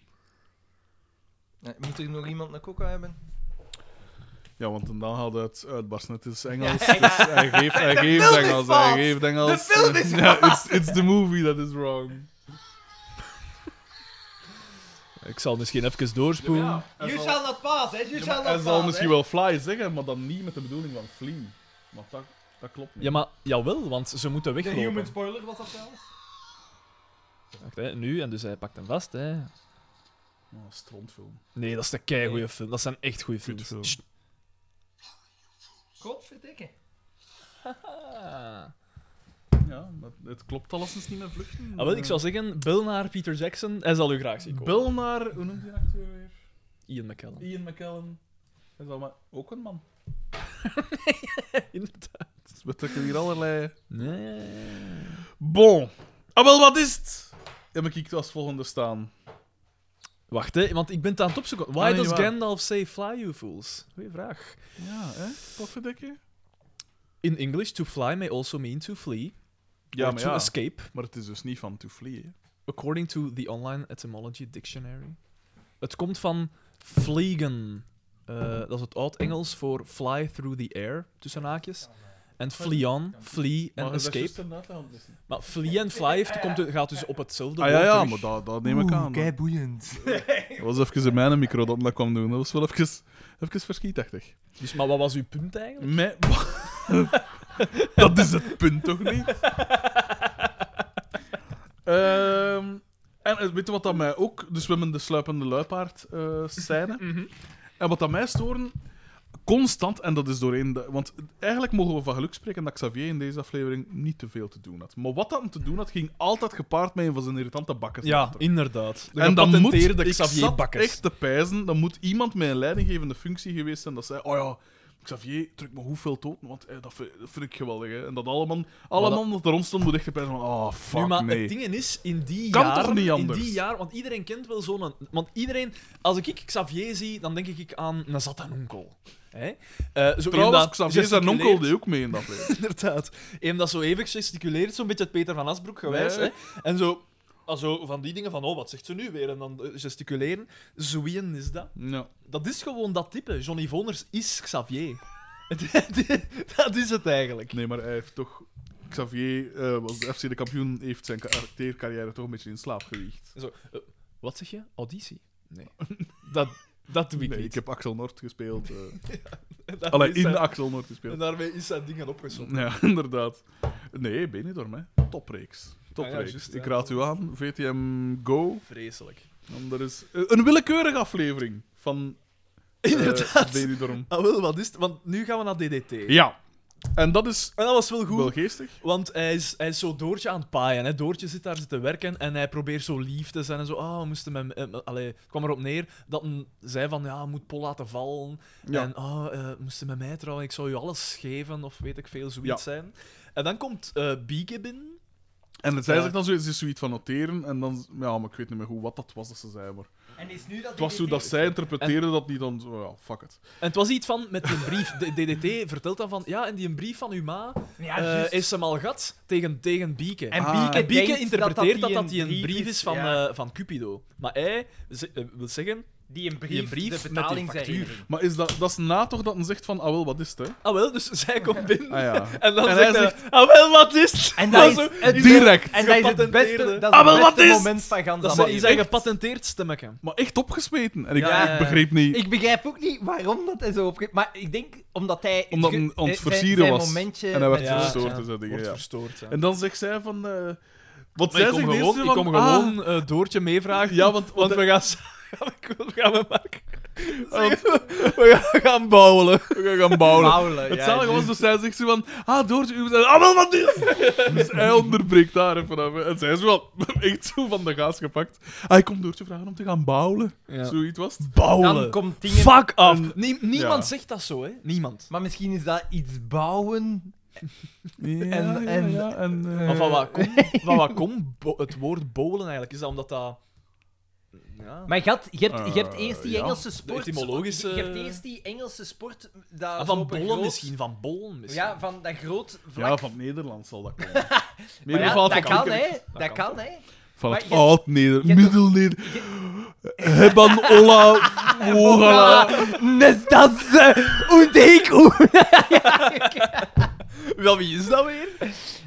Speaker 4: Nee, moet er nog iemand een coca hebben?
Speaker 2: Ja, want dan gaat het uitbarsten. Het is Engels. dus hij geeft, hij geeft
Speaker 4: film is
Speaker 2: Engels.
Speaker 4: vals.
Speaker 2: Hij geeft Engels.
Speaker 4: De film is
Speaker 2: Ja, it's, it's the movie that is wrong.
Speaker 3: Ik zal misschien even doorspoelen.
Speaker 2: Hij zal-
Speaker 4: not pass, hè? You
Speaker 2: Ja, maar hij zal misschien wel fly zeggen, maar dan niet met de bedoeling van flee. Maar dat, dat klopt niet.
Speaker 3: Ja, maar jawel, want ze moeten
Speaker 4: De
Speaker 3: weglopen.
Speaker 4: human spoiler was dat trouwens.
Speaker 3: Wacht, hè, nu, en dus hij pakt hem vast. Hè.
Speaker 2: Oh, een strontfilm.
Speaker 3: Nee, dat is een keigoeie film. Dat zijn echt goede films.
Speaker 2: film.
Speaker 3: Sst.
Speaker 4: God verdikken.
Speaker 3: Ah.
Speaker 2: Ja, dat, het klopt alleszins niet met vluchten. Eh,
Speaker 3: Ah, wel, ik zou zeggen, bel naar Peter Jackson. Hij zal u graag zien komen.
Speaker 2: Bel naar, hoe noemt die acteur weer?
Speaker 3: Ian McKellen.
Speaker 2: Ian McKellen. Hij is al maar ook een man.
Speaker 3: Inderdaad.
Speaker 2: Dus we trekken hier allerlei...
Speaker 3: Nee.
Speaker 2: Bon. Ah, wel, wat is het? Ja, maar kijk, als volgende staan.
Speaker 3: Wacht, hè, want ik ben het aan het opzoeken. Why
Speaker 2: Ah, nee,
Speaker 3: does
Speaker 2: waar.
Speaker 3: Gandalf say fly, you fools? Goeie vraag.
Speaker 2: Ja, hè? Potverdikke.
Speaker 3: In English, to fly may also mean to flee
Speaker 2: Ja,
Speaker 3: or
Speaker 2: maar
Speaker 3: to
Speaker 2: ja.
Speaker 3: escape,
Speaker 2: Maar het is dus niet van to flee, hè.
Speaker 3: according to the Online Etymology Dictionary. Het komt van vliegen. Eh, dat is het Oud-Engels voor fly through the air, tussen haakjes. En flee on, flee en
Speaker 2: Maar dus-
Speaker 3: escape. Maar flee en fly heeft- komt, gaat dus op hetzelfde
Speaker 2: Ah ja, ja,
Speaker 3: woord
Speaker 2: maar
Speaker 3: terug.
Speaker 2: dat, dat neem ik aan.
Speaker 4: Kei boeiend.
Speaker 2: Dat was even in mijn micro dat ik dat kwam doen. Dat was wel even, even verschietachtig.
Speaker 3: Dus, maar wat was uw punt eigenlijk?
Speaker 2: Mij- dat is het punt toch niet? Ehm, en eh, weet je wat dat mij ook... Dus we hebben de sluipende luipaard eh, scène. En wat dat mij storen... Constant, en dat is doorheen... De, want eigenlijk mogen we van geluk spreken dat Xavier in deze aflevering niet te veel te doen had. Maar wat dat hem te doen had, ging altijd gepaard met een van zijn irritante bakken.
Speaker 3: Ja, inderdaad. De
Speaker 2: en dan moet
Speaker 3: gepatenteerde
Speaker 2: ik
Speaker 3: Xavier
Speaker 2: zat
Speaker 3: Bakkes.
Speaker 2: echt te pijzen, dan moet iemand met een leidinggevende functie geweest zijn dat zei, oh ja, Xavier, druk me hoeveel toten, want eh, dat, vind, dat vind ik geweldig. Hè. En dat alle man, alle
Speaker 3: Maar dat-
Speaker 2: man dat er rond stond, moet echt te pijzen van, oh, fuck
Speaker 3: nu, maar
Speaker 2: nee.
Speaker 3: het ding is, in die
Speaker 2: Kan
Speaker 3: jaar...
Speaker 2: toch niet anders?
Speaker 3: In die jaar, want iedereen kent wel zo'n... Want iedereen... Als ik Xavier zie, dan denk ik aan een zatte onkel. Hè? Eh, zo
Speaker 2: Trouwens,
Speaker 3: iemand
Speaker 2: Xavier zijn onkel dus.
Speaker 3: gesticuleert.
Speaker 2: deed ook mee in dat play.
Speaker 3: Inderdaad. Eén dat zo even gesticuleert, zo'n beetje het Peter van Asbroek gewijs.
Speaker 2: Nee.
Speaker 3: Hè? En zo... ah, zo van die dingen van, oh, wat zegt ze nu weer? En dan eh, gesticuleren. Zoeien is dat.
Speaker 2: ja.
Speaker 3: Dat is gewoon dat type. Johnny Voners is Xavier. dat is het eigenlijk.
Speaker 2: Nee, maar hij heeft toch... Xavier, eh, was de FC de kampioen, heeft zijn karaktercarrière toch een beetje in slaap gewiegd.
Speaker 3: Zo, eh, wat zeg je? Auditie? Nee. Dat, dat doe ik
Speaker 2: Nee,
Speaker 3: niet.
Speaker 2: ik heb Axel Noord gespeeld. eh
Speaker 3: Dat
Speaker 2: Allee,
Speaker 3: is
Speaker 2: in
Speaker 3: zijn-
Speaker 2: Axel Noord gespeeld.
Speaker 3: En daarmee is zijn dingen opgezond.
Speaker 2: Ja, inderdaad. Nee, Benidorm, hè. Topreeks.
Speaker 3: Ah
Speaker 2: Topreeks.
Speaker 3: ja, juist,
Speaker 2: ik
Speaker 3: ja.
Speaker 2: raad u aan, VTM Go.
Speaker 3: Vreselijk.
Speaker 2: En er is eh, een willekeurige aflevering van eh,
Speaker 3: Inderdaad.
Speaker 2: Benidorm.
Speaker 3: Ah, wel, wat is het? Want nu gaan we naar DDT.
Speaker 2: Ja. En dat is
Speaker 3: En dat was wel goed,
Speaker 2: wel geestig.
Speaker 3: want hij is, hij is zo Doortje aan het paaien. Hè. Doortje zit daar zitten werken en hij probeert zo lief te zijn en zo. Ah, we moesten met... eh, eh, allee, het kwam erop neer dat hij zei van, ja, je moet Pol laten vallen.
Speaker 2: Ja.
Speaker 3: En, ah, eh, moesten met mij trouwen, ik zou je alles geven of weet ik veel, zoiets
Speaker 2: Ja.
Speaker 3: zijn. En dan komt eh Bieke binnen.
Speaker 2: En het, zij
Speaker 3: Ja.
Speaker 2: zegt dan zoiets, is zoiets van noteren. En dan, ja, maar ik weet niet meer hoe wat dat was dat ze zei. Maar
Speaker 4: En is nu dat
Speaker 2: het was zo dat zij interpreteerde dat niet dan. zo, ja, fuck it.
Speaker 3: En het was iets van, met die brief, D- DDT vertelt dan van, ja, en die brief van uw ma
Speaker 4: Ja,
Speaker 3: eh,
Speaker 4: juist.
Speaker 3: is hem al gat tegen, tegen Bieke.
Speaker 4: En
Speaker 2: Ah.
Speaker 4: Bieke,
Speaker 3: En Bieke
Speaker 4: denkt
Speaker 3: interpreteert dat dat
Speaker 4: die
Speaker 3: hij een brief is van,
Speaker 4: ja.
Speaker 3: eh, van Cupido. Maar hij ze- eh, wil zeggen...
Speaker 4: die een brief,
Speaker 3: die brief met
Speaker 4: de
Speaker 3: die
Speaker 4: betaling zijn
Speaker 3: factuur.
Speaker 4: rekening.
Speaker 2: Maar is dat, dat is na toch dat men zegt van, ah wel, wat is het, hè?
Speaker 3: Ah wel, dus zij komt binnen.
Speaker 2: Ah ja.
Speaker 3: En dan
Speaker 2: En hij
Speaker 3: zegt hij... ah wel, wat is het?
Speaker 4: En
Speaker 3: dat
Speaker 4: dat
Speaker 3: is
Speaker 4: is het
Speaker 2: Direct.
Speaker 4: En dat is het beste,
Speaker 3: Gepatenteerde.
Speaker 4: dat is
Speaker 2: Ah, wel,
Speaker 4: het
Speaker 2: wat
Speaker 4: beste
Speaker 2: is-
Speaker 4: moment van gans
Speaker 3: Dat
Speaker 4: dat
Speaker 3: zijn,
Speaker 4: manier.
Speaker 3: zijn gepatenteerd stemmetje.
Speaker 2: Maar echt opgesmeten. En ik,
Speaker 3: Ja, ja, ja.
Speaker 2: ik begreep niet.
Speaker 4: Ik begrijp ook niet waarom dat hij zo opge... Maar ik denk omdat hij... het
Speaker 2: Omdat
Speaker 4: ge-
Speaker 2: hem aan het
Speaker 4: eh, zijn-
Speaker 2: versieren
Speaker 4: zijn
Speaker 2: was.
Speaker 4: momentje
Speaker 2: en hij werd
Speaker 3: eh, Ja,
Speaker 2: verstoord
Speaker 4: ja.
Speaker 2: en zo dingen.
Speaker 3: Wordt
Speaker 2: Ja.
Speaker 3: verstoord. hè.
Speaker 2: En dan zegt zij van. eh wat
Speaker 3: Maar
Speaker 2: zij
Speaker 3: ik kom
Speaker 2: zegt deze
Speaker 3: gewoon, ik
Speaker 2: van,
Speaker 3: kom
Speaker 2: ah,
Speaker 3: gewoon eh, Doortje meevragen.
Speaker 2: Ja, want- want
Speaker 3: want we gaan... s- Ik wil- we gaan met Mark...
Speaker 2: Want-
Speaker 3: We gaan- gaan bouwen.
Speaker 2: we gaan gaan bouwen.
Speaker 4: Maulen,
Speaker 2: Het
Speaker 4: ja,
Speaker 2: zalige was
Speaker 4: dus-
Speaker 2: dus zij zegt zo van. Ah, Doortje, u bent. Ah, wel wat is het?" Dus hij onderbreekt daar even af. hè. En zij is wel echt zo van de gaas gepakt. Hij komt Doortje vragen om te gaan bouwen. Zoiets was het.
Speaker 4: Dan
Speaker 3: Bouwen.
Speaker 4: komt dingen...
Speaker 3: Fuck af.
Speaker 2: En-
Speaker 3: niemand
Speaker 2: ja.
Speaker 3: zegt dat zo, hè. Niemand.
Speaker 4: Maar misschien is dat iets bouwen...
Speaker 2: Ja,
Speaker 4: En- en-
Speaker 2: en, eh,
Speaker 3: Maar van waar komt kom, het woord bolen eigenlijk? Is dat omdat dat... Nee, Ja.
Speaker 4: Maar je had- je hebt, je hebt
Speaker 2: Eh,
Speaker 4: eerst die
Speaker 2: ja.
Speaker 4: Engelse
Speaker 3: De
Speaker 4: sport.
Speaker 3: etymologische...
Speaker 4: Je hebt eerst die Engelse sport. Dat
Speaker 3: Ah,
Speaker 4: zo
Speaker 3: van
Speaker 4: op een
Speaker 3: bollen
Speaker 4: groot-
Speaker 3: misschien, van bollen misschien.
Speaker 4: Ja, van dat groot vlak.
Speaker 2: Ja, van het Nederlands zal dat komen.
Speaker 4: Maar
Speaker 2: Meer
Speaker 4: ja,
Speaker 2: van
Speaker 4: dat
Speaker 2: van-
Speaker 4: kan, hè. Dat
Speaker 3: Dat
Speaker 4: kan, hè.
Speaker 2: Van
Speaker 4: Maar
Speaker 2: het
Speaker 4: je-
Speaker 2: oud-Neder,
Speaker 4: je-
Speaker 2: middel-Neder. Hebban, olla, wogala.
Speaker 4: Nes dat ze
Speaker 3: Wel, wie is dat weer?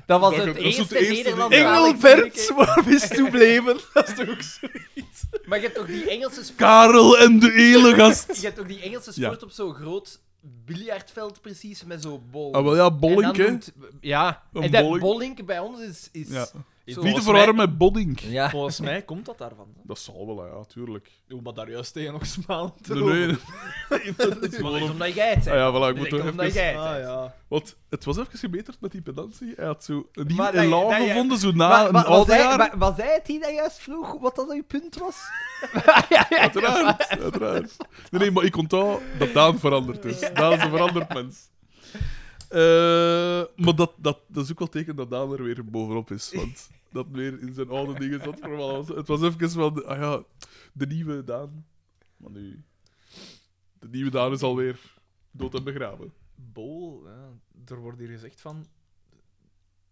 Speaker 4: Dat was
Speaker 2: Dat-
Speaker 4: het
Speaker 2: dat is het
Speaker 4: eerste
Speaker 2: eerste
Speaker 4: Nederlandse...
Speaker 2: Nederlands-
Speaker 8: Engelbert, waar bist du bleven? Dat is toch ook zo?
Speaker 4: Maar je hebt toch die Engelse sport...
Speaker 2: Karel en de Elegast.
Speaker 4: Je hebt toch die Engelse
Speaker 2: Ja.
Speaker 4: sport op zo'n groot biljartveld precies, met zo'n bol.
Speaker 2: Ah, wel ja,
Speaker 4: En
Speaker 2: Bollink,
Speaker 4: dan
Speaker 2: hè.
Speaker 4: noemt- Ja.
Speaker 2: Een
Speaker 4: en dat
Speaker 2: bollink.
Speaker 4: bollink bij ons is... is
Speaker 2: Ja.
Speaker 4: zo-
Speaker 2: Niet te
Speaker 3: Volgens
Speaker 2: verwarren met Boddink.
Speaker 4: Ja.
Speaker 3: Volgens mij komt dat daarvan. hè.
Speaker 2: Dat zal wel, ja, tuurlijk.
Speaker 3: Hoe maar daar juist tegen nog smaal te
Speaker 2: Nee, nee.
Speaker 3: roepen.
Speaker 4: Dat is omdat jij het
Speaker 2: Ah
Speaker 4: zei.
Speaker 2: ja, voilà, ik moet
Speaker 4: Direct
Speaker 2: toch
Speaker 4: omdat
Speaker 2: even...
Speaker 4: jij het
Speaker 3: Ah
Speaker 4: zei.
Speaker 3: ja.
Speaker 2: Want het was even gebeterd met die pedantie. Hij had zo een
Speaker 4: Maar
Speaker 2: nieuw
Speaker 4: dat je-
Speaker 2: elan
Speaker 4: dat je-
Speaker 2: gevonden, zo na
Speaker 4: Maar-
Speaker 2: een
Speaker 4: maar- was,
Speaker 2: oud
Speaker 4: hij,
Speaker 2: jaar.
Speaker 4: maar- was hij het die dat juist vroeg wat dat uw punt was?
Speaker 2: Uiteraard, uiteraard. Nee, nee, maar ik onthoud dat Daan veranderd is. Daan is een veranderd mens. Eh, maar dat, dat, dat is ook wel teken dat Daan er weer bovenop is. Want dat weer in zijn oude dingen zat. voor wel. Het was even van, ah ja, de nieuwe Daan. Maar nu... De nieuwe Daan is alweer dood en begraven.
Speaker 3: Bol, ja. er wordt hier gezegd van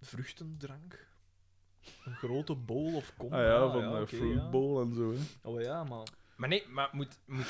Speaker 3: vruchtendrank. Een grote bol of kom.
Speaker 2: Ah ja, van
Speaker 3: ja,
Speaker 2: eh,
Speaker 3: oké, ja.
Speaker 2: Fruit Bowl en zo. Hè.
Speaker 3: Oh ja, maar...
Speaker 4: Maar nee, maar moet... moet...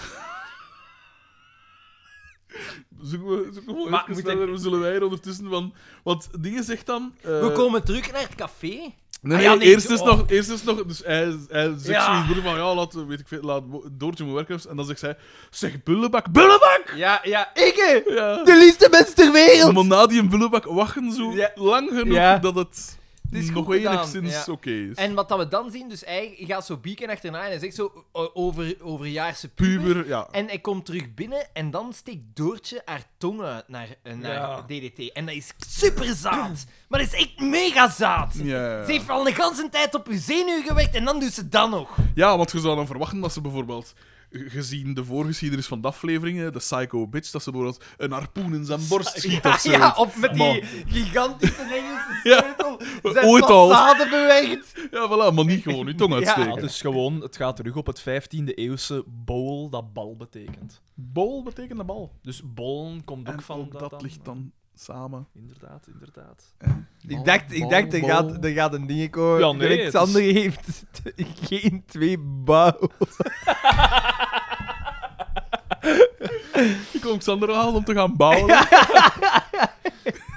Speaker 2: Zoeken we, zoeken we
Speaker 4: Maar
Speaker 2: even
Speaker 4: moet
Speaker 2: verder. We zullen wij er ondertussen van... Want dingen zegt dan... eh,
Speaker 4: We komen terug naar het café.
Speaker 2: Nee,
Speaker 4: Ah ja,
Speaker 2: nee,
Speaker 4: nee,
Speaker 2: eerst, is
Speaker 4: oh.
Speaker 2: nog, eerst is nog... Dus hij, hij zegt
Speaker 4: Ja.
Speaker 2: zoiets moeder van... Ja, laat, eh, weet ik veel, laat Mo- Doortje moet werken. En dan zegt zij... Zeg, Bullebak, Bullebak!
Speaker 4: Ja, ja. Ik,
Speaker 2: Ja.
Speaker 4: de liefste mens ter wereld!
Speaker 2: Maar na die Bullebak wachten zo
Speaker 4: Ja.
Speaker 2: lang genoeg
Speaker 4: Ja.
Speaker 2: dat het,
Speaker 4: Het is
Speaker 2: nog
Speaker 4: goed gedaan,
Speaker 2: enigszins
Speaker 4: ja.
Speaker 2: oké is.
Speaker 4: En wat dat we dan zien, dus hij gaat zo bieken achterna en hij zegt zo o- over, overjaarse puber.
Speaker 2: Puber, ja.
Speaker 4: En hij komt terug binnen en dan steekt Doortje haar tong uit naar, eh, naar
Speaker 3: Ja.
Speaker 4: DDT. En dat is super zaad. Maar dat is echt mega zaad.
Speaker 2: Ja,
Speaker 4: Ze
Speaker 2: ja.
Speaker 4: heeft al de ganse tijd op uw zenuw gewerkt en dan doet ze dat nog.
Speaker 2: ja, want je zou dan verwachten dat ze bijvoorbeeld... g- Gezien de voorgeschiedenis van de afleveringen, de Psycho Bitch, dat ze bijvoorbeeld een harpoen in zijn borst schiet
Speaker 4: Ja,
Speaker 2: of zo.
Speaker 4: ja, oh. op met die
Speaker 2: Man.
Speaker 4: gigantische Engelse
Speaker 2: Ja.
Speaker 4: sleutel. Zijn
Speaker 2: Ooit al.
Speaker 4: façade bewerkt.
Speaker 2: Ja, voilà, maar niet gewoon je tong
Speaker 3: Ja,
Speaker 2: uitsteken.
Speaker 3: dus gewoon, het gaat terug op het 15e eeuwse bol, dat bal betekent.
Speaker 2: Bol betekent de bal.
Speaker 3: Dus bollen komt ook
Speaker 2: En
Speaker 3: van
Speaker 2: ook
Speaker 3: dat,
Speaker 2: dat,
Speaker 3: dan. eh,
Speaker 2: ligt dan samen.
Speaker 3: Inderdaad, inderdaad.
Speaker 9: Ik dacht, ik dacht er, gaat, er gaat een ding komen.
Speaker 3: Ja, nee,
Speaker 9: Direct,
Speaker 3: het
Speaker 9: Sander heeft geen twee bouwen.
Speaker 2: Ik kom Xander halen om te gaan bouwen.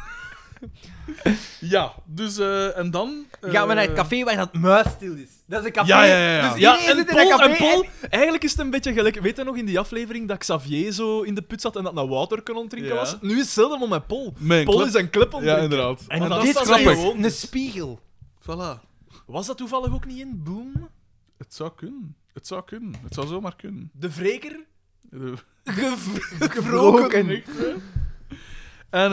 Speaker 2: ja, dus eh, en dan. eh,
Speaker 4: Gaan we naar het café waar dat muisstil is. Dat is een café.
Speaker 2: Ja, ja, ja, ja.
Speaker 4: Dus
Speaker 3: Ja,
Speaker 4: iedereen
Speaker 3: en
Speaker 4: zit in
Speaker 3: Paul,
Speaker 4: dat café
Speaker 3: en Paul, eigenlijk is het een beetje gelijk. Weet je nog in die aflevering dat Xavier zo in de put zat en dat naar water kon onttrinken
Speaker 2: Ja.
Speaker 3: was? Nu is hetzelfde moment met Paul.
Speaker 2: Mijn
Speaker 3: Paul
Speaker 2: klep-
Speaker 3: is een klep
Speaker 2: Ja,
Speaker 3: onttrinken.
Speaker 2: inderdaad.
Speaker 3: En
Speaker 2: Maar
Speaker 3: dan
Speaker 2: dat is
Speaker 4: Dit
Speaker 2: grappig.
Speaker 4: is een spiegel.
Speaker 2: Voilà.
Speaker 3: Was dat toevallig ook niet in Boom?
Speaker 2: Het zou kunnen. Het zou kunnen. Het zou zomaar kunnen.
Speaker 3: De Vreker?
Speaker 2: Eh,
Speaker 4: Gebroken.
Speaker 2: echt, hè? En,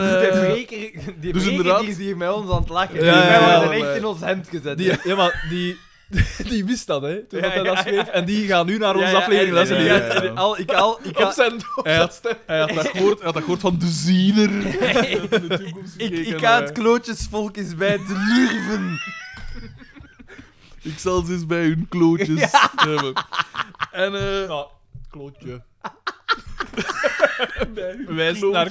Speaker 2: eh,
Speaker 4: De breker, die
Speaker 2: dus
Speaker 4: breker
Speaker 2: inderdaad-
Speaker 4: die is hier met ons aan het lachen.
Speaker 3: Ja,
Speaker 4: Wij
Speaker 3: ja, ja,
Speaker 4: worden
Speaker 2: ja,
Speaker 4: echt
Speaker 2: maar-
Speaker 4: in ons hemd gezet.
Speaker 3: Die, ja, maar die, die wist dat, hè? Toen
Speaker 4: Ja,
Speaker 3: dat hij
Speaker 4: ja,
Speaker 3: dat schreef. En die gaan nu naar
Speaker 4: Ja,
Speaker 3: onze
Speaker 4: ja,
Speaker 3: aflevering
Speaker 4: en-
Speaker 3: luisteren.
Speaker 4: en-
Speaker 2: Ja, ja,
Speaker 4: en-
Speaker 2: ja.
Speaker 4: Al, ik al, ik
Speaker 3: Op
Speaker 4: al,
Speaker 3: zijn, op
Speaker 2: Hij
Speaker 3: zijn
Speaker 2: had-
Speaker 3: stem.
Speaker 2: hij had dat gehoord, hij had dat gehoord van de ziener. Hij had in de toekomst
Speaker 4: ik,
Speaker 2: gekeken,
Speaker 4: ik ga
Speaker 2: eh.
Speaker 4: het klootjesvolk eens bij te lurven.
Speaker 2: Ik zal ze eens bij hun klootjes hebben. En eh
Speaker 3: Ja, klootje.
Speaker 2: bij hun
Speaker 3: Wijs
Speaker 2: klootje.
Speaker 3: naar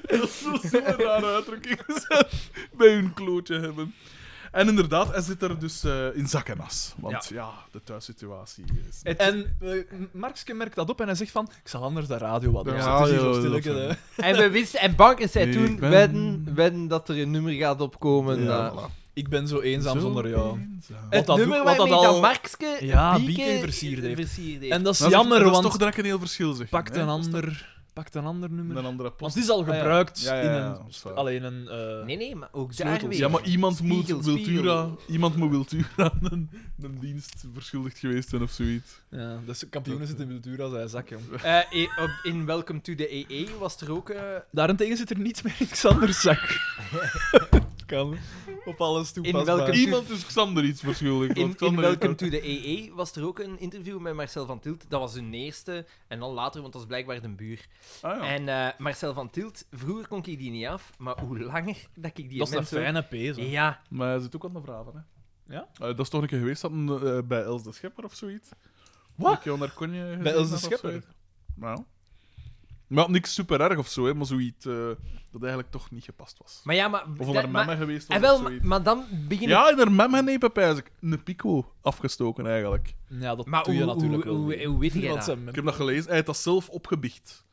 Speaker 2: Dat is zo'n zo rare uitdrukking gezet. Bij hun klootje hebben. En inderdaad, hij zit er dus eh, in zak en as. Want ja, de thuissituatie is...
Speaker 3: En eh, Markske merkt dat op en hij zegt van... Ik zal anders de radio wat
Speaker 2: De
Speaker 3: doen.
Speaker 2: radio,
Speaker 3: het is hier zo eh,
Speaker 2: dat
Speaker 3: stilletje,
Speaker 2: is-
Speaker 3: hè.
Speaker 9: En we wisten, en Bankers zei
Speaker 2: Ik
Speaker 9: toen,
Speaker 2: ben-
Speaker 9: wedden, wedden dat er een nummer gaat opkomen.
Speaker 2: Ja,
Speaker 9: eh.
Speaker 2: voilà.
Speaker 3: Ik ben zo eenzaam zonder jou.
Speaker 2: eenzaam. Nou,
Speaker 3: Het
Speaker 4: Het nummer waarmee dat, Markske
Speaker 3: Ja,
Speaker 4: Bieke
Speaker 3: Bieke versierd heeft.
Speaker 4: versierd heeft.
Speaker 3: En dat is
Speaker 2: Dat is-
Speaker 3: jammer,
Speaker 2: dat is
Speaker 3: want
Speaker 2: toch direct een heel verschil, zeg.
Speaker 3: pakt,
Speaker 2: hè?
Speaker 3: een ander, pakt een ander nummer.
Speaker 2: Een andere
Speaker 3: Want
Speaker 2: post.
Speaker 3: het is al
Speaker 2: Ah, ja.
Speaker 3: gebruikt
Speaker 2: Ja, ja,
Speaker 3: in
Speaker 2: ja,
Speaker 3: een...
Speaker 2: dat is waar.
Speaker 3: Alleen een... eh,
Speaker 4: Nee, nee, maar ook daar
Speaker 2: Sleutels.
Speaker 4: weer.
Speaker 2: Ja, maar iemand moet
Speaker 4: Spiegel,
Speaker 2: Wiltura,
Speaker 4: spiegel.
Speaker 2: iemand moet Wiltura een, een dienst verschuldigd geweest zijn of zoiets.
Speaker 3: Ja, dus kampioenen zitten in de duur als hij zak, jong.
Speaker 4: Eh, eh, op- in Welcome to the EE was er ook... eh,
Speaker 3: Daarentegen zit er niets meer in Xander's zak. kan op alles toepasbaar.
Speaker 4: welke- Komt u-
Speaker 2: Iemand is Xander iets verschuldigd.
Speaker 4: In,
Speaker 2: want
Speaker 4: in
Speaker 2: Xander heeft
Speaker 4: Welcome
Speaker 2: ook-
Speaker 4: to the EE was er ook een interview met Marcel van Tilt. Dat was hun eerste. En dan later, want dat is blijkbaar de buur.
Speaker 2: Ah, ja.
Speaker 4: En eh, Marcel van Tilt, vroeger kon ik die niet af. Maar hoe langer dat ik die
Speaker 3: Dat is een
Speaker 4: mensen...
Speaker 3: fijne P, zo.
Speaker 4: Ja.
Speaker 2: Maar hij zit ook aan de vragen, hè?
Speaker 3: Ja?
Speaker 2: Eh, dat is toch een keer geweest dat een, eh, bij Els de Schepper of zoiets?
Speaker 3: Wat?
Speaker 2: Ik jou naar Konje
Speaker 10: Bij Ilse
Speaker 2: gezien had of
Speaker 10: Schepper.
Speaker 2: zo. Nou. Maar niks super erg of zo, hè, maar zoiets eh, dat eigenlijk toch niet gepast was.
Speaker 4: Maar ja, maar...
Speaker 2: Of
Speaker 4: dat-
Speaker 2: onder haar
Speaker 4: maar-
Speaker 2: memmen geweest was.
Speaker 4: En wel,
Speaker 2: of
Speaker 4: maar,
Speaker 2: zoiets.
Speaker 4: maar dan begin ik...
Speaker 2: Ja, in haar memmen nee, pepijs ik. Een pico afgestoken eigenlijk.
Speaker 3: Ja, dat
Speaker 4: Maar
Speaker 3: doe
Speaker 4: hoe,
Speaker 3: je
Speaker 4: hoe,
Speaker 3: natuurlijk wel
Speaker 4: hoe,
Speaker 3: niet.
Speaker 4: hoe weet jij
Speaker 3: Want
Speaker 4: dat?
Speaker 3: zijn
Speaker 2: Ik heb dat gelezen. Hij heeft dat zelf opgebiecht.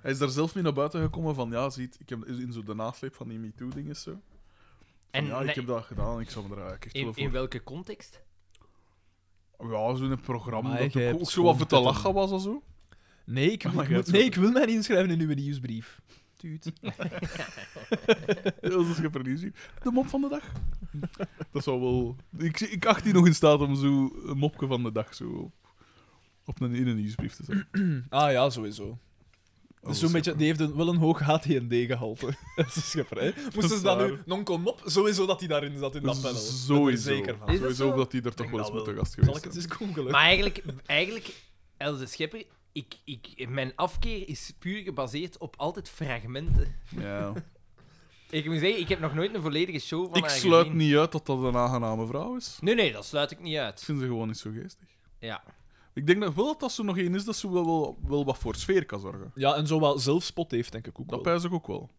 Speaker 2: Hij is daar zelf mee naar buiten gekomen van, ja, ziet, ik heb in zo de nasleep van die MeToo-dingen zo. Van,
Speaker 4: En
Speaker 2: ja, ik
Speaker 4: nee,
Speaker 2: heb dat gedaan en ik zou me daar eigenlijk echt
Speaker 4: in,
Speaker 2: wel
Speaker 4: in
Speaker 2: voor...
Speaker 4: welke context?
Speaker 2: Ja, zo'n programma
Speaker 3: Maar
Speaker 2: dat
Speaker 3: jij
Speaker 2: ook,
Speaker 3: hebt
Speaker 2: ook zo wat voor te
Speaker 3: gewoon
Speaker 2: lachen was en zo.
Speaker 3: Nee, ik,
Speaker 2: Oh my
Speaker 3: ik
Speaker 2: God,
Speaker 3: moet-
Speaker 2: sorry.
Speaker 3: nee, ik wil mij niet inschrijven in uw nieuwsbrief. Tuut.
Speaker 2: Dat is geen verliesie. De mop van de dag. Dat zou wel... Ik, ik acht die nog in staat om zo een mopje van de dag zo op, op een, in een nieuwsbrief te zetten.
Speaker 3: Ah ja, sowieso.
Speaker 2: Oh, Dat
Speaker 3: Dus
Speaker 2: is
Speaker 3: zo'n beetje,
Speaker 2: grappig.
Speaker 3: die heeft een, wel een hoog HTND-gehalte. dat is schipper, hè? Moesten ze dat
Speaker 2: waar.
Speaker 3: nu... Non-con-mop? Sowieso dat hij daarin zat in dat panel. Ik ben er
Speaker 2: Sowieso.
Speaker 3: zeker van.
Speaker 4: Is dat
Speaker 2: Sowieso
Speaker 4: zo?
Speaker 2: dat die er toch
Speaker 3: Ik
Speaker 2: wel eens
Speaker 3: dat
Speaker 2: moeten
Speaker 3: wel.
Speaker 2: gast
Speaker 3: Zal
Speaker 2: geweest
Speaker 3: ik het
Speaker 2: zijn.
Speaker 3: eens googelen?
Speaker 4: Maar eigenlijk, eigenlijk Else Schepper, ik, ik, mijn afkeer is puur gebaseerd op altijd fragmenten.
Speaker 2: Ja.
Speaker 4: Ik moet zeggen, ik heb nog nooit een volledige show van
Speaker 2: Ik
Speaker 4: haar
Speaker 2: sluit
Speaker 4: gezien.
Speaker 2: niet uit dat dat een aangename vrouw is.
Speaker 4: Nee, nee, dat sluit ik niet
Speaker 2: Ik
Speaker 4: uit.
Speaker 2: vind ze gewoon niet zo geestig.
Speaker 4: Ja.
Speaker 2: Ik denk dat wel dat dat zo nog één is dat ze wel, wel, wel wat voor sfeer kan zorgen.
Speaker 3: Ja, en zo wat zelfspot heeft, denk ik ook
Speaker 2: Dat
Speaker 3: wel.
Speaker 2: pijs ik ook wel.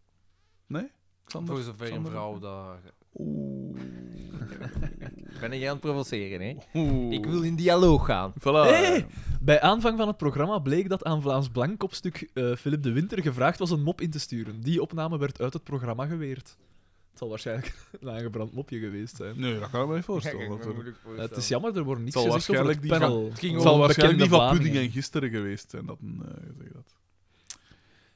Speaker 2: Nee? Xander?
Speaker 4: Voor zover een
Speaker 2: Xander?
Speaker 4: vrouw daar...
Speaker 2: Oeh.
Speaker 4: Ben jij aan het provoceren, hè?
Speaker 2: Oeh.
Speaker 4: Ik wil in dialoog gaan.
Speaker 2: Voilà.
Speaker 3: Hey! Bij aanvang van het programma bleek dat aan Vlaams Blankopstuk eh Philip de Winter gevraagd was een mop in te sturen. Die opname werd uit het programma geweerd. Het zal waarschijnlijk een aangebrand mopje geweest zijn.
Speaker 2: Nee, dat kan ik me niet voorstellen. natuurlijk.
Speaker 3: Eh, het is jammer, er wordt niks
Speaker 2: zal
Speaker 3: gezegd over het
Speaker 2: waarschijnlijk die
Speaker 3: panel.
Speaker 4: Het ging
Speaker 2: Het
Speaker 4: over
Speaker 2: zal waarschijnlijk
Speaker 3: bekende
Speaker 2: die van
Speaker 3: Vlamingen.
Speaker 2: Pudding en gisteren geweest zijn. Dat een, eh, zeg dat.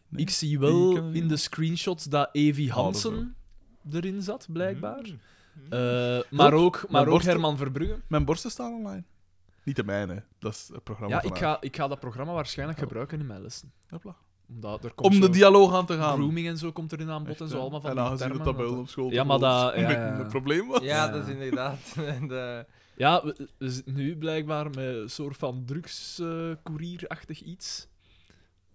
Speaker 2: Nee.
Speaker 3: Ik zie
Speaker 2: Die
Speaker 3: wel
Speaker 2: kennen we
Speaker 3: in de
Speaker 2: niet.
Speaker 3: screenshots dat Evi
Speaker 2: Ah, dat Mm.
Speaker 3: Hansen erin zat, blijkbaar. Eh, maar
Speaker 2: Klopt.
Speaker 3: ook, maar ook
Speaker 2: borsten-
Speaker 3: Herman Verbrugge.
Speaker 2: Mijn borsten staan online. Niet de mijne. Dat is het programma
Speaker 3: Ja,
Speaker 2: van
Speaker 3: ik
Speaker 2: haar.
Speaker 3: ga, ik ga dat programma
Speaker 2: Oh.
Speaker 3: waarschijnlijk gebruiken in mijn lessen.
Speaker 2: Hopla.
Speaker 3: Omdat er komt
Speaker 2: Om de
Speaker 3: zo
Speaker 2: dialoog aan te gaan.
Speaker 3: grooming en zo komt erin aan bod en
Speaker 2: Echt,
Speaker 3: zo
Speaker 2: hè?
Speaker 3: allemaal van
Speaker 2: en
Speaker 3: die
Speaker 2: aangezien
Speaker 3: termen,
Speaker 2: dat dat bij
Speaker 3: want
Speaker 2: ons op school
Speaker 3: Ja, maar
Speaker 2: toch wel
Speaker 3: dat-
Speaker 2: een
Speaker 3: ja,
Speaker 2: beetje
Speaker 3: ja.
Speaker 2: een probleem was.
Speaker 4: Ja,
Speaker 3: Ja.
Speaker 4: dat is inderdaad... De...
Speaker 3: Ja, we, we zitten nu blijkbaar met een soort van drugscourierachtig iets.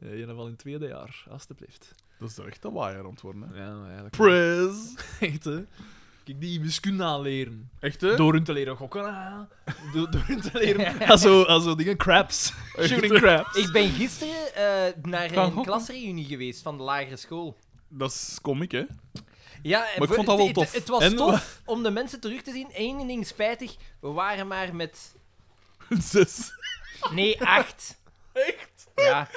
Speaker 3: Eh in al in het tweede jaar, alstublieft.
Speaker 2: Dat is er echt een waaier aan het worden, hè.
Speaker 3: Ja, maar eigenlijk.
Speaker 2: Prez.
Speaker 3: Echt, hè? Kijk, die wiskunde aanleren.
Speaker 2: Echt, hè?
Speaker 3: Door hun te leren gokken. ah. Door, door hun te leren. Ah, zo, ah, zo dingen, craps. Shooting craps.
Speaker 4: Ik ben gisteren eh, naar een
Speaker 2: Gaan gokken?
Speaker 4: klasreunie geweest van de lagere school.
Speaker 2: Dat is komiek, hè?
Speaker 4: Ja, eh,
Speaker 2: Maar ik vond dat wel tof.
Speaker 4: Het, was
Speaker 3: En-
Speaker 4: tof om de mensen terug te zien. Eén ding spijtig, we waren maar met...
Speaker 2: Zes.
Speaker 4: Nee, acht. Echt? Ja,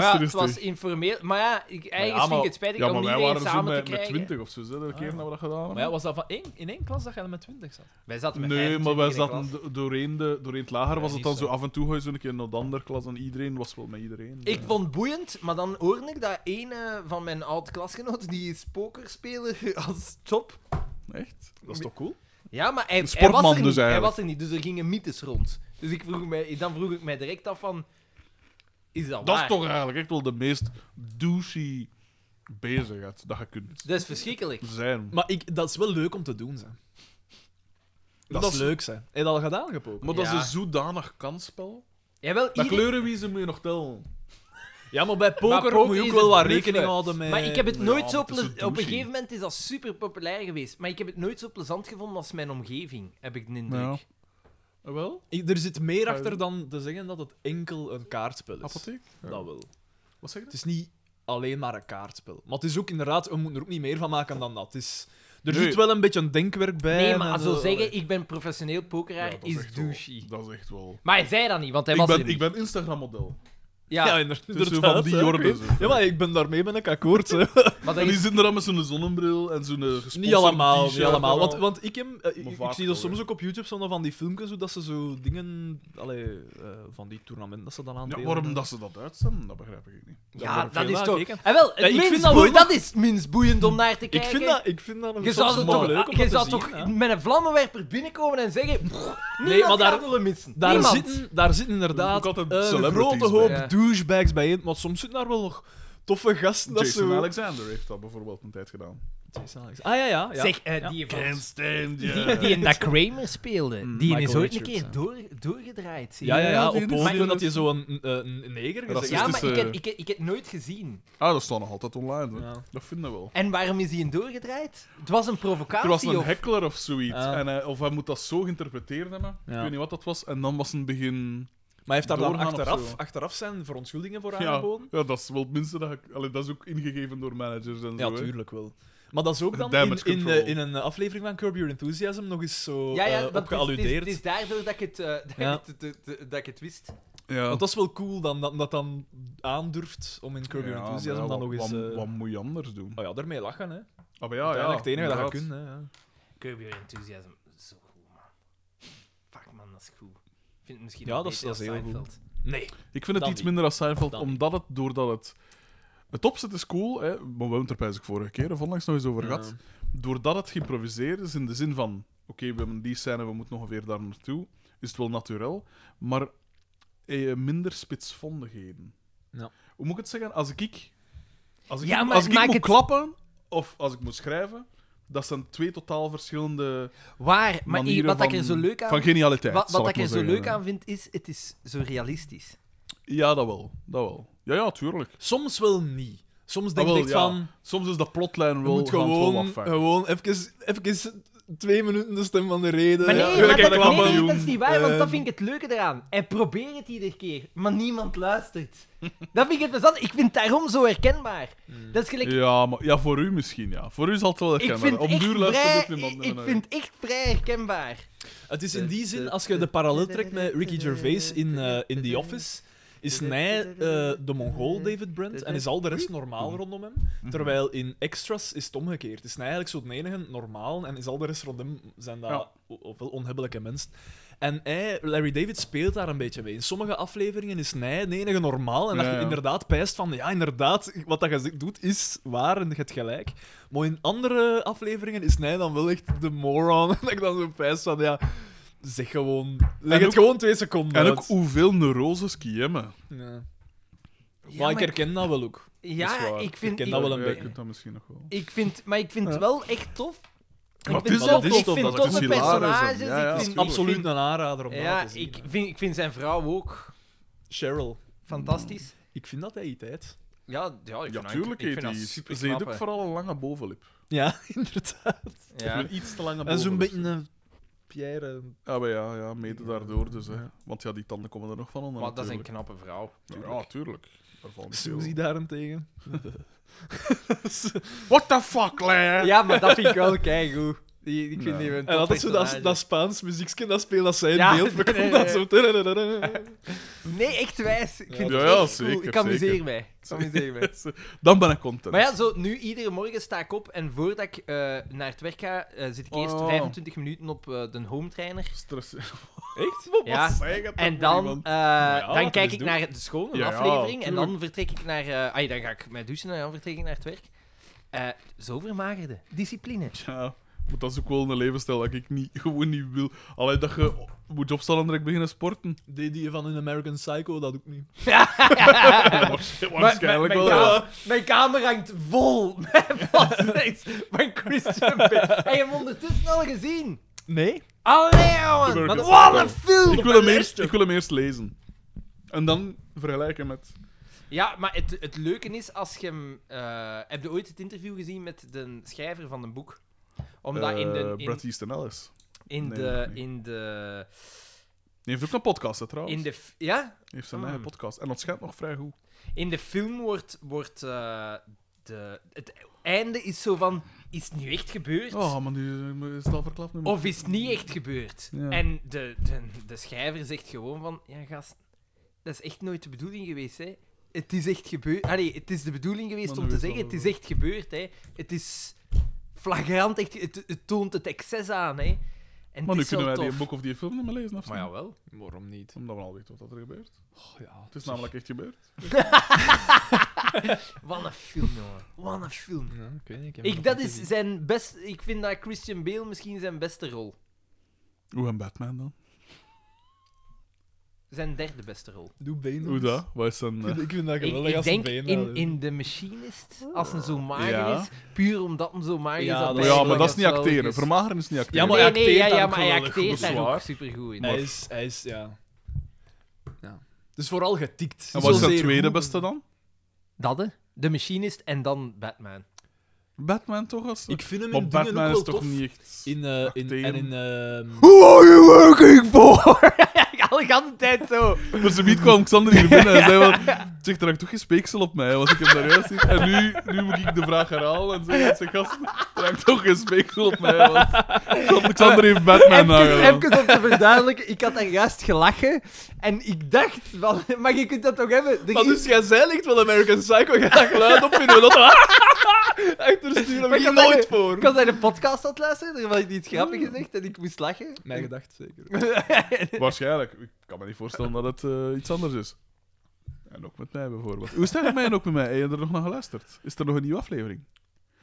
Speaker 4: Maar
Speaker 2: is
Speaker 4: ja, het
Speaker 2: rustig.
Speaker 4: was informeel. Maar ja, ik, eigenlijk
Speaker 2: maar-
Speaker 4: vind ik het spijtig
Speaker 2: Ja,
Speaker 4: om
Speaker 2: maar wij
Speaker 4: iedereen
Speaker 2: waren zo
Speaker 4: samen te
Speaker 2: met, met
Speaker 4: krijgen.
Speaker 2: 20 of zo, hè, de keer dat we dat gedaan hebben.
Speaker 3: Maar ja, was dat van één, in één klas dat je met 20 zat?
Speaker 4: Wij zaten met
Speaker 2: nee,
Speaker 4: 25
Speaker 2: maar wij
Speaker 4: in de klas.
Speaker 2: zaten do- doorheen, de, doorheen het lager,
Speaker 4: Ja,
Speaker 2: was het
Speaker 4: niet
Speaker 2: dan
Speaker 4: zo.
Speaker 2: zo af en toe ga je zo een keer naar de andere klas en iedereen was wel met iedereen.
Speaker 4: Ik
Speaker 2: Ja.
Speaker 4: vond het boeiend, maar dan hoorde ik dat een eh, van mijn oud-klasgenoten, die is pokerspeler als job.
Speaker 2: Echt? Dat is toch cool?
Speaker 4: Ja, maar hij,
Speaker 2: Een
Speaker 4: hij was
Speaker 2: sportman
Speaker 4: er
Speaker 2: dus
Speaker 4: niet. Hij
Speaker 2: eigenlijk.
Speaker 4: was er niet, dus er gingen mythes rond. Dus ik vroeg mij, dan vroeg ik mij direct af van... Is dat,
Speaker 2: Dat is
Speaker 4: waar?
Speaker 2: toch eigenlijk echt wel de meest douchey bezigheid dat je kunt
Speaker 4: Dat is verschrikkelijk.
Speaker 2: zijn.
Speaker 3: Maar ik, dat is wel leuk om te doen, hè. Dat,
Speaker 2: Dat
Speaker 3: is
Speaker 2: is-
Speaker 3: leuk, hè. Heb je dat al gedaan, gepoken?
Speaker 2: Maar dat is
Speaker 4: Ja.
Speaker 2: een zodanig kansspel.
Speaker 4: Jawel,
Speaker 2: Dat
Speaker 4: iedereen-
Speaker 2: kleurenwiezen moet je nog tellen.
Speaker 3: Ja, maar bij poker,
Speaker 4: Maar poker
Speaker 3: moet je ook
Speaker 4: is
Speaker 3: wel
Speaker 4: een
Speaker 3: wat
Speaker 4: bluff,
Speaker 3: rekening
Speaker 4: hè.
Speaker 3: houden met...
Speaker 4: Maar ik heb het
Speaker 2: Ja,
Speaker 4: nooit
Speaker 2: maar
Speaker 4: zo...
Speaker 2: het is
Speaker 4: ple-
Speaker 2: een douche.
Speaker 4: Op een gegeven moment is dat super populair geweest. Maar ik heb het nooit zo plezant gevonden als mijn omgeving, heb ik de indruk.
Speaker 2: Ja. Ah, Wel?
Speaker 3: Ik- er zit meer achter dan te zeggen dat het enkel een kaartspel
Speaker 4: Dus-
Speaker 3: is.
Speaker 2: Apotheek? Ja.
Speaker 3: Dat wel.
Speaker 2: Wat zeg je?
Speaker 3: Het is niet alleen maar een kaartspel. Maar het is ook inderdaad, we moeten er ook niet meer van maken dan dat. Het is, er
Speaker 2: Nee.
Speaker 3: zit wel een beetje een denkwerk bij.
Speaker 4: Nee,
Speaker 3: en-
Speaker 4: maar
Speaker 3: en
Speaker 4: zo
Speaker 3: allee.
Speaker 4: zeggen, ik ben professioneel pokeraar,
Speaker 2: Ja, dat
Speaker 4: is
Speaker 2: echt wel-
Speaker 4: douchey.
Speaker 2: Dat is echt wel...
Speaker 4: Maar hij zei dat niet, want hij
Speaker 2: Ik
Speaker 4: was
Speaker 2: ben,
Speaker 4: er niet.
Speaker 2: ik ben Instagram-model.
Speaker 4: Ja,
Speaker 3: Ja, inder-
Speaker 2: is zo
Speaker 3: inderdaad.
Speaker 2: van die
Speaker 3: hè, ik
Speaker 2: orde,
Speaker 3: weet-
Speaker 2: zo.
Speaker 3: Ja, maar ik ben daarmee ben ik akkoord. hè.
Speaker 4: maar dat
Speaker 2: En die
Speaker 4: is...
Speaker 2: zitten er dan met zo'n zonnebril en zo'n eh, gesponsord
Speaker 3: niet allemaal,
Speaker 2: t-shirt
Speaker 3: niet allemaal.
Speaker 2: en
Speaker 3: Want,
Speaker 2: al.
Speaker 3: want ik, heb, eh, ik,
Speaker 2: Maar
Speaker 3: ik
Speaker 2: vaak
Speaker 3: zie
Speaker 2: wel,
Speaker 3: dat
Speaker 2: hè.
Speaker 3: soms ook op YouTube, zo van die filmpjes, hoe dat ze zo dingen... Allee, eh, van die toernamenten dat ze dan aan het
Speaker 2: Ja,
Speaker 3: delen
Speaker 2: waarom
Speaker 3: zijn.
Speaker 2: dat ze dat uitzenden, dat begrijp ik niet.
Speaker 4: Ja,
Speaker 3: veel
Speaker 4: dat is
Speaker 3: naar
Speaker 4: toch...
Speaker 3: gekeken.
Speaker 4: En wel, het
Speaker 3: Ja, ik
Speaker 4: minst
Speaker 3: vind dat
Speaker 4: boe-
Speaker 3: wel-
Speaker 4: dat is minst boeiend om naar te
Speaker 3: Ik
Speaker 4: kijken.
Speaker 3: vind dat, ik vind dat nog
Speaker 4: Je
Speaker 3: soms
Speaker 4: zou,
Speaker 3: wel
Speaker 4: toch,
Speaker 3: leuk om
Speaker 4: je
Speaker 3: dat te
Speaker 4: zou
Speaker 3: zien,
Speaker 4: toch
Speaker 3: hè.
Speaker 4: met een vlammenwerper binnenkomen en zeggen...
Speaker 3: Nee, maar daar,
Speaker 4: willen missen.
Speaker 3: Daar
Speaker 4: Niemand.
Speaker 3: zitten, daar zitten inderdaad
Speaker 2: Ook altijd
Speaker 3: eh, een
Speaker 2: celebrities
Speaker 3: grote
Speaker 2: bij.
Speaker 3: hoop
Speaker 4: Ja.
Speaker 3: douchebags bij in. Maar soms zitten daar wel nog toffe gasten. Dat
Speaker 2: Jason
Speaker 3: zo...
Speaker 2: Alexander heeft dat bijvoorbeeld een tijd gedaan.
Speaker 3: Jason Alex. Ah ja, ja. ja.
Speaker 4: Zeg, eh, die, van-
Speaker 2: stand
Speaker 4: die, die in dat Kramer speelde, die
Speaker 3: Mm. Michael
Speaker 4: is ooit een
Speaker 3: Richards,
Speaker 4: keer door, doorgedraaid. zie je.
Speaker 3: ja, ja, ja.
Speaker 2: Ja, die
Speaker 3: Op dus,
Speaker 2: is-
Speaker 3: podium dat je zo'n eh, een neger gezegd
Speaker 4: Ja,
Speaker 2: Racistisch.
Speaker 3: hebt.
Speaker 4: maar ik
Speaker 2: Racistische-
Speaker 4: heb, ik, heb, ik heb het nooit gezien.
Speaker 2: Ah, dat staat nog altijd online, hè.
Speaker 3: Ja.
Speaker 2: Dat vinden we wel.
Speaker 4: En waarom is hij een doorgedraaid? Het was een provocatie.
Speaker 2: Er was een
Speaker 4: of...
Speaker 2: heckler of zoiets.
Speaker 3: Ah.
Speaker 2: En hij, of hij moet dat zo geïnterpreteerd hebben.
Speaker 3: Ja.
Speaker 2: Ik weet niet wat dat was. En dan was een begin...
Speaker 3: hij heeft daar dan
Speaker 2: doorgaan of
Speaker 3: achteraf,
Speaker 2: zo.
Speaker 3: achteraf zijn verontschuldigingen voor
Speaker 2: Ja,
Speaker 3: aangeboden?
Speaker 2: ja, dat is wel het minste dat ik... Allee, dat is ook ingegeven door managers en
Speaker 3: Ja,
Speaker 2: zo, hè.
Speaker 3: tuurlijk wel. Maar dat is ook dan in,
Speaker 2: Damage
Speaker 3: in,
Speaker 2: control.
Speaker 3: eh, in een aflevering van Curb Your Enthusiasm nog eens zo
Speaker 4: Ja, ja,
Speaker 3: eh,
Speaker 4: want
Speaker 3: op
Speaker 4: het, is, het
Speaker 3: gealludeerd.
Speaker 4: is daardoor dat ik het, eh, dat
Speaker 3: Ja.
Speaker 4: ik het, het- het- dat ik het wist.
Speaker 2: Ja.
Speaker 3: Want dat is wel cool dan, dat dat dan aandurft om in Curb Your
Speaker 2: Ja, maar
Speaker 3: Enthusiasm
Speaker 2: ja,
Speaker 3: dan
Speaker 2: wat-
Speaker 3: nog eens...
Speaker 2: Wat,
Speaker 3: eh,
Speaker 2: wat moet je anders doen?
Speaker 3: Oh ja, daarmee lachen, hè.
Speaker 2: Ah, maar ja, ja.
Speaker 3: Uiteindelijk het enige dat je
Speaker 2: inderdaad.
Speaker 3: kunt, hè. ja.
Speaker 4: Curb Your Enthusiasm, zo goed, man. Fuck, man, dat is goed. Ik vind het misschien
Speaker 3: Ja,
Speaker 4: nog
Speaker 3: dat is-
Speaker 4: beter
Speaker 3: dat is
Speaker 4: dan
Speaker 3: heel goed.
Speaker 4: Seinfeld.
Speaker 3: Nee.
Speaker 2: Ik vind het
Speaker 3: Dan
Speaker 2: iets
Speaker 3: niet.
Speaker 2: minder als Seinfeld,
Speaker 3: Dan
Speaker 2: omdat het, doordat het... Het opzet is cool, hè, maar we hebben het er bijzonder vorige keer of onlangs nog eens over gehad. Doordat het geïmproviseerd is, in de zin van... Oké, we hebben die scène, we moeten ongeveer daar naartoe. Is het wel natuurlijk, maar eh, minder spitsvondigheden.
Speaker 3: Ja.
Speaker 2: Hoe moet ik het zeggen? Als ik... Als ik,
Speaker 4: Ja, maar
Speaker 2: als ik
Speaker 4: maak
Speaker 2: moet
Speaker 4: het-
Speaker 2: klappen, of als ik moet schrijven... Dat zijn twee totaal verschillende
Speaker 4: Waar, maar
Speaker 2: manieren
Speaker 4: i- wat
Speaker 2: van,
Speaker 4: ik er zo leuk aan
Speaker 2: van genialiteit.
Speaker 4: Wat,
Speaker 2: zal
Speaker 4: wat
Speaker 2: ik
Speaker 4: ik er zo
Speaker 2: maar zeggen,
Speaker 4: leuk
Speaker 2: hè.
Speaker 4: aan vind, is, het is zo realistisch.
Speaker 2: Ja, dat wel. Dat wel. Ja, ja, tuurlijk.
Speaker 3: Soms wel niet. Soms
Speaker 2: Ah,
Speaker 3: denk
Speaker 2: wel,
Speaker 3: ik
Speaker 2: ja.
Speaker 3: van...
Speaker 2: Soms is dat plotlijn
Speaker 3: Je
Speaker 2: wel
Speaker 3: moet
Speaker 2: gaat het wel
Speaker 3: gewoon, eh,
Speaker 2: wat ver.
Speaker 3: gewoon even, even twee minuten de stem van de reden.
Speaker 4: Maar nee,
Speaker 2: Ja,
Speaker 4: maar
Speaker 2: tuurlijk,
Speaker 4: dat,
Speaker 2: ik Eh.
Speaker 4: nee,
Speaker 2: klap
Speaker 4: nee,
Speaker 2: wel.
Speaker 4: dat is niet waar, want dat
Speaker 3: Ehm.
Speaker 4: vind ik het leuke eraan. En probeer het iedere keer, maar niemand luistert. Dat vind ik het plezant. Ik vind het daarom zo herkenbaar. Dat is gelijk...
Speaker 2: Hmm. Ja, maar, ja, voor u misschien, ja. Voor u zal het wel
Speaker 4: Ik
Speaker 2: herkenbaar.
Speaker 4: vind,
Speaker 2: Op
Speaker 4: echt
Speaker 2: duur luistert
Speaker 4: vrij,
Speaker 2: ook niemand meer
Speaker 4: ik
Speaker 2: naar u.
Speaker 4: vind echt vrij herkenbaar.
Speaker 3: Het is in die zin, als je de parallel trekt met Ricky Gervais in, eh, in The Office, is hij eh, de Mongool David Brent en is al de Mhm. rest normaal rondom hem. Terwijl in Extras is het omgekeerd. Is hij eigenlijk zo'n enige normaal en is al de rest rondom hem zijn dat
Speaker 2: Ja.
Speaker 3: o- ofwel onhebbelijke mensen. En hij, Larry David speelt daar een beetje mee. In sommige afleveringen is hij de enige normaal en dat
Speaker 2: Ja,
Speaker 3: je
Speaker 2: ja.
Speaker 3: inderdaad pijst van ja, inderdaad, wat dat je doet is waar en je hebt gelijk. Maar in andere afleveringen is hij dan wel echt de moron. En dat ik dan zo pijs van ja, zeg gewoon. Leg
Speaker 2: En
Speaker 3: het
Speaker 2: ook-
Speaker 3: gewoon twee seconden.
Speaker 2: En ook
Speaker 3: uit.
Speaker 2: hoeveel neuroses kiemmen.
Speaker 3: Ja.
Speaker 4: Ja,
Speaker 3: Maar ik
Speaker 4: maar-
Speaker 3: herken dat wel ook. Dat is
Speaker 4: Ja,
Speaker 3: waar.
Speaker 4: ik vind...
Speaker 3: Ik ken
Speaker 4: Ik,
Speaker 3: dat wel een
Speaker 2: Ja,
Speaker 3: beetje.
Speaker 2: Je kunt dat misschien nog wel.
Speaker 4: ik vind maar ik vind het wel echt tof. Ik
Speaker 2: Maar
Speaker 4: vind
Speaker 2: het is-
Speaker 4: tof-
Speaker 3: dat is
Speaker 4: ik
Speaker 3: tof,
Speaker 4: vind
Speaker 3: dat is
Speaker 4: toffe
Speaker 2: hilarisch dan.
Speaker 4: personages.
Speaker 2: Ja, ja,
Speaker 4: ik
Speaker 2: dat
Speaker 4: vind,
Speaker 2: is
Speaker 4: ik
Speaker 3: Absoluut
Speaker 4: vind-
Speaker 3: een aanrader om
Speaker 4: ja,
Speaker 3: dat te zien.
Speaker 4: ik vind, ik vind zijn vrouw ook
Speaker 3: Cheryl,
Speaker 4: fantastisch.
Speaker 3: ik vind dat hij iets uit.
Speaker 4: Ja, ja, ik
Speaker 2: Ja,
Speaker 4: vind dat-
Speaker 2: tuurlijk
Speaker 4: ik
Speaker 2: heet
Speaker 4: vind dat
Speaker 2: die.
Speaker 4: super
Speaker 2: Ze heeft ook vooral een lange bovenlip.
Speaker 3: Ja, inderdaad.
Speaker 4: Ja.
Speaker 2: Een iets te lange
Speaker 3: En
Speaker 2: bovenlip.
Speaker 3: zo'n beetje een Pierre.
Speaker 2: Ja, maar ja, ja, mede daardoor dus. Hè. Want ja, die tanden komen er nog van onder
Speaker 4: Maar dat is een
Speaker 2: natuurlijk.
Speaker 4: knappe vrouw.
Speaker 2: Ja, tuurlijk. Daar valt niet
Speaker 3: Suzy
Speaker 2: veel.
Speaker 3: daarentegen.
Speaker 2: What the fuck, lad?
Speaker 4: Ja, maar dat vind ik wel keigoed. Die, ik vind
Speaker 2: Ja.
Speaker 4: die een
Speaker 3: En
Speaker 4: tof
Speaker 3: altijd zo dat,
Speaker 4: personage.
Speaker 3: dat Spaans muziekje, dat speelt dat zij in
Speaker 4: Ja,
Speaker 3: beeld bekomt.
Speaker 4: nee, nee.
Speaker 3: dat zo...
Speaker 4: Nee, echt wijs. Ik vind
Speaker 2: Ja,
Speaker 4: het
Speaker 2: ja,
Speaker 4: echt cool.
Speaker 2: zeker,
Speaker 4: Ik amuseer
Speaker 2: zeker.
Speaker 4: mij. Ik amuseer mij.
Speaker 2: Dan ben ik content.
Speaker 4: Maar ja, zo nu iedere morgen sta ik op en voordat ik eh, naar het werk ga, eh, zit ik eerst
Speaker 2: Oh.
Speaker 4: 25 minuten op eh, de home trainer.
Speaker 2: Stress.
Speaker 3: Echt?
Speaker 4: Ja. En dan, eh, dan
Speaker 3: dat
Speaker 4: kijk
Speaker 3: is
Speaker 4: ik
Speaker 3: doen.
Speaker 4: naar de school, een
Speaker 2: Ja,
Speaker 4: aflevering. En dan
Speaker 2: tuurlijk.
Speaker 4: vertrek ik naar... eh, ai, dan ga ik mij douchen en dan vertrek ik naar het werk. Eh, zo vermagerde. Discipline.
Speaker 2: Ja, maar dat is ook wel een levensstijl dat ik niet, gewoon niet wil. Alleen dat je moet opstaan en direct beginnen sporten.
Speaker 3: Deed die van hun American Psycho dat ook niet.
Speaker 2: Waarschijnlijk
Speaker 4: mijn,
Speaker 2: wel. ja.
Speaker 4: kamer, mijn kamer hangt vol met vastnets van Christian Bale. En je hebt hem ondertussen al gezien.
Speaker 3: Nee?
Speaker 4: Allee, jongen.
Speaker 2: American
Speaker 4: Wat
Speaker 2: Psycho.
Speaker 4: een film.
Speaker 2: Ik wil, hem eerst, ik wil hem eerst lezen. En dan vergelijken met...
Speaker 4: Ja, maar het, het leuke is als je hem... eh, heb je ooit het interview gezien met de schrijver van een boek? Omdat in de...
Speaker 2: eh,
Speaker 4: In,
Speaker 2: Brad Easton Ellis.
Speaker 4: in
Speaker 2: nee,
Speaker 4: de...
Speaker 2: nee.
Speaker 4: In de...
Speaker 2: Die heeft ook een podcast, hè, trouwens.
Speaker 4: In de f- ja?
Speaker 2: Die heeft zijn
Speaker 4: Mm.
Speaker 2: eigen podcast. En dat schijnt nog vrij goed.
Speaker 4: In de film wordt... wordt eh, de, het einde is zo van... Is het nu echt gebeurd?
Speaker 2: Oh, maar nu eh, is het al verklapt. Nu.
Speaker 4: Of is het niet echt gebeurd?
Speaker 2: Ja.
Speaker 4: En de, de, de schrijver zegt gewoon van... Ja, gast, dat is echt nooit de bedoeling geweest, hè. Het is echt gebeurd. Allee, het is de bedoeling geweest
Speaker 2: Maar
Speaker 4: om
Speaker 2: nu
Speaker 4: te
Speaker 2: is dat
Speaker 4: zeggen, het is
Speaker 2: wel-
Speaker 4: echt gebeurd, hè. Het is flagrant, echt, het, het toont het excess aan, hè. En het
Speaker 2: Maar nu
Speaker 4: is wel
Speaker 2: kunnen wij
Speaker 4: tof.
Speaker 2: die boek of die film niet meer lezen, of
Speaker 4: Maar
Speaker 2: niet?
Speaker 4: jawel.
Speaker 3: Waarom niet?
Speaker 2: Omdat we al weten wat er gebeurt.
Speaker 3: Oh, ja.
Speaker 2: Het is namelijk echt gebeurd.
Speaker 4: Wat een film, jongen. Wat een film.
Speaker 3: Ja, ik weet niet. Ik, heb
Speaker 4: Ik,
Speaker 3: hem
Speaker 4: dat
Speaker 3: nog niet
Speaker 4: is
Speaker 3: gezien.
Speaker 4: zijn best... Ik vind dat Christian Bale misschien zijn beste rol.
Speaker 2: Hoe en Batman dan?
Speaker 4: Zijn derde beste rol.
Speaker 3: Doe benen.
Speaker 2: Hoe dat? Wat is zijn...
Speaker 3: Ik
Speaker 2: eh,
Speaker 3: vind, ik vind dat
Speaker 4: Ik,
Speaker 3: geweldig
Speaker 4: ik
Speaker 3: als
Speaker 4: denk
Speaker 3: een benen
Speaker 4: in,
Speaker 3: hadden.
Speaker 4: in The Machinist, als een zo mager
Speaker 2: Ja.
Speaker 4: is, puur omdat een zo mager
Speaker 3: Ja,
Speaker 4: is. dat
Speaker 3: dat
Speaker 4: hij
Speaker 2: ja,
Speaker 3: is-
Speaker 2: maar dat is niet
Speaker 4: wel
Speaker 2: acteren.
Speaker 4: is.
Speaker 2: Vermageren is niet acteren.
Speaker 3: Ja, maar
Speaker 4: nee,
Speaker 3: hij
Speaker 4: nee,
Speaker 3: acteert
Speaker 4: ja,
Speaker 3: daar
Speaker 4: ja,
Speaker 3: ook
Speaker 4: maar
Speaker 3: wel
Speaker 4: hij
Speaker 3: heel
Speaker 4: acteert
Speaker 3: goed
Speaker 4: daar
Speaker 2: zwaar.
Speaker 4: ook supergoed in.
Speaker 3: Hij is, hij is, ja. ja. Dus vooral getikt.
Speaker 2: En wat is
Speaker 3: Zozeer
Speaker 2: zijn tweede
Speaker 3: goed.
Speaker 2: beste dan?
Speaker 4: Dat, hè? The Machinist en dan Batman.
Speaker 2: Batman toch? Als...
Speaker 3: Ik vind hem
Speaker 2: maar
Speaker 3: in dingen ook
Speaker 2: Batman
Speaker 3: wel
Speaker 2: is toch
Speaker 3: tof.
Speaker 2: niet echt...
Speaker 3: In, eh, in,
Speaker 2: acteren.
Speaker 3: en in... ehm,
Speaker 4: Who are you working for? al de hele tijd zo.
Speaker 2: Maar ze biedt kwam Xander hier binnen en zei van... Zeg, er hangt toch geen speeksel op mij, want ik heb daar juist niet... En nu, nu moet ik de vraag herhalen en zeggen... Zeg, gast, er hangt toch geen speeksel op mij, want... Xander- Xander heeft Batman nou,
Speaker 4: Even,
Speaker 2: nagedaan.
Speaker 4: even om te verduidelijken, ik had daar juist gelachen en ik dacht van, maar je kunt dat toch hebben? Er
Speaker 1: Maar
Speaker 4: is-
Speaker 1: dus jij zei ligt wel American Psycho, je gaat geluid opvinden. we Dat achtersturen, daar heb
Speaker 4: Maar ik
Speaker 1: je
Speaker 4: had
Speaker 1: nooit
Speaker 4: eigenlijk-
Speaker 1: voor.
Speaker 4: Ik was naar de podcast aan het luisteren, er was iets grappigs gezegd en ik moest lachen.
Speaker 3: Mijn gedacht, zeker.
Speaker 2: Waarschijnlijk. Ik kan me niet voorstellen dat het eh, iets anders is. En ook met mij, bijvoorbeeld. Hoe is het eigenlijk met mij en ook met mij? Heb je er nog naar geluisterd? Is er nog een nieuwe aflevering?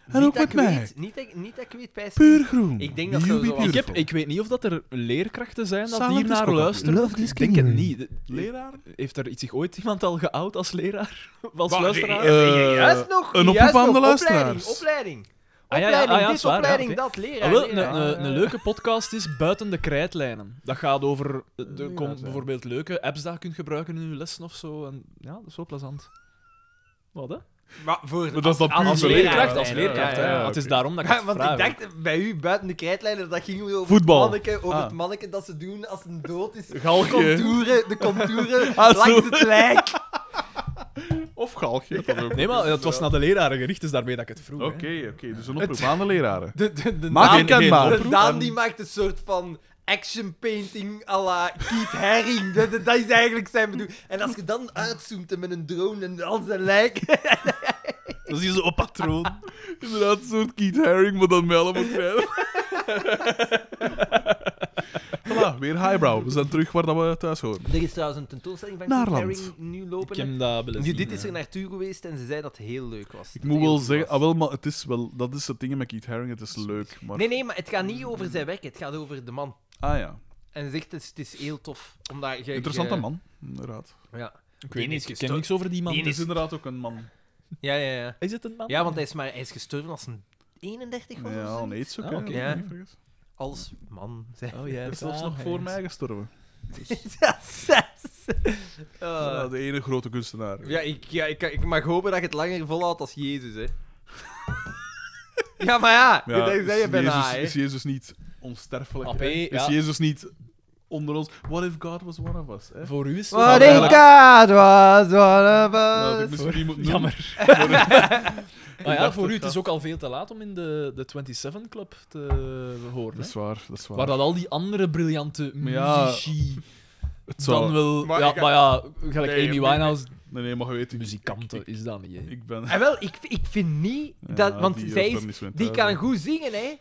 Speaker 2: En
Speaker 4: niet
Speaker 2: ook
Speaker 4: dat ik
Speaker 2: met mij.
Speaker 4: Weet, niet, dat, ik- niet dat ik weet, Pijs.
Speaker 2: Puur groen.
Speaker 4: Ik denk dat
Speaker 2: Nieuw
Speaker 4: zo-
Speaker 2: be
Speaker 4: zo-
Speaker 3: Ik, heb,
Speaker 2: beautiful.
Speaker 3: ik weet niet of dat er leerkrachten zijn dat
Speaker 2: Silent
Speaker 3: hier naar
Speaker 2: disco
Speaker 3: luisteren.
Speaker 5: Love
Speaker 3: ik denk het niet. De-
Speaker 2: Leraar?
Speaker 3: Heeft er zich ooit iemand al geout als leraar? Of als
Speaker 2: Waar,
Speaker 3: luisteraar?
Speaker 2: nee, eh,
Speaker 4: juist nog,
Speaker 2: een
Speaker 4: juist
Speaker 2: oproep aan
Speaker 4: nog,
Speaker 2: de
Speaker 4: opleiding,
Speaker 2: luisteraars.
Speaker 4: opleiding.
Speaker 3: Ah, ja, ja,
Speaker 4: Opleiding,
Speaker 3: ah, ja,
Speaker 4: dit,
Speaker 3: zwaar, ja,
Speaker 4: opleiding,
Speaker 3: oké.
Speaker 4: dat, leraar.
Speaker 3: Ah, wel, een,
Speaker 4: leraar.
Speaker 3: een, een leuke podcast is Buiten de Krijtlijnen. Dat gaat over. eh, Er komt bijvoorbeeld leuke apps dat je kunt gebruiken in je lessen of zo. En ja, dat is wel plezant. Wat hè?
Speaker 4: Maar voor
Speaker 2: Maar dat is dan
Speaker 4: als-
Speaker 2: puur
Speaker 4: als
Speaker 2: voor
Speaker 4: leraar,
Speaker 2: leraar.
Speaker 4: als leerkracht,
Speaker 2: Ja,
Speaker 4: hè.
Speaker 2: ja, ja,
Speaker 3: Het is
Speaker 2: oké.
Speaker 3: daarom dat ik.
Speaker 4: Ja,
Speaker 3: Het
Speaker 4: want
Speaker 3: vraag.
Speaker 4: ik dacht bij u buiten de krijtlijnen, dat ging over
Speaker 2: Voetbal.
Speaker 4: het manneke, over
Speaker 2: Ah.
Speaker 4: het manneke dat ze doen als een dood is.
Speaker 2: Galgje.
Speaker 4: De contouren, de contouren
Speaker 2: Ah, zo.
Speaker 4: langs het lijk.
Speaker 2: Of Galgje. dat ook.
Speaker 3: Nee, maar het was naar de leraren gericht, dus daarmee dat ik het vroeg. hè.
Speaker 2: Oké, oké. Dus een oproep aan de leraren.
Speaker 4: De, de, de
Speaker 2: Maak
Speaker 4: naam-
Speaker 2: je kenbaar.
Speaker 4: de Daan die maakt een soort van action painting à la Keith Haring. Dat, dat- dat is eigenlijk zijn bedoeling. En als je dan uitzoomt en met een drone en al zijn lijk...
Speaker 3: Dat is zo'n patroon.
Speaker 2: Inderdaad, een soort Keith Haring, maar dan met allemaal krijgen. voilà, weer highbrow. We zijn terug waar dat we thuis horen.
Speaker 4: Er is trouwens een tentoonstelling van
Speaker 2: Naarland.
Speaker 4: Keith Haring nu
Speaker 3: Ik
Speaker 4: lopen.
Speaker 3: heb dat wel eens
Speaker 4: Nu,
Speaker 3: zien,
Speaker 4: dit is
Speaker 3: eh.
Speaker 4: er naartoe geweest en ze zei dat het heel leuk was.
Speaker 2: Ik
Speaker 4: Dat
Speaker 2: moet
Speaker 4: heel
Speaker 2: wel
Speaker 4: goed
Speaker 2: zeggen,
Speaker 4: was.
Speaker 2: ah wel, maar het is wel, dat is het ding met Keith Haring, het is leuk. Maar,
Speaker 4: Nee, nee, maar het gaat niet over zijn werk, het gaat over de man.
Speaker 2: ah ja,
Speaker 4: En ze zegt, het is, het is heel tof. Omdat je,
Speaker 2: interessante
Speaker 4: je-
Speaker 2: man, inderdaad.
Speaker 4: Ja.
Speaker 3: Ik
Speaker 4: Die
Speaker 3: weet niet,
Speaker 4: is
Speaker 3: ik ken
Speaker 4: gesto-
Speaker 3: niks over die man.
Speaker 4: Die
Speaker 2: Het is
Speaker 3: dus-
Speaker 2: inderdaad ook een man.
Speaker 4: Ja, ja, ja.
Speaker 3: Is het een man?
Speaker 4: Ja, want hij is, maar, hij is gestorven als een 31 of
Speaker 2: Ja,
Speaker 4: zo.
Speaker 2: een aids ook,
Speaker 3: Ah,
Speaker 2: hè,
Speaker 3: oké.
Speaker 2: als ik
Speaker 4: Ja.
Speaker 2: me niet vergis.
Speaker 4: Als man. zei-
Speaker 3: Oh, jij
Speaker 2: Hij is
Speaker 3: hebt
Speaker 2: zelfs nog
Speaker 3: daar
Speaker 2: voor
Speaker 3: eens.
Speaker 2: mij gestorven.
Speaker 4: Eh,
Speaker 2: Ja, Ah, de ene grote kunstenaar.
Speaker 4: Oh. ja, ik, ja ik, ik mag hopen dat je het langer volhoudt als Jezus, hè. ja, maar ja,
Speaker 2: Ja,
Speaker 4: dat zei je
Speaker 2: is,
Speaker 4: bijna,
Speaker 2: Jezus,
Speaker 4: hè.
Speaker 2: is Jezus niet onsterfelijk?
Speaker 3: Appé,
Speaker 2: hè? Is
Speaker 3: ja.
Speaker 2: Jezus niet onder ons? What if God was one of us? Hè?
Speaker 3: Voor u is het
Speaker 4: What
Speaker 3: wel
Speaker 4: if
Speaker 3: duidelijk-
Speaker 4: God was one of
Speaker 2: Nou, dat ik
Speaker 4: us.
Speaker 2: misschien niet moet noemen.
Speaker 3: Jammer.
Speaker 2: Ik
Speaker 3: Maar Ah, ja,
Speaker 2: dacht
Speaker 3: voor
Speaker 2: het
Speaker 3: u, het is
Speaker 2: gaat.
Speaker 3: ook al veel te laat om in de, de 27 Club te horen.
Speaker 2: Dat
Speaker 3: Hè?
Speaker 2: is waar, dat is waar.
Speaker 3: Waar dat al die andere briljante
Speaker 2: Maar ja,
Speaker 3: muzici
Speaker 2: Het zou-
Speaker 3: dan wel...
Speaker 2: Maar
Speaker 3: ja,
Speaker 2: ik-
Speaker 3: maar ja, gelijk
Speaker 2: Nee,
Speaker 3: Amy
Speaker 2: ik-
Speaker 3: Winehouse,
Speaker 2: Nee, nee, maar je weet, ik-
Speaker 3: muzikante is dat niet. hè.
Speaker 2: ik ben...
Speaker 4: En Ah, wel, ik, ik vind niet dat...
Speaker 2: Ja,
Speaker 4: want
Speaker 2: die
Speaker 4: zij
Speaker 2: heeft
Speaker 4: is,
Speaker 2: daar niet zo in
Speaker 4: die
Speaker 2: thuis,
Speaker 4: kan
Speaker 2: hè.
Speaker 4: goed zingen, hè.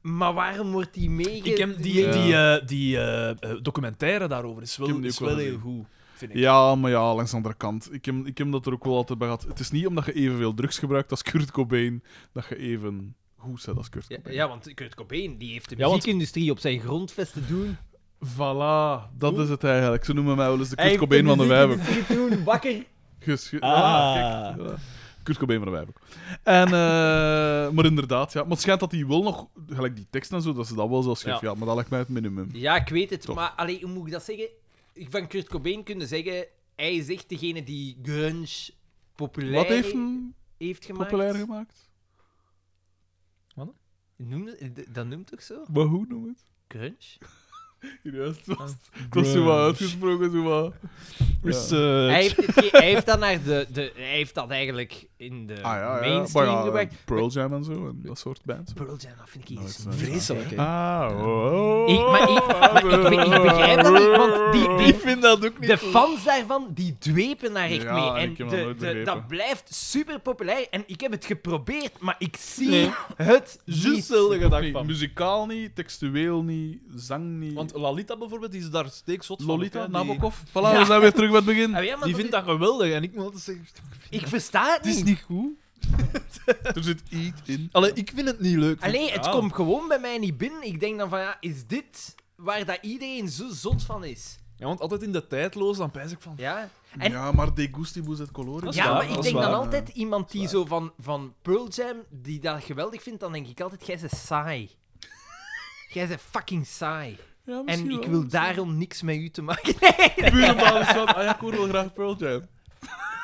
Speaker 4: Maar waarom wordt die mee...
Speaker 3: Ik heb die,
Speaker 2: Ja.
Speaker 3: die, eh, die eh, eh, documentaire daarover is
Speaker 2: Ik
Speaker 3: wel,
Speaker 2: heb die
Speaker 3: is
Speaker 2: ook
Speaker 3: wel
Speaker 2: wel
Speaker 3: heel
Speaker 2: gezien.
Speaker 3: goed, vind ik.
Speaker 2: Ja, maar ja, langs de andere kant. Ik heb, ik heb dat er ook wel altijd bij gehad. Het is niet omdat je evenveel drugs gebruikt als Kurt Cobain, dat je even goed bent als Kurt
Speaker 4: Ja,
Speaker 2: Cobain.
Speaker 4: ja, want Kurt Cobain die heeft de
Speaker 3: Ja, want-
Speaker 4: muziekindustrie op zijn grondvest te doen.
Speaker 2: Voilà, dat is het eigenlijk. Ze noemen mij wel eens de
Speaker 4: Hij heeft
Speaker 2: Kurt Cobain van de wijven.
Speaker 4: muziekindustrie te doen, wakker.
Speaker 2: Gesche-
Speaker 3: Ah.
Speaker 2: Ah, kijk. Ja. Kurt Cobain van de wijven. En, eh, maar inderdaad, ja. Maar het schijnt dat hij wel nog, gelijk die tekst en zo, dat ze dat wel zelf schrijft.
Speaker 3: Ja.
Speaker 2: Ja. maar dat lijkt mij het minimum.
Speaker 4: Ja, ik weet het,
Speaker 2: Toch.
Speaker 4: maar allee, hoe moet ik dat zeggen? Van Kurt Cobain kunnen zeggen, hij is echt degene die grunge populair
Speaker 2: Wat heeft hem
Speaker 4: heeft gemaakt.
Speaker 2: populair gemaakt?
Speaker 4: Noem het- d- dat noemt toch zo?
Speaker 2: Maar hoe noem het?
Speaker 4: Grunge?
Speaker 2: Juist, het was, het eh, was zo wat uitgesproken, zo wat. Ja.
Speaker 4: Hij heeft, het ge- hij heeft dat naar de, de... Hij heeft dat eigenlijk in de
Speaker 2: Ah ja, ja. Maar
Speaker 4: mainstream
Speaker 2: ja,
Speaker 4: gebracht.
Speaker 2: Pearl Jam en zo, en dat soort bands.
Speaker 4: Pearl Jam, dat vind ik
Speaker 2: Nooit
Speaker 4: iets
Speaker 2: van
Speaker 3: Vreselijk, hè.
Speaker 2: Ah, oh.
Speaker 4: Ik- maar ik- maar ik be- ik begrijp dat niet, want die- die- Ik
Speaker 2: vind dat ook
Speaker 4: De fans daarvan, die dwepen daar echt
Speaker 2: Ja,
Speaker 4: mee.
Speaker 2: en
Speaker 4: En
Speaker 2: ik heb
Speaker 4: de-
Speaker 2: dat nooit
Speaker 4: de-
Speaker 2: begrepen.
Speaker 4: dat blijft super populair. En ik heb het geprobeerd, maar ik zie
Speaker 3: Nee.
Speaker 4: het
Speaker 3: Juist
Speaker 4: niet.
Speaker 3: dezelfde gedachte
Speaker 2: niet.
Speaker 3: van.
Speaker 2: Muzikaal niet, textueel niet, zang niet.
Speaker 3: Want Lalita bijvoorbeeld, die is daar steekzot van.
Speaker 2: Lolita,
Speaker 3: hè, die-
Speaker 2: Nabokov. Voilà, we zijn weer terug bij het begin.
Speaker 4: Ah, ja, maar
Speaker 3: Die
Speaker 4: dat
Speaker 3: vindt
Speaker 4: is-
Speaker 3: dat geweldig en ik moet altijd zeggen...
Speaker 4: Ik versta het
Speaker 2: Het is
Speaker 4: niet.
Speaker 2: niet goed. er zit iets in.
Speaker 3: Allee, ik vind het niet leuk.
Speaker 4: Allee, het
Speaker 3: Ja.
Speaker 4: komt gewoon bij mij niet binnen. Ik denk dan van, ja, is dit waar dat iedereen zo zot van is?
Speaker 3: Ja, want altijd in de tijdloos, dan pijs ik van...
Speaker 4: Ja? En-
Speaker 2: Ja, maar de gustibus et coloribus.
Speaker 3: Dat is
Speaker 4: Ja,
Speaker 3: waar,
Speaker 4: maar ik
Speaker 3: dat
Speaker 4: denk
Speaker 3: waar.
Speaker 4: dan altijd iemand die zo van, van Pearl Jam, die dat geweldig vindt, dan denk ik altijd, jij bent saai. Jij bent fucking saai.
Speaker 2: Ja, misschien
Speaker 4: En ik
Speaker 2: wel,
Speaker 4: wil
Speaker 2: misschien.
Speaker 4: daarom niks met u te maken. Nee,
Speaker 2: Puur op basis van, ah ja, ik hoor wel graag Pearl Jam.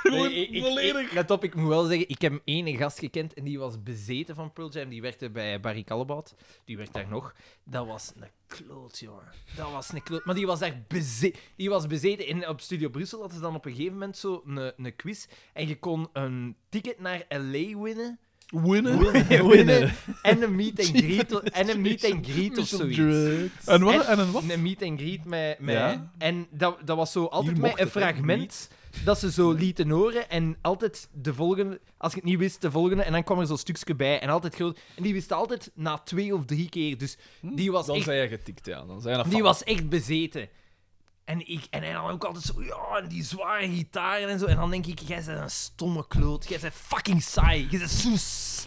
Speaker 2: Gewoon
Speaker 4: Nee, ik- ik-
Speaker 2: volledig.
Speaker 4: ik- Let op, ik moet wel zeggen, ik heb één gast gekend en die was bezeten van Pearl Jam. Die werkte bij Barry Callebaut. Die werkt daar nog. Dat was een kloot, jongen. Dat was een kloot. Maar die was daar bezeten. Die was bezeten. En op Studio Brussel hadden ze dan op een gegeven moment zo een, een quiz. En je kon een ticket naar L.A. winnen.
Speaker 2: Winnen.
Speaker 4: Winnen. winnen. En een meet and greet, o- en een meet and greet of zoiets.
Speaker 2: En wat? En een wat?
Speaker 4: Een meet and greet met... met
Speaker 2: Ja.
Speaker 4: En dat, dat was zo altijd
Speaker 2: Hier
Speaker 4: met
Speaker 2: mocht
Speaker 4: een
Speaker 2: het, hè,
Speaker 4: fragment dat ze zo lieten horen. En altijd de volgende... Als ik het niet wist, de volgende. En dan kwam er zo'n stukje bij. En altijd groot. En die wist altijd na twee of drie keer. Dus
Speaker 2: Hm.
Speaker 4: die was
Speaker 3: Dan
Speaker 4: echt
Speaker 3: zijn je getikt, ja. Dan zijn je een
Speaker 4: die
Speaker 3: fan.
Speaker 4: was echt bezeten. En, ik, en hij dan ook altijd zo, ja, en die zware gitaren en zo. En dan denk ik, jij bent een stomme kloot. Jij bent fucking saai. Jij bent soes.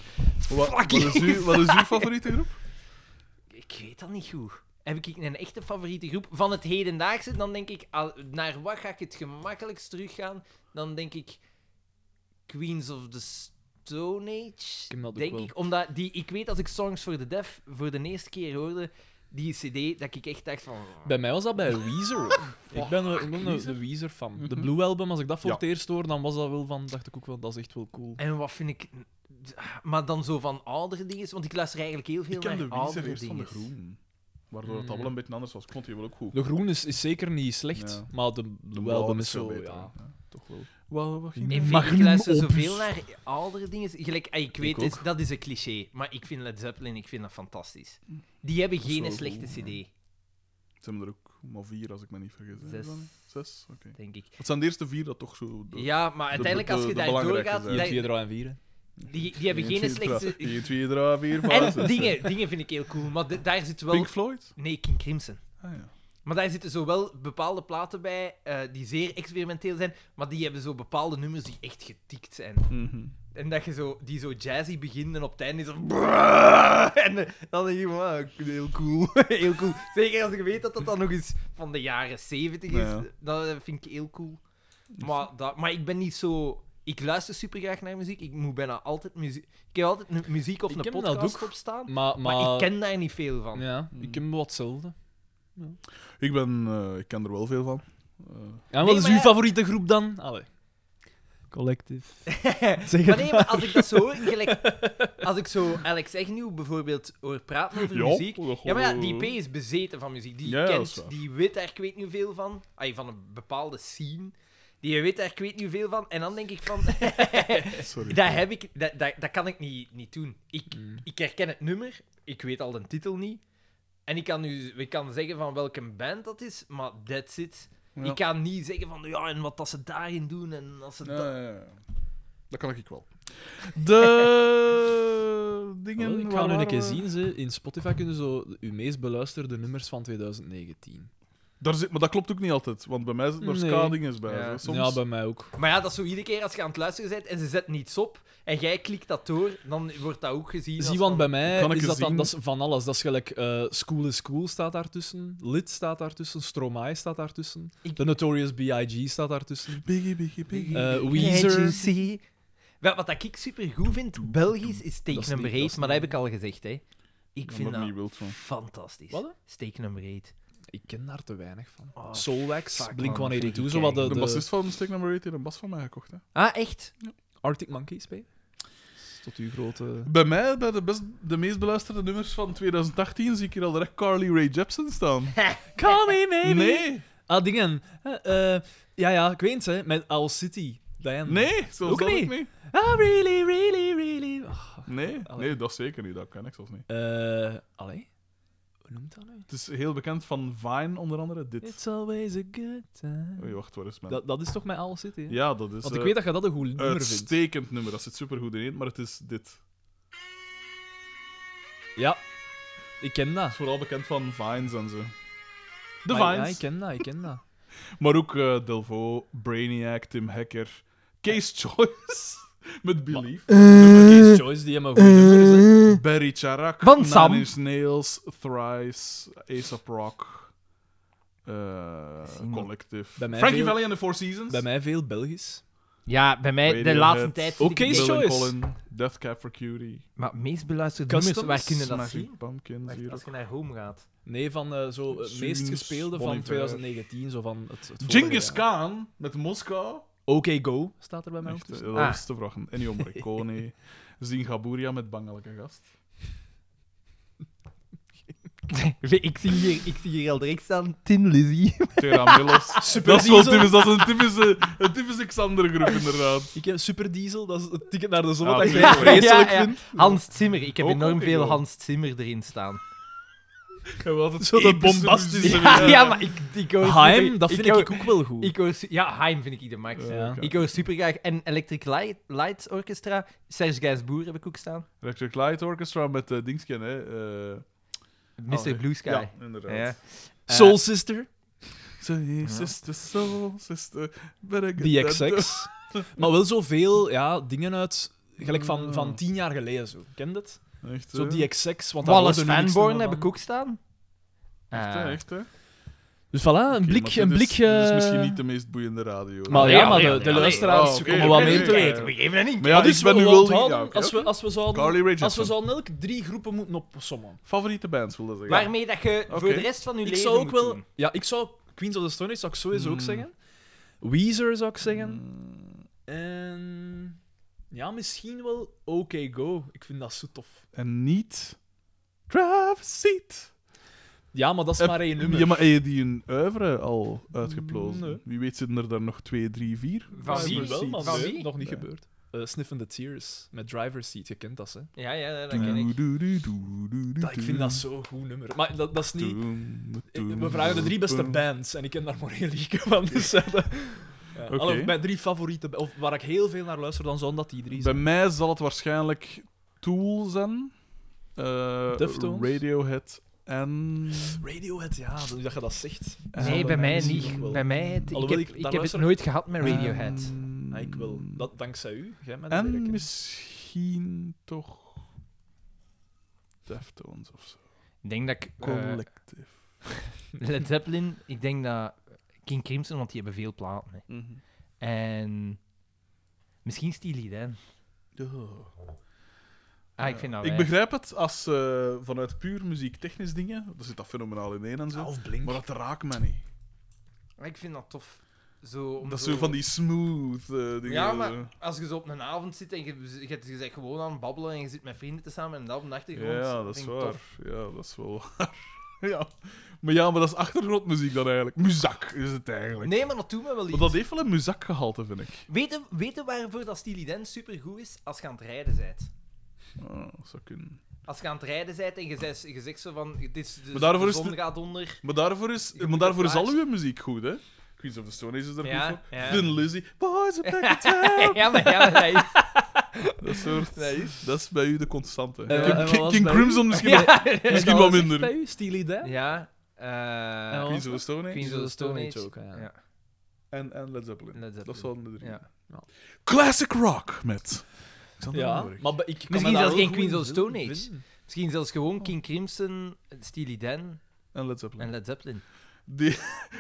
Speaker 2: Wat, wat,
Speaker 4: Fucking
Speaker 2: is uw, wat is uw favoriete groep?
Speaker 4: Ik weet dat niet goed. Heb ik een echte favoriete groep van het hedendaagse? Dan denk ik, al- naar wat ga ik het gemakkelijkst teruggaan? Dan denk ik Queens of the Stone Age.
Speaker 3: heb dat ook
Speaker 4: denk
Speaker 3: wel.
Speaker 4: ik, omdat die, ik weet als ik Songs for the Deaf voor de eerste keer hoorde, die CD, dat ik echt dacht van...
Speaker 3: Bij mij was dat bij Weezer ook. ik ben wel- ik ben een- de Weezer Mhm. fan. De Blue Album, als ik dat voor
Speaker 2: Ja.
Speaker 3: het eerst hoor, dan was dat wel van, dacht ik ook wel, dat is echt wel cool.
Speaker 4: En wat vind ik... Maar dan zo van oudere dingen, want ik luister eigenlijk heel veel
Speaker 2: Ik ken de
Speaker 4: naar
Speaker 2: Weezer
Speaker 4: oudere
Speaker 2: eerst van de
Speaker 4: dingen.
Speaker 2: groen. Waardoor het al wel een beetje anders was. Ik vond die wel ook goed.
Speaker 3: De Groen is, is zeker niet slecht,
Speaker 2: Ja.
Speaker 3: maar de Blue
Speaker 2: Blauw
Speaker 3: Album is
Speaker 2: veel
Speaker 3: zo,
Speaker 2: beter,
Speaker 3: ja,
Speaker 2: hè.
Speaker 3: toch wel.
Speaker 2: Wat, wat ging
Speaker 4: Ik, vind- ik luister zoveel naar oudere dingen. Gelijk, ah, ik weet het, dat is een cliché, maar ik vind Led Zeppelin ik vind dat fantastisch. Die hebben
Speaker 2: is
Speaker 4: geen
Speaker 2: wel
Speaker 4: slechte
Speaker 2: goed,
Speaker 4: CD,
Speaker 2: Het zijn er ook maar vier, als ik me niet vergis. hè.
Speaker 4: Zes.
Speaker 2: Zes, oké.
Speaker 4: denk ik.
Speaker 2: Het zijn de eerste vier dat toch zo... de-
Speaker 4: Ja, maar uiteindelijk,
Speaker 2: de-
Speaker 4: als je
Speaker 2: de
Speaker 4: daar
Speaker 2: belangrijke
Speaker 4: doorgaat,
Speaker 2: zijn.
Speaker 4: daar-
Speaker 3: Vier en vier, hè.
Speaker 4: die, die hebben
Speaker 2: Eén,
Speaker 4: geen
Speaker 2: twee, dra-
Speaker 4: slechte.
Speaker 2: één, twee, drie, vier, vijf,
Speaker 4: En
Speaker 2: zes.
Speaker 4: dingen, dingen vind ik heel cool, maar de- daar zit wel.
Speaker 2: Pink Floyd?
Speaker 4: Nee, King Crimson.
Speaker 2: Ah, ja.
Speaker 4: Maar daar zitten zowel bepaalde platen bij eh, die zeer experimenteel zijn, maar die hebben zo bepaalde nummers die echt getikt zijn.
Speaker 2: Mhm.
Speaker 4: En dat je zo, die zo jazzy begint en op het einde zo... En eh, dan denk je, wow, heel cool. heel cool. Zeker als ik weet dat dat dan nog eens van de jaren 70 is.
Speaker 2: Ja.
Speaker 4: Dat eh, vind ik heel cool. Maar, dat, maar ik ben niet zo... Ik luister super graag naar muziek. Ik moet bijna altijd muziek... Ik heb altijd een muziek of
Speaker 3: Ik
Speaker 4: een
Speaker 3: heb dat
Speaker 4: podcast
Speaker 3: ook,
Speaker 4: opstaan.
Speaker 3: Maar,
Speaker 4: Maar,
Speaker 3: maar,
Speaker 4: ik ken daar niet veel van.
Speaker 3: Ja, ik ken wat hetzelfde.
Speaker 2: Ik ben... eh, ik ken er wel veel van. Eh,
Speaker 3: En wat
Speaker 4: Nee,
Speaker 3: is
Speaker 4: maar
Speaker 3: uw
Speaker 4: ja.
Speaker 3: favoriete groep dan? Allee. Collective. Zeg
Speaker 4: Maar
Speaker 3: het
Speaker 4: nee, maar als ik dat zo hoor, gelijk, als ik zo Alex Agnew bijvoorbeeld hoor praten over
Speaker 2: Ja,
Speaker 4: muziek...
Speaker 2: dat
Speaker 4: Ja, maar ja,
Speaker 2: gewoon-
Speaker 4: die P is bezeten van muziek. Die
Speaker 2: Ja, ja, dat is
Speaker 4: kent,
Speaker 2: waar.
Speaker 4: die weet daar ik weet niet veel van. Ay, van een bepaalde scene. Die weet daar ik weet niet veel van. En dan denk ik van...
Speaker 2: Sorry.
Speaker 4: dat, heb ik, dat, dat, dat kan ik niet, niet doen. Ik,
Speaker 3: Mm.
Speaker 4: ik herken het nummer, ik weet al de titel niet. En ik kan, nu, ik kan zeggen van welke band dat is, maar that's it.
Speaker 2: Ja.
Speaker 4: Ik kan niet zeggen van, ja, en wat dat ze daarin doen en als ze
Speaker 2: Ja,
Speaker 4: dat...
Speaker 2: ja, ja. Dat kan ik wel. De dingen...
Speaker 3: Wel, ik ga
Speaker 2: waar
Speaker 3: nu een keer
Speaker 2: waren we?
Speaker 3: zien. Ze, in Spotify kunnen zo uw meest beluisterde nummers van 2019.
Speaker 2: Daar zit, maar dat klopt ook niet altijd, want bij mij zitten er
Speaker 3: Nee.
Speaker 2: ska-dinges bij.
Speaker 4: Ja.
Speaker 2: zo. Soms...
Speaker 3: Ja, bij mij ook.
Speaker 4: Maar ja, dat is zo iedere keer als je aan het luisteren bent en ze zetten niets op en jij klikt dat door, dan wordt dat ook gezien. als
Speaker 3: Zie, want
Speaker 4: van-
Speaker 3: bij mij
Speaker 2: Kan ik
Speaker 3: is
Speaker 2: eens
Speaker 3: dat, dan,
Speaker 2: zien?
Speaker 3: dat is van alles. Dat is gelijk eh, School is Cool staat daartussen, Lid staat daartussen, Stromae staat daartussen,
Speaker 4: Ik-
Speaker 3: The Notorious B.I.G. staat daartussen,
Speaker 2: Biggie, biggie, biggie.
Speaker 3: eh,
Speaker 4: Can't you
Speaker 3: Weezer...
Speaker 4: see? Wel, Wat dat ik super goed vind, Belgisch is
Speaker 3: Dat
Speaker 4: steek
Speaker 3: is
Speaker 4: nummer
Speaker 3: niet- dat
Speaker 4: 8,
Speaker 3: is
Speaker 4: maar dat
Speaker 3: niet-
Speaker 4: heb ik al gezegd. Hè. Ik
Speaker 2: ben
Speaker 4: vind
Speaker 2: er
Speaker 4: dat
Speaker 2: niet wild van.
Speaker 4: fantastisch.
Speaker 3: Wat?
Speaker 4: Steek nummer 8.
Speaker 3: Ik ken daar te weinig van.
Speaker 4: Oh,
Speaker 3: Soulwax,
Speaker 4: fuck, man, moet
Speaker 3: Blink-182,
Speaker 4: ik
Speaker 3: zo wat de,
Speaker 2: de,
Speaker 3: de
Speaker 2: bassist van Stick Number 8 heeft een bas van mij gekocht. Hè.
Speaker 4: Ah, echt?
Speaker 3: Arctic Monkeys spelen. Tot uw grote...
Speaker 2: Bij mij, bij de, best, de meest beluisterde nummers van 2018, zie ik hier al direct Carly Rae Jepsen staan.
Speaker 3: Call me maybe.
Speaker 2: Nee,
Speaker 3: Ah, dingen. Eh, eh, ja, ja, ik weet het, hè. Met Owl City. Diane.
Speaker 2: nee, zelfs
Speaker 3: Ook
Speaker 2: dat
Speaker 3: niet.
Speaker 2: ook niet.
Speaker 3: Ah, really, really, really. Ah,
Speaker 2: Nee,
Speaker 3: Allee.
Speaker 2: nee, dat zeker niet, dat ken ik zelfs niet.
Speaker 3: Eh, allee. Hoe noemt dat nu?
Speaker 2: Het is heel bekend van Vine, onder andere, dit.
Speaker 3: It's always a good time.
Speaker 2: Oei, wacht, waar is mijn...
Speaker 3: Dat, dat is toch met Owl City, hè?
Speaker 2: Ja, dat is
Speaker 3: Want ik
Speaker 2: eh,
Speaker 3: weet dat je dat een goed nummer vindt.
Speaker 2: uitstekend nummer, dat zit supergoed in, maar het is dit.
Speaker 3: Ja. Ik ken dat.
Speaker 2: Vooral bekend van Vines en zo. De
Speaker 3: Maar Ah, Ja,
Speaker 2: Vines.
Speaker 3: ik ken dat, ik ken dat.
Speaker 2: Maar ook eh Delvo, Brainiac, Tim Hacker, Case Choice met Belief,
Speaker 3: Case Choice, die hebben goede nummers, hè.
Speaker 2: Barry Charak,
Speaker 4: Van
Speaker 2: Nine
Speaker 4: Sam.
Speaker 2: Inch Nails, Thrice, Aesop Rock, eh,
Speaker 4: Zien we-
Speaker 2: Collective,
Speaker 3: Bij mij
Speaker 2: Frankie
Speaker 3: veel-
Speaker 2: Valley and the Four Seasons,
Speaker 3: Bij mij veel Belgisch.
Speaker 4: Ja, bij mij de
Speaker 2: Radiohead,
Speaker 4: laatste tijd. vind ik
Speaker 3: Oké,
Speaker 4: het
Speaker 3: Case
Speaker 2: Bill
Speaker 4: beter.
Speaker 2: and
Speaker 3: Choice.
Speaker 2: Colin, Death Cab for Cutie,
Speaker 4: Maar het meest beluisterde
Speaker 3: Customs,
Speaker 4: nummers, waar kunnen dat
Speaker 2: Smashing
Speaker 4: zien?
Speaker 2: Pumpkins,
Speaker 4: Wacht,
Speaker 2: hier
Speaker 4: Als
Speaker 2: ook.
Speaker 4: je naar home gaat.
Speaker 3: Nee, van eh, zo het meest
Speaker 2: Zunes,
Speaker 3: gespeelde
Speaker 2: Bon
Speaker 3: van
Speaker 2: Iver.
Speaker 3: 2019. Zo van het, het vorige
Speaker 2: Genghis
Speaker 3: jaar.
Speaker 2: Khan met Moskou.
Speaker 3: OK Go staat er bij mij ook
Speaker 2: Echt, eh,
Speaker 3: tussen.
Speaker 2: dat was te vragen. Ennio Morricone. Zien Gaburia met bangelijke gast.
Speaker 4: Ik zie hier, ik zie hier al direct staan, Tin Lizzy.
Speaker 2: Tera Millos.
Speaker 3: Super
Speaker 2: Dat is wel
Speaker 3: Diesel.
Speaker 2: typisch. Dat is een typische, een typische Xander-groep, inderdaad.
Speaker 3: Ik heb Super Diesel, dat is het ticket naar de zon
Speaker 2: Ah,
Speaker 3: dat jij
Speaker 2: tuurlijk.
Speaker 3: vreselijk
Speaker 4: Ja, ja.
Speaker 3: vindt.
Speaker 4: Hans Zimmer. Ik heb
Speaker 2: Ook
Speaker 4: enorm
Speaker 2: oké,
Speaker 4: veel
Speaker 2: hoor.
Speaker 4: Hans Zimmer erin staan.
Speaker 2: En wat het
Speaker 3: Zo dat
Speaker 2: epische
Speaker 3: bombastische
Speaker 2: muziek.
Speaker 4: Ja, maar ik, ik hoor...
Speaker 3: Haim, dat vind ik,
Speaker 4: hoor-
Speaker 3: ook wel goed.
Speaker 4: ik hoor su- ja, Haim vind ik de max.
Speaker 3: Ja.
Speaker 4: Ik hoor super graag. En Electric Light, Lights Orchestra, Serge Gainsbourg heb ik ook staan.
Speaker 2: Electric Light Orchestra met eh Dingsken, hè. eh,
Speaker 4: Mr.
Speaker 2: Oh, nee.
Speaker 4: Blue Sky.
Speaker 2: Ja, inderdaad.
Speaker 4: Ja. Eh,
Speaker 3: Eh, Soul Sister,
Speaker 2: Say sister, dus soul sister, better get
Speaker 3: The
Speaker 2: that dough.
Speaker 3: XX. maar wel zoveel ja, dingen uit, gelijk van,
Speaker 2: Mm.
Speaker 3: van tien jaar geleden zo. Ken je het?
Speaker 2: Echt,
Speaker 3: Zo
Speaker 2: hè?
Speaker 3: die XX, want daar
Speaker 4: Wallace
Speaker 3: hoort er nu niks
Speaker 4: Vanborn
Speaker 3: meer
Speaker 4: heb
Speaker 3: van.
Speaker 4: ik ook staan.
Speaker 2: Echt,
Speaker 4: Eh,
Speaker 2: hè, echt, hè.
Speaker 3: Dus voilà, Ah. een
Speaker 2: Oké,
Speaker 3: blik.
Speaker 2: maar
Speaker 3: een
Speaker 2: dit
Speaker 3: blik
Speaker 2: is, dit is
Speaker 3: eh,
Speaker 2: misschien niet de meest boeiende radio. hè.
Speaker 3: Maar
Speaker 4: Ja,
Speaker 3: ja, maar
Speaker 4: ja,
Speaker 3: de, de
Speaker 4: ja,
Speaker 3: luisteraars
Speaker 2: Ah, nee. Oh, oké,
Speaker 3: komen wat
Speaker 2: oké,
Speaker 3: mee
Speaker 2: oké,
Speaker 3: te
Speaker 2: oké.
Speaker 3: weten.
Speaker 4: We geven dat niet.
Speaker 2: Maar ja,
Speaker 3: Dus
Speaker 2: ik ben nu
Speaker 3: wel
Speaker 2: wel...
Speaker 3: onthouden,
Speaker 2: ja, oké,
Speaker 3: als, we,
Speaker 2: oké.
Speaker 3: als, we
Speaker 2: Carly
Speaker 3: zouden,
Speaker 2: Rae
Speaker 3: als we
Speaker 2: Jepsen.
Speaker 3: zouden elk drie groepen moeten opsommen.
Speaker 2: Favoriete bands, wilde zeggen.
Speaker 4: Waarmee dat je
Speaker 2: Oké.
Speaker 4: voor de rest van je
Speaker 3: Ik
Speaker 4: leven
Speaker 3: zou ook
Speaker 4: moet
Speaker 3: wel...
Speaker 4: doen.
Speaker 3: Ja, ik zou Queens of the Stone Age zou ik sowieso ook
Speaker 2: Hmm.
Speaker 3: zeggen. Weezer zou ik zeggen.
Speaker 2: Mm,
Speaker 3: En... Ja, misschien wel OK Go. Ik vind dat zo tof.
Speaker 2: En niet... Travis Seat.
Speaker 3: Ja, maar dat is
Speaker 2: Heb-
Speaker 3: maar één nummer.
Speaker 2: Ja, maar heb je die een uivre al uitgeplozen?
Speaker 3: Nee.
Speaker 2: Wie weet zitten er daar nog twee, drie, vier?
Speaker 4: Van
Speaker 3: Ja,
Speaker 2: Travis
Speaker 4: wie?
Speaker 2: Seat.
Speaker 3: maar wel, maar
Speaker 4: Van
Speaker 3: nee,
Speaker 4: wie?
Speaker 3: nog niet
Speaker 2: Nee.
Speaker 3: gebeurd. Eh, Sniff in the Tears met Driver Seat. Je kent dat, hè?
Speaker 4: Ja, ja, dat ken
Speaker 2: Doe,
Speaker 4: ik.
Speaker 2: doe, doe, doe, doe,
Speaker 3: Dat, ik
Speaker 2: doe.
Speaker 3: vind dat zo'n goed nummer. Maar dat, dat is niet...
Speaker 2: Doem,
Speaker 3: Ik-
Speaker 2: doem,
Speaker 3: We vragen de drie beste
Speaker 2: doem.
Speaker 3: bands en ik ken daar maar heel lieke van. Dus, eh, dat- ja,
Speaker 2: Oké.
Speaker 3: alhoewel, mijn drie favoriete, ba- of waar ik heel veel naar luister, dan zouden dat die drie
Speaker 2: Bij
Speaker 3: zijn.
Speaker 2: mij zal het waarschijnlijk Tool zijn. eh,
Speaker 3: Deftones?
Speaker 2: Radiohead en...
Speaker 3: Radiohead, ja, dat- nu dat je dat zegt.
Speaker 4: Nee,
Speaker 3: Zou
Speaker 4: bij mij
Speaker 3: misschien
Speaker 4: niet.
Speaker 3: ook wel.
Speaker 4: Bij mij, het- ik
Speaker 3: Alhoewel,
Speaker 4: heb,
Speaker 3: ik-
Speaker 4: ik heb
Speaker 3: daar
Speaker 4: het
Speaker 3: luister-
Speaker 4: nooit gehad met Radiohead.
Speaker 2: En-
Speaker 3: Ja, Ah, ik wil. Dat dankzij u. Jij mij dat leren
Speaker 2: En
Speaker 3: kennen.
Speaker 2: misschien toch Deftones of zo.
Speaker 4: Ik denk dat ik... eh,
Speaker 2: Collective.
Speaker 4: Led Zeppelin, ik denk dat King Crimson, want die hebben veel platen. hè. En misschien Steely Dan.
Speaker 2: Oh.
Speaker 4: Ah, ik
Speaker 2: Ja.
Speaker 4: vind dat
Speaker 2: Ik
Speaker 4: wij-
Speaker 2: begrijp het als eh, vanuit puur muziektechnisch dingen, daar zit dat fenomenaal in één en
Speaker 3: Ja,
Speaker 2: zo,
Speaker 3: Ah, of Blink.
Speaker 2: maar dat raakt mij niet.
Speaker 4: Maar Ik vind dat tof. Zo, om
Speaker 2: Dat is zo van die smooth eh, dingen.
Speaker 4: Ja, maar als je zo op een avond zit en je, je, je bent gewoon aan het babbelen en je zit met vrienden te samen en dat op de achtergrond...
Speaker 2: Ja, dat is
Speaker 4: vind ik
Speaker 2: waar.
Speaker 4: tof.
Speaker 2: Ja, dat is wel waar. ja. Maar ja, maar dat is achtergrondmuziek dan eigenlijk. Muzak is het eigenlijk.
Speaker 4: Nee, maar dat doet me wel iets.
Speaker 2: Want dat heeft wel een muzakgehalte, vind ik.
Speaker 4: Weten, weten waarvoor dat Steely Dan supergoed is? Als je aan het rijden bent.
Speaker 2: Ah, dat zou kunnen.
Speaker 4: Als je aan het rijden bent en je zegt, je zegt zo van... Dit is, de,
Speaker 2: Maar daarvoor
Speaker 4: de
Speaker 2: is
Speaker 4: zon
Speaker 2: het-
Speaker 4: gaat onder.
Speaker 2: Maar daarvoor is,
Speaker 4: Je
Speaker 2: maar
Speaker 4: moet
Speaker 2: daarvoor is al
Speaker 4: plaatsen.
Speaker 2: uw muziek goed, hè? Queens of the Stone Age is daar
Speaker 4: Ja,
Speaker 2: goed voor.
Speaker 4: ja.
Speaker 2: Thin Lizzy. Boys are back in town.
Speaker 4: ja, maar, ja, maar dat is...
Speaker 2: Dat soort...
Speaker 4: Dat is-
Speaker 2: Dat is bij u de constante.
Speaker 3: Eh,
Speaker 2: King,
Speaker 3: en wat
Speaker 2: King-
Speaker 3: was
Speaker 2: King
Speaker 3: bij u?
Speaker 2: Crimson misschien, wel- misschien
Speaker 3: En
Speaker 2: wel
Speaker 3: dat was echt
Speaker 2: minder.
Speaker 3: bij u, Steely Dan?
Speaker 4: Ja. eh,
Speaker 3: En wat
Speaker 2: Queens
Speaker 3: was
Speaker 2: of the Stone Age
Speaker 4: Queens of the Stone Age.
Speaker 3: ook, ja.
Speaker 4: Ja.
Speaker 2: en, en Led Zeppelin.
Speaker 4: Led Zeppelin.
Speaker 2: Dat zouden de drie.
Speaker 4: Ja.
Speaker 2: Classic rock met... Xander
Speaker 3: Ja,
Speaker 2: Lodewijk.
Speaker 3: maar bij- ik kan
Speaker 4: Misschien
Speaker 3: me daar
Speaker 4: zelfs
Speaker 3: wel
Speaker 4: geen
Speaker 3: goed
Speaker 4: Queens of
Speaker 3: in
Speaker 4: Stone Age.
Speaker 3: vinden.
Speaker 4: Misschien zelfs gewoon King Crimson, Steely Dan
Speaker 2: En Led Zeppelin.
Speaker 4: en Led Zeppelin.
Speaker 2: Die,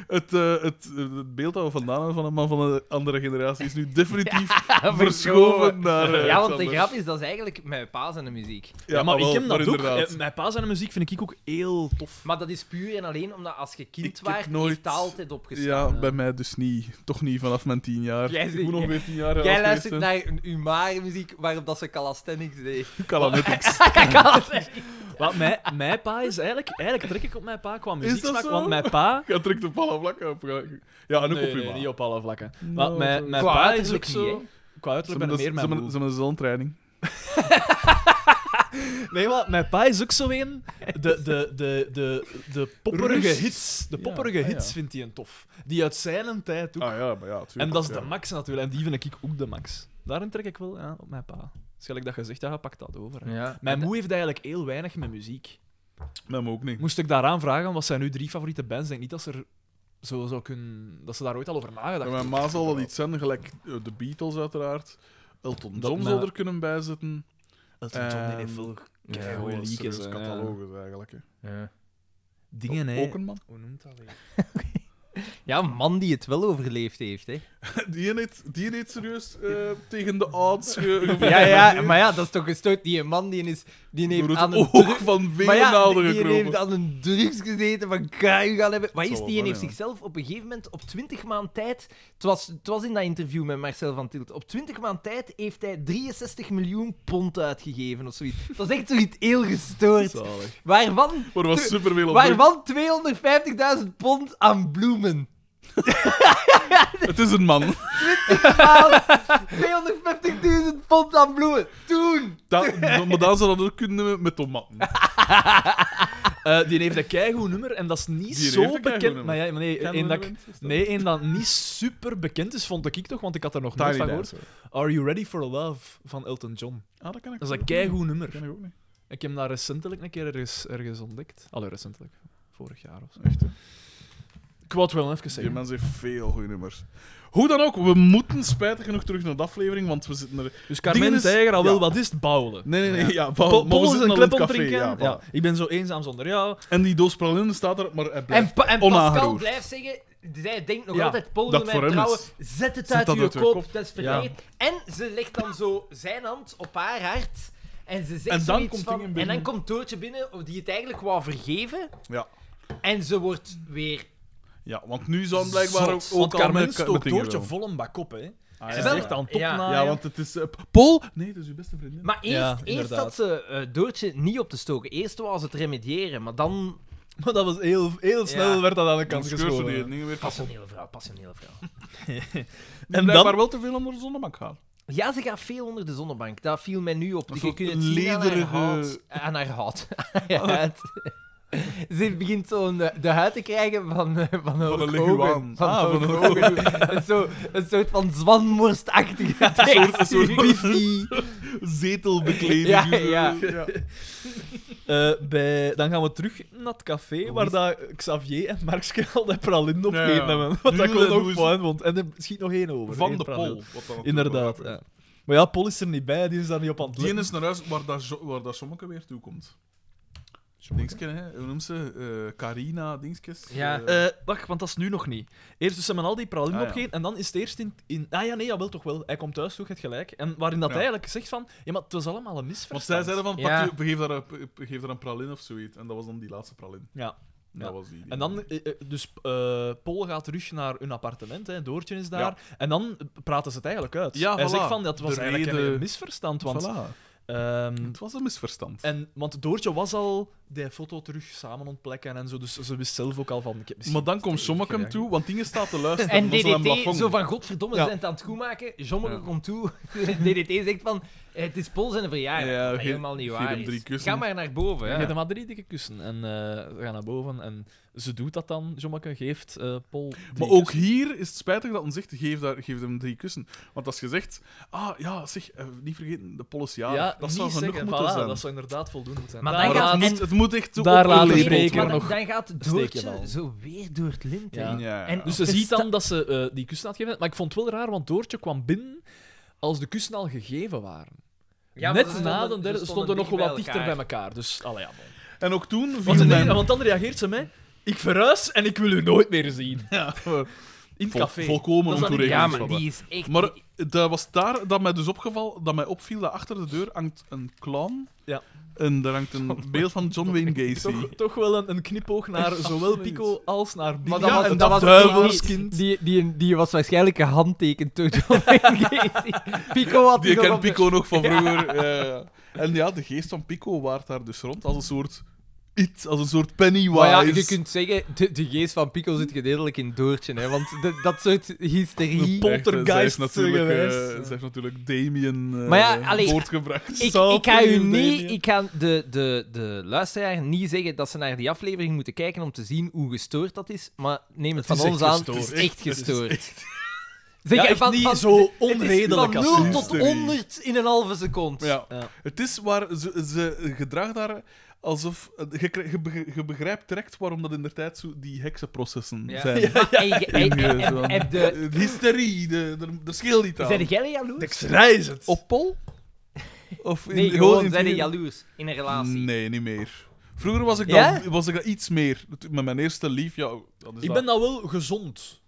Speaker 2: het, eh, het, het beeld dat we vandaan hebben van een man van een andere generatie is nu definitief Ah, verschoven naar... eh,
Speaker 4: Ja, want de
Speaker 2: Xander.
Speaker 4: grap is, dat is eigenlijk mijn paas en de muziek.
Speaker 2: Ja,
Speaker 3: Ja, maar ik
Speaker 2: wel,
Speaker 3: ken dat ook.
Speaker 2: inderdaad.
Speaker 3: Eh, Mijn paas en de muziek vind ik ook heel tof.
Speaker 4: Maar dat is puur en alleen omdat als je kind
Speaker 2: Ik heb
Speaker 4: waart,
Speaker 2: nooit-
Speaker 4: heeft dat altijd opgestaan. eh.
Speaker 2: Ja, bij mij dus niet. Toch niet vanaf mijn tien jaar.
Speaker 4: Jij
Speaker 2: ik
Speaker 4: zegt-
Speaker 2: moet nog weer tien jaar oud
Speaker 4: Jij
Speaker 2: geweest
Speaker 4: luistert
Speaker 2: zijn.
Speaker 4: naar een Umar-muziek waarop dat ze calisthenics deed.
Speaker 2: Calametics.
Speaker 3: Wat, mijn, mijn pa is eigenlijk... Eigenlijk trek ik op mijn pa qua
Speaker 2: dat
Speaker 3: muzieksmaak,
Speaker 2: zo?
Speaker 3: want mijn pa...
Speaker 2: Ga trekt op alle vlakken op. Ja, en ook op
Speaker 3: Nee,
Speaker 2: je
Speaker 3: nee,
Speaker 2: ma.
Speaker 3: niet op alle vlakken.
Speaker 2: Nou,
Speaker 3: Maar mijn, mijn
Speaker 4: Qua
Speaker 3: pa is ook
Speaker 4: uiterlijk niet,
Speaker 3: zo... Qua
Speaker 2: Ze
Speaker 3: uiterlijk
Speaker 2: hebben dat-
Speaker 3: ben ik meer
Speaker 2: ze
Speaker 3: mijn
Speaker 2: hebben-
Speaker 3: moeder.
Speaker 2: ze hebben zo'n training.
Speaker 3: Nee, maar mijn pa is ook zo een. De, de, de, de, de popperige
Speaker 2: Rust.
Speaker 3: hits. De
Speaker 2: Ja,
Speaker 3: popperige
Speaker 2: ah, ja.
Speaker 3: hits vindt hij een tof. Die uit zijn tijd ook.
Speaker 2: Ah ja, maar ja, tuurlijk.
Speaker 3: en dat is de
Speaker 2: ja.
Speaker 3: max natuurlijk. En die vind ik ook de max. Daarin trek ik wel ja, op mijn pa. Schelijk dat gezegd, ja, hij pakt dat over. hè.
Speaker 4: Ja.
Speaker 3: Mijn moe heeft eigenlijk heel weinig met muziek.
Speaker 2: Nee, maar ook niet.
Speaker 3: Moest ik daaraan vragen, wat zijn nu drie favoriete bands? Denk niet dat ze, er zo zou kunnen, dat ze daar ooit al over nagedacht
Speaker 2: Bij mijn ma zal dat iets zijn, gelijk eh, de Beatles uiteraard. Elton
Speaker 3: Dat
Speaker 2: John
Speaker 3: ma-
Speaker 2: zal er kunnen bijzitten.
Speaker 3: Elton John die
Speaker 2: Ehm,
Speaker 3: heeft veel
Speaker 4: ja,
Speaker 2: Ja,
Speaker 3: goeie
Speaker 2: wel
Speaker 3: liedjes,
Speaker 2: serieus
Speaker 3: hè, ja.
Speaker 2: catalogus eigenlijk. hè.
Speaker 4: Ja.
Speaker 3: Dingen, hè.
Speaker 2: Ook een man.
Speaker 3: Hoe noemt dat weer?
Speaker 4: Ja, een man die het wel overleefd heeft, hè.
Speaker 2: Die heeft, die heeft serieus eh, tegen de odds ge- ge-
Speaker 4: Ja, ja, maar ja, dat is toch gestoord. Die man die, is, die
Speaker 2: door
Speaker 4: heeft
Speaker 2: het
Speaker 4: aan een
Speaker 2: oog
Speaker 4: druk...
Speaker 2: van
Speaker 4: Maar ja,
Speaker 2: Veenalden
Speaker 4: die, die heeft
Speaker 2: gekropen.
Speaker 4: aan een drugs gezeten van kruim gaan hebben. Wat
Speaker 2: zal
Speaker 4: is die?
Speaker 2: wel
Speaker 4: Die
Speaker 2: wel,
Speaker 4: heeft
Speaker 2: ja.
Speaker 4: zichzelf op een gegeven moment op 20 maand tijd... Het was, het was in dat interview met Marcel van Tilt. Op 20 maand tijd heeft hij 63 miljoen pond uitgegeven of zoiets. Dat is echt zoiets heel gestoord.
Speaker 3: Zalig.
Speaker 4: Waarvan
Speaker 2: Maar was superveel op druk.
Speaker 4: Waarvan 250.000 pond aan bloemen.
Speaker 2: Het is een man.
Speaker 4: Aan 250.000 pond aan bloemen. Toen.
Speaker 2: Dat, maar dan zou dat ook kunnen met tomaten.
Speaker 3: Eh, die heeft een keigoed nummer en dat is niet
Speaker 2: Die heeft
Speaker 3: zo
Speaker 2: een keigoed
Speaker 3: bekend.
Speaker 2: nummer.
Speaker 3: Maar ja, maar nee, één dat, ik- nee, één dat niet super bekend is, vond ik toch, want ik had er nog nooit
Speaker 2: Tiny
Speaker 3: van gehoord.
Speaker 2: Dancer.
Speaker 3: Are You Ready for Love van Elton John.
Speaker 2: Ah, dat kan ik
Speaker 3: Dat is een
Speaker 2: ook
Speaker 3: keigoed
Speaker 2: niet. Dat
Speaker 3: nummer.
Speaker 2: ken ik ook niet.
Speaker 3: Ik heb dat recentelijk een keer ergens, ergens ontdekt. Allee, recentelijk. Vorig jaar of zo.
Speaker 2: Echt, hè.
Speaker 3: Ik wou het wel even
Speaker 2: Die
Speaker 3: zeggen.
Speaker 2: mensen heeft veel goede nummers. Hoe dan ook, we moeten spijtig genoeg terug naar de aflevering, want we zitten er...
Speaker 3: Dus Carmen
Speaker 2: Dingen
Speaker 3: is...
Speaker 2: is-
Speaker 3: Tijger al wel
Speaker 2: ja.
Speaker 3: wat is het bouwen.
Speaker 2: Nee, nee, nee, ja,
Speaker 3: Po-
Speaker 2: Paul, maar we
Speaker 3: Pols
Speaker 2: zitten
Speaker 3: en
Speaker 2: al in het
Speaker 3: klep
Speaker 2: café.
Speaker 3: drinken.
Speaker 2: Ja,
Speaker 3: Ja,
Speaker 2: voilà.
Speaker 3: Ik ben zo eenzaam zonder jou.
Speaker 2: En die doos pralinen staat er, maar hij
Speaker 4: En,
Speaker 2: blijft
Speaker 4: Pa- en Pascal
Speaker 2: onaangeroerd.
Speaker 4: blijft zeggen... Zij denkt nog
Speaker 3: Ja,
Speaker 4: altijd, Paul
Speaker 2: dat
Speaker 4: wil
Speaker 2: voor
Speaker 4: mij
Speaker 2: hem
Speaker 4: trouwen.
Speaker 2: is.
Speaker 4: Zet het
Speaker 2: Zet
Speaker 4: uit
Speaker 2: dat
Speaker 4: uw
Speaker 2: uit uw
Speaker 4: kop,
Speaker 2: kop.
Speaker 4: dat is verkeerd. En ze legt dan zo zijn hand op haar hart. En ze zegt
Speaker 2: En dan
Speaker 4: zoiets
Speaker 2: komt
Speaker 4: van...
Speaker 2: dingen
Speaker 4: En
Speaker 2: binnen.
Speaker 4: dan komt Doortje binnen, die het eigenlijk wou vergeven.
Speaker 2: Ja.
Speaker 4: En ze wordt weer...
Speaker 2: Ja, want nu zou blijkbaar ook,
Speaker 3: Zot.
Speaker 2: ook
Speaker 3: Want
Speaker 2: al
Speaker 3: Carmen
Speaker 2: met, met
Speaker 3: stookt
Speaker 2: dingen
Speaker 3: Doortje
Speaker 2: wel.
Speaker 3: vol een bak op, hè.
Speaker 2: Ah,
Speaker 3: Ze
Speaker 2: ja.
Speaker 4: Wel,
Speaker 3: zegt dan
Speaker 4: ja.
Speaker 3: topnaaien.
Speaker 2: Ja, want het is... eh, Paul? Nee, dat is uw beste vriendin.
Speaker 4: Maar eerst,
Speaker 3: Ja,
Speaker 4: eerst
Speaker 3: inderdaad.
Speaker 4: had ze eh, Doortje niet op te stoken. Eerst was het remediëren, maar dan
Speaker 3: Maar dat was heel, heel snel
Speaker 4: Ja.
Speaker 3: werd dat aan de kant
Speaker 2: Dan scheurt ze die
Speaker 3: geschoven.
Speaker 2: dingen weer kapot.
Speaker 4: Passionele vrouw, passionele vrouw.
Speaker 2: En
Speaker 3: En
Speaker 2: blijkbaar
Speaker 3: dan...
Speaker 2: wel te veel onder de zonnebank gaan.
Speaker 4: Ja, ze gaat veel onder de zonnebank. Dat viel mij nu op.
Speaker 2: Een
Speaker 4: Je
Speaker 2: soort
Speaker 4: kunt het zien aan
Speaker 2: lederige- Oh.
Speaker 4: haar huid. Aan haar huid. Aan haar huid. Ze begint zo'n eh, de huid te krijgen van, eh, van, Hulk
Speaker 2: een
Speaker 4: Hogan.
Speaker 2: leguaan.
Speaker 4: Van
Speaker 2: Ah, van
Speaker 4: Hulk
Speaker 2: Hulk
Speaker 4: Hogan. Een zo- Een soort van zwanmorstachtige
Speaker 2: een soort-
Speaker 4: tekstuur. Biffy.
Speaker 2: Zetelbekleding.
Speaker 4: Ja,
Speaker 2: eh,
Speaker 4: ja.
Speaker 3: eh, bij, dan gaan we terug naar het café waar dat Xavier en Markske al dat pralin op
Speaker 2: Ja,
Speaker 3: gegeten
Speaker 2: ja.
Speaker 3: hebben. Wat
Speaker 2: Nu
Speaker 3: ik wel
Speaker 2: doen
Speaker 3: ook
Speaker 2: ze-
Speaker 3: fijn vond. En er schiet nog één over.
Speaker 2: Van
Speaker 3: één
Speaker 2: de
Speaker 3: pralin.
Speaker 2: Pol. wat dan
Speaker 3: Inderdaad, eh.
Speaker 2: natuurlijk
Speaker 3: ja. Maar ja, Pol is er niet bij, die is daar niet op aan het
Speaker 2: Die
Speaker 3: letten.
Speaker 2: is naar huis waar dat, jo- waar dat sommige weer toe komt. Dingske, hè? Hoe noemt ze? Eh, Carina, dingetjes.
Speaker 4: Ja.
Speaker 2: Eh,
Speaker 3: Eh, wacht, want dat is nu nog niet. Eerst dus ze hebben al die pralin
Speaker 2: Ah, ja.
Speaker 3: opgegeten en dan is het eerst in, in... Ah ja, nee, jawel, toch wel. Hij komt thuis, toch, het gelijk. En waarin dat
Speaker 2: Ja.
Speaker 3: hij eigenlijk zegt van... Ja, maar het was allemaal een
Speaker 2: want
Speaker 3: misverstand.
Speaker 2: zij zeiden van,
Speaker 4: Ja.
Speaker 2: pak je, geef, daar een, geef daar een pralin of zoiets. En dat was dan die laatste pralin.
Speaker 3: Ja.
Speaker 2: Dat
Speaker 3: Ja.
Speaker 2: was die. die-
Speaker 3: En dan, eh, eh, dus eh Paul gaat terug naar hun appartement, hè, Doortje is daar. En dan praten ze het eigenlijk uit.
Speaker 2: Ja,
Speaker 3: Hij
Speaker 2: voilà.
Speaker 3: zegt van, dat was
Speaker 2: De
Speaker 3: eigenlijk
Speaker 2: reden-
Speaker 3: een misverstand. Want, Eh,
Speaker 2: Voilà.
Speaker 3: ehm,
Speaker 2: Het was een misverstand.
Speaker 3: en, want Doortje was al die foto terug samen ontplekken en zo, dus ze wist zelf ook al van... Ik heb misschien-
Speaker 2: maar dan komt sommige hem toe, want dingen staat te luisteren.
Speaker 4: En
Speaker 2: dat is wel een
Speaker 4: DDT,
Speaker 2: plafond.
Speaker 4: zo van godverdomme,
Speaker 3: Ja.
Speaker 4: ze zijn het aan het goedmaken. Jommeke
Speaker 2: Ja.
Speaker 4: komt toe. DDT zegt van, "Eh, het is Pols en een verjaardag.
Speaker 2: Ja,
Speaker 4: wat
Speaker 2: ge-
Speaker 4: helemaal niet
Speaker 2: geef
Speaker 4: waar
Speaker 2: hem drie
Speaker 4: is.
Speaker 2: kussen.
Speaker 4: Ga maar naar boven.
Speaker 3: Je
Speaker 4: Ja.
Speaker 3: hebt hem maar drie dikke kussen en eh, we gaan naar boven en ze doet dat dan, Jommeke, geeft eh Paul drie
Speaker 2: Maar ook hier is het spijtig dat men zegt, geef, daar, geef hem drie kussen. Want als je zegt, ah ja, zeg, eh, niet vergeten, de politie
Speaker 3: kussen. Ja,
Speaker 2: dat zou
Speaker 3: niet
Speaker 2: genoeg
Speaker 3: zeggen,
Speaker 2: moeten
Speaker 3: voilà,
Speaker 2: zijn.
Speaker 3: Dat zou inderdaad voldoende moeten zijn.
Speaker 4: Maar dan
Speaker 3: Daar
Speaker 2: Maar
Speaker 4: gaat-
Speaker 3: laat-
Speaker 2: het,
Speaker 4: en-
Speaker 2: moet, het moet echt zo
Speaker 3: Daar laten
Speaker 2: opgelabeld
Speaker 3: spreken
Speaker 2: worden.
Speaker 4: maar
Speaker 3: nog
Speaker 4: dan gaat
Speaker 3: een steekje
Speaker 4: Doortje
Speaker 3: wel.
Speaker 4: zo weer door het lint. hè.
Speaker 3: Ja.
Speaker 2: Ja,
Speaker 4: En-
Speaker 3: Dus ze ziet
Speaker 4: Gesta-
Speaker 3: dan dat ze eh, die kussen aan het geven Maar ik vond het wel raar, want Doortje kwam binnen als de kussen al gegeven waren.
Speaker 4: Ja, maar ze
Speaker 3: Net
Speaker 4: stonden-
Speaker 3: na de
Speaker 4: ze
Speaker 3: derde
Speaker 4: stonden
Speaker 3: stonden nog
Speaker 4: dicht
Speaker 3: wel wat
Speaker 4: bij
Speaker 3: dichter bij
Speaker 4: elkaar.
Speaker 3: elkaar. Dus, allee, ja, bon.
Speaker 2: En ook toen viel
Speaker 3: want, nee,
Speaker 2: mijn...
Speaker 3: want dan reageert ze mij... Ik verhuis en ik wil u nooit meer zien. In het
Speaker 2: Vol-
Speaker 3: café.
Speaker 2: volkomen
Speaker 3: Dat is dan niet-
Speaker 2: ontoerekening.
Speaker 4: Ja, maar
Speaker 2: Regels hebben.
Speaker 4: die is echt...
Speaker 2: Maar dat was daar dat mij dus opgeval, dat mij opviel dat achter de deur hangt een clown.
Speaker 3: Ja.
Speaker 2: En daar hangt een beeld van John Wayne Gacy.
Speaker 3: Toch, toch wel een, een knipoog naar zowel Pico als naar Biggie.
Speaker 4: Maar dat was-
Speaker 3: en
Speaker 4: dat was-
Speaker 3: duivelskind.
Speaker 4: Die, die, die was waarschijnlijk een handteken door John Wayne Gacy. Pico had
Speaker 2: Die
Speaker 4: nog
Speaker 2: kent
Speaker 4: op de-
Speaker 2: Pico nog van vroeger. ja, ja. En ja, de geest van Pico waart daar dus rond als een soort iets, als een soort Pennywise.
Speaker 4: Maar ja, je kunt zeggen, de, de geest van Pico zit gedeeltelijk in Doortje. Hè, want de- dat soort hysterie...
Speaker 2: Echt, eh, zij is
Speaker 3: poltergeist
Speaker 2: natuurlijk, eh,
Speaker 3: geweest.
Speaker 2: zij heeft natuurlijk Damien eh,
Speaker 4: Maar ja, allee,
Speaker 2: voortgebracht.
Speaker 4: Ik,
Speaker 3: Zo
Speaker 4: ik ga u
Speaker 3: opnieuw,
Speaker 4: niet,
Speaker 3: Damien.
Speaker 4: ik ga de, de, de luisteraar niet zeggen dat ze naar die aflevering moeten kijken om te zien hoe gestoord dat is. Maar neem het,
Speaker 3: Het is
Speaker 4: van ons
Speaker 3: echt
Speaker 4: aan,
Speaker 3: gestoord.
Speaker 4: het
Speaker 2: Het
Speaker 4: is
Speaker 2: is
Speaker 4: echt
Speaker 2: echt- het is
Speaker 4: gestoord. Zeg,
Speaker 3: Ja,
Speaker 4: en
Speaker 3: echt
Speaker 4: van-
Speaker 3: niet
Speaker 4: van-
Speaker 3: zo
Speaker 4: het is
Speaker 3: onredelijk
Speaker 4: van
Speaker 3: als
Speaker 4: 0
Speaker 3: ze
Speaker 4: tot
Speaker 2: hysterie.
Speaker 4: 100 in een halve seconde.
Speaker 2: Ja.
Speaker 3: Ja.
Speaker 2: Het is waar ze, ze gedraagt daar alsof. Je, kri- je be- je begrijpt direct waarom dat in de tijd zo die heksenprocessen
Speaker 4: Ja.
Speaker 2: zijn.
Speaker 4: En je- en- en-
Speaker 2: Eh,
Speaker 4: en-
Speaker 2: zo.
Speaker 4: en de-
Speaker 2: Eh, hysterie, de, de, de scheelt niet aan.
Speaker 4: Zijn jij jaloers?
Speaker 3: schrijf het.
Speaker 2: Op Pol? Of in,
Speaker 4: Nee,
Speaker 2: gewoon
Speaker 4: gewoon
Speaker 2: in-
Speaker 4: zijn jaloers in een relatie.
Speaker 2: Nee, niet meer. Vroeger was ik,
Speaker 4: Ja?
Speaker 2: daar, was ik daar iets meer. Met mijn eerste lief, ja... Dat is
Speaker 3: Ik
Speaker 2: dat-
Speaker 3: ben nou wel gezond,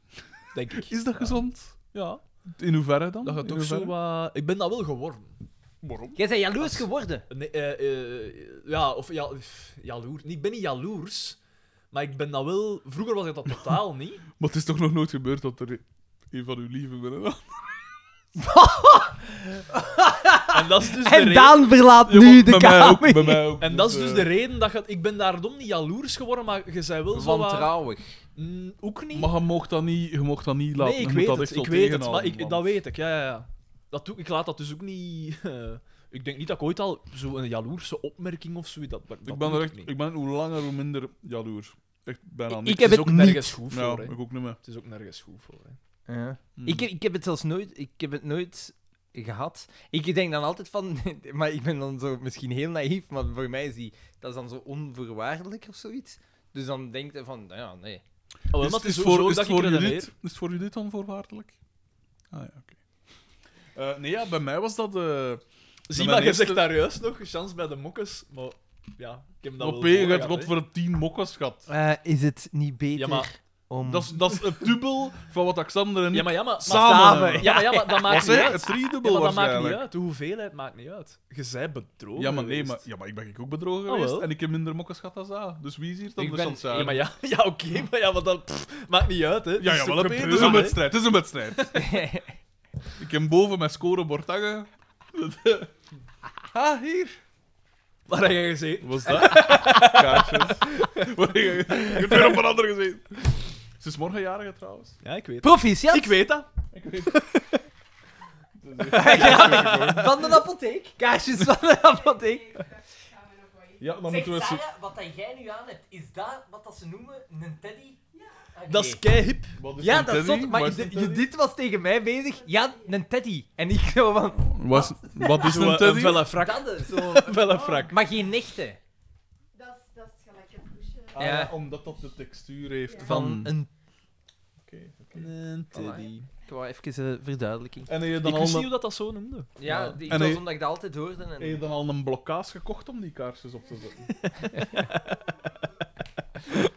Speaker 3: denk ik.
Speaker 2: Is dat gezond?
Speaker 3: Ja,
Speaker 2: In hoeverre dan?
Speaker 3: dat gaat
Speaker 2: In
Speaker 3: toch zo
Speaker 2: hoeverre?
Speaker 3: wat- Ik ben dat wel geworden.
Speaker 2: Waarom?
Speaker 4: Jij bent jaloers geworden.
Speaker 3: Nee, eh, eh, ja, of ja, jaloers. Ik ben niet jaloers, maar ik ben dat wel... Vroeger was ik dat totaal niet.
Speaker 2: Maar het is toch nog nooit gebeurd dat er een van uw lieven binnen
Speaker 3: En dat is dus de
Speaker 4: En
Speaker 3: reden-
Speaker 4: Daan verlaat nu de
Speaker 2: bij mij
Speaker 4: kamer.
Speaker 2: ook, bij mij ook. eh,
Speaker 3: En dat is dus de reden dat je... Ik ben daarom niet jaloers geworden, maar je zei wel zo wat-
Speaker 5: Wantrouwig.
Speaker 3: Mm, ook niet.
Speaker 2: Maar je mocht dat niet, je mocht dat niet laten.
Speaker 3: nee,
Speaker 2: Je
Speaker 3: ik
Speaker 2: moet
Speaker 3: weet
Speaker 2: dat
Speaker 3: het,
Speaker 2: echt
Speaker 3: ik
Speaker 2: wel
Speaker 3: weet het. Maar
Speaker 2: tegenhouden,
Speaker 3: ik,
Speaker 2: want-
Speaker 3: dat weet ik, ja, ja, ja. Dat doe, ik laat dat dus ook niet... eh, ik denk niet dat ik ooit al zo'n jaloerse opmerking of zoiets... Dat, dat
Speaker 2: Ik
Speaker 3: doe
Speaker 2: ben er echt,
Speaker 3: niet.
Speaker 2: ik ben hoe langer hoe minder jaloers. Echt bijna
Speaker 4: Ik-
Speaker 2: niks.
Speaker 4: ik heb
Speaker 3: het is
Speaker 4: het
Speaker 3: ook
Speaker 4: niet.
Speaker 3: nergens goed
Speaker 2: Ja,
Speaker 3: voor, hè.
Speaker 2: ik ook niet meer.
Speaker 3: Het is ook nergens goed voor, hè.
Speaker 4: Ja.
Speaker 2: Hmm.
Speaker 4: Ik, heb- ik heb het zelfs nooit, ik heb het nooit gehad. Ik denk dan altijd van, maar ik ben dan zo misschien heel naïef, maar voor mij is die, dat is dan zo onvoorwaardelijk of zoiets. Dus dan denk je van, nou ja, nee.
Speaker 3: Oh, wel,
Speaker 2: Is-
Speaker 3: maar
Speaker 2: is
Speaker 3: het is
Speaker 2: het
Speaker 3: zo-
Speaker 2: voor-
Speaker 3: zo
Speaker 2: is
Speaker 3: dat
Speaker 2: het
Speaker 3: ik
Speaker 2: voor
Speaker 3: redeneer.
Speaker 2: Judith? Is het voor Judith onvoorwaardelijk? Ah ja, oké. Eh, nee, ja, bij mij was dat... eh
Speaker 3: Zie
Speaker 2: mijn
Speaker 3: maar, je
Speaker 2: eerste-
Speaker 3: zegt daar juist nog, chance bij de mokkes, maar ja, ik heb dat
Speaker 2: op
Speaker 3: wel
Speaker 2: één
Speaker 3: voor
Speaker 2: gaat
Speaker 3: gehad,
Speaker 2: wat
Speaker 3: hè.
Speaker 2: voor tien mokkers gehad.
Speaker 4: Eh, is het niet beter
Speaker 3: Ja, maar-
Speaker 4: om...
Speaker 2: Dat is- Dat is het dubbel van wat Alexander en ik
Speaker 3: Ja, maar ja, maar... maar-
Speaker 2: samen,
Speaker 4: samen,
Speaker 2: hebben.
Speaker 3: Ja, maar ja, maar dat maakt
Speaker 2: Was
Speaker 3: niet
Speaker 2: hè?
Speaker 3: uit.
Speaker 2: Het driedubbel
Speaker 3: Ja, maar dat maakt niet
Speaker 2: waarschijnlijk.
Speaker 3: uit. De hoeveelheid maakt niet uit. Je zij bedrogen.
Speaker 2: Ja, maar nee,
Speaker 3: geweest.
Speaker 2: maar, ja, maar ik ben ook bedrogen
Speaker 3: Ah, wel.
Speaker 2: geweest en ik heb minder mokkers gehad dan zij. Dus wie is hier dan
Speaker 4: Ik
Speaker 2: de
Speaker 4: ben-
Speaker 2: chance?
Speaker 3: Ja, maar ja, ja oké, maar ja, maar dat pff, maakt niet uit, hè. Dus
Speaker 2: Ja, ja, wel op één. Het is een wedstrijd. Het is een wedstrijd. ik heb boven mijn scorebord hangen. ah, hier.
Speaker 3: Waar heb je gezeten?
Speaker 2: Was dat? Kaartjes. Wat heb je- Ik heb weer op een ander gezien. Ze is morgen jarige trouwens.
Speaker 3: Ja, ik weet
Speaker 4: Proficiat
Speaker 3: Ik weet dat.
Speaker 2: Ik weet het.
Speaker 4: van de apotheek. Kaarsjes van de apotheek.
Speaker 2: Ja, dan moeten we eens...
Speaker 4: wat dat jij nu aan hebt, is dat wat dat ze noemen een teddy? Ah,
Speaker 3: Dat is kei hip.
Speaker 2: Wat is
Speaker 4: Ja,
Speaker 2: een
Speaker 4: dat is
Speaker 2: teddy?
Speaker 4: zot,
Speaker 2: Wat
Speaker 4: maar
Speaker 2: is een
Speaker 4: de-
Speaker 2: teddy?
Speaker 4: Judith was tegen mij bezig. Ja, een teddy. En ik zo van,
Speaker 2: Wat is- Wat is
Speaker 3: Zo,
Speaker 2: een
Speaker 3: eh, Een
Speaker 2: teddy?
Speaker 3: felle frak.
Speaker 4: dat is zo...
Speaker 3: Felle frak.
Speaker 4: Maar geen nichten.
Speaker 11: Dat is, dat is gelijk een poesje.
Speaker 2: Ah,
Speaker 4: Ja.
Speaker 2: ja, omdat dat de textuur heeft
Speaker 11: Ja.
Speaker 2: van...
Speaker 4: Van een...
Speaker 2: Oké, oké.
Speaker 3: Een teddy.
Speaker 4: Ik wou even een verduidelijking.
Speaker 2: En heb je
Speaker 3: Ik
Speaker 2: dan
Speaker 3: wist
Speaker 2: al
Speaker 3: niet
Speaker 2: een-
Speaker 3: hoe dat dat zo noemde.
Speaker 4: Ja,
Speaker 3: Ja.
Speaker 4: die-
Speaker 2: eh, En
Speaker 4: het was
Speaker 2: hij-
Speaker 4: omdat ik dat altijd hoorde. En...
Speaker 2: heb je dan al een blokkaas gekocht om die kaarsjes op te zetten?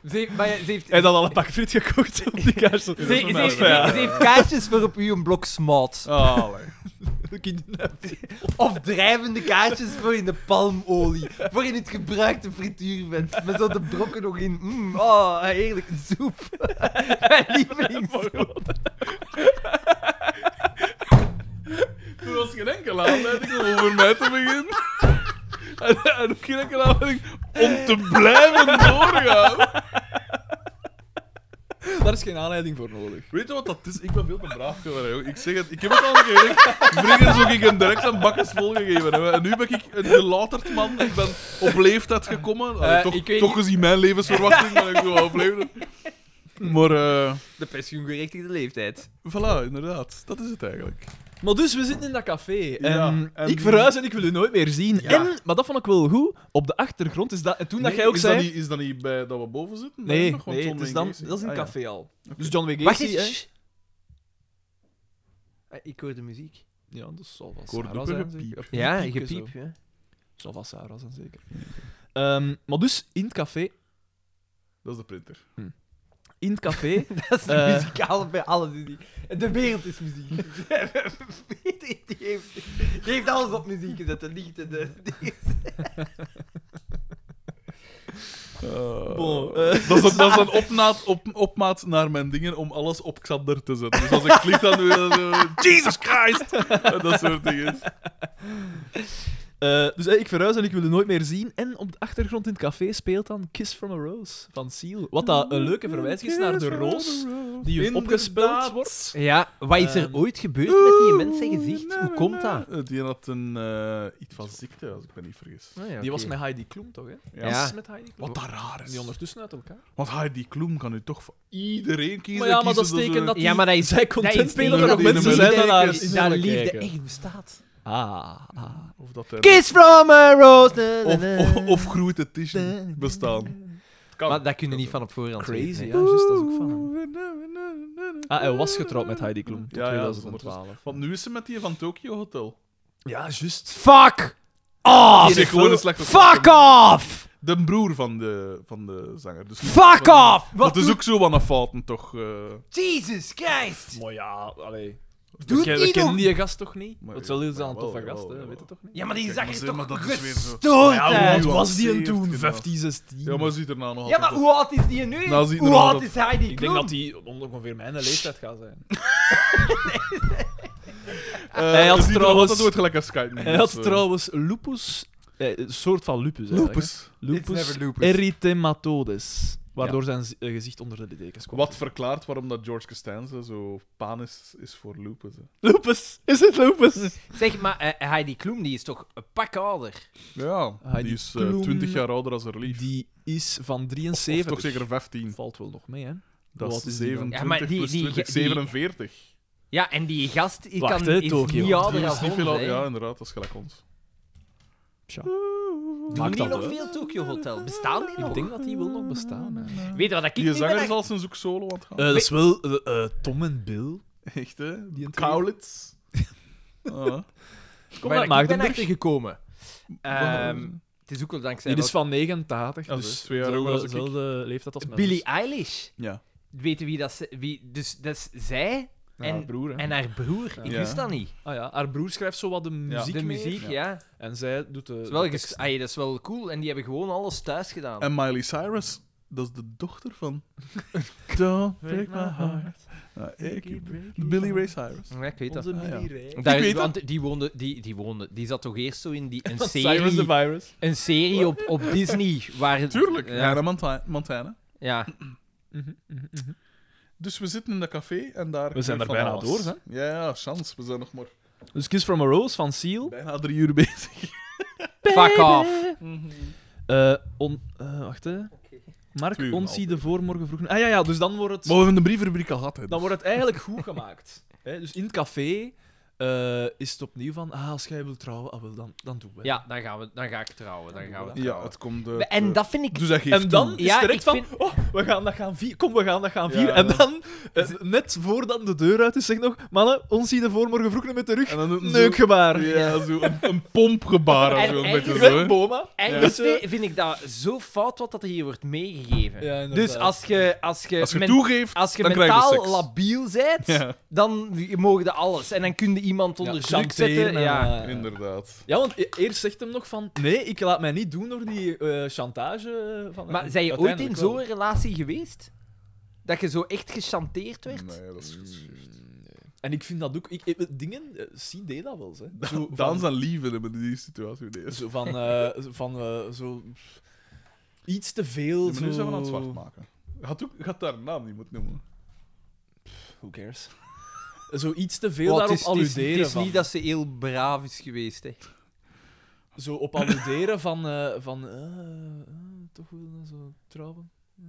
Speaker 4: Ze, heeft- maar ja, ze heeft,
Speaker 3: En dan al een pak friet gekocht op die kaars.
Speaker 4: ze,
Speaker 2: dat is
Speaker 4: ze-
Speaker 2: normaal,
Speaker 4: ze-
Speaker 2: ja.
Speaker 4: ze heeft kaartjes voor op u een blok smaat.
Speaker 2: Ah, allee.
Speaker 4: Of drijvende kaartjes voor in de palmolie. Voor in het gebruikte frituurvet. Met zo de brokken nog in. Mm, oh, heerlijk. Soep. Mijn lievelingssoep.
Speaker 2: Er was geen enkele aanleiding om over mij te beginnen. En, en ook geen enkele aanleiding om te blijven doorgaan.
Speaker 3: Daar is geen aanleiding voor nodig.
Speaker 2: Weet je wat dat is? Ik ben veel te braaf geworden, joh. Ik zeg het, ik heb het al een keer gezegd. Vroeger zou ik hem direct zijn bakjes volgegeven hebben. En nu ben ik een gelaterd man. Ik ben op leeftijd gekomen. Allee,
Speaker 4: Eh,
Speaker 2: toch,
Speaker 4: ik weet
Speaker 2: toch gezien mijn levensverwachting ben ik zo wel op leeftijd. Maar, eh
Speaker 4: De pensioengerechtigde leeftijd.
Speaker 2: voilà, inderdaad. Dat is het eigenlijk.
Speaker 3: Maar dus, we zitten in dat café. En
Speaker 2: Ja, en-
Speaker 3: Ik verhuis en ik wil u nooit meer zien.
Speaker 2: Ja.
Speaker 3: En, maar dat vond ik wel goed, op de achtergrond is dat... En toen dat
Speaker 2: Nee,
Speaker 3: jij ook
Speaker 2: is
Speaker 3: zei...
Speaker 2: Dat niet, is dat niet bij dat we boven zitten?
Speaker 3: Nee,
Speaker 2: Nog? Want
Speaker 3: nee
Speaker 2: John
Speaker 3: het is
Speaker 2: Wayne
Speaker 3: dan,
Speaker 2: Gacy.
Speaker 3: dat is een
Speaker 2: Ah, ja.
Speaker 3: café al. Dus John W.
Speaker 4: Wacht
Speaker 3: Gacy, hè?
Speaker 4: eens. Ah, Ik hoor de muziek.
Speaker 3: Ja, Ah, dat zal wel
Speaker 2: Ik hoorde
Speaker 3: Sarah
Speaker 2: ook
Speaker 3: zijn,
Speaker 2: een
Speaker 3: zeker.
Speaker 2: gepiep.
Speaker 3: Een
Speaker 4: Ja,
Speaker 3: gepiepje
Speaker 4: gepiep.
Speaker 3: zo.
Speaker 4: Ja.
Speaker 3: Zal vast Sarah zijn, zeker. Ehm, maar dus, in het café...
Speaker 2: Dat is de printer.
Speaker 3: In het café...
Speaker 4: Dat is de
Speaker 3: Eh.
Speaker 4: muzikale bij alles. is die. De wereld is muziek. die, heeft, die heeft alles op muziek gezet. De lichten, de... die-
Speaker 2: Eh,
Speaker 3: Bon,
Speaker 2: dat, is, dat is een opnaat, op, opmaat naar mijn dingen om alles op Xander te zetten. Dus als ik klik, dan doe je dat zo... Jesus Christ! En dat soort dingen.
Speaker 3: eh, dus eh, ik verhuis en ik wil u nooit meer zien. En op de achtergrond in het café speelt dan Kiss from a Rose van Seal. Wat dat een leuke verwijzing is naar de roos die u
Speaker 2: Inderdaad.
Speaker 3: opgespeeld wordt.
Speaker 4: Ja, wat is er
Speaker 3: Ehm.
Speaker 4: ooit gebeurd met die mensen gezicht? Hoe komt dat?
Speaker 2: Eh, Die had een eh, iets van ziekte, als ik me niet vergis.
Speaker 3: Die was met Heidi Klum, toch? Hè?
Speaker 2: Ja.
Speaker 3: Dat
Speaker 4: Ah, Ja.
Speaker 3: is met Heidi Klum.
Speaker 2: Wat dat raar is.
Speaker 3: Die ondertussen uit elkaar.
Speaker 2: Want Heidi Klum kan nu toch voor iedereen kiezen.
Speaker 3: Maar ja,
Speaker 2: kiezen
Speaker 3: maar dat is
Speaker 2: ze-
Speaker 3: teken dat
Speaker 4: Ja, maar dat is-
Speaker 3: zij
Speaker 4: dat
Speaker 3: content
Speaker 4: is
Speaker 3: spelen dat
Speaker 2: tegen dat
Speaker 3: er nog mensen
Speaker 2: die
Speaker 3: zijn dat
Speaker 2: nummer-
Speaker 3: haar
Speaker 2: dat
Speaker 3: in
Speaker 4: Daar
Speaker 3: willen
Speaker 4: liefde
Speaker 3: kijken.
Speaker 4: echt bestaat.
Speaker 3: Ah, ah.
Speaker 2: Of, dat hij-
Speaker 4: Kiss from a rose. na,
Speaker 2: of,
Speaker 4: na,
Speaker 2: of,
Speaker 4: na.
Speaker 2: of groeit het is niet bestaan. Kan.
Speaker 4: Maar dat kunnen niet van op voorhand
Speaker 3: Crazy,
Speaker 4: weten,
Speaker 3: ja,
Speaker 4: hè.
Speaker 3: juist, dat is ook van hem. Ah, hij was getrouwd met Heidi Klum tot
Speaker 2: Ja, ja, dat is
Speaker 3: 2012.
Speaker 2: Want nu is ze met die van Tokyo Hotel.
Speaker 3: Ja, juist.
Speaker 4: Fuck
Speaker 2: Die
Speaker 4: off!
Speaker 2: is gewoon een slechte
Speaker 4: Fuck off!
Speaker 2: de broer van de, van de zanger. Dus
Speaker 4: Fuck off!
Speaker 2: Dat
Speaker 4: Wat
Speaker 2: is
Speaker 4: doet...
Speaker 2: ook zo wat een fouten, toch? eh.
Speaker 4: Jesus Christ!
Speaker 3: Maar ja, allee.
Speaker 4: Doet
Speaker 3: we ken- we
Speaker 4: die
Speaker 3: kennen
Speaker 4: nog?
Speaker 3: die gast toch niet?
Speaker 2: Maar
Speaker 3: Het zal
Speaker 2: ja,
Speaker 3: is dan een
Speaker 2: maar
Speaker 3: toffe
Speaker 2: wel,
Speaker 3: gast,
Speaker 2: wel,
Speaker 3: hè?
Speaker 2: wel.
Speaker 3: weet het toch niet?
Speaker 4: Ja, maar die
Speaker 2: Kijk,
Speaker 4: zag
Speaker 2: maar
Speaker 4: er
Speaker 2: zeg maar,
Speaker 4: toch
Speaker 2: dat is weer zo.
Speaker 4: gestoord
Speaker 3: Ja,
Speaker 4: uit?
Speaker 3: hoe oud was die hem
Speaker 2: Nuanceert
Speaker 3: toen?
Speaker 2: gedaan.
Speaker 3: 15, 16?
Speaker 2: Ja, maar ziet er nou nog
Speaker 4: Hm. Ja, maar
Speaker 2: altijd
Speaker 4: hoe oud is die nu?
Speaker 2: Nou, zie je
Speaker 4: hoe
Speaker 2: er al
Speaker 4: oud
Speaker 2: dat-
Speaker 4: is Heidi
Speaker 3: Ik denk dat
Speaker 4: die...
Speaker 3: die om ongeveer mijn leeftijd gaat zijn.
Speaker 2: op. Eh,
Speaker 3: Hij had
Speaker 2: ziet er nog
Speaker 3: trouwens-
Speaker 2: altijd dus, nooit gelijk als Skype.
Speaker 3: Hij had trouwens lupus, eh, een soort van lupus. eigenlijk, hè.
Speaker 2: Lupus.
Speaker 3: Lupus,
Speaker 12: never lupus.
Speaker 3: erythematodes. Waardoor zijn z- eh, gezicht onder de dekens kwam.
Speaker 2: Wat verklaart waarom dat George Costanza zo panisch is voor lupus. hè.
Speaker 3: Lupus? Is het lupus?
Speaker 4: Zeg, maar eh, Heidi Klum die is toch een pak ouder?
Speaker 2: Ja,
Speaker 3: Ah, die
Speaker 2: die is eh,
Speaker 3: Kloem-
Speaker 2: 20 jaar ouder als haar lief.
Speaker 3: Die is van
Speaker 2: Of- Of
Speaker 3: 73.
Speaker 2: toch zeker 15.
Speaker 3: Valt wel nog mee, hè?
Speaker 2: Dat
Speaker 3: Wat
Speaker 2: is
Speaker 3: is die dan?
Speaker 2: 27
Speaker 4: Ja, maar die-
Speaker 2: plus
Speaker 4: die-
Speaker 2: 20,
Speaker 4: die-
Speaker 2: 47.
Speaker 4: Ja, en die gast die
Speaker 3: Wacht,
Speaker 4: kan,
Speaker 3: hè,
Speaker 4: is
Speaker 3: Tokio.
Speaker 4: niet ouder
Speaker 2: Die
Speaker 4: dan
Speaker 2: is niet
Speaker 4: ons,
Speaker 2: veel
Speaker 4: hè.
Speaker 2: ouder. Ja, inderdaad, dat is gelijk ons.
Speaker 3: Maakt
Speaker 4: Doen
Speaker 3: dat
Speaker 4: die nog
Speaker 3: wel.
Speaker 4: veel Tokyo Hotel? Bestaan die nog?
Speaker 3: Ik denk dat die wil nog bestaan. hè.
Speaker 4: Weet je wat ik
Speaker 2: Die
Speaker 4: nu
Speaker 2: zanger
Speaker 4: ben
Speaker 2: is al zijn zoek solo aan het gaan.
Speaker 3: Eh, dat is wel eh, eh, Tom en Bill.
Speaker 2: Echt, hè?
Speaker 3: Die interview.
Speaker 2: Kaulitz. Ah.
Speaker 3: Kom
Speaker 4: Maar
Speaker 3: maar,
Speaker 4: ik
Speaker 3: maak
Speaker 4: ben
Speaker 3: hem
Speaker 4: achter gekomen. Ehm, het is ook al dankzij
Speaker 3: Die is van 89,
Speaker 2: Ja,
Speaker 3: dus
Speaker 2: dus twee jaar ouder
Speaker 3: dezelfde-
Speaker 2: als ik.
Speaker 3: dezelfde leeftijd als
Speaker 4: wat-
Speaker 3: mijn
Speaker 4: Billie
Speaker 3: zus.
Speaker 4: Eilish.
Speaker 2: Ja.
Speaker 4: Weten wie dat ze- wie Dus dat is zij
Speaker 3: Ja, haar
Speaker 4: en,
Speaker 3: broer, hè.
Speaker 4: en haar broer. Ik
Speaker 2: Ja.
Speaker 4: wist dat niet.
Speaker 3: Ah ja, haar broer schrijft zo wat de muziek
Speaker 4: De
Speaker 3: mee.
Speaker 4: muziek, ja. Dat,
Speaker 3: En zij doet de...
Speaker 4: is wel
Speaker 3: de
Speaker 4: ges-
Speaker 3: tekst.
Speaker 4: Ai, dat is wel cool. En die hebben gewoon alles thuis gedaan.
Speaker 3: Ehm,
Speaker 2: En Miley Cyrus, dat is de dochter van. Don't break my heart. Nou, ik- Billy Ray Cyrus.
Speaker 4: Ja, ik weet dat.
Speaker 2: Ah, ja.
Speaker 4: Daar-
Speaker 2: Ik weet dat.
Speaker 4: want die woonde, die, die woonde, die zat toch eerst zo in die, een
Speaker 3: Cyrus
Speaker 4: serie,
Speaker 3: the Virus.
Speaker 4: een serie op, op Disney. Waar,
Speaker 2: Tuurlijk,
Speaker 4: Ja,
Speaker 2: Hannah Monta- Montana.
Speaker 4: ja.
Speaker 2: Dus we zitten in dat café en daar.
Speaker 3: We zijn
Speaker 2: gebeurt
Speaker 3: er
Speaker 2: van
Speaker 3: bijna
Speaker 2: alles.
Speaker 3: door,
Speaker 2: Ja, ja, chance. We zijn nog maar
Speaker 3: Dus Kiss from a Rose van Seal.
Speaker 2: bijna drie uur bezig.
Speaker 4: Fuck off.
Speaker 3: Eh on, eh, wacht, hè. Mark,
Speaker 2: Tuurlijk,
Speaker 3: ons zie de
Speaker 2: altijd.
Speaker 3: voormorgen vroeg... Ah ja, ja, dus dan wordt het...
Speaker 2: Maar we hebben de brievenrubriek al gehad. Hè,
Speaker 3: dan wordt het eigenlijk goed gemaakt. Hè? Dus in het café eh, is het opnieuw van, ah, als jij wilt trouwen, ah, wel, dan, dan doen we. het.
Speaker 4: Ja, dan, gaan we, dan ga ik trouwen. Dan gaan we
Speaker 2: Ja,
Speaker 4: trouwen.
Speaker 2: het komt. eh,
Speaker 4: En
Speaker 2: eh,
Speaker 4: dat vind ik
Speaker 2: Dus dat geeft
Speaker 3: En dan
Speaker 2: toe.
Speaker 3: is
Speaker 4: Ja,
Speaker 3: het direct
Speaker 4: ik
Speaker 3: van, oh, we gaan dat gaan vieren. Kom, we gaan dat gaan
Speaker 2: Ja,
Speaker 3: vieren.
Speaker 2: ja.
Speaker 3: En dan, eh, net voordat de deur uit is, zegt nog, mannen, ons zie de voormorgen vroeg nog met de rug.
Speaker 2: En dan doet een zo-
Speaker 3: Neukgebaar.
Speaker 2: Ja, zo een, een pompgebaar.
Speaker 4: En
Speaker 2: Zo een
Speaker 4: eigenlijk-
Speaker 2: beetje
Speaker 3: Ik
Speaker 2: zo.
Speaker 3: ben
Speaker 2: hè.
Speaker 3: Boma.
Speaker 4: Eigenlijk
Speaker 3: Ja.
Speaker 4: vind- vind ik dat zo fout wat dat er hier wordt meegegeven.
Speaker 3: Ja, inderdaad.
Speaker 4: dus als je, als je,
Speaker 2: Als je
Speaker 4: men-
Speaker 2: toegeeft,
Speaker 4: als je
Speaker 2: dan krijg je
Speaker 4: mentaal
Speaker 2: seks.
Speaker 4: labiel bent,
Speaker 2: Ja,
Speaker 4: dan mogen je alles. En dan kun je iemand onder druk zetten.
Speaker 3: chanteren,
Speaker 4: Ja.
Speaker 2: Ah.
Speaker 3: eh.
Speaker 2: inderdaad.
Speaker 3: Ja, want e- eerst zegt hem nog van, nee, ik laat mij niet doen door die eh, chantage. eh, Van,
Speaker 4: Maar zijn je ooit in zo'n relatie geweest? Dat je zo echt gechanteerd werd?
Speaker 2: Nee, dat is geschikt.
Speaker 3: En ik vind dat ook... Ik, eh, dingen, eh, Sien deed dat wel, eens, hè. Zo
Speaker 2: Dan
Speaker 3: van,
Speaker 2: zijn lieven hebben die situatie. Nee,
Speaker 3: zo van, eh, van eh, zo... Iets te veel,
Speaker 2: Ja,
Speaker 3: zo...
Speaker 2: maar nu zijn we aan het zwart maken. Je had, ook, je had haar naam niet moeten noemen.
Speaker 3: Who cares? Eh, Zo iets te veel
Speaker 4: Wat,
Speaker 3: daarop
Speaker 4: Oh, het is, het is-
Speaker 3: alluderen
Speaker 4: Het is
Speaker 3: van.
Speaker 4: niet dat ze heel braaf is geweest. Hè.
Speaker 3: Zo op alluderen van... eh, van eh, eh, toch wel dan zo trouwen. Ja.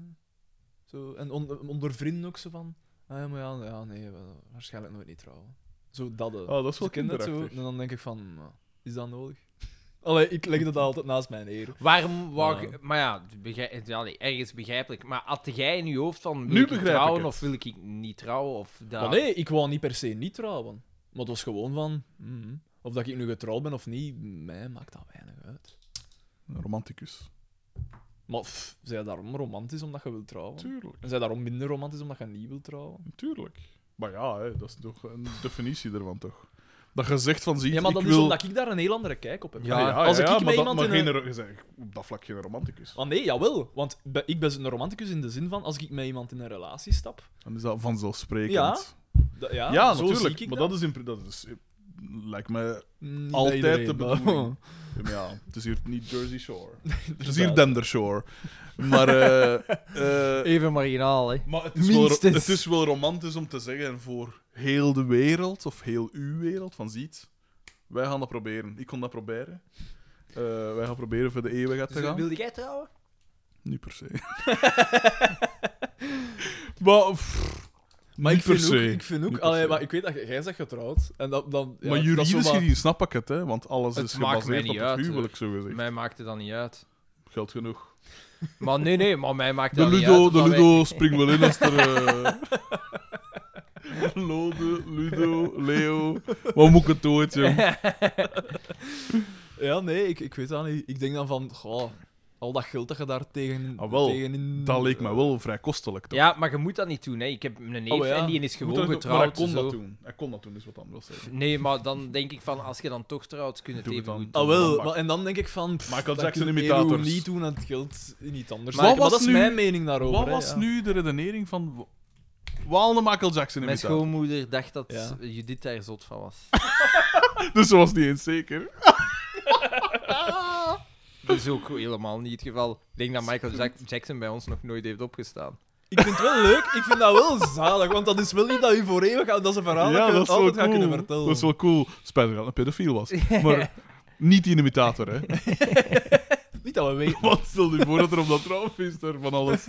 Speaker 3: Zo, en on- onder vrienden ook zo van... Ah, ja, maar ja, ja, nee, we- waarschijnlijk nooit niet trouwen. Zo dat. eh.
Speaker 2: Oh, dat is wel
Speaker 3: Ze kennen dat zo.
Speaker 2: kinderachtig.
Speaker 3: En dan denk ik van... nou, Is dat nodig? Allee, ik leg dat altijd naast mijn eer.
Speaker 4: Waarom wou
Speaker 3: Ja.
Speaker 4: je- Maar ja, begrij- het- ja, nee, ergens begrijpelijk. Maar had jij in je hoofd van...
Speaker 2: Nu
Speaker 4: Wil ik
Speaker 2: begrijp ik
Speaker 4: trouwen
Speaker 2: het.
Speaker 4: of wil ik niet trouwen? Of dat...
Speaker 3: Maar nee, ik wou niet per se niet trouwen. Maar het was gewoon van... mm, of dat ik nu getrouwd ben of niet, mij maakt dat weinig uit.
Speaker 2: Een romanticus.
Speaker 3: Maar pff, zij daarom romantisch omdat je wilt trouwen?
Speaker 2: Tuurlijk,
Speaker 3: En zij daarom minder romantisch omdat je niet wilt trouwen?
Speaker 2: tuurlijk. Maar ja, hè, dat is toch een definitie ervan, toch? Dat je zegt van, zie
Speaker 3: Ja, maar dat
Speaker 2: ik
Speaker 3: is
Speaker 2: wil...
Speaker 3: omdat ik daar een heel andere kijk op heb.
Speaker 2: Ja, ja, ja,
Speaker 3: Als
Speaker 2: ja,
Speaker 3: ik
Speaker 2: maar
Speaker 3: met
Speaker 2: dat-
Speaker 3: iemand
Speaker 2: maar
Speaker 3: in
Speaker 2: geen
Speaker 3: een-
Speaker 2: ro- je bent op dat vlak geen romanticus.
Speaker 3: Ah nee, jawel. Want be- ik ben een romanticus in de zin van, als ik met iemand in een relatie stap...
Speaker 2: Dan is dat vanzelfsprekend.
Speaker 3: Ja, da- ja,
Speaker 2: Ja,
Speaker 3: zo
Speaker 2: natuurlijk.
Speaker 3: Zie ik
Speaker 2: maar dat is, in, pri- dat is... eh, Lijkt me
Speaker 3: Niet bij
Speaker 2: altijd
Speaker 3: iedereen,
Speaker 2: de
Speaker 3: maar-
Speaker 2: bedoeling. Ja, maar ja, het is hier niet Jersey Shore. het is hier
Speaker 3: Inderdaad.
Speaker 2: Dender Shore. Maar... eh, eh,
Speaker 4: Even marginaal, hè.
Speaker 2: Maar het is, wel,
Speaker 4: Minstens.
Speaker 2: het is wel romantisch om te zeggen voor heel de wereld, of heel uw wereld, van ziet, wij gaan dat proberen. Ik kon dat proberen. Eh, wij gaan proberen voor de eeuwigheid te gaan.
Speaker 4: Wil jij trouwen?
Speaker 2: Niet per se. maar, pff,
Speaker 3: Maar ik
Speaker 2: niet per
Speaker 3: vind, ook,
Speaker 2: se.
Speaker 3: ik vind ook...
Speaker 2: Niet per
Speaker 3: allee,
Speaker 2: se.
Speaker 3: maar ik weet dat jij- jij zegt getrouwd. En dat, dan, ja,
Speaker 2: maar
Speaker 3: dat is zo
Speaker 2: juridisch
Speaker 3: wat-
Speaker 2: gezien snap ik het, hè, want alles
Speaker 4: Het
Speaker 2: is
Speaker 4: maakt mij
Speaker 2: gebaseerd op
Speaker 4: niet
Speaker 2: het
Speaker 4: uit,
Speaker 2: huwelijk, zo gezegd.
Speaker 4: Mij maakt het dan niet uit.
Speaker 2: Geld genoeg.
Speaker 4: Maar nee, nee, maar mij maakt het
Speaker 2: De
Speaker 4: dan niet
Speaker 2: Ludo,
Speaker 4: uit.
Speaker 2: de
Speaker 4: omdat wij-
Speaker 2: Ludo springt wel in als er. eh, Lode, Ludo, Leo. Wat moet ik het ooit, jong?
Speaker 3: Ja, nee, ik, ik weet dat niet. Ik denk dan van... Goh, Al dat geld dat je daar tegen,
Speaker 2: Ah, wel,
Speaker 3: tegen in...
Speaker 2: Dat leek mij wel vrij kostelijk. Toch?
Speaker 4: Ja, maar je moet dat niet doen. Hè. Ik heb een neef
Speaker 3: Oh, ja.
Speaker 4: en die is
Speaker 2: Moet
Speaker 4: gewoon
Speaker 2: dat- maar hij
Speaker 4: getrouwd.
Speaker 2: kon
Speaker 4: zo.
Speaker 2: dat doen. Hij kon dat doen, is wat anders. hè.
Speaker 4: Nee, maar dan denk ik van, als je dan toch trouwt, kun je het
Speaker 2: Doe het
Speaker 4: even
Speaker 2: dan.
Speaker 4: goed doen.
Speaker 3: Ah, wel. maar- en dan denk ik van... Pff,
Speaker 2: Michael
Speaker 3: dat
Speaker 2: Jackson
Speaker 3: kun je
Speaker 2: imitators.
Speaker 3: gewoon niet doen en het geld in iets anders.
Speaker 2: Wat
Speaker 3: steken. Maar
Speaker 2: was
Speaker 3: dat is
Speaker 2: nu-
Speaker 3: mijn mening daarover.
Speaker 2: Wat
Speaker 3: hè,
Speaker 2: was
Speaker 3: ja.
Speaker 2: nu de redenering van... Waal de Michael Jackson
Speaker 4: Mijn
Speaker 2: imitator?
Speaker 4: schoonmoeder dacht dat
Speaker 3: Ja.
Speaker 4: Judith daar zot van was.
Speaker 2: Dus ze was niet eens zeker.
Speaker 4: Dat is ook helemaal niet het geval. Ik denk dat Michael Jack- Jackson bij ons nog nooit heeft opgestaan.
Speaker 3: Ik vind het wel leuk. Ik vind dat wel zalig. Want dat is wel niet dat u voor eeuwig gaat. Dat is een verhaal dat je altijd gaat kunnen vertellen.
Speaker 2: Dat is wel cool. Spijtig dat het een pedofiel was. Maar niet die imitator, hè.
Speaker 3: Niet dat we weten.
Speaker 2: Wat stel je voor dat er op dat trouwfeest er van alles...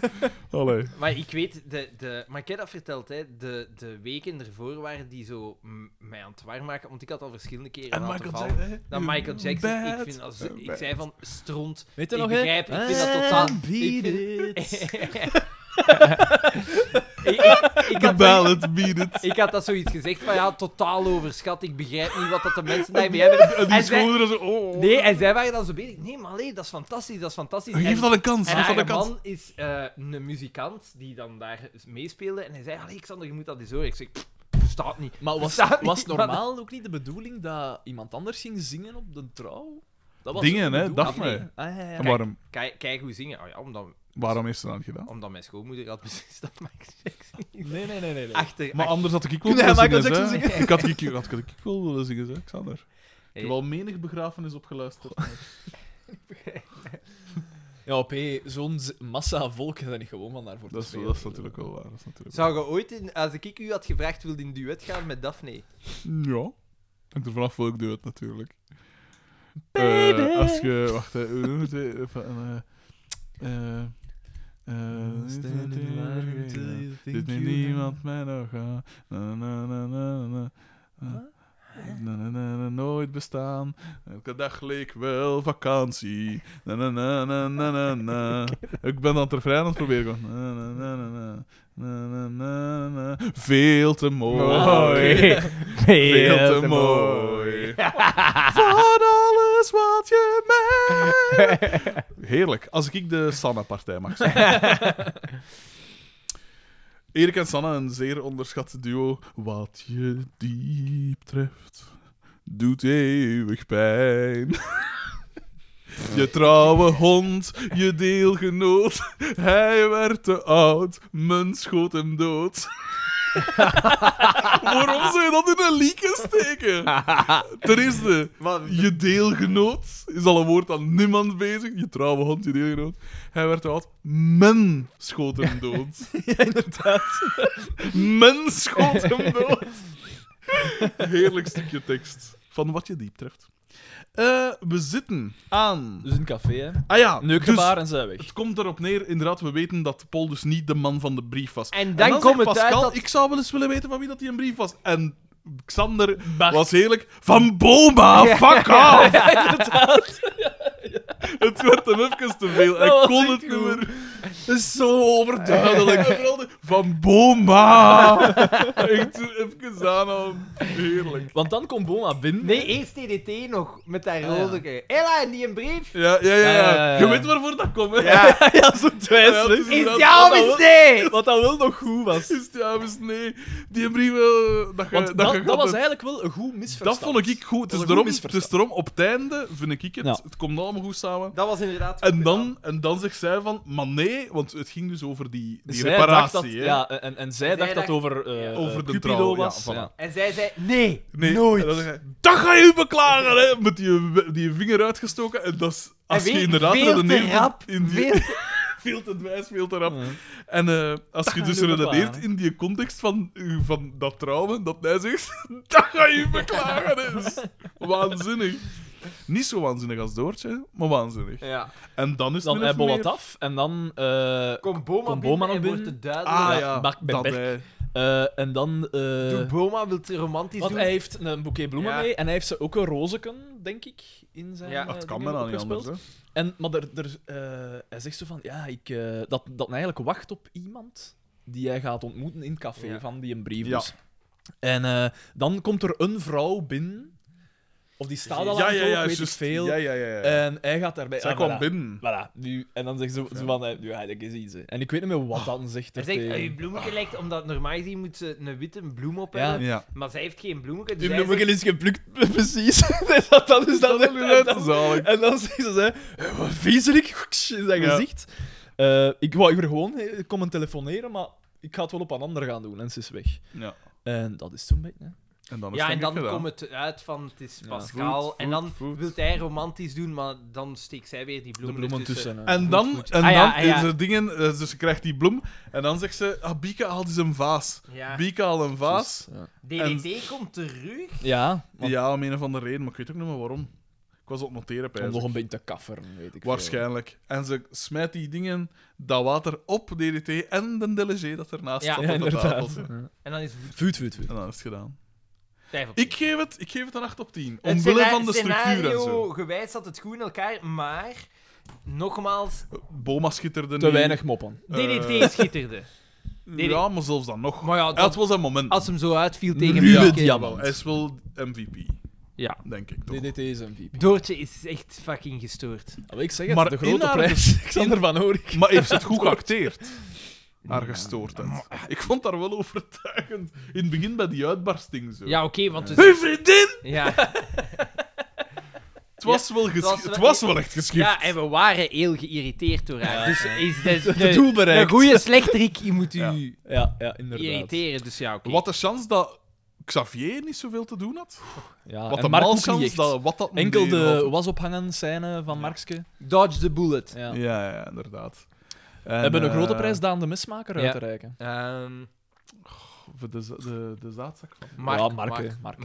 Speaker 2: Allee.
Speaker 4: Maar ik weet, de, de, maar ik heb dat verteld, hè. De, de weken ervoor waren die zo mm, mij aan het warm maken, want ik had al verschillende keren aan het vallen. Dat Michael Jackson, ik, vind dat zo- ik zei van stront.
Speaker 3: Weet je
Speaker 4: Ik
Speaker 3: nog, hè?
Speaker 4: begrijp, ik vind dat totaal...
Speaker 3: And
Speaker 4: ik
Speaker 3: beat
Speaker 4: vind-
Speaker 3: it.
Speaker 4: ik, ik, ik
Speaker 2: The
Speaker 4: had zoiets-
Speaker 2: ballad beat it.
Speaker 4: ik had dat zoiets gezegd van ja, totaal overschat. Ik begrijp niet wat dat de mensen daarmee hebben.
Speaker 2: En die
Speaker 4: En zij-
Speaker 2: schouderen zo... Oh, oh.
Speaker 4: Nee, en zij waren dan zo bezig. Nee, maar allee, dat is fantastisch, dat is fantastisch. En-
Speaker 2: Geef dat een kans,
Speaker 4: en
Speaker 2: geef dat
Speaker 4: haar
Speaker 2: een kans.
Speaker 4: man is eh, een muzikant die dan daar meespeelde. En hij zei, allee, Xander, je moet dat eens horen. Ik zeg, "Pff, verstaat niet.
Speaker 3: Maar was,
Speaker 4: Verstaat niet,
Speaker 3: was
Speaker 4: maar-
Speaker 3: normaal ook niet de bedoeling dat iemand anders ging zingen op de trouw? Dat was
Speaker 2: Dingen,
Speaker 3: ook de
Speaker 2: hè,
Speaker 3: bedoeling.
Speaker 2: Daphne.
Speaker 3: Ah, ja, ja, ja.
Speaker 2: En waarom,
Speaker 4: Kijk, kijk hoe zingen. Oh ja, omdat,
Speaker 2: waarom heeft ze dat niet gedaan?
Speaker 4: omdat mijn schoonmoeder had beslist dat Michael Jackson niet
Speaker 3: Nee, nee, nee, nee. nee.
Speaker 4: achter...
Speaker 2: Maar
Speaker 4: ach-
Speaker 2: anders had ik ook
Speaker 3: Kun jij
Speaker 2: willen
Speaker 3: Michael
Speaker 2: zingen,
Speaker 3: Jackson
Speaker 2: hè. Ik had ik, ik had ik wel willen zingen, hè, Xander. Ik
Speaker 4: Hey.
Speaker 2: heb al menig begrafenis opgeluisterd.
Speaker 3: Ja, op hé, zo'n z- massa volk is er niet gewoon van daarvoor
Speaker 2: Dat is,
Speaker 3: te spelen.
Speaker 2: dat is natuurlijk wel waar. Dat is natuurlijk
Speaker 4: Zou je ooit, in, als ik u had gevraagd, wilde in duet gaan met Daphne?
Speaker 2: Ja. Hangt er vanaf welk duet natuurlijk. Baby. als je... Wacht, hè. hoe noem je het? Even, eh, eh, eh, Dit neemt niemand mij nog aan. Na, na, na, na, na, na. Na, na, na, na, nooit bestaan. Elke dag leek wel vakantie. Na, na, na, na, na, na, na. Ik ben dan ter vrij aan het proberen. gewoon. Na, na, na, na, na. Na, na, na, na. Veel te mooi. Veel te mooi. Van alles wat je mij. Heerlijk. Als ik de Sanne-partij mag zijn. Erik en Sanne, een zeer onderschat duo. Wat je diep treft, doet eeuwig pijn. Je trouwe hond, je deelgenoot. Hij werd te oud, men schoot hem dood. Waarom zou je dat in een liedje steken? Ten eerste, je deelgenoot is al een woord aan niemand bezig. Je trouwe hond, je deelgenoot. Hij werd te oud, men schoot hem dood. men schoot hem dood. Heerlijk stukje tekst. Van wat je diep treft. Eh, we zitten aan...
Speaker 3: Dus een café, hè.
Speaker 2: Ah ja,
Speaker 3: Neukgebaar
Speaker 2: dus
Speaker 3: en zij weg.
Speaker 2: het komt erop neer, inderdaad, we weten dat Paul dus niet de man van de brief was.
Speaker 4: En dan,
Speaker 2: En dan
Speaker 4: komt
Speaker 2: zegt
Speaker 4: het uit
Speaker 2: Pascal,
Speaker 4: dat...
Speaker 2: ik zou wel eens willen weten van wie dat die een brief was. En Xander
Speaker 3: Bart.
Speaker 2: was heerlijk, van Boma, fuck off! Het werd hem even te veel, hij
Speaker 3: was
Speaker 2: kon
Speaker 3: echt
Speaker 2: het niet
Speaker 3: goed.
Speaker 2: meer.
Speaker 3: Dat is zo
Speaker 2: Duidelijk. En vooral de, van Boma! Echt even aanhouden, heerlijk.
Speaker 3: Want dan komt Boma binnen.
Speaker 4: Nee, eerst TDT nog, met dat
Speaker 3: Ah, ja.
Speaker 4: rode. Ella, en die een brief?
Speaker 2: Ja, ja, ja,
Speaker 3: Ja,
Speaker 2: ja.
Speaker 3: ja, ja.
Speaker 2: Je weet waarvoor dat komt, hè?
Speaker 3: ja, zo twijfel.
Speaker 2: Ja,
Speaker 4: Is
Speaker 2: het Is dat-
Speaker 4: jouw
Speaker 3: dat wel-
Speaker 4: misdee?
Speaker 3: Wat dat wel nog goed
Speaker 2: Is
Speaker 3: was.
Speaker 2: het ja, is het nee. Die brief, eh, dat je...
Speaker 3: Want
Speaker 2: dat,
Speaker 3: dat,
Speaker 2: je
Speaker 3: dat,
Speaker 2: gaat-
Speaker 3: was eigenlijk wel een goed misverstand.
Speaker 2: dat vond ik goed. Het
Speaker 3: Dat
Speaker 2: is,
Speaker 3: was een
Speaker 2: daarom,
Speaker 3: goed
Speaker 2: het is daarom op het einde, vind ik het.
Speaker 3: Ja.
Speaker 2: Het komt allemaal goed samen.
Speaker 4: Dat was inderdaad...
Speaker 2: En dan, en dan zegt zij van, maar nee, want het ging dus over die, die
Speaker 3: Zij
Speaker 2: reparatie.
Speaker 3: dacht dat,
Speaker 2: hè.
Speaker 3: ja, en, en zij, dacht dat
Speaker 4: dacht-
Speaker 3: over, eh
Speaker 2: Over de
Speaker 3: Cupido
Speaker 2: trouw, ja,
Speaker 3: was.
Speaker 2: voilà.
Speaker 4: En zij zei, nee,
Speaker 2: nee,
Speaker 4: nooit.
Speaker 2: en dan zeg je, dat ga je beklagen, hè, met die, die vinger uitgestoken. En dat is, als
Speaker 4: En
Speaker 2: je
Speaker 4: weet-
Speaker 2: inderdaad
Speaker 4: veel te
Speaker 2: redeneert
Speaker 4: rap,
Speaker 2: in die,
Speaker 4: veel
Speaker 2: veel te dwijs, veel te rap.
Speaker 3: Ja.
Speaker 2: En eh, als je
Speaker 3: ga
Speaker 2: dus
Speaker 3: je
Speaker 2: redeneert
Speaker 3: beklagen.
Speaker 2: in die context van, eh, van dat trouwen, dat hij zegt, dat ga je beklagen, hè. Dat is waanzinnig. Niet zo waanzinnig als Doortje, hè, maar waanzinnig.
Speaker 4: Ja.
Speaker 2: En dan is het
Speaker 3: Dan
Speaker 2: min
Speaker 3: hij
Speaker 2: of meer-
Speaker 3: bolt af en dan... eh,
Speaker 4: Komt Boma, binnen
Speaker 3: Komt Boma
Speaker 4: en
Speaker 3: nog
Speaker 4: wordt
Speaker 3: binnen?
Speaker 4: het duidelijk.
Speaker 2: Ah
Speaker 3: Ja,
Speaker 2: ja,
Speaker 3: Bak-
Speaker 2: dat
Speaker 3: Berk.
Speaker 2: hij-
Speaker 3: eh, en dan... eh,
Speaker 4: Doe Boma wil het romantisch
Speaker 3: want
Speaker 4: doen.
Speaker 3: hij heeft een boeket bloemen
Speaker 4: Ja.
Speaker 3: mee en hij heeft ze ook een rozeken, denk ik, in zijn...
Speaker 4: Ja.
Speaker 3: eh,
Speaker 2: Ach, het kan
Speaker 3: dingen
Speaker 2: bijna niet
Speaker 3: opgespeeld.
Speaker 2: anders, hè.
Speaker 3: En, maar er, er, eh, hij zegt zo van, ja, ik, eh, dat, dat hij eigenlijk wacht op iemand die hij gaat ontmoeten in het café
Speaker 4: Ja.
Speaker 3: dus. van die een brief.
Speaker 2: Ja.
Speaker 3: dus. En eh, dan komt er een vrouw binnen Of die staat al
Speaker 2: Ja,
Speaker 3: aan het
Speaker 2: ja,
Speaker 3: roken,
Speaker 2: ja,
Speaker 3: weet ik
Speaker 2: juist.
Speaker 3: veel.
Speaker 13: Ja, ja, ja. ja.
Speaker 3: En hij gaat daarbij...
Speaker 2: Zij
Speaker 3: ah,
Speaker 2: kwam
Speaker 3: voilà.
Speaker 2: binnen.
Speaker 3: Voilà. Nu, en dan zegt ze zo van, eh, nu ga ik eens iets. hè. En ik weet niet meer wat dan zegt.
Speaker 4: Ah. Hij
Speaker 3: er
Speaker 4: zegt,
Speaker 3: tegen.
Speaker 4: eh, uw bloemetje lijkt, omdat normaal gezien moet ze een witte bloem op
Speaker 3: Ja.
Speaker 4: hebben,
Speaker 13: Ja.
Speaker 4: maar zij heeft geen bloemetje. Dus
Speaker 3: Die
Speaker 4: hij zegt-
Speaker 3: bloemengel is geplukt, precies. Dus dat, dat is dan en,
Speaker 13: Dat
Speaker 3: dan,
Speaker 13: is al-
Speaker 3: en dan zegt ze, hè, eh, wat viezerik in zijn
Speaker 2: Ja.
Speaker 3: gezicht. Eh, ik wou hier gewoon eh, komen telefoneren, maar ik ga het wel op een ander gaan doen. En ze is weg.
Speaker 2: Ja.
Speaker 3: En dat is toen beetje. hè.
Speaker 2: En dan is
Speaker 4: Ja,
Speaker 2: het
Speaker 4: en dan
Speaker 2: denk ik gedaan.
Speaker 4: komt het uit van het is
Speaker 3: Ja.
Speaker 4: Pascal.
Speaker 13: Voet,
Speaker 4: en dan
Speaker 13: voet, voet.
Speaker 4: wil hij romantisch doen, maar dan steekt zij weer die
Speaker 3: De
Speaker 4: bloemen,
Speaker 3: bloemen
Speaker 4: ertussen.
Speaker 3: tussen. hè.
Speaker 2: En dan, en
Speaker 4: Ah,
Speaker 2: dan
Speaker 4: ja, ah, ja.
Speaker 2: is er dingen, eh, dus ze krijgt die bloem en dan zegt ze, ah, Bieke haalt eens een vaas.
Speaker 4: Ja.
Speaker 2: Bieke haalt een vaas.
Speaker 3: Ja.
Speaker 4: DDT komt terug.
Speaker 3: Ja, want
Speaker 2: Ja, om een of andere reden, maar ik weet ook niet meer waarom. Ik was op noteren,
Speaker 3: om
Speaker 2: pijs
Speaker 3: nog
Speaker 2: ik.
Speaker 3: een beetje te kafferen, weet ik veel.
Speaker 2: Waarschijnlijk. En ze smijt die dingen, dat water, op DDT en de delegé dat ernaast
Speaker 4: Ja.
Speaker 2: zat
Speaker 3: Ja,
Speaker 2: op de tafel.
Speaker 3: inderdaad. Ja.
Speaker 4: En dan is het
Speaker 3: Vuut, vuut, vuut.
Speaker 2: En dan is het gedaan.
Speaker 4: vijf op
Speaker 2: Ik
Speaker 4: tien.
Speaker 2: geef het, ik geef het een 8 op 10.
Speaker 4: Het
Speaker 2: Omwille
Speaker 4: scena-
Speaker 2: van de structuur en zo.
Speaker 4: scenario gewijs zat het goed in elkaar, maar nogmaals,
Speaker 2: Boma schitterde
Speaker 3: Te
Speaker 2: niet.
Speaker 3: weinig moppen.
Speaker 4: DDT
Speaker 2: Eh.
Speaker 4: schitterde.
Speaker 2: Ja, maar zelfs dan nog.
Speaker 4: Maar ja,
Speaker 2: Dat was een moment.
Speaker 4: als hem zo uitviel tegen
Speaker 3: Ruwe
Speaker 4: Bieke-
Speaker 3: diamant.
Speaker 2: Hij is wel MVP.
Speaker 4: Ja.
Speaker 2: Denk ik toch.
Speaker 3: DDT is MVP.
Speaker 4: Doortje is echt fucking gestoord.
Speaker 3: Maar ik zeg het,
Speaker 2: Maar
Speaker 3: de
Speaker 2: in
Speaker 3: grote
Speaker 2: haar-
Speaker 3: prijs. Xander van Oorik.
Speaker 2: Maar heeft ze het goed geacteerd? Haar gestoordheid. Ik vond haar wel overtuigend. In het begin bij die uitbarsting zo.
Speaker 4: Ja, oké, want dus,
Speaker 2: Hey, vriendin!
Speaker 4: ja.
Speaker 2: Het was, wel, geschi-
Speaker 4: was wel-
Speaker 2: het was wel echt geschikt.
Speaker 4: ja, en we waren heel geïrriteerd door haar. Dus is de,
Speaker 3: Het doel
Speaker 4: een
Speaker 3: bereikt.
Speaker 4: goede slechterik je moet u
Speaker 3: Ja, ja, inderdaad.
Speaker 4: irriteren. Dus ja, oké.
Speaker 2: Wat de kans dat Xavier niet zoveel te doen had.
Speaker 3: Ja,
Speaker 2: Wat
Speaker 3: Ah, en
Speaker 2: de
Speaker 3: Mark ook niet
Speaker 2: malkans
Speaker 3: echt.
Speaker 2: dat... Wat dat
Speaker 3: Enkel
Speaker 2: nee,
Speaker 3: de
Speaker 2: wat-
Speaker 3: was ophangen scène van Markske.
Speaker 4: Dodge the bullet.
Speaker 3: Ja.
Speaker 2: Ja, ja, inderdaad.
Speaker 3: We
Speaker 2: En,
Speaker 3: hebben een
Speaker 2: eh,
Speaker 3: grote prijs Daan de Mismaker
Speaker 4: ja.
Speaker 3: uit te reiken.
Speaker 4: Ehm
Speaker 2: Voor de, za- de, de zaadzak van
Speaker 4: Mark,
Speaker 3: ja,
Speaker 4: Mark,
Speaker 3: Marke. Mark,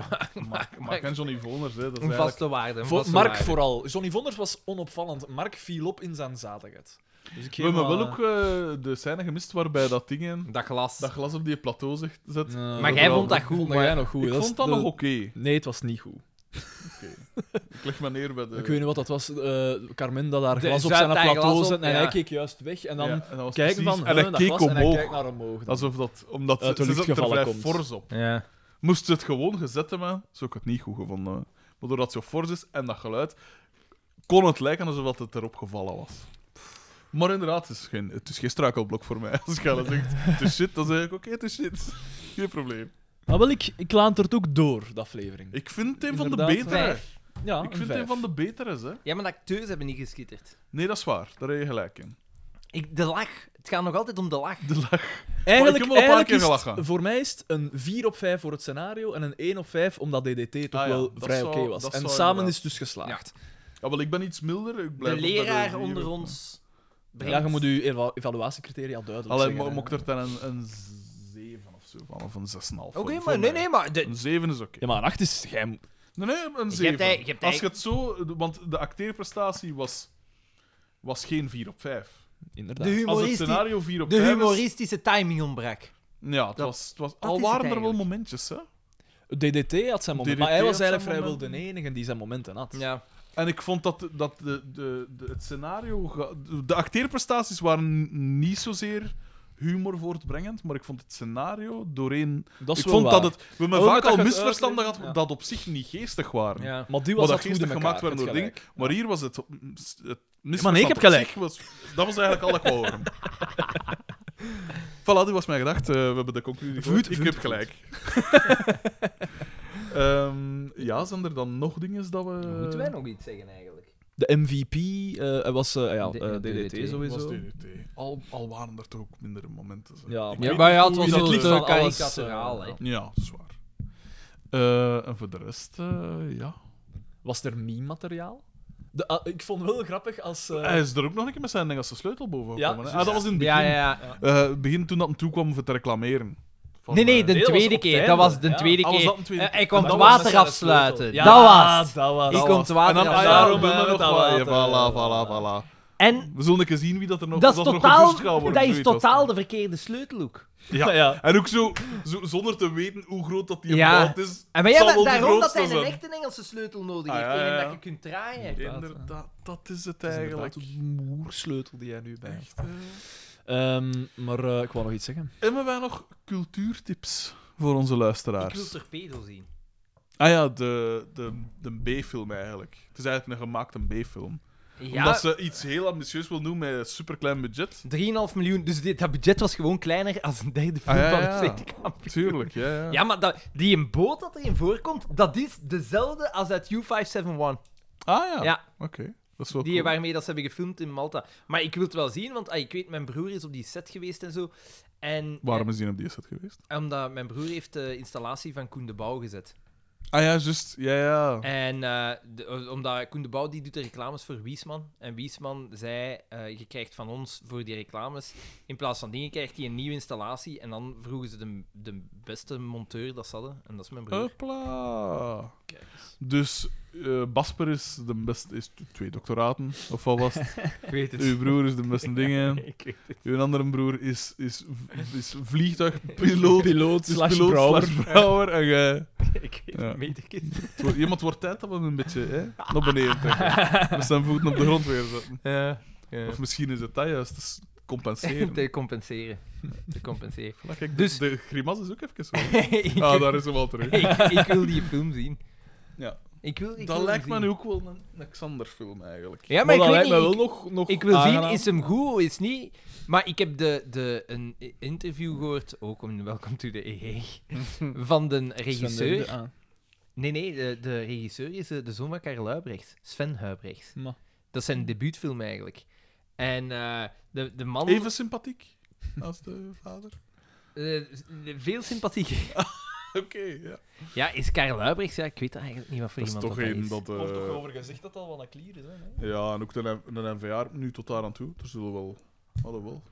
Speaker 2: Mark, Mark en Johnny Voners. Hè, dat is
Speaker 4: Een
Speaker 2: eigenlijk-
Speaker 4: vaste waarde. een
Speaker 3: Voor,
Speaker 4: vaste
Speaker 3: Mark
Speaker 4: waarde.
Speaker 3: vooral. Johnny Vonders was onopvallend. Mark viel op in zijn zadigheid. Dus ik
Speaker 2: We
Speaker 3: geef
Speaker 2: hebben
Speaker 3: hem,
Speaker 2: wel
Speaker 3: eh,
Speaker 2: ook eh, de scène gemist waarbij dat dingen
Speaker 4: Dat glas.
Speaker 2: dat glas op die plateau zegt, zet.
Speaker 3: nee,
Speaker 4: Maar jij
Speaker 2: Overal.
Speaker 4: vond dat goed,
Speaker 3: vond
Speaker 4: maar-
Speaker 3: jij nog goed.
Speaker 2: ik
Speaker 3: is
Speaker 2: vond dat
Speaker 3: de-
Speaker 2: nog oké.
Speaker 3: Nee, het was niet goed.
Speaker 2: Ik leg me neer bij de...
Speaker 3: Ik weet niet wat dat was. eh, Carmen dat haar
Speaker 4: De-
Speaker 3: glas op
Speaker 4: zet
Speaker 3: zijn
Speaker 4: haar glas
Speaker 3: plateau
Speaker 4: op,
Speaker 3: zette en
Speaker 4: ja.
Speaker 3: hij keek juist weg. En dan
Speaker 2: Ja, en dat was
Speaker 3: kijken
Speaker 2: precies-
Speaker 3: van,
Speaker 2: En
Speaker 3: huh,
Speaker 2: hij
Speaker 3: dat
Speaker 2: keek
Speaker 3: glas, en hij
Speaker 2: omhoog.
Speaker 3: kijkt naar omhoog. dan.
Speaker 2: Alsof dat... Omdat
Speaker 3: Uit de
Speaker 2: ze
Speaker 3: lucht
Speaker 2: zat er
Speaker 3: gevallen
Speaker 2: vrij
Speaker 3: komt.
Speaker 2: fors op.
Speaker 4: Ja.
Speaker 2: Moest ze het gewoon gezet hebben, zou ik het niet goed gevonden hebben. Maar doordat het zo fors is en dat geluid, kon het lijken alsof dat het erop gevallen was. Maar inderdaad, het is geen, het is geen struikelblok voor mij. Als Gelle zegt, het is shit, dan zeg ik, oké, het is shit. Geen probleem.
Speaker 3: Maar wel, ik, ik laat het ook door, de aflevering.
Speaker 2: Ik vind hem van de
Speaker 3: Inderdaad,
Speaker 2: betere.
Speaker 4: Vijf.
Speaker 3: ja,
Speaker 4: Ah,
Speaker 2: Ik vind hem van de betere, hè.
Speaker 4: Ja, maar de acteurs hebben niet geschitterd.
Speaker 2: Nee, dat is waar. Daar heb je gelijk in.
Speaker 4: Ik, de lach. Het gaat nog altijd om de lach.
Speaker 2: De lach.
Speaker 3: Eigenlijk,
Speaker 2: Maar ik heb wel een paar
Speaker 3: eigenlijk
Speaker 2: keer
Speaker 3: is het-
Speaker 2: gelachen.
Speaker 3: voor mij is het een 4 op 5 voor het scenario en een 1 op 5 omdat DDT toch
Speaker 2: Ah ja,
Speaker 3: wel
Speaker 2: dat
Speaker 3: vrij
Speaker 2: zou-
Speaker 3: oké was.
Speaker 2: dat
Speaker 3: En
Speaker 2: zou
Speaker 3: samen
Speaker 2: inderdaad.
Speaker 3: is het dus geslaagd.
Speaker 2: Ja, wel, ik ben iets milder. Ik blijf
Speaker 4: De
Speaker 2: ook bij
Speaker 4: leraar
Speaker 2: vier.
Speaker 4: onder ons.
Speaker 3: Ja,
Speaker 4: brengt-
Speaker 3: je moet je eva- evaluatiecriteria duidelijk
Speaker 2: Alleen
Speaker 3: zeggen. hè.
Speaker 2: mocht er dan een, een 7 of zo van, of een 6,5.
Speaker 4: Oké,
Speaker 2: voor- voor
Speaker 4: maar nee,
Speaker 2: mij.
Speaker 4: nee, maar. De,
Speaker 2: Een 7 is oké.
Speaker 3: Ja, maar een 8 is... Jij... moet-
Speaker 2: Nee, nee, een
Speaker 4: Je hebt
Speaker 2: 7.
Speaker 4: hij- je hebt hij-
Speaker 2: Als je het zo... Want de acteerprestatie was, was geen 4 op 5.
Speaker 3: Inderdaad.
Speaker 4: de,
Speaker 2: Als het
Speaker 4: humoristi-
Speaker 2: scenario 4 op
Speaker 4: de
Speaker 2: 5 is-
Speaker 4: humoristische timing ontbrak.
Speaker 2: Ja, het was... Het was
Speaker 4: is
Speaker 2: al
Speaker 4: het
Speaker 2: waren er wel
Speaker 4: eigenlijk.
Speaker 2: momentjes, hè.
Speaker 3: DDT had zijn moment,
Speaker 2: DDT
Speaker 3: maar hij
Speaker 2: had
Speaker 3: was
Speaker 2: zijn
Speaker 3: eigenlijk vrijwel de
Speaker 2: momenten.
Speaker 3: enige die zijn momenten had.
Speaker 4: Ja.
Speaker 2: En ik vond dat, dat de, de, de- het scenario... ga- De acteerprestaties waren niet zozeer humor voortbrengend, maar ik vond het scenario doorheen...
Speaker 3: Dat is
Speaker 2: ik
Speaker 3: wel
Speaker 2: vond
Speaker 3: waar.
Speaker 2: dat het... We hebben
Speaker 3: Ook
Speaker 2: vaak al
Speaker 3: dat je het
Speaker 2: misverstanden gehad
Speaker 3: uitlegt, ja.
Speaker 2: dat op zich niet geestig waren.
Speaker 4: ja.
Speaker 3: Maar
Speaker 2: Maar
Speaker 3: die was
Speaker 2: dat
Speaker 3: dat goed in
Speaker 2: geestig
Speaker 3: elkaar,
Speaker 2: gemaakt werd
Speaker 3: je
Speaker 2: door
Speaker 3: hebt
Speaker 2: dingen.
Speaker 3: gelijk.
Speaker 2: Maar hier was het... het misverstand
Speaker 3: Maar nee, ik heb
Speaker 2: op
Speaker 3: gelijk.
Speaker 2: zich Was, dat was eigenlijk al dat ik wou horen. voilà, die was mijn gedachte. Eh, we hebben de conclusie
Speaker 3: Voet,
Speaker 2: gehoord. Ik
Speaker 3: voet,
Speaker 2: heb
Speaker 3: voet.
Speaker 2: gelijk. Ehm, ja, zijn er dan nog dingen dat we...
Speaker 4: Moeten wij nog iets zeggen eigenlijk?
Speaker 3: De MVP eh, was eh, ja,
Speaker 4: De-
Speaker 3: eh,
Speaker 4: de
Speaker 3: DDT,
Speaker 4: DDT.
Speaker 3: sowieso.
Speaker 2: was DDT. Al, al waren er toch ook mindere momenten. zeg.
Speaker 3: Ja,
Speaker 2: Ik
Speaker 3: maar-
Speaker 2: weet-
Speaker 4: maar ja, het
Speaker 3: was wel te karikaturaal,
Speaker 4: karikaturaal.
Speaker 3: hè.
Speaker 2: ja, dat is waar. Eh, en voor de rest, eh, ja.
Speaker 3: Was er meme-materiaal? De- ah, ik vond wel grappig als... eh,
Speaker 2: Hij is er ook nog een keer met zijn Engelse sleutel boven
Speaker 3: Ja,
Speaker 2: gekomen. hè.
Speaker 3: juist.
Speaker 2: ah, dat was in het begin.
Speaker 4: Ja, ja, ja.
Speaker 2: Eh, begin toen dat hem toe kwam voor te reclameren. Van,
Speaker 4: Nee, nee,
Speaker 2: eh,
Speaker 4: de
Speaker 3: Nee, dat was
Speaker 4: tweede
Speaker 3: op het
Speaker 4: keer.
Speaker 3: einde.
Speaker 4: Dat was de
Speaker 3: Ja.
Speaker 4: tweede
Speaker 2: Ah, was
Speaker 4: keer.
Speaker 2: dat een tweede
Speaker 4: Eh,
Speaker 2: keer?
Speaker 4: Hij kwam
Speaker 3: En
Speaker 4: het
Speaker 3: dat was met
Speaker 4: water
Speaker 3: zijn
Speaker 4: afsluiten.
Speaker 3: sleutel. Ja,
Speaker 4: Dat was het.
Speaker 3: dat was
Speaker 4: Ik
Speaker 3: het.
Speaker 4: kom het water
Speaker 2: en dan, ah,
Speaker 4: afsluiten.
Speaker 2: daarom
Speaker 3: Daarom
Speaker 2: hebben we
Speaker 3: hebben
Speaker 2: het
Speaker 3: we het
Speaker 2: al. Ja,
Speaker 3: al
Speaker 2: voilà,
Speaker 3: laten.
Speaker 2: voilà, voilà.
Speaker 4: En
Speaker 2: We zullen een keer zien wie dat er nog
Speaker 4: dat is
Speaker 2: dat er nog
Speaker 4: totaal,
Speaker 2: gepusht gaat worden,
Speaker 4: dat is
Speaker 2: zoiets was
Speaker 4: totaal de verkeerde sleutelhoek.
Speaker 2: het. Ja.
Speaker 3: ja.
Speaker 2: En ook zo, zo, zonder te weten hoe groot dat die
Speaker 4: Ja.
Speaker 2: plaat is.
Speaker 4: En maar
Speaker 2: het
Speaker 4: ja,
Speaker 2: zal
Speaker 4: maar
Speaker 2: wel de
Speaker 4: daarom dat
Speaker 2: grootste
Speaker 4: hij een
Speaker 2: zijn.
Speaker 4: echte Engelse sleutel nodig
Speaker 2: Ah,
Speaker 4: heeft,
Speaker 2: ja,
Speaker 4: tegen
Speaker 2: ja, ja.
Speaker 4: dat je kunt draaien.
Speaker 2: Inderdaad, dat is het
Speaker 3: Dat is
Speaker 2: eigenlijk.
Speaker 3: inderdaad de moersleutel die jij nu bij hebt.
Speaker 2: Echt, eh.
Speaker 3: Ehm, maar eh, ik wou nog iets zeggen.
Speaker 2: Hebben wij nog cultuurtips voor onze
Speaker 4: Ik wil
Speaker 2: luisteraars?
Speaker 4: torpedo zien.
Speaker 2: Ah ja, de, de, de B-film eigenlijk. Het is eigenlijk een gemaakte B-film.
Speaker 4: Ja,
Speaker 2: Omdat ze iets heel ambitieus wil doen met een superklein budget.
Speaker 4: 3,5 miljoen. Dus dit, dat budget was gewoon kleiner als een derde film
Speaker 2: Ah, ja,
Speaker 4: van
Speaker 2: ja.
Speaker 4: het Tweede Kampioen.
Speaker 2: Tuurlijk, ja. ja.
Speaker 4: Ja, maar dat, die een boot dat erin voorkomt, dat is dezelfde als uit U571.
Speaker 2: Ah ja,
Speaker 4: Ja.
Speaker 2: oké. Dat is wel
Speaker 4: Die
Speaker 2: cool.
Speaker 4: waarmee dat ze hebben gefilmd in Malta. Maar ik wil het wel zien, want ah, ik weet, mijn broer is op die set geweest en zo. En,
Speaker 2: Waarom is die op die set geweest?
Speaker 4: eh, omdat mijn broer heeft de installatie van Koen de Bouw gezet.
Speaker 2: Ah ja, juist. Ja, ja.
Speaker 4: En eh, de- omdat Koen de Bouw die doet de reclames voor Wiesman. En Wiesman zei, eh, je krijgt van ons voor die reclames, in plaats van dingen krijgt hij een nieuwe installatie. En dan vroegen ze de, de beste monteur dat ze hadden. En dat is mijn
Speaker 2: Oh.
Speaker 4: broer.
Speaker 2: Hopla. Dus eh, Basper is de beste... Is t- twee doctoraten, of wat was het?
Speaker 4: ik weet
Speaker 2: Uw broer is de beste dingen.
Speaker 4: Ik weet het.
Speaker 2: Uw andere broer is, is, v- is vliegtuigpiloot.
Speaker 3: Piloot
Speaker 2: is
Speaker 3: slash
Speaker 2: piloot
Speaker 3: brouwer.
Speaker 2: slash brouwer. En jij...
Speaker 4: Ik weet het.
Speaker 2: Ja.
Speaker 4: meterkind.
Speaker 2: Het wordt- Iemand wordt tijd dat we hem een beetje hè, naar beneden trekken. Met zijn voeten op de grond weer zetten.
Speaker 4: Ja, ja.
Speaker 2: Of misschien is het dat juist. Dat is compenseren.
Speaker 4: Te compenseren. Te compenseren.
Speaker 2: Voilà, kijk,
Speaker 4: Dus-
Speaker 2: dus... De grimas is ook even zo.
Speaker 4: ik,
Speaker 2: Ah, daar is hem al terug.
Speaker 4: ik, ik wil die film zien.
Speaker 2: Ja.
Speaker 4: Ik wil, ik
Speaker 2: Dat
Speaker 4: wil
Speaker 2: lijkt
Speaker 4: hem
Speaker 2: me
Speaker 4: zien.
Speaker 2: nu ook wel een, een Xander-film eigenlijk.
Speaker 4: Ja, maar,
Speaker 3: Maar dat
Speaker 4: ik
Speaker 3: lijkt
Speaker 4: weet
Speaker 3: mij wel
Speaker 4: niet. Ik,
Speaker 3: nog, nog
Speaker 4: ik wil zien,
Speaker 3: aangenaam.
Speaker 4: is hem goed, is niet. Maar ik heb de, de, een interview gehoord, ook om Welcome to the EE, van de
Speaker 3: Sven de-
Speaker 4: regisseur.
Speaker 3: ah.
Speaker 4: Nee, nee, de, de regisseur is eh, de zoon van Karel Huibrechts. Sven Huibrechts.
Speaker 3: Ma.
Speaker 4: Dat is zijn debuutfilm eigenlijk. En eh, de, de man...
Speaker 2: Even sympathiek als de vader.
Speaker 4: eh, veel sympathie.
Speaker 2: Oké, ja.
Speaker 4: Ja, is Karel Huibrechts? Ja, ik weet eigenlijk niet wat voor
Speaker 2: Dat is
Speaker 4: iemand
Speaker 2: toch
Speaker 4: dat
Speaker 2: één
Speaker 4: is.
Speaker 2: dat... eh,
Speaker 3: Er wordt toch over gezegd dat dat wel een klier is, hè? nee?
Speaker 2: ja, en ook de, N- de NVA nu tot daar aan toe. Er zullen wel... Alhoewel.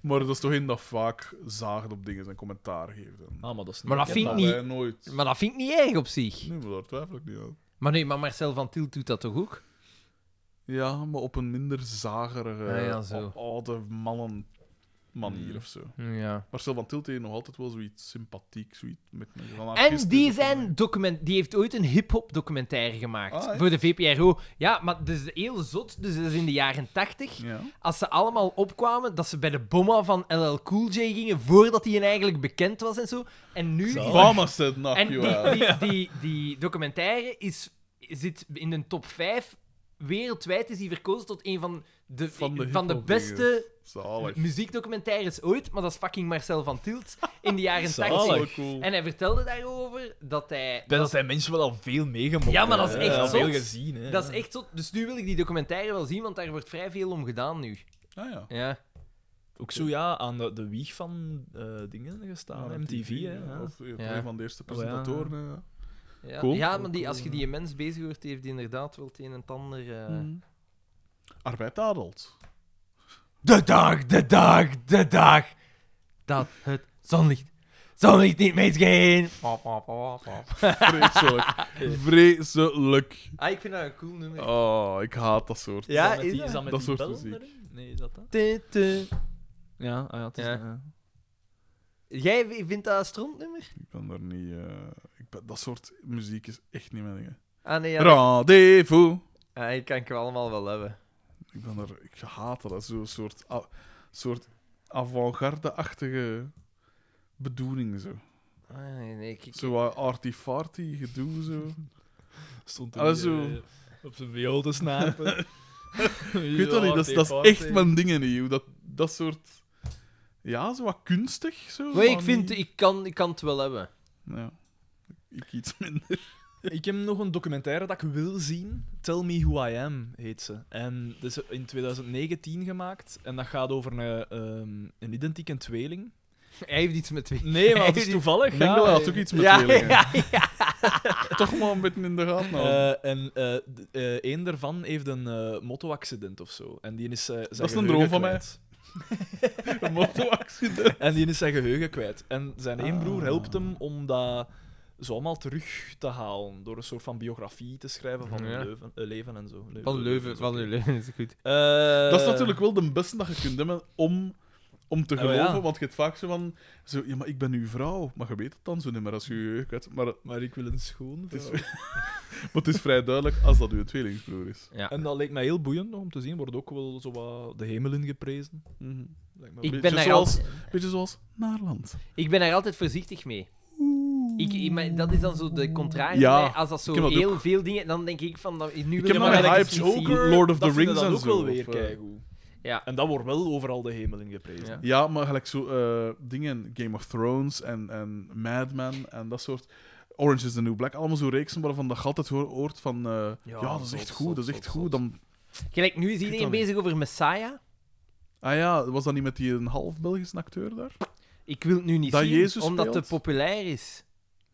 Speaker 2: maar dat is toch één dat vaak zaagt op dingen en commentaar geeft. En...
Speaker 3: Ah, maar dat is
Speaker 4: Maar dat
Speaker 3: niet-
Speaker 4: vind ik
Speaker 2: dat
Speaker 4: niet-
Speaker 2: wij nooit...
Speaker 4: Maar dat vind ik niet erg op zich.
Speaker 2: Nee, maar daar twijfel ik niet aan.
Speaker 4: Maar nee, maar Marcel van Til doet dat toch ook?
Speaker 2: Ja, maar op een minder zagerige,
Speaker 4: Ah, ja, zo.
Speaker 2: o- oude mannen manier
Speaker 3: Hmm.
Speaker 2: of zo.
Speaker 4: Ja.
Speaker 2: Marcel van Tilt heeft nog altijd wel zoiets sympathiek, zoiets met met- van
Speaker 4: En
Speaker 2: artiesten.
Speaker 4: die, zijn document, die heeft ooit een hip-hop documentaire gemaakt
Speaker 2: Ah, echt?
Speaker 4: voor de VPRO. Ja, maar dat is heel zot. Dus dat is in de jaren tachtig.
Speaker 2: Ja.
Speaker 4: Als ze allemaal opkwamen, dat ze bij de bomma van LL Cool J gingen voordat hij eigenlijk bekend was en zo. En nu. is dat-
Speaker 2: Obama said knock
Speaker 4: En
Speaker 2: you
Speaker 4: die,
Speaker 2: out.
Speaker 4: die, die, die documentaire is, zit in de top 5. Wereldwijd is die verkozen tot een van de,
Speaker 2: Van
Speaker 4: van
Speaker 2: de
Speaker 4: de,
Speaker 2: hiphopdingen.
Speaker 4: beste
Speaker 2: Zalig.
Speaker 4: muziekdocumentaires ooit, maar dat is fucking Marcel van Tilt in de jaren
Speaker 3: Zalig.
Speaker 4: 80.
Speaker 2: Zo cool.
Speaker 4: En hij vertelde daarover dat hij.
Speaker 3: Dat zijn mensen wel al veel meegemokt.
Speaker 4: Ja, maar dat is
Speaker 3: hè.
Speaker 4: echt
Speaker 3: Al
Speaker 4: zot.
Speaker 3: veel gezien, hè.
Speaker 4: Dat is echt zo. Dus nu wil ik die documentaire wel zien, want daar wordt vrij veel om gedaan nu.
Speaker 2: Ah ja.
Speaker 4: Ja.
Speaker 3: Ook zo, ja, aan de, de wieg van eh, dingen gestaan.
Speaker 2: Ja,
Speaker 3: MTV, hè. ja.
Speaker 2: Of eh,
Speaker 4: Oh, Ja.
Speaker 2: een van de eerste presentatoren. eh.
Speaker 4: Ja,
Speaker 2: Cool.
Speaker 4: ja maar die, als je die mens bezig hoort, heeft die inderdaad wel het een en het ander. eh,
Speaker 2: Arbeid Adelt.
Speaker 14: De dag, de dag, de dag.
Speaker 4: Dat het.
Speaker 14: Zonlicht. Zonlicht niet misgaan.
Speaker 2: Vreselijk. Vreselijk.
Speaker 4: Ah, ik vind dat een cool nummer.
Speaker 2: Oh, ik haat dat soort.
Speaker 4: Ja,
Speaker 3: met
Speaker 4: is
Speaker 3: die,
Speaker 4: dat?
Speaker 3: is dat met
Speaker 2: Dat
Speaker 3: die
Speaker 2: soort
Speaker 3: bel
Speaker 2: muziek.
Speaker 3: erin? Nee, is dat dat?
Speaker 4: Tu, tu.
Speaker 3: Ja, ah, ja, het is
Speaker 4: Ja.
Speaker 3: dat, ja.
Speaker 4: Jij v- vindt dat een strontnummer?
Speaker 2: Ik ben daar niet... eh, ik ben, dat soort muziek is echt niet mijn ding.
Speaker 4: Ah nee, ja.
Speaker 2: Rendezvous.
Speaker 4: Ah, ik kan ik wel allemaal wel hebben.
Speaker 2: Ik ben er... Ik haat dat. Dat is Zo'n soort, a- soort avant-garde-achtige bedoeling, zo.
Speaker 4: Ah, nee, nee, ik, ik-
Speaker 2: Zo wat arty-farty gedoe, zo.
Speaker 3: Stond
Speaker 2: Ah,
Speaker 3: er
Speaker 2: zo.
Speaker 3: zo. op zijn viool te snapen.
Speaker 2: Ik weet dat niet, dat is, dat is echt mijn dingen niet. Hoe dat, dat soort... Ja, zo wat kunstig, zo.
Speaker 4: Nee, ik
Speaker 2: maar
Speaker 4: vind,
Speaker 2: niet-
Speaker 4: ik kan, ik kan het wel hebben.
Speaker 2: Ja. Ik iets minder.
Speaker 3: Ik heb nog een documentaire dat ik wil zien. Tell Me Who I Am, heet ze. En dat is in 2019 gemaakt. En dat gaat over een, ehm, een identieke tweeling.
Speaker 4: Hij heeft iets met twee.
Speaker 3: Nee, maar het is toevallig.
Speaker 2: Ik denk
Speaker 3: ja.
Speaker 2: dat dat ook iets met
Speaker 4: Ja,
Speaker 2: tweelingen. Toch maar een beetje in de gaten houden.
Speaker 3: Eh, en eh d- eh, één daarvan heeft een eh moto-accident of zo. En die is, eh, zijn
Speaker 2: is een
Speaker 3: geheugen
Speaker 2: droom van mij.
Speaker 3: kwijt.
Speaker 2: Een motoraccident.
Speaker 3: En die is zijn geheugen kwijt. En zijn één broer
Speaker 2: Ah.
Speaker 3: helpt hem om dat zo allemaal terug te halen. Door een soort van biografie te schrijven van hun
Speaker 4: Ja.
Speaker 3: Leuven- eh, leven en zo.
Speaker 4: Van Leuven, van Leuven is goed.
Speaker 3: Eh,
Speaker 2: Dat is natuurlijk wel de beste dat je kunt hebben om, om te
Speaker 3: Oh, ja.
Speaker 2: geloven. Want je hebt vaak zo van... Zo, ja, maar ik ben uw vrouw. Maar je weet het dan zo niet meer als je je jeugd hebt. Maar, maar
Speaker 3: Maar ik wil een schoon
Speaker 2: Het is-
Speaker 3: vrouw.
Speaker 2: het is vrij duidelijk als dat uw tweelingsbroer is.
Speaker 4: Ja.
Speaker 3: En dat leek mij heel boeiend om te zien. Wordt ook wel zo wat de hemel ingeprezen.
Speaker 2: Mhm.
Speaker 3: Lijkt me wel-
Speaker 4: Ik
Speaker 2: Beetje
Speaker 4: ben, daar
Speaker 2: zoals-
Speaker 4: altijd,
Speaker 2: Beetje zoals Naarland.
Speaker 4: ik ben daar altijd voorzichtig mee. Ik, ik- maar dat is dan zo de contrarie.
Speaker 2: Ja,
Speaker 4: Als dat zo
Speaker 2: ik heb dat
Speaker 4: heel veel dingen... Dan denk ik van... dat- Nu wil
Speaker 2: heb
Speaker 4: ik
Speaker 2: nog
Speaker 4: dat
Speaker 2: een
Speaker 4: ergens
Speaker 2: hype
Speaker 4: niet zien.
Speaker 2: Joker. Lord of the
Speaker 3: eh, dat vinden
Speaker 2: Rings
Speaker 3: dan
Speaker 2: en
Speaker 3: ook wel
Speaker 2: zo,
Speaker 3: weer
Speaker 2: of, eh,
Speaker 3: keigoed.
Speaker 4: Ja.
Speaker 3: En dat wordt wel overal de hemel in geprezen.
Speaker 4: Ja.
Speaker 2: Ja, maar gelijk zo eh, dingen, Game of Thrones en, en Mad Men en dat soort. Orange is the New Black, allemaal zo reeksen waarvan dat je altijd hoor- hoort van... eh, ja, dat is
Speaker 4: zot,
Speaker 2: echt goed,
Speaker 4: zot,
Speaker 2: dat is
Speaker 4: zot,
Speaker 2: echt
Speaker 4: zot.
Speaker 2: goed. Dan...
Speaker 4: Gelijk, nu is iedereen
Speaker 2: dat niet.
Speaker 4: bezig over Messiah.
Speaker 2: Ah ja, was dat niet met die een half Belgische acteur daar?
Speaker 4: Ik wil het nu niet
Speaker 2: Dat
Speaker 4: zien,
Speaker 2: Jezus
Speaker 4: omdat
Speaker 2: speelt?
Speaker 4: het populair is.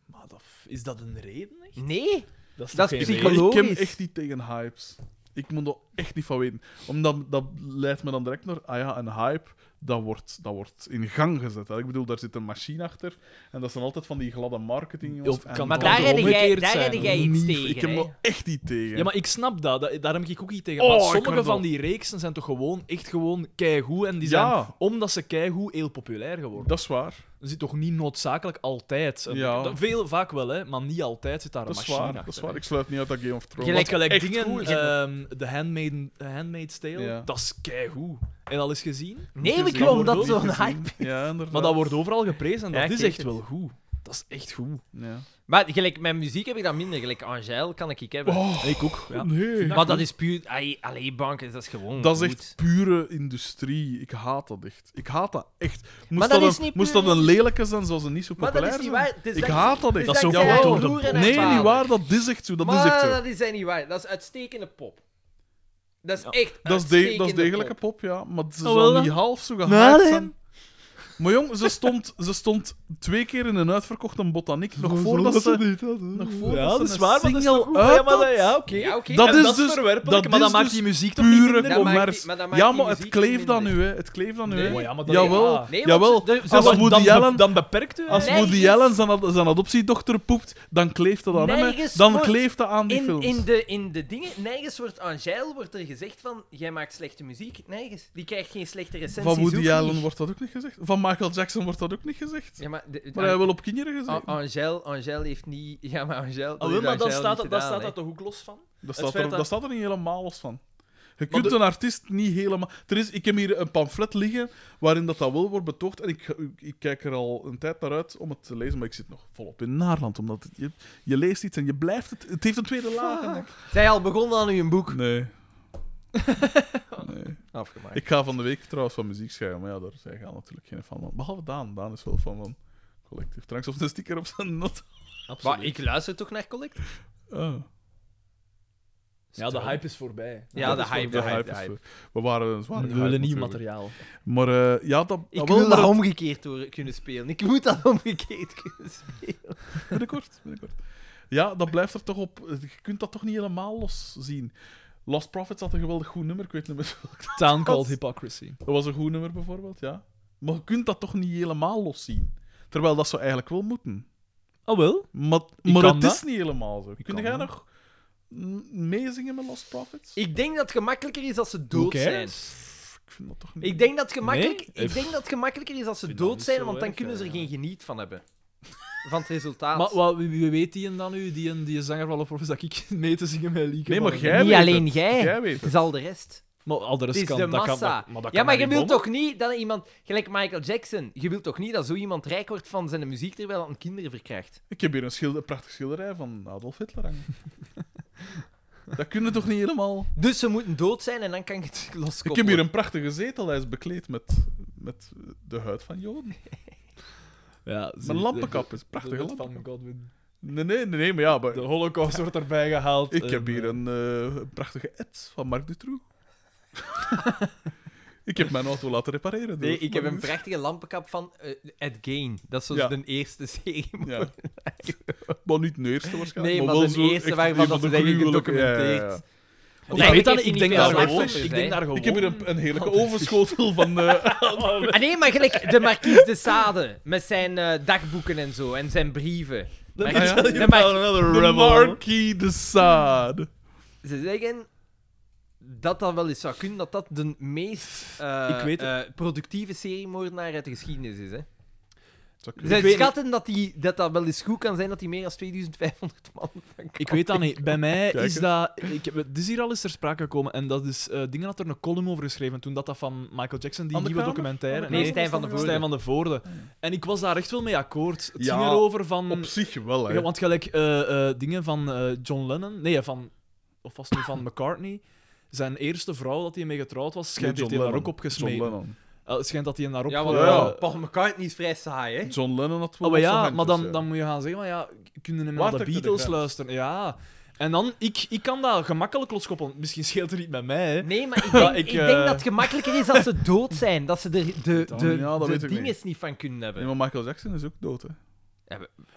Speaker 3: Maar dat, is dat een reden? Echt?
Speaker 4: Nee.
Speaker 3: Dat is,
Speaker 4: Dat
Speaker 3: toch
Speaker 4: is
Speaker 3: geen
Speaker 2: Maar
Speaker 4: psychologisch.
Speaker 2: ik ken echt niet tegen hypes. Ik moet er echt niet van weten. Omdat dat leidt me dan direct naar... Ah ja, een hype, dat wordt, dat wordt in gang gezet. hè. Ik bedoel, daar zit een machine achter. En dat zijn altijd van die gladde marketing, jongens.
Speaker 3: Of
Speaker 2: En
Speaker 3: kan
Speaker 4: Maar
Speaker 3: dat
Speaker 4: daar
Speaker 3: ook
Speaker 4: heb jij,
Speaker 3: omgekeerd
Speaker 4: daar
Speaker 3: zijn,
Speaker 4: heb jij iets tegen,
Speaker 2: Ik heb
Speaker 4: hè?
Speaker 2: er echt niet tegen.
Speaker 3: Ja, maar ik snap dat. dat daar heb ik ook iets tegen.
Speaker 2: Oh,
Speaker 3: maar
Speaker 2: ik
Speaker 3: sommige
Speaker 2: word
Speaker 3: van
Speaker 2: al-
Speaker 3: die reeksen zijn toch gewoon echt gewoon keigoed. En die zijn,
Speaker 2: Ja,
Speaker 3: omdat ze keigoed, heel populair geworden.
Speaker 2: dat is waar.
Speaker 3: Dat zit toch niet noodzakelijk altijd. een-
Speaker 2: Ja.
Speaker 3: dat- veel, vaak wel, hè, maar niet altijd zit daar een
Speaker 2: Dat is
Speaker 3: machine
Speaker 2: waar,
Speaker 3: achter.
Speaker 2: dat is waar.
Speaker 3: hè.
Speaker 2: Ik sluit niet uit dat Game of Thrones...
Speaker 3: Want gelijk
Speaker 2: echt
Speaker 3: dingen,
Speaker 2: goed.
Speaker 3: ehm The Handmaiden- The Handmaid's Tale,
Speaker 2: Ja.
Speaker 3: dat is keigoed. Heb je al eens gezien?
Speaker 4: Nee, ik
Speaker 3: gezien.
Speaker 4: geloof
Speaker 3: Dat
Speaker 4: dat
Speaker 3: wordt
Speaker 4: zo'n
Speaker 2: Gezien.
Speaker 4: hype...
Speaker 2: Ja, inderdaad.
Speaker 3: Maar dat wordt overal geprezen en
Speaker 4: Ja,
Speaker 3: dat
Speaker 4: ik
Speaker 3: is
Speaker 4: weet
Speaker 3: echt
Speaker 4: het.
Speaker 3: wel goed. Dat is echt goed.
Speaker 2: Ja.
Speaker 4: Maar gelijk, met muziek heb ik dat minder. Gelijk, Angèle kan ik ik hebben.
Speaker 2: Oh,
Speaker 3: Ik ook. Ja.
Speaker 2: nee.
Speaker 4: maar dat is puur... Allee, allee banken, dat is gewoon
Speaker 2: Dat is
Speaker 4: goed.
Speaker 2: echt pure industrie. Ik haat dat echt. Ik haat dat echt. Moest,
Speaker 4: Maar dat
Speaker 2: dat,
Speaker 4: is
Speaker 2: een,
Speaker 4: niet
Speaker 2: moest
Speaker 4: puur
Speaker 2: dat een lelijke zijn, zoals ze niet zo
Speaker 4: Maar dat
Speaker 2: populair
Speaker 4: is niet waar. Het is
Speaker 2: Ik
Speaker 4: dat-
Speaker 2: haat dat
Speaker 4: het
Speaker 2: echt.
Speaker 3: Dat is zo
Speaker 4: zijn
Speaker 2: gehoord
Speaker 3: door de
Speaker 4: broer en
Speaker 2: zijn.
Speaker 4: haar
Speaker 2: Nee, niet
Speaker 4: vader.
Speaker 2: waar. Dat is echt zo. Dat
Speaker 4: maar
Speaker 2: is echt zo.
Speaker 4: dat is niet waar. Dat is uitstekende pop. Dat is
Speaker 3: Ja.
Speaker 4: echt
Speaker 2: Dat is, de,
Speaker 4: uitstekende
Speaker 2: dat is degelijke
Speaker 4: pop.
Speaker 2: pop. ja. Maar ze
Speaker 3: Oh,
Speaker 2: zal
Speaker 3: wel
Speaker 2: niet half zo
Speaker 3: Nou,
Speaker 2: gehaald
Speaker 3: dan.
Speaker 2: zijn. Maar jong, ze stond, ze stond twee keer in een uitverkochte botaniek. Nog voordat ze... nog voordat
Speaker 3: Ja,
Speaker 2: ze
Speaker 3: dat is
Speaker 2: een
Speaker 3: waar, maar dat is
Speaker 2: single
Speaker 3: toch goed.
Speaker 2: uit
Speaker 3: Ja, maar
Speaker 2: had.
Speaker 3: dat- ja, oké.
Speaker 4: Ja, oké.
Speaker 2: Dat
Speaker 3: En
Speaker 2: is
Speaker 3: dat is
Speaker 2: dus-
Speaker 3: verwerpelijk,
Speaker 2: dat
Speaker 3: maar
Speaker 2: is
Speaker 3: dan maakt
Speaker 2: dus
Speaker 3: die muziek toch niet
Speaker 2: Pure
Speaker 3: minder?
Speaker 4: Dat maakt
Speaker 2: commerce.
Speaker 4: die- maar dat maakt
Speaker 2: Ja,
Speaker 4: die
Speaker 2: maar het
Speaker 4: muziek
Speaker 2: kleeft
Speaker 4: niet
Speaker 2: dan
Speaker 4: minder. Oh
Speaker 2: nu, hè. Het kleeft dan nu,
Speaker 3: Nee,
Speaker 2: hè.
Speaker 3: maar ja, maar dat-
Speaker 2: Jawel.
Speaker 3: ja.
Speaker 4: Nee, want
Speaker 2: Jawel.
Speaker 4: ze- ze-
Speaker 2: Als
Speaker 4: ze-
Speaker 2: Woody
Speaker 3: dan, be-
Speaker 2: Allen...
Speaker 3: dan beperkt u.
Speaker 2: Als
Speaker 3: hè?
Speaker 2: Woody
Speaker 4: Nergens-
Speaker 2: Allen zijn, ad- zijn adoptiedochter poept, dan kleeft dat aan hem. hè.
Speaker 4: Nergens
Speaker 2: Dan
Speaker 4: wordt-
Speaker 2: kleeft dat aan die
Speaker 4: In,
Speaker 2: films.
Speaker 4: in, de, in de dingen, nergens wordt Angèle wordt er gezegd van, jij maakt slechte muziek. Nergens. Die krijgt geen slechte recensies.
Speaker 2: Van Woody
Speaker 4: ook
Speaker 2: Allen
Speaker 4: niet.
Speaker 2: wordt dat ook niet gezegd. Van Michael Jackson wordt dat ook niet gezegd.
Speaker 4: Ja, maar... De,
Speaker 2: Maar hij heeft wel op kinderen gezegd.
Speaker 4: An- Angèle, Angèle heeft niet... Ja, maar Angèle... dat
Speaker 3: Ah, wel,
Speaker 4: heeft
Speaker 3: maar dan
Speaker 4: Angèle
Speaker 3: staat,
Speaker 4: niet
Speaker 3: dat, dan
Speaker 4: gedaan,
Speaker 3: staat dat toch ook los van?
Speaker 2: Dat
Speaker 3: Het
Speaker 2: staat,
Speaker 3: feit
Speaker 2: er,
Speaker 3: dat-
Speaker 2: dat staat er niet helemaal los van. Je
Speaker 3: Want
Speaker 2: kunt een artiest niet helemaal... Er is, ik heb hier een pamflet liggen waarin dat, dat wel wordt betoogd. En ik, ga- ik, ik kijk er al een tijd naar uit om het te lezen, maar ik zit nog volop in Naarland. Omdat het- je, je leest iets en je blijft het... Het heeft een tweede laag. en ik-
Speaker 4: hè. Zij al begonnen aan uw boek.
Speaker 2: Nee. nee.
Speaker 4: Afgemaakt.
Speaker 2: Ik ga van de week trouwens van muziek schrijven, maar ja, daar zijn gaan natuurlijk geen fan van. Behalve Daan. Daan is wel fan van Collective Trunks. Of een sticker op zijn not.
Speaker 4: Maar ik luister toch naar Collect?
Speaker 2: Ah.
Speaker 3: Ja, de hype is voorbij.
Speaker 4: Ja, de
Speaker 2: Dat is wel-
Speaker 4: hype, de hype, de
Speaker 2: is
Speaker 4: hype.
Speaker 2: wel- We waren een zware
Speaker 3: We
Speaker 2: hype
Speaker 3: willen nieuw
Speaker 2: natuurlijk.
Speaker 3: materiaal.
Speaker 2: Maar eh, ja, dat...
Speaker 4: Ik
Speaker 2: wel,
Speaker 4: wil
Speaker 2: maar
Speaker 4: dat
Speaker 2: het-
Speaker 4: omgekeerd horen- kunnen spelen. Ik moet dat omgekeerd kunnen spelen.
Speaker 2: Binnenkort, binnenkort. Ja, dat blijft er toch op. Je kunt dat toch niet helemaal los zien. Lost Prophets had een geweldig goed nummer, ik weet niet meer welk.
Speaker 3: Town Called Hypocrisy.
Speaker 2: Dat was een goed nummer bijvoorbeeld, ja. Maar je kunt dat toch niet helemaal los zien. Terwijl dat zou eigenlijk wel moeten.
Speaker 3: Oh, wel?
Speaker 2: Maar,
Speaker 3: Ik
Speaker 2: maar
Speaker 3: kan
Speaker 2: het
Speaker 3: dat.
Speaker 2: is niet helemaal zo. Kun
Speaker 3: kan
Speaker 2: jij
Speaker 3: dat.
Speaker 2: nog m- meezingen met Lost Prophets?
Speaker 4: Ik denk dat het gemakkelijker is als ze dood zijn.
Speaker 2: Ik vind dat toch niet...
Speaker 4: Ik denk dat het gemakkelijk,
Speaker 3: Nee?
Speaker 4: ik denk dat het gemakkelijker is als ze
Speaker 3: vind dat
Speaker 4: dood
Speaker 3: niet
Speaker 4: zijn,
Speaker 3: zo
Speaker 4: want dan
Speaker 3: erg, eh.
Speaker 4: kunnen ze er
Speaker 3: ja.
Speaker 4: geen geniet van hebben. Van het resultaat.
Speaker 3: Maar wat, wie, wie weet die en dan nu, die, en- die zanger van Love Prophets, dat ik mee te zingen met Lieke?
Speaker 2: Nee, maar
Speaker 3: van-
Speaker 2: jij
Speaker 4: niet
Speaker 2: weet
Speaker 4: alleen
Speaker 2: het.
Speaker 4: jij.
Speaker 2: Jij weet
Speaker 4: Het
Speaker 2: het.
Speaker 4: is al de rest.
Speaker 3: Maar al de rest
Speaker 4: Het is
Speaker 3: kan,
Speaker 4: de
Speaker 3: dat kan-
Speaker 4: massa.
Speaker 3: dat- maar dat
Speaker 4: ja,
Speaker 3: kan
Speaker 4: maar je
Speaker 3: Harry
Speaker 4: wilt
Speaker 3: Bommen.
Speaker 4: toch niet dat iemand, gelijk Michael Jackson, je wilt toch niet dat zo iemand rijk wordt van zijn muziek terwijl hij kinderen verkrijgt?
Speaker 2: Ik heb hier een, schilder, een prachtig schilderij van Adolf Hitler hangen. dat kunnen toch niet helemaal...
Speaker 4: Dus ze moeten dood zijn en dan kan ik het loskoppelen.
Speaker 2: Ik heb hier een prachtige zetel. Hij is bekleed met, met de huid van Joden.
Speaker 3: Ja, zie-
Speaker 2: Mijn lampenkap is een
Speaker 3: De
Speaker 2: prachtige
Speaker 3: wet
Speaker 2: lampenkap.
Speaker 3: van Godwin.
Speaker 2: Nee, nee, nee, nee, maar ja, maar
Speaker 3: De holocaust wordt erbij gehaald.
Speaker 2: ik
Speaker 3: en,
Speaker 2: heb hier
Speaker 3: eh,
Speaker 2: een eh, een prachtige ed van Marc Dutroux. ik heb mijn auto laten repareren. door
Speaker 4: Nee, ik heb een
Speaker 2: Marc Dutroux.
Speaker 4: prachtige lampenkap van eh, Ed Gain. Dat is zo
Speaker 2: Ja.
Speaker 4: de eerste serie.
Speaker 2: Ja. maar niet de eerste waarschijnlijk.
Speaker 4: Nee, maar,
Speaker 2: wel
Speaker 4: de
Speaker 2: zo
Speaker 4: eerste
Speaker 2: echt
Speaker 4: waarvan
Speaker 2: een
Speaker 4: dat ze
Speaker 2: van de
Speaker 4: zeggen
Speaker 2: gruwelijke-
Speaker 4: gedocumenteerd.
Speaker 2: Ja, ja, ja.
Speaker 3: Ik
Speaker 4: Eigenlijk
Speaker 3: weet dat
Speaker 4: heeft
Speaker 3: niet, ik
Speaker 4: hij
Speaker 3: denk
Speaker 4: niet
Speaker 3: daar
Speaker 4: veel
Speaker 3: gewoon...
Speaker 4: slachtoffers,
Speaker 3: Ik
Speaker 4: hè?
Speaker 3: denk daar gewoon...
Speaker 2: Ik heb hier een, een hele overschotel van... eh,
Speaker 4: Ah, nee, maar gelijk de Marquise de Sade met zijn eh, dagboeken en zo en zijn brieven. Maar-
Speaker 2: moet je wel
Speaker 4: de Mar-
Speaker 2: de Marquis de Sade.
Speaker 4: Ze zeggen dat dat wel eens zou kunnen, dat dat de meest eh,
Speaker 3: Ik weet
Speaker 4: eh, productieve seriemoordenaar uit de geschiedenis is. Hè?
Speaker 2: Zou ik-
Speaker 4: Zij
Speaker 3: weet niet.
Speaker 4: schatten dat, die, dat dat wel eens goed kan zijn dat die meer dan 2500 man van
Speaker 3: Ik weet dat niet. Bij mij
Speaker 2: Kijk,
Speaker 3: is
Speaker 2: hè.
Speaker 3: dat... Ik heb, het is hier al eens ter sprake gekomen. En dat is... eh Dingen had er een column over geschreven toen dat, dat van Michael Jackson, die
Speaker 2: Anne
Speaker 3: nieuwe
Speaker 2: Kramer?
Speaker 3: documentaire...
Speaker 2: Anne
Speaker 4: Nee, Stijn van de Voorde.
Speaker 3: Stijn van de Voorde. En ik was daar echt wel mee akkoord. Het
Speaker 2: Ja,
Speaker 3: ging erover van...
Speaker 2: Op zich wel, hè.
Speaker 3: Ja, want gelijk eh, eh, dingen van eh, John Lennon, nee, van, of was het nu van McCartney, zijn eerste vrouw dat hij mee getrouwd was,
Speaker 2: Nee,
Speaker 3: schijnt
Speaker 2: John
Speaker 3: dat hij daar
Speaker 2: Lennon.
Speaker 3: ook op gesmeten.
Speaker 2: John Lennon.
Speaker 3: Eh, schijnt dat hij daar ook
Speaker 4: Ja,
Speaker 3: op
Speaker 4: want
Speaker 2: Ja, ja.
Speaker 4: eh, Paul McCartney is vrij saai, hè?
Speaker 2: John Lennon had wel
Speaker 3: Oh, maar
Speaker 2: wat
Speaker 3: ja,
Speaker 2: van
Speaker 3: maar
Speaker 2: hem,
Speaker 3: dan,
Speaker 2: dus,
Speaker 3: dan moet je gaan zeggen, maar ja, kunnen hem
Speaker 2: Waar
Speaker 3: naar de
Speaker 2: trekt het de
Speaker 3: Beatles
Speaker 2: grens?
Speaker 3: luisteren? Ja. En dan, ik, ik kan dat gemakkelijk loskoppelen. Misschien scheelt er niet met mij, hè.
Speaker 4: Nee, maar ik
Speaker 3: Ja,
Speaker 4: denk,
Speaker 3: ik,
Speaker 4: ik,
Speaker 3: eh,
Speaker 4: denk dat het gemakkelijker is als ze dood zijn. Dat ze er de, de,
Speaker 2: Dan-
Speaker 4: de,
Speaker 2: ja, dat weet ik
Speaker 4: dinges
Speaker 2: niet.
Speaker 4: niet. van kunnen hebben.
Speaker 2: Nee, maar Michael Jackson is ook dood, hè.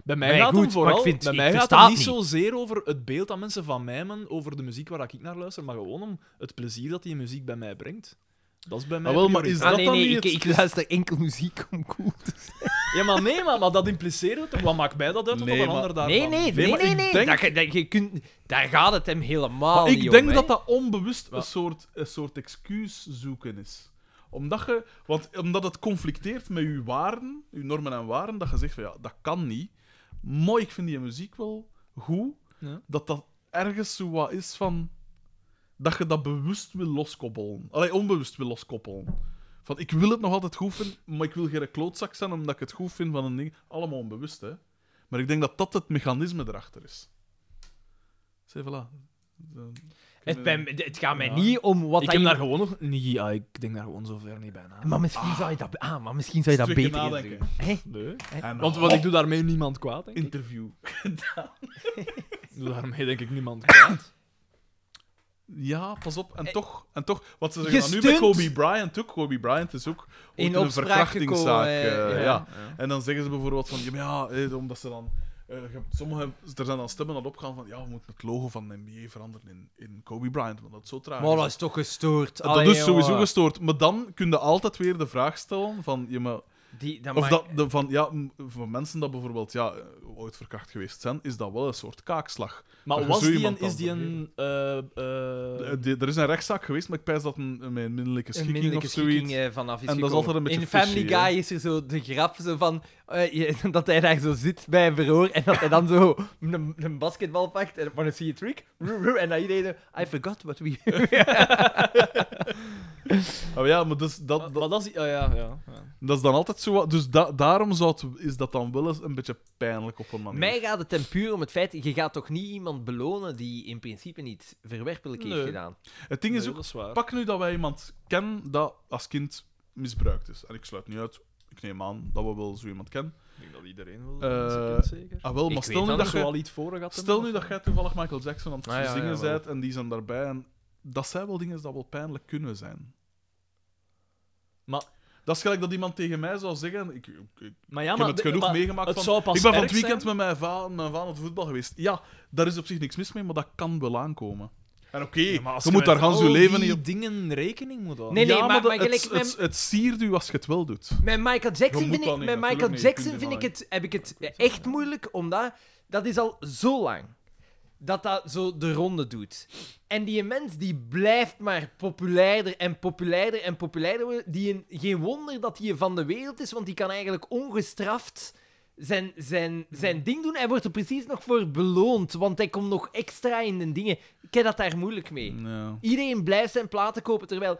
Speaker 3: Bij mij
Speaker 4: Nee,
Speaker 3: gaat
Speaker 4: goed,
Speaker 3: het vooral,
Speaker 4: maar ik vind-
Speaker 3: bij
Speaker 4: ik
Speaker 3: mij gaat
Speaker 4: versta
Speaker 3: het
Speaker 4: het
Speaker 3: niet
Speaker 4: niet.
Speaker 3: zozeer over het beeld dat mensen van mij hebben, over de muziek waar ik naar luister, maar gewoon om het plezier dat die muziek bij mij brengt. Dat is bij mij
Speaker 2: Ah, wel, maar
Speaker 3: prioriteit.
Speaker 4: ah,
Speaker 2: is dat
Speaker 4: nee,
Speaker 2: dan
Speaker 4: nee,
Speaker 2: niet
Speaker 4: ik,
Speaker 2: het-
Speaker 4: ik luister enkel muziek om cool te
Speaker 3: Ja, maar nee, maar, maar dat impliceren we toch? Wat maakt mij dat uit?
Speaker 2: Nee,
Speaker 3: Nee, een
Speaker 2: maar-
Speaker 3: ander daarvan?
Speaker 4: Nee, nee,
Speaker 2: Nee,
Speaker 4: nee,
Speaker 2: maar
Speaker 4: nee.
Speaker 2: ik
Speaker 4: nee.
Speaker 2: denk-
Speaker 4: Dat, je- dat, je kunt, daar gaat het hem helemaal
Speaker 2: Maar
Speaker 4: niet
Speaker 2: ik
Speaker 4: om,
Speaker 2: denk
Speaker 4: hè.
Speaker 2: dat dat onbewust
Speaker 3: Ja.
Speaker 2: een soort, een soort excuus zoeken is. Omdat, je, want, omdat het conflicteert met je waarden, je normen en waarden, dat je zegt van ja, dat kan niet. Maar ik vind die muziek wel goed,
Speaker 3: Ja.
Speaker 2: dat dat ergens zo wat is van. dat je dat bewust wil loskoppelen. Allee, onbewust wil loskoppelen. Van ik wil het nog altijd goed vinden, maar ik wil geen klootzak zijn omdat ik het goed vind van een ding. Allemaal onbewust, hè. Maar ik denk dat dat het mechanisme erachter is. Zeg, voilà. Dan-
Speaker 4: Het, ben- het gaat mij
Speaker 3: Ja.
Speaker 4: niet om wat
Speaker 3: Ik
Speaker 4: dat
Speaker 3: heb
Speaker 4: je-
Speaker 3: daar gewoon nog... Nee, ja, ik denk daar gewoon zover niet bij na.
Speaker 4: Maar misschien zou je dat, ah, maar misschien zou je dat
Speaker 2: Twee keer
Speaker 4: beter in
Speaker 2: nadenken.
Speaker 4: doen. Hè?
Speaker 3: Nee.
Speaker 2: En
Speaker 3: Want, want ik doe daarmee niemand kwaad, denk ik.
Speaker 2: interview.
Speaker 3: Ik doe daarmee denk ik niemand kwaad.
Speaker 2: Ja, pas op. En toch, en toch wat ze
Speaker 4: Eh, je
Speaker 2: zeggen dan nu bij
Speaker 4: stunt.
Speaker 2: Kobe Bryant ook. Kobe Bryant is ook ooit
Speaker 4: In
Speaker 2: in een
Speaker 4: opspraak
Speaker 2: verkrachtingszaak.
Speaker 4: gekomen,
Speaker 2: eh,
Speaker 4: eh,
Speaker 2: ja.
Speaker 4: ja.
Speaker 2: En dan zeggen ze bijvoorbeeld van, ja, maar ja eh, omdat ze dan... eh, je- sommige, er zijn dan stemmen dat opgaan van, ja, we moeten het logo van de NBA veranderen in, in Kobe Bryant, want dat is zo traag.
Speaker 4: Maar dat is toch gestoord.
Speaker 2: dat
Speaker 4: Allee,
Speaker 2: is sowieso
Speaker 4: jongen.
Speaker 2: gestoord. Maar dan kun je altijd weer de vraag stellen van, ja, maar
Speaker 4: Die, dat
Speaker 2: Of
Speaker 4: maakt-
Speaker 2: dat, de, van, ja, m- voor mensen dat bijvoorbeeld ja, eh, ooit verkracht geweest zijn, is dat wel een soort kaakslag.
Speaker 3: Maar
Speaker 2: Dat
Speaker 3: was
Speaker 2: je zo
Speaker 3: die een,
Speaker 2: iemand
Speaker 3: is
Speaker 2: dan
Speaker 3: die een... eh, eh,
Speaker 2: Eh, die- er is een rechtszaak geweest, maar ik pijs dat een, een minderlijke
Speaker 4: een
Speaker 2: schikking
Speaker 4: minderlijke
Speaker 2: of zoiets.
Speaker 4: schikking eh, vanaf is
Speaker 2: En dat is
Speaker 4: gekomen.
Speaker 2: altijd een beetje
Speaker 4: In Family
Speaker 2: fishy, hè.
Speaker 4: Guy is er zo de grap zo van eh, je- dat hij daar zo zit bij een verhoor en dat hij dan zo een, een basketbal pakt en wanna see a trick? Roer, roer, En dan iedereen zo, I forgot what we...
Speaker 2: Ah, ja, maar dus, dat,
Speaker 3: maar,
Speaker 2: dat,
Speaker 3: maar dat is... ah, ja, ja, ja.
Speaker 2: dat is dan altijd zo. wat- Dus da- daarom zou het, is dat dan wel eens een beetje pijnlijk op een manier.
Speaker 4: Mij gaat het ten puur om het feit, je gaat toch niet iemand belonen die in principe niet verwerpelijk heeft
Speaker 3: Nee.
Speaker 4: gedaan?
Speaker 2: Het ding is
Speaker 3: Nee,
Speaker 2: ook,
Speaker 3: dat is waar.
Speaker 2: pak nu dat wij iemand kennen dat als kind misbruikt is. En ik sluit niet uit, ik neem aan dat we wel zo iemand kennen.
Speaker 3: Ik denk dat iedereen wil.
Speaker 2: Eh,
Speaker 3: dat ze kent, zeker.
Speaker 2: Ah, wel,
Speaker 4: Ik
Speaker 2: maar
Speaker 4: weet
Speaker 2: stel nu
Speaker 4: dat
Speaker 2: dat,
Speaker 3: Zo
Speaker 2: je,
Speaker 3: al iets voor gaat
Speaker 2: stel nu dat jij toevallig Michael Jackson aan het
Speaker 4: Ah, ja, ja,
Speaker 2: zingen
Speaker 4: wel.
Speaker 2: bent en die zijn daarbij. En dat zijn wel dingen dat wel pijnlijk kunnen zijn.
Speaker 3: Maar-
Speaker 2: Dat is gelijk dat iemand tegen mij zou zeggen. Ik, ik,
Speaker 3: Maar ja,
Speaker 2: Ik
Speaker 3: maar...
Speaker 2: heb het
Speaker 3: de-
Speaker 2: genoeg
Speaker 3: maar
Speaker 2: meegemaakt
Speaker 3: het
Speaker 2: van-
Speaker 3: zou pas
Speaker 2: ik ben van het
Speaker 3: erg
Speaker 2: weekend
Speaker 3: zijn-
Speaker 2: met mijn va mijn va op het voetbal geweest. Ja, daar is op zich niks mis mee, maar dat kan wel aankomen. En oké,
Speaker 3: Ja, maar als
Speaker 2: je moet daar
Speaker 3: met
Speaker 2: gans je
Speaker 3: al
Speaker 2: leven
Speaker 3: die
Speaker 2: niet op...
Speaker 3: dingen rekening moet houden.
Speaker 4: Nee, nee,
Speaker 2: Ja,
Speaker 4: maar-
Speaker 2: dat-
Speaker 4: maar
Speaker 2: het,
Speaker 4: gelijk
Speaker 2: het,
Speaker 4: met-
Speaker 2: het, siert u als je het wel doet.
Speaker 4: Met Michael
Speaker 2: Je
Speaker 4: Jackson vind
Speaker 2: moet dat
Speaker 4: ik,
Speaker 2: niet,
Speaker 4: met
Speaker 2: natuurlijk
Speaker 4: Michael
Speaker 2: niet,
Speaker 4: Jackson
Speaker 2: punt
Speaker 4: vind ik
Speaker 2: ervan
Speaker 4: het, heb ik het echt moeilijk, omdat dat is al zo lang dat dat zo de ronde doet. En die mens die blijft maar populairder en populairder en populairder worden. Die een- geen wonder dat hij van de wereld is, want die kan eigenlijk ongestraft zijn, zijn, zijn ding doen. Hij wordt er precies nog voor beloond, want hij komt nog extra in de dingen. Ik heb dat daar moeilijk mee.
Speaker 2: Ja.
Speaker 4: Iedereen blijft zijn platen kopen, terwijl...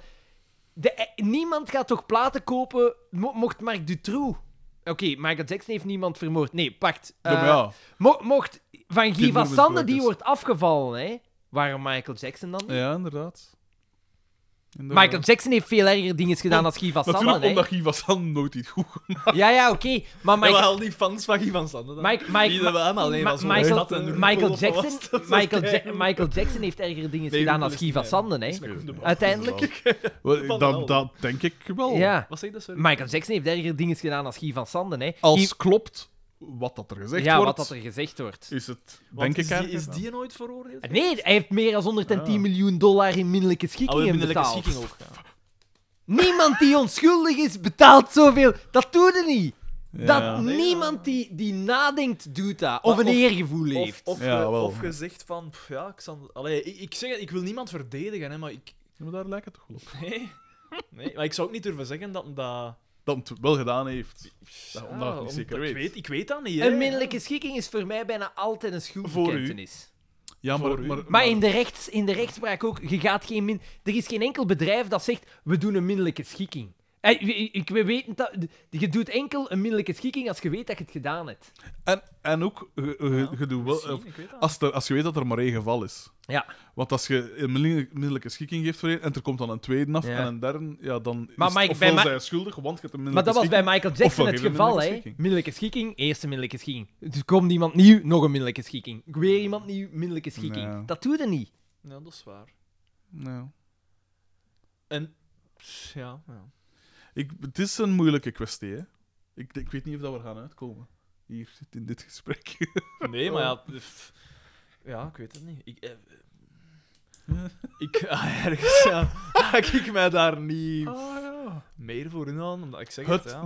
Speaker 4: De, eh, niemand gaat toch platen kopen, mo- mocht Marc Dutroux... Oké, Michael Jackson heeft niemand vermoord. Nee, pakt.
Speaker 2: Ja, maar
Speaker 4: Eh,
Speaker 2: ja.
Speaker 4: mo- mocht Van Guy van Sande, die
Speaker 2: Kindermisbruikers.
Speaker 4: wordt afgevallen, hè? Waarom Michael Jackson dan? niet?
Speaker 2: ja, inderdaad. Inderdaad.
Speaker 4: Michael Jackson heeft veel erger dingen gedaan dan Guy van Sande,
Speaker 2: Natuurlijk,
Speaker 4: hè?
Speaker 2: omdat Guy van Sand nooit iets goed gemaakt
Speaker 4: Ja, ja, oké. Maar
Speaker 3: Maar
Speaker 4: Michael...
Speaker 3: al die fans van Guy van Sande dan.
Speaker 4: Mike, Mike,
Speaker 3: Die hebben hem alleen
Speaker 4: Ma-
Speaker 3: maar zo
Speaker 4: Michael,
Speaker 3: gestad en roepen
Speaker 4: Michael
Speaker 3: of
Speaker 4: Jackson,
Speaker 3: wat was dat?
Speaker 4: Michael, Ja- Michael Jackson heeft erger dingen
Speaker 3: Nee,
Speaker 4: gedaan dan
Speaker 3: dat is
Speaker 4: Guy
Speaker 3: niet
Speaker 4: van
Speaker 3: waar.
Speaker 4: Sanden, hè?
Speaker 3: is met Koen de Bal.
Speaker 4: Uiteindelijk.
Speaker 2: heeft.
Speaker 3: Van
Speaker 2: Dat,
Speaker 3: wel.
Speaker 2: dat denk ik wel.
Speaker 4: Ja.
Speaker 3: Wat zeg je dat, sorry?
Speaker 4: Michael Jackson heeft erger dingen gedaan dan Guy van Sanden, hè?
Speaker 2: Als
Speaker 4: Guy-
Speaker 2: klopt wat dat er gezegd
Speaker 4: ja,
Speaker 2: wordt,
Speaker 4: wat dat er gezegd wordt.
Speaker 2: is het,
Speaker 3: Want
Speaker 2: denk
Speaker 3: is
Speaker 2: ik,
Speaker 3: die, is
Speaker 2: eigenlijk
Speaker 3: die nooit veroordeeld?
Speaker 4: Nee, hij heeft meer dan 110
Speaker 2: Ah.
Speaker 4: miljoen dollar in minderlijke
Speaker 3: Oh,
Speaker 4: schikkingen
Speaker 3: in de
Speaker 4: betaald.
Speaker 3: schikking ook. ja.
Speaker 4: Niemand die onschuldig is betaalt zoveel. Dat doet er niet.
Speaker 2: wel.
Speaker 4: Dat
Speaker 2: Ja.
Speaker 4: niemand die, die nadenkt doet dat. Of
Speaker 3: Maar
Speaker 4: een
Speaker 3: of-
Speaker 4: eergevoel heeft.
Speaker 3: Of, of,
Speaker 2: Ja,
Speaker 3: ge-
Speaker 2: wel.
Speaker 3: of gezegd van, pff, ja, ik, zal, allee, ik, ik zeg het, ik wil niemand verdedigen, hè, maar ik...
Speaker 2: Ja, maar daar lijkt het toch wel op.
Speaker 3: Nee. nee, maar ik zou ook niet durven zeggen dat... dat
Speaker 2: dat het wel gedaan heeft. Dat, omdat
Speaker 3: Ja,
Speaker 2: ik het niet
Speaker 3: omdat
Speaker 2: zeker
Speaker 3: ik
Speaker 2: weet.
Speaker 3: Ik weet dat niet. hè.
Speaker 4: Een middelijke schikking is voor mij bijna altijd een schuldbekentenis.
Speaker 2: Ja, maar,
Speaker 3: Voor u.
Speaker 2: maar,
Speaker 4: Maar in de, rechts, in de rechtspraak ook, je gaat geen min... Er is geen enkel bedrijf dat zegt, we doen een middelijke schikking. Eh, Ik, ik- we weten dat, je doet enkel een middelijke schikking als je weet dat je het gedaan hebt.
Speaker 2: en, en ook, je, je- je doet wel,
Speaker 3: Misschien, ik weet dat.
Speaker 2: als, er- als je weet dat er maar één geval is.
Speaker 4: Ja.
Speaker 2: Want als je een middel- middelijke schikking geeft voor één en er komt dan een tweede af
Speaker 4: Ja.
Speaker 2: en een derde, ja, dan
Speaker 4: Maar
Speaker 2: is
Speaker 4: Mike,
Speaker 2: het
Speaker 4: bij
Speaker 2: ofwel
Speaker 4: Ma-
Speaker 2: zij is schuldig, want je hebt een
Speaker 4: Maar
Speaker 2: middelijke
Speaker 4: dat was bij Michael
Speaker 2: schikking. Of
Speaker 4: Jackson
Speaker 2: wel
Speaker 4: het
Speaker 2: geen
Speaker 4: geval,
Speaker 2: middelijke
Speaker 4: hè?
Speaker 2: schikking.
Speaker 4: Middelijke schikking, eerste middelijke schikking. Dus komt iemand nieuw, nog een middelijke schikking. Weer iemand nieuw, middelijke schikking.
Speaker 2: Nee.
Speaker 4: Dat doe je niet.
Speaker 3: Ja, dat is waar.
Speaker 2: Ja.
Speaker 3: En... pff, Ja, ja.
Speaker 2: Ik, het is een moeilijke kwestie, hè. Ik, ik weet niet of dat we gaan uitkomen. Hier, in dit gesprek.
Speaker 3: Nee, maar ja...
Speaker 2: Oh.
Speaker 3: pff, Ja, ik weet het niet. Ik... eh, ik ah, ergens ja, haak ik mij daar niet meer voor in aan, omdat ik zeg het,
Speaker 2: Ah, Het
Speaker 3: ja.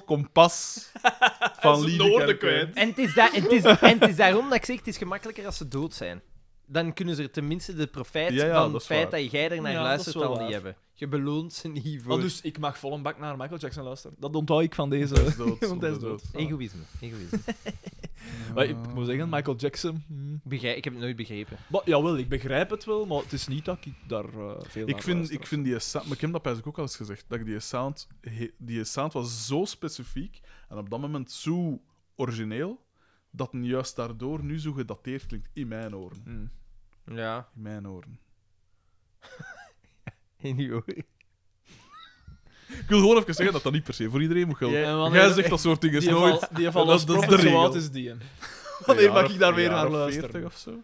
Speaker 2: kompas van
Speaker 3: zijn
Speaker 2: Lieve
Speaker 3: oren
Speaker 2: Kerk,
Speaker 3: kwijt.
Speaker 2: hè.
Speaker 4: En het is, da- het is, en het is daarom dat ik zeg, het is gemakkelijker als ze dood zijn. Dan kunnen ze er tenminste de profijt
Speaker 2: Ja, ja,
Speaker 4: van
Speaker 2: dat
Speaker 4: het
Speaker 2: is
Speaker 4: feit
Speaker 2: waar.
Speaker 4: dat jij er naar
Speaker 3: Ja, dat
Speaker 4: luistert
Speaker 3: is wel
Speaker 4: al niet
Speaker 3: waar.
Speaker 4: hebben. Je beloont ze niet voor
Speaker 3: Ah, dus ik mag vol een bak naar Michael Jackson luisteren. Dat onthoud ik van deze.
Speaker 2: Hij is dood,
Speaker 3: Want hij is
Speaker 2: dood.
Speaker 3: dood.
Speaker 4: egoïsme. egoïsme.
Speaker 3: Maar ik moet zeggen, Michael Jackson... hm.
Speaker 4: Begrijp, ik heb het nooit begrepen.
Speaker 3: Maar, jawel, ik begrijp het wel, maar het is niet dat ik daar eh, veel
Speaker 2: Ik
Speaker 3: naar
Speaker 2: vind,
Speaker 3: luister.
Speaker 2: ik vind die sound, maar ik heb dat bijzonder ook al eens gezegd, dat ik die sound, he- die sound was zo specifiek en op dat moment zo origineel, dat het juist daardoor nu zo gedateerd klinkt in mijn oren.
Speaker 3: Hm.
Speaker 4: Ja.
Speaker 2: In mijn oren.
Speaker 4: In uw oren.
Speaker 2: Ik wil gewoon even zeggen dat dat niet per se voor iedereen moet gelden.
Speaker 3: Ja, ja, want
Speaker 2: Jij
Speaker 3: ik-
Speaker 2: zegt dat soort dingen
Speaker 3: Die
Speaker 2: nooit.
Speaker 3: val, die
Speaker 2: Dat-
Speaker 3: val als
Speaker 2: dat is de
Speaker 3: profit, zo
Speaker 2: regel.
Speaker 3: oud is die. hè.
Speaker 2: Een
Speaker 3: Wanneer
Speaker 2: jaar
Speaker 3: mag
Speaker 2: of-
Speaker 3: ik daar
Speaker 2: een
Speaker 3: weer
Speaker 2: jaar
Speaker 3: naar
Speaker 2: of
Speaker 3: luisteren?
Speaker 2: 40 of zo.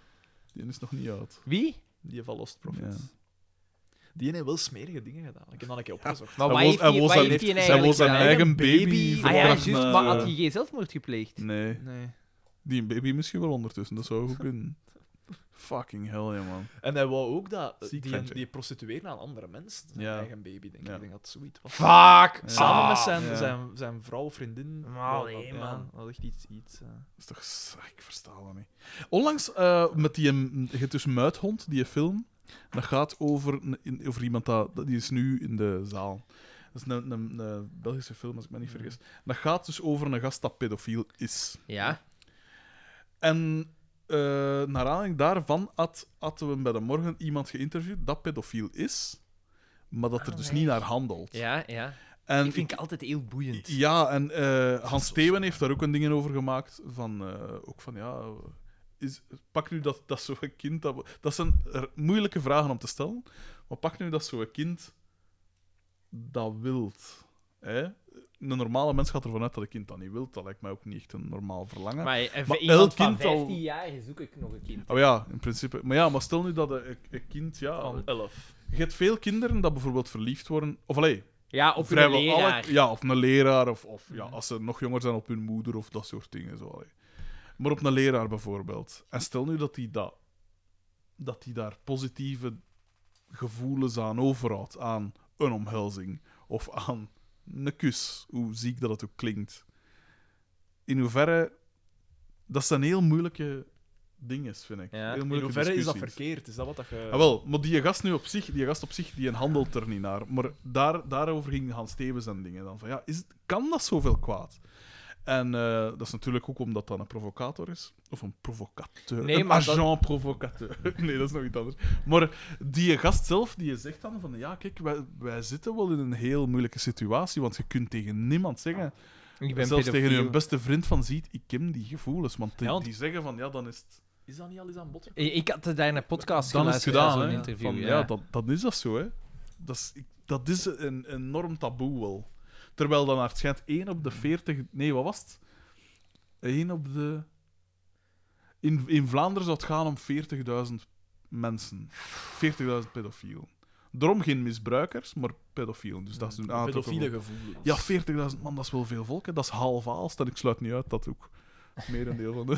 Speaker 2: Die is nog niet oud.
Speaker 4: Wie?
Speaker 3: Die van Lost Profits.
Speaker 2: Ja.
Speaker 3: Die heeft wel smerige dingen gedaan. Ik heb dat een keer opgezocht.
Speaker 4: Maar
Speaker 2: Hij
Speaker 4: waar
Speaker 2: was-
Speaker 4: heeft
Speaker 2: hij
Speaker 4: hij-
Speaker 2: was
Speaker 4: waar
Speaker 2: zijn-
Speaker 4: heeft hij
Speaker 2: hij
Speaker 4: eigenlijk
Speaker 2: was zijn
Speaker 4: gedaan?
Speaker 2: eigen baby
Speaker 4: Ah ja,
Speaker 2: verkracht
Speaker 4: juist.
Speaker 2: naar,
Speaker 4: Maar
Speaker 2: eh,
Speaker 4: had hij geen zelfmoord gepleegd?
Speaker 2: Nee.
Speaker 3: Nee.
Speaker 2: Die baby misschien wel ondertussen, dat zou goed kunnen. Fucking hell, ja, man.
Speaker 3: En hij wou ook dat eh,
Speaker 2: Ziek
Speaker 3: die,
Speaker 2: ventje.
Speaker 3: die prostitueerde aan andere mensen. Zijn
Speaker 2: Ja.
Speaker 3: eigen baby, denk ik.
Speaker 2: Ja.
Speaker 3: Ik denk dat het zoiets was.
Speaker 4: Fuck!
Speaker 3: Samen met zijn,
Speaker 2: Ja.
Speaker 3: zijn, zijn vrouw, vriendin.
Speaker 4: Allee,
Speaker 3: Ja,
Speaker 4: man.
Speaker 3: Dat is echt iets. iets eh.
Speaker 2: Dat is toch... s- Ik versta dat niet. Onlangs eh, met die... mm, je hebt dus Muithond, die film. Dat gaat over, een- in- over iemand dat... dat- Die is nu in de zaal. Dat is een, een, een Belgische film, als ik me niet vergis. Dat gaat dus over een gast dat pedofiel is.
Speaker 4: Ja.
Speaker 2: En eh, naar aanleiding daarvan had, hadden we bij de morgen iemand geïnterviewd dat pedofiel is, maar dat er dus niet naar handelt.
Speaker 4: Ja, ja.
Speaker 2: En
Speaker 4: Ik vind ik altijd heel boeiend.
Speaker 2: ja, en eh, Hans Steven heeft daar ook een ding over gemaakt. Van, eh, ook van ja. Is, pak nu dat, dat zo'n kind. Dat, dat zijn er- moeilijke vragen om te stellen. Maar pak nu dat zo'n kind dat wilt. Hè? Een normale mens gaat ervan uit dat een kind dat niet wilt. Dat lijkt mij ook niet echt een normaal verlangen.
Speaker 4: Maar, eh,
Speaker 2: Maar
Speaker 4: iemand
Speaker 2: elk
Speaker 4: van
Speaker 2: kind al-
Speaker 4: 15 jaar zoek ik nog een kind.
Speaker 2: Oh ja, in principe. Maar ja, maar stel nu dat een, een kind. Ja,
Speaker 3: Van 11.
Speaker 2: je hebt veel kinderen dat bijvoorbeeld verliefd worden. Of alleen,
Speaker 4: Ja, op een
Speaker 2: vrijwel
Speaker 4: leraar.
Speaker 2: alle- ja, of een leraar, of, of ja,
Speaker 3: Mhm.
Speaker 2: als ze nog jonger zijn op hun moeder of dat soort dingen. Zo, allee. maar op een leraar bijvoorbeeld. En stel nu dat die, dat, dat die daar positieve gevoelens aan overhoudt, aan een omhelzing of aan een kus, hoe ziek dat het ook klinkt. In hoeverre, dat zijn heel moeilijke dingen, vind ik.
Speaker 4: Ja.
Speaker 2: Heel
Speaker 3: In
Speaker 2: moeilijke
Speaker 3: hoeverre is dat
Speaker 2: discussies.
Speaker 3: verkeerd? Is dat wat dat je...
Speaker 2: Ah, wel, maar die gast nu op zich, die gast op zich, die handelt er niet naar. Maar daar, daarover ging Hans Stevens en dingen dan van, ja, is, kan dat zoveel kwaad? En eh, dat is natuurlijk ook omdat dat een provocator is. Of een provocateur.
Speaker 4: Nee,
Speaker 2: een
Speaker 4: maar dat-
Speaker 2: agent provocateur. nee, dat is nog iets anders. Maar die gast zelf, die zegt dan van, ja, kijk, wij, wij zitten wel in een heel moeilijke situatie, want je kunt tegen niemand zeggen,
Speaker 4: Ik
Speaker 2: zelfs tegen je beste vriend van ziet, ik ken die gevoelens. Want die,
Speaker 3: Ja, want-
Speaker 2: die zeggen van, ja, dan is het...
Speaker 3: Is dat niet al eens aan bod?
Speaker 4: Ik ik had daar een podcast
Speaker 2: Dan is het
Speaker 4: geluisterd,
Speaker 2: gedaan,
Speaker 4: zo'n
Speaker 2: hè.
Speaker 4: interview.
Speaker 2: Van, ja,
Speaker 4: ja.
Speaker 2: dat, dat is dat zo, hè. Dat is, ik- dat is een enorm taboe wel. Terwijl dan naar het schijnt 1 op
Speaker 4: Mm.
Speaker 2: de 40... Nee, wat was het? 1 op de... In, in Vlaanderen zou het gaan om 40.000 mensen. 40.000 pedofielen. Daarom geen misbruikers, maar pedofielen. Dus
Speaker 4: Mm.
Speaker 2: dat is een aantal.
Speaker 3: Pedofiele gevoelens.
Speaker 2: Ja, 40.000 man, dat is wel veel volk. Hè. Dat is half Aalst. En ik sluit niet uit dat ook merendeel van de...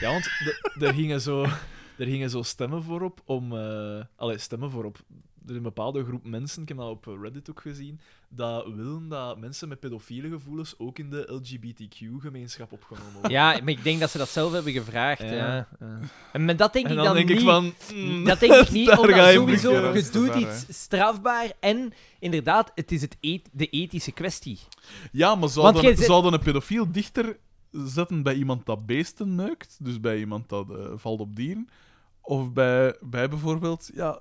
Speaker 3: Ja, want d- er gingen, zo, er gingen zo stemmen voor op om. eh allee, stemmen voor op er is een bepaalde groep mensen, ik heb dat op Reddit ook gezien, dat willen dat mensen met pedofiele gevoelens ook in de LGBTQ-gemeenschap opgenomen worden.
Speaker 4: Ja, maar ik denk dat ze dat zelf hebben gevraagd.
Speaker 3: Ja,
Speaker 4: hè.
Speaker 3: ja.
Speaker 4: En met dat denk
Speaker 3: En
Speaker 4: ik
Speaker 3: dan,
Speaker 4: dan
Speaker 3: denk
Speaker 4: niet.
Speaker 3: ik van... mm,
Speaker 4: Dat denk ik niet,
Speaker 3: daar
Speaker 4: omdat
Speaker 3: ga je
Speaker 4: sowieso
Speaker 2: een beetje
Speaker 4: je doet
Speaker 2: raar,
Speaker 4: iets strafbaar en inderdaad, het is het et- de ethische kwestie.
Speaker 2: Ja, maar
Speaker 4: Want
Speaker 2: zou
Speaker 4: jij
Speaker 2: dan,
Speaker 4: zit-
Speaker 2: zou dan een pedofiel dichter zetten bij iemand dat beesten neukt, dus bij iemand dat eh, valt op dieren, of bij, bij bijvoorbeeld ja,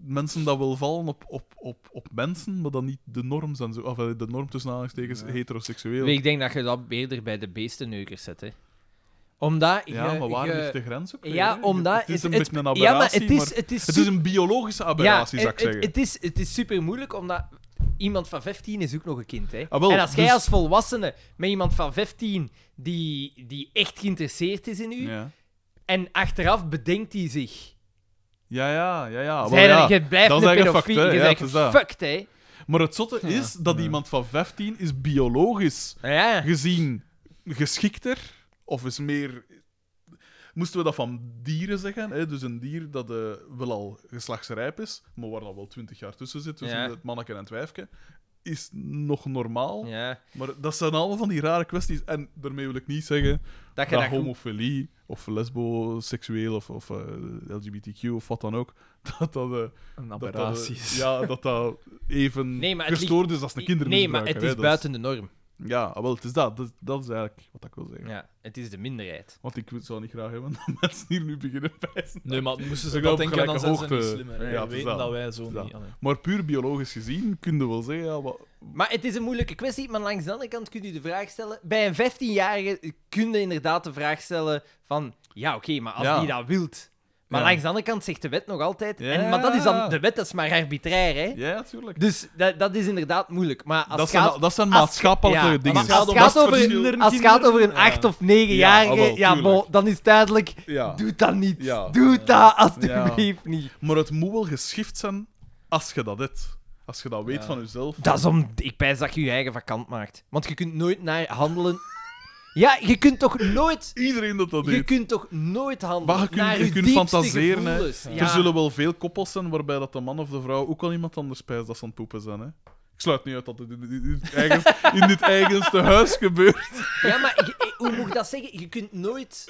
Speaker 2: mensen dat wil vallen op, op, op, op mensen, maar dan niet de norm zijn, zo, of eh, de norm tussen aanhalingstekens heteroseksueel.
Speaker 4: Ik denk dat je dat eerder bij de beestenneukers zet. Hè. Omdat je-
Speaker 2: ja, maar waar
Speaker 4: je-
Speaker 2: ligt de grens ook? weer,
Speaker 4: Ja,
Speaker 2: hè?
Speaker 4: omdat
Speaker 2: het is
Speaker 4: het-
Speaker 2: een
Speaker 4: het-
Speaker 2: beetje een
Speaker 4: ja, maar
Speaker 2: aberratie,
Speaker 4: het is, het is,
Speaker 2: het
Speaker 4: super-
Speaker 2: is een biologische aberratie, zou ik
Speaker 4: het,
Speaker 2: zeggen.
Speaker 4: het is, het is super moeilijk omdat iemand van 15 is ook nog een kind. Hè?
Speaker 2: Ah, wel,
Speaker 4: en als jij
Speaker 2: dus-
Speaker 4: als volwassene met iemand van 15 die, die echt geïnteresseerd is in u,
Speaker 2: ja.
Speaker 4: en achteraf bedenkt hij zich.
Speaker 2: Ja, ja, ja, ja.
Speaker 4: Zij
Speaker 2: Ah, wel, ja.
Speaker 4: dan, je blijft
Speaker 2: dan
Speaker 4: een
Speaker 2: zijn je
Speaker 4: pedofiel.
Speaker 2: fucked, hè.
Speaker 4: Je
Speaker 2: Ja,
Speaker 4: bent
Speaker 2: het is dat.
Speaker 4: gefucked, hè?
Speaker 2: Maar het zotte is dat iemand van 15 is biologisch
Speaker 4: Ah, Ja.
Speaker 2: gezien geschikter of is meer. Moesten we dat van dieren zeggen? Hè? Dus een dier dat eh, wel al geslachtsrijp is, maar waar dan wel 20 jaar tussen zit, tussen
Speaker 4: Ja.
Speaker 2: het manneke en het wijfje, is nog normaal.
Speaker 4: ja.
Speaker 2: Maar dat zijn allemaal van die rare kwesties. En daarmee wil ik niet zeggen
Speaker 4: Dat
Speaker 2: dat,
Speaker 4: je dat goed-
Speaker 2: homofilie of lesboseksueel of, of eh, LGBTQ of wat dan ook, dat dat. eh,
Speaker 3: Een
Speaker 2: dat dat, eh,
Speaker 3: aberratie is.
Speaker 2: ja, dat dat even
Speaker 4: Nee, maar het
Speaker 2: gestoord is als een
Speaker 4: Nee,
Speaker 2: kindermisbruiker.
Speaker 4: maar het
Speaker 2: hè.
Speaker 4: is
Speaker 2: Dat
Speaker 4: buiten de norm.
Speaker 2: Ja, ah, wel, het is dat. dat. Dat is eigenlijk wat ik wil zeggen.
Speaker 4: Ja, het is de minderheid.
Speaker 2: Want ik zou niet graag hebben dat mensen hier nu beginnen pijzen.
Speaker 3: Nee, maar moesten ze
Speaker 2: Ik loop
Speaker 3: dat denken, dan
Speaker 2: gelijke
Speaker 3: zijn ze niet
Speaker 2: hoogte.
Speaker 3: slimmer. hè.
Speaker 2: Ja,
Speaker 3: We
Speaker 2: het is
Speaker 3: weten
Speaker 2: dat.
Speaker 3: dat wij zo
Speaker 2: Het is
Speaker 3: niet...
Speaker 2: dat.
Speaker 3: allee.
Speaker 2: Maar puur biologisch gezien kun je wel zeggen, ja, wat...
Speaker 4: Maar het is een moeilijke kwestie, maar langs de andere kant kun je de vraag stellen... Bij een 15-jarige kun je inderdaad de vraag stellen van... Ja, oké, maar als
Speaker 2: Ja.
Speaker 4: die dat wilt... Maar
Speaker 2: Ja.
Speaker 4: langs de andere kant zegt de wet nog altijd...
Speaker 2: Ja.
Speaker 4: En, maar dat is dan... De wet dat is maar arbitrair, hè?
Speaker 2: Ja, natuurlijk.
Speaker 4: Dus dat, dat is inderdaad moeilijk. Maar als
Speaker 2: Dat
Speaker 4: het
Speaker 2: zijn,
Speaker 4: gaat...
Speaker 2: dat zijn
Speaker 4: als-
Speaker 2: maatschappelijke
Speaker 4: ja,
Speaker 2: dingen.
Speaker 4: maar als het gaat over, als het gaat over een 8 of 9-jarige,
Speaker 2: Ja,
Speaker 4: ja,
Speaker 2: ah, wel, tuurlijk.
Speaker 4: bon, dan is het duidelijk,
Speaker 2: Ja.
Speaker 4: doe dat niet.
Speaker 2: Ja.
Speaker 4: Doe dat alsjeblieft niet.
Speaker 2: Maar het moet wel geschift zijn als je dat hebt. Als je dat weet
Speaker 3: Ja.
Speaker 2: van jezelf.
Speaker 4: Dat is om... Ik pijs dat je je eigen vakant maakt. Want je kunt nooit naar handelen... Ja, je kunt toch nooit...
Speaker 2: Iedereen dat dat
Speaker 4: Je
Speaker 2: heeft.
Speaker 4: kunt toch nooit handelen
Speaker 2: Maar je kunt-
Speaker 4: naar
Speaker 2: je
Speaker 4: je
Speaker 2: kunt
Speaker 4: diepste
Speaker 2: fantaseren, hè.
Speaker 4: gevoelens? Ja.
Speaker 2: Er zullen wel veel koppels zijn waarbij dat de man of de vrouw ook al iemand anders pijst dat ze aan het poepen zijn. Hè? Ik sluit niet uit dat het in, in- in het eigen- in dit eigenste huis gebeurt.
Speaker 4: Ja, maar je- eh, hoe moet ik dat zeggen? Je kunt nooit...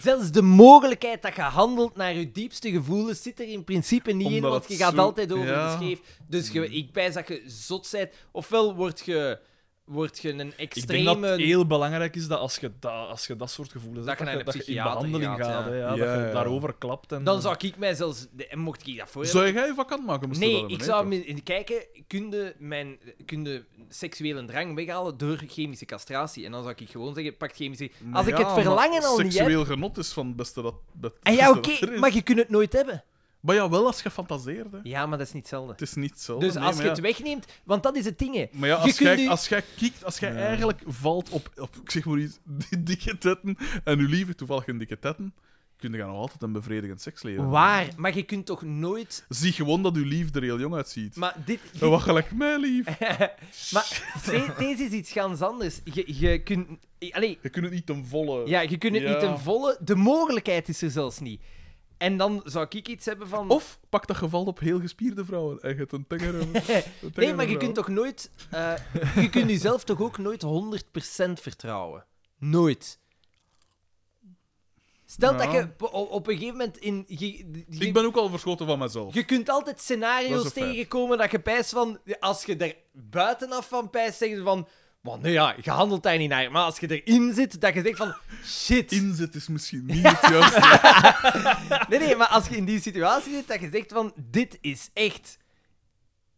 Speaker 4: Zelfs de mogelijkheid dat je handelt naar je diepste gevoelens zit er in principe niet in,
Speaker 2: Omdat
Speaker 4: want je
Speaker 2: het
Speaker 4: gaat
Speaker 2: zo-
Speaker 4: altijd over
Speaker 2: ja. Mm.
Speaker 4: de scheef. Dus je, ik pijs dat je zot bent. Ofwel word je, word je een
Speaker 3: Ik denk dat het
Speaker 4: extreme...
Speaker 3: heel belangrijk is dat als je dat, als je dat soort gevoelens
Speaker 4: Dat
Speaker 3: hebt,
Speaker 4: je naar
Speaker 3: dat je,
Speaker 4: de
Speaker 3: dat je in
Speaker 4: psychiater
Speaker 3: behandeling
Speaker 4: gaat,
Speaker 3: gaat.
Speaker 4: ja.
Speaker 3: hè, ja,
Speaker 2: Ja,
Speaker 3: dat je
Speaker 2: ja.
Speaker 3: daarover klapt. En,
Speaker 4: Dan zou ik mij zelfs... de- Mocht ik dat voor hebben?
Speaker 2: Zou jij je vakant maken? moest je
Speaker 4: Nee,
Speaker 2: dat
Speaker 4: ik
Speaker 2: hebben,
Speaker 4: zou
Speaker 2: hè,
Speaker 4: me- in- kijken, kunde mijn kunde seksuele drang weghalen door chemische castratie. En dan zou ik gewoon zeggen, pak chemische...
Speaker 2: toch?
Speaker 4: Als ik
Speaker 2: Ja,
Speaker 4: het
Speaker 2: maar
Speaker 4: verlangen al niet heb...
Speaker 2: Seksueel genot is van het beste dat. dat
Speaker 4: En ja,
Speaker 2: beste
Speaker 4: oké,
Speaker 2: dat er is.
Speaker 4: maar je kunt het nooit hebben.
Speaker 2: Maar ja, wel als je fantaseert. Hè.
Speaker 4: Ja, maar dat is niet hetzelfde.
Speaker 2: Het is niet hetzelfde.
Speaker 4: Dus
Speaker 2: nee,
Speaker 4: als
Speaker 2: maar
Speaker 4: je
Speaker 2: ja.
Speaker 4: het wegneemt, want dat is het ding. hè.
Speaker 2: Maar ja,
Speaker 4: Je
Speaker 2: als
Speaker 4: kunt
Speaker 2: jij,
Speaker 4: u-
Speaker 2: als jij kiekt, als jij eigenlijk valt op, op, ik zeg maar iets, die dikke tetten, en je lieve toevallig een dikke tetten, kun je dan nog altijd een bevredigend seksleven.
Speaker 4: Waar? Maar je kunt toch nooit.
Speaker 2: Zie gewoon dat uw lief er heel jong uitziet.
Speaker 4: Maar dit.
Speaker 2: En Wat gelijk mij lief.
Speaker 4: maar de- deze is iets ganz anders. Je, je kunt. Allee,
Speaker 2: Je kunt het niet ten volle.
Speaker 4: ja, je kunt het
Speaker 2: Ja.
Speaker 4: niet ten volle. De mogelijkheid is er zelfs niet. En dan zou ik iets hebben van.
Speaker 2: Of pak dat geval op heel gespierde vrouwen en je hebt een tengere. een
Speaker 4: nee,
Speaker 2: tengere
Speaker 4: maar je
Speaker 2: vrouw.
Speaker 4: kunt toch nooit. eh, je kunt jezelf toch ook nooit 100% vertrouwen? Nooit. Stel dat
Speaker 2: Ja.
Speaker 4: je op- op een gegeven moment in. je- je-
Speaker 2: Nou. Ik ben ook al verschoten van mezelf.
Speaker 4: Je kunt altijd
Speaker 2: Dat is
Speaker 4: scenario's
Speaker 2: een feit.
Speaker 4: tegenkomen dat je pijst van... Als je er buitenaf van pijst, zeg je van... "Wel, nee ja, je handelt daar niet naar. Maar als je erin zit, dat je zegt van... Shit.
Speaker 2: Inzet is misschien niet het juiste.
Speaker 4: Nee, nee, maar als je in die situatie zit, dat je zegt van... Dit is echt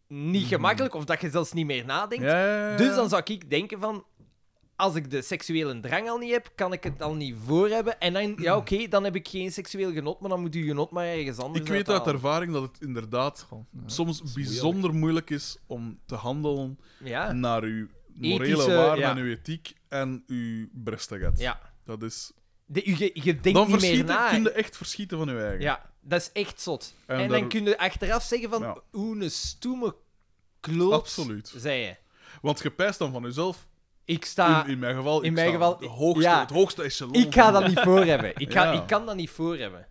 Speaker 4: niet gemakkelijk. Of dat je zelfs niet meer nadenkt.
Speaker 2: Mm. Ja, ja, ja.
Speaker 4: Dus dan zou ik denken van... Als ik de seksuele drang al niet heb, kan ik het al niet voor hebben. En dan, ja, oké, dan heb ik geen seksueel genot, maar dan moet je genot maar ergens anders
Speaker 2: Ik weet uit
Speaker 4: uithalen.
Speaker 2: ervaring dat het inderdaad soms bijzonder moeilijk is om te handelen
Speaker 4: Ja,
Speaker 2: naar uw morele
Speaker 4: Ethische,
Speaker 2: waarden
Speaker 4: ja.
Speaker 2: en uw ethiek en uw brestigheid.
Speaker 4: ja.
Speaker 2: Dat is...
Speaker 4: De, je, je denkt
Speaker 2: Dan
Speaker 4: niet meer
Speaker 2: verschieten,
Speaker 4: na.
Speaker 2: kun je echt verschieten van uw eigen.
Speaker 4: Ja, dat is echt zot.
Speaker 2: En
Speaker 4: En,
Speaker 2: daar-
Speaker 4: dan kun je achteraf zeggen van,
Speaker 2: Ja.
Speaker 4: hoe een stoeme kloot
Speaker 2: Absoluut.
Speaker 4: zei je.
Speaker 2: Want je pijst dan van jezelf,
Speaker 4: Ik sta...
Speaker 2: in, in mijn geval,
Speaker 4: Ah, in
Speaker 2: ik
Speaker 4: mijn
Speaker 2: sta
Speaker 4: geval-
Speaker 2: de hoogste,
Speaker 4: ja.
Speaker 2: het hoogste echelon.
Speaker 4: ik ga
Speaker 2: van-
Speaker 4: dat niet voor hebben. Ik, ga,
Speaker 2: Ja.
Speaker 4: ik kan dat niet voor hebben.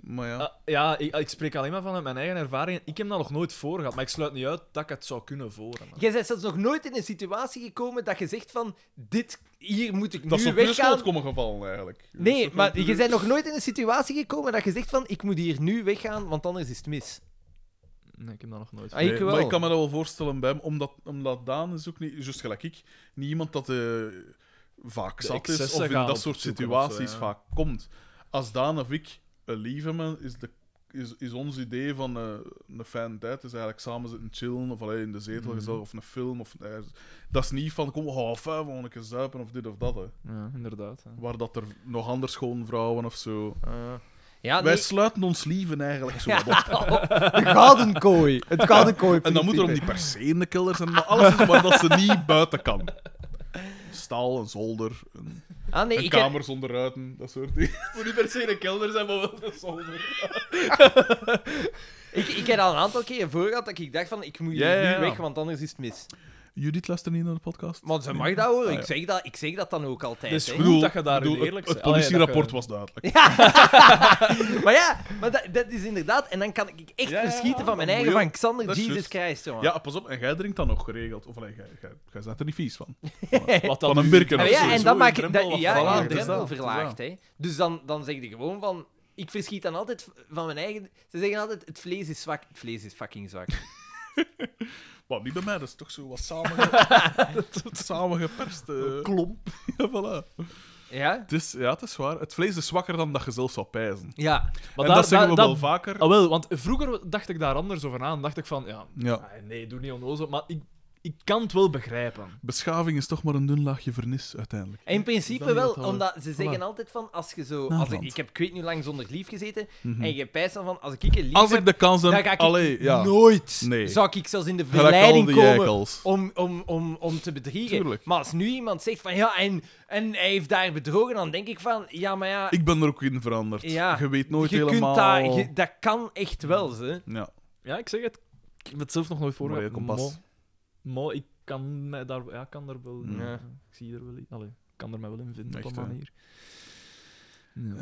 Speaker 2: Maar
Speaker 4: Eh,
Speaker 2: ja.
Speaker 3: Ah, ja, ik, ik spreek alleen maar vanuit mijn eigen ervaring. Ik heb dat nog nooit voor gehad, maar ik sluit niet uit dat ik het zou kunnen voor hebben.
Speaker 4: Jij bent zelfs nog nooit in een situatie gekomen dat je zegt van, dit, hier moet ik
Speaker 2: dat is
Speaker 4: nu
Speaker 2: op je schoot
Speaker 4: weggaan.
Speaker 2: komen gevallen, eigenlijk. Dat is
Speaker 4: Nee,
Speaker 2: toch
Speaker 4: maar
Speaker 2: wel-
Speaker 4: je bent nog nooit in een situatie gekomen dat je zegt van, ik moet hier nu weggaan, want anders is het mis.
Speaker 15: Nee, ik heb dat nog nooit.
Speaker 4: Ah, ik
Speaker 2: Nee,
Speaker 4: wel.
Speaker 2: Maar ik kan me dat wel voorstellen bij hem, omdat, omdat Daan is ook niet, juist gelijk ik, niet iemand dat eh, vaak
Speaker 3: De
Speaker 2: zat is
Speaker 3: excessen
Speaker 2: of in
Speaker 3: gaan
Speaker 2: dat soort
Speaker 3: opzoeken of zo,
Speaker 2: situaties
Speaker 3: ja.
Speaker 2: vaak komt. Als Daan of ik een lief hebben, is, de, is, is ons idee van eh, een fijne tijd is eigenlijk samen zitten chillen of alleen in de zetel gezellig of een film. Of, eh, dat is niet van kom, oh, fijn, we gaan een keer zuipen of dit of dat. Hè.
Speaker 15: Ja, inderdaad. hè.
Speaker 2: Waar dat er nog anders schoonvrouwen of zo.
Speaker 4: Ja,
Speaker 2: Wij
Speaker 4: nee.
Speaker 2: sluiten ons lieven eigenlijk zo wat op.
Speaker 4: De gouden kooi. Het gouden kooi.
Speaker 2: En dan moet er om die per se in de kelder zijn, maar alles is maar dat ze niet buiten kan. Staal, een zolder, een,
Speaker 4: Ah, nee,
Speaker 2: een
Speaker 4: ik heb-
Speaker 2: kamer zonder ruiten, dat soort dingen.
Speaker 3: moet niet per se een kelder zijn, maar wel een zolder.
Speaker 4: Ik, ik heb al een aantal keren voor gehad dat ik dacht van, ik moet hier
Speaker 2: Ja, ja, ja.
Speaker 4: nu weg, want anders is het mis.
Speaker 2: Judith luistert niet naar de podcast.
Speaker 4: Maar ze mag dat hoor,
Speaker 2: Ah, ja.
Speaker 4: ik, zeg dat, ik zeg dat dan ook altijd.
Speaker 3: Dus
Speaker 4: hè.
Speaker 3: goed dat je daarin
Speaker 2: bedoel,
Speaker 3: eerlijk
Speaker 2: het, het
Speaker 3: bent. Allee,
Speaker 2: politierapport
Speaker 3: dat je-
Speaker 2: was duidelijk.
Speaker 4: Maar ja, maar dat, dat is inderdaad, en dan kan ik echt
Speaker 2: Ja, ja,
Speaker 4: verschieten van mijn
Speaker 2: dan
Speaker 4: eigen,
Speaker 2: moet je
Speaker 4: van Xander,
Speaker 2: dat is
Speaker 4: Jesus
Speaker 2: juist.
Speaker 4: Christ, jongen.
Speaker 2: Ja, pas op, en jij drinkt dan nog geregeld. Of allee, jij, jij, jij bent er niet vies van.
Speaker 3: Wat
Speaker 2: Van
Speaker 3: dan
Speaker 2: een
Speaker 3: nu? Ah,
Speaker 2: birken
Speaker 4: Ja,
Speaker 2: of
Speaker 4: maar ja,
Speaker 2: zo.
Speaker 4: en dan
Speaker 3: sowieso je
Speaker 4: maak je
Speaker 3: drempel
Speaker 4: dat-
Speaker 3: wat
Speaker 4: ja,
Speaker 2: verlaagd.
Speaker 4: je
Speaker 2: Het is
Speaker 4: drempel
Speaker 2: dat, het is
Speaker 4: verlaagt. Hè. Dus dan, dan zeg je gewoon van... Ik verschiet dan altijd van mijn eigen... Ze zeggen altijd, het vlees is zwak. Het vlees is fucking zwak.
Speaker 2: Maar niet bij mij, dat is toch zo wat samengeperst. samen Klomp. Ja, voilà.
Speaker 4: Ja?
Speaker 2: Het is, ja, het is waar. Het vlees is zwakker dan dat je zelf zou pijzen.
Speaker 4: Ja.
Speaker 3: Maar
Speaker 2: en
Speaker 3: daar-
Speaker 2: dat zeggen we
Speaker 3: daar-
Speaker 2: wel
Speaker 3: dat-
Speaker 4: Oh.
Speaker 2: vaker.
Speaker 3: Ah, wel, want vroeger dacht ik daar anders over na. Dan dacht ik van, ja,
Speaker 2: Ja.
Speaker 3: ah, nee, doe niet onnozel. Maar ik, ik kan het wel begrijpen.
Speaker 2: Beschaving is toch maar een dun laagje vernis, uiteindelijk.
Speaker 4: En in principe
Speaker 2: niet
Speaker 4: wel,
Speaker 2: wat dat we-
Speaker 4: omdat ze zeggen
Speaker 2: Voilà.
Speaker 4: altijd van, als je zo... Als ik,
Speaker 2: Naderhand.
Speaker 4: ik heb ik weet niet hoe lang zonder lief gezeten, en je pijst dan van, als ik een lief
Speaker 2: Mhm. Als
Speaker 4: heb,
Speaker 2: ik de kans heb...
Speaker 4: dan ga ik
Speaker 2: Allee, ja.
Speaker 4: nooit...
Speaker 2: Nee.
Speaker 4: Zou ik zelfs in de
Speaker 2: Gelijk al
Speaker 4: verleiding
Speaker 2: die
Speaker 4: komen Oh.
Speaker 2: eikels.
Speaker 4: om, om, om, om te bedriegen.
Speaker 2: Tuurlijk.
Speaker 4: Maar als nu iemand zegt van, ja, en, en hij heeft daar bedrogen, dan denk ik van, ja, maar ja...
Speaker 2: Ik ben er ook in veranderd.
Speaker 4: Ja.
Speaker 2: Je weet nooit
Speaker 4: je
Speaker 2: helemaal...
Speaker 4: Kunt dat, je- dat kan echt wel, ze.
Speaker 2: Ja.
Speaker 3: Ja, ik zeg het. Ik heb het zelf nog nooit voor
Speaker 2: Mooi
Speaker 3: gehad,
Speaker 2: kompas.
Speaker 3: Maar, maar ik kan, mij daar, ja, kan er wel...
Speaker 2: Ja.
Speaker 3: Ik zie er wel in. Allee, ik kan er mij wel in vinden,
Speaker 2: Echt,
Speaker 3: op
Speaker 2: hè.
Speaker 3: een manier. Ja.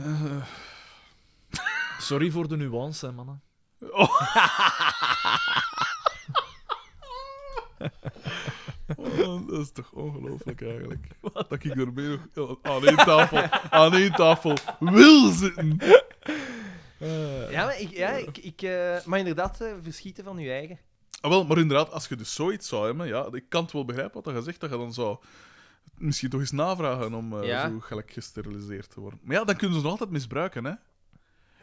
Speaker 3: Sorry voor de nuance, hè, mannen.
Speaker 2: Oh, dat is toch ongelooflijk, eigenlijk. Dat ik ermee nog aan één tafel, aan één tafel wil zitten.
Speaker 4: Ja, maar, ik, ja, ik, ik, eh, maar inderdaad, eh, verschieten van je eigen.
Speaker 2: Ah, wel, maar inderdaad, als je dus zoiets zou hebben... Ja, ik kan het wel begrijpen wat je zegt, dat je dan zou... Misschien toch eens navragen om eh,
Speaker 4: Ja.
Speaker 2: zo gelijk gesteriliseerd te worden. Maar ja, dan kunnen ze nog altijd misbruiken, hè.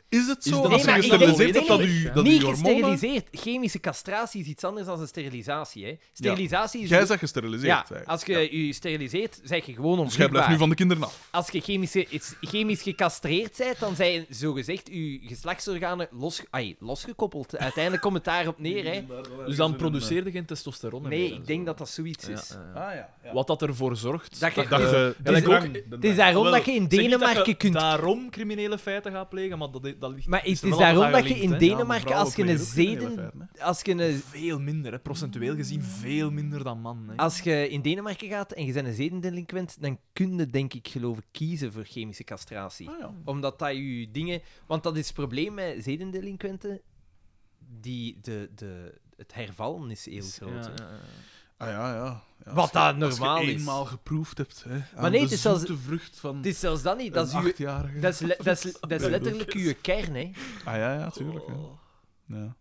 Speaker 2: Is het zo? dat
Speaker 3: dat-
Speaker 4: Nee,
Speaker 2: als je
Speaker 4: maar ik denk-
Speaker 2: gesteriliseerd hebt,
Speaker 4: nee,
Speaker 2: dat
Speaker 4: nee,
Speaker 2: u- dat
Speaker 4: niet
Speaker 2: uw hormonen...
Speaker 4: gesteriliseerd. Chemische castratie is iets anders dan een sterilisatie. Hè. Sterilisatie is...
Speaker 2: Jij bent gesteriliseerd,
Speaker 4: ja,
Speaker 2: eigenlijk.
Speaker 4: als je
Speaker 2: Ja.
Speaker 4: je steriliseert, zeg je gewoon
Speaker 2: Dus jij blijft nu
Speaker 4: onvruchtbaar.
Speaker 2: van de kinderen af.
Speaker 4: Als je chemische, is- chemisch gecastreerd bent, dan zijn zogezegd je geslachtsorganen los, ai, losgekoppeld. Uiteindelijk komt het daarop neer. Hè.
Speaker 3: Dus dan produceerde geen testosteron meer
Speaker 4: Nee,
Speaker 3: en
Speaker 4: ik denk
Speaker 3: zo.
Speaker 4: dat dat zoiets
Speaker 3: Ja,
Speaker 4: is.
Speaker 3: ja, ja.
Speaker 2: Ah ja.
Speaker 3: Wat dat ervoor zorgt...
Speaker 4: Dat je-
Speaker 2: Dat
Speaker 4: Eh,
Speaker 2: je
Speaker 4: het is
Speaker 2: de drang-
Speaker 4: ook-
Speaker 2: de
Speaker 4: Het is
Speaker 2: drang.
Speaker 4: daarom
Speaker 3: Wel,
Speaker 4: dat je in
Speaker 3: ik zeg niet
Speaker 4: Denemarken
Speaker 3: dat je
Speaker 4: kunt
Speaker 3: daarom criminele feiten gaat plegen, maar dat, dat ligt...
Speaker 4: Maar het
Speaker 3: er
Speaker 4: is
Speaker 3: wel altijd
Speaker 4: daarom
Speaker 3: aan
Speaker 4: dat je in
Speaker 3: gelinkt, hè.
Speaker 2: maar
Speaker 4: Denemarken,
Speaker 2: vrouwen
Speaker 4: als je een
Speaker 2: plegen ook criminele
Speaker 4: zeden...
Speaker 2: feiten, hè.
Speaker 4: Als je, een,
Speaker 3: Veel minder, hè. procentueel gezien veel minder dan man. Hè.
Speaker 4: als je in Denemarken gaat en je bent een zedendelinquent, dan kun je, denk ik, geloof ik, kiezen voor chemische castratie.
Speaker 2: Ah, ja.
Speaker 4: Omdat dat je dingen... Want dat is het probleem met zedendelinquenten. Die, de, de, het hervallen is heel
Speaker 3: Dus,
Speaker 4: groot.
Speaker 3: ja,
Speaker 4: hè.
Speaker 3: ja, ja.
Speaker 2: Ah ja, ja. ja
Speaker 4: Wat
Speaker 2: als je-
Speaker 4: dat normaal
Speaker 2: als je
Speaker 4: is.
Speaker 2: eenmaal geproefd hebt, hè. aan
Speaker 4: Maar nee,
Speaker 2: de
Speaker 4: het is zelfs-
Speaker 2: zoete vrucht van
Speaker 4: Het is zelfs dat niet. Dat is,
Speaker 2: een
Speaker 4: uw-
Speaker 2: achtjarige.
Speaker 4: dat is, le- dat is, dat is letterlijk je kern, hè.
Speaker 2: Ah ja, ja, tuurlijk. hè.
Speaker 4: Oh.
Speaker 2: Ja.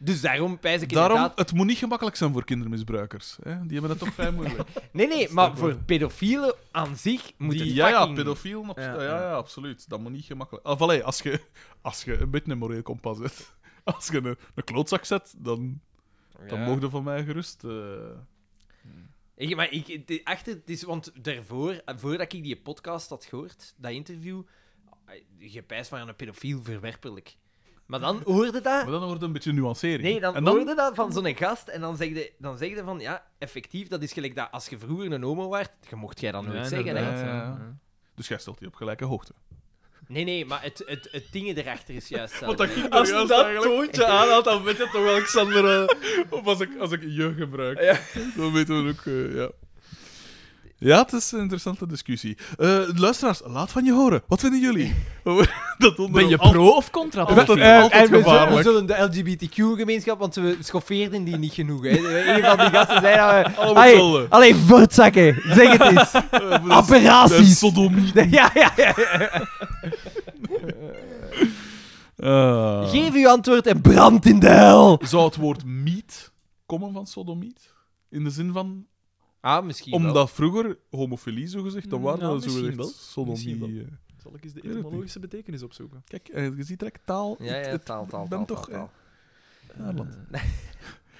Speaker 4: Dus daarom pijs ik
Speaker 2: Daarom,
Speaker 4: inderdaad...
Speaker 2: het moet niet gemakkelijk zijn voor kindermisbruikers. Hè. Die hebben dat toch vrij moeilijk.
Speaker 4: Nee, nee, maar voor pedofielen aan zich moet
Speaker 2: Die-
Speaker 4: het
Speaker 2: ja, ja,
Speaker 4: fucking-
Speaker 2: pedofiel. abso-
Speaker 3: Ja,
Speaker 2: Ja, ja,
Speaker 3: ja.
Speaker 2: absoluut. Dat moet niet gemakkelijk... Of allee, als je, als je een beetje een moreel kompas hebt, als je een, een klootzak zet, dan, dan mogen je van mij gerust... eh,
Speaker 4: Ik, maar ik, de- achter, het is, want daarvoor, eh, voordat ik die podcast had gehoord, dat interview, eh, je pijst van een pedofiel verwerpelijk. Maar dan hoorde dat...
Speaker 2: Maar dan wordt het een beetje nuancering.
Speaker 4: Nee, dan,
Speaker 2: en
Speaker 4: hoorde dat van zo'n gast en dan zegde, dan zegde van, ja, effectief, dat is gelijk dat als je vroeger een homo werd, je mocht jij dat nooit zeggen, hè.
Speaker 3: inderdaad,
Speaker 2: hè?
Speaker 3: ja,
Speaker 2: Ja,
Speaker 3: ja.
Speaker 2: Dus jij stelt die op gelijke hoogte.
Speaker 4: Nee, nee, maar het, het, het ding erachter is juist
Speaker 2: Wat
Speaker 4: dat.
Speaker 2: dat ik
Speaker 3: Als
Speaker 2: als
Speaker 3: je
Speaker 2: juist
Speaker 3: dat
Speaker 2: eigenlijk...
Speaker 3: toontje aanhaalt, dan weet je toch wel, Xander... eh,
Speaker 2: Of als ik, als ik je gebruik.
Speaker 3: Ja.
Speaker 2: Dan weten we ook... eh, ja. Ja, het is een interessante discussie. Eh, luisteraars, laat van je horen. Wat vinden jullie? dat onder
Speaker 3: Ben je pro of contra?
Speaker 2: Altijd, altijd
Speaker 4: En we zullen, we
Speaker 2: gevaarlijk.
Speaker 4: zullen de LGBTQ-gemeenschap, want we schoffeerden die niet genoeg. Hè. Een van die gasten zei dat we...
Speaker 2: Allemaal
Speaker 4: Allee,
Speaker 2: hetzelfde.
Speaker 4: allee, voortzakken. Zeg het eens.
Speaker 2: Eh, dat is- dat is
Speaker 4: Apparaties.
Speaker 2: Sodomie.
Speaker 4: Ja, ja, ja.
Speaker 3: Ah.
Speaker 2: Eh,
Speaker 4: Geef uw antwoord en brand in de hel.
Speaker 2: Zou het woord meat komen van sodomiet? In de zin van
Speaker 4: Ah, misschien wel.
Speaker 2: Omdat vroeger homofilie zo gezegd, dan waren
Speaker 3: Mm, Ja,
Speaker 2: dat zo
Speaker 3: misschien
Speaker 2: gezegd
Speaker 3: wel.
Speaker 2: sodomie.
Speaker 3: Misschien wel.
Speaker 2: eh.
Speaker 3: Zal ik eens de
Speaker 2: Weet het niet.
Speaker 3: etymologische betekenis opzoeken?
Speaker 2: Kijk, eh, je ziet direct taal.
Speaker 4: Ja,
Speaker 2: Het-
Speaker 4: ja,
Speaker 2: het-
Speaker 4: taal, taal,
Speaker 2: ik ben
Speaker 4: taal,
Speaker 2: toch,
Speaker 4: taal, taal.
Speaker 2: eh, Nederland.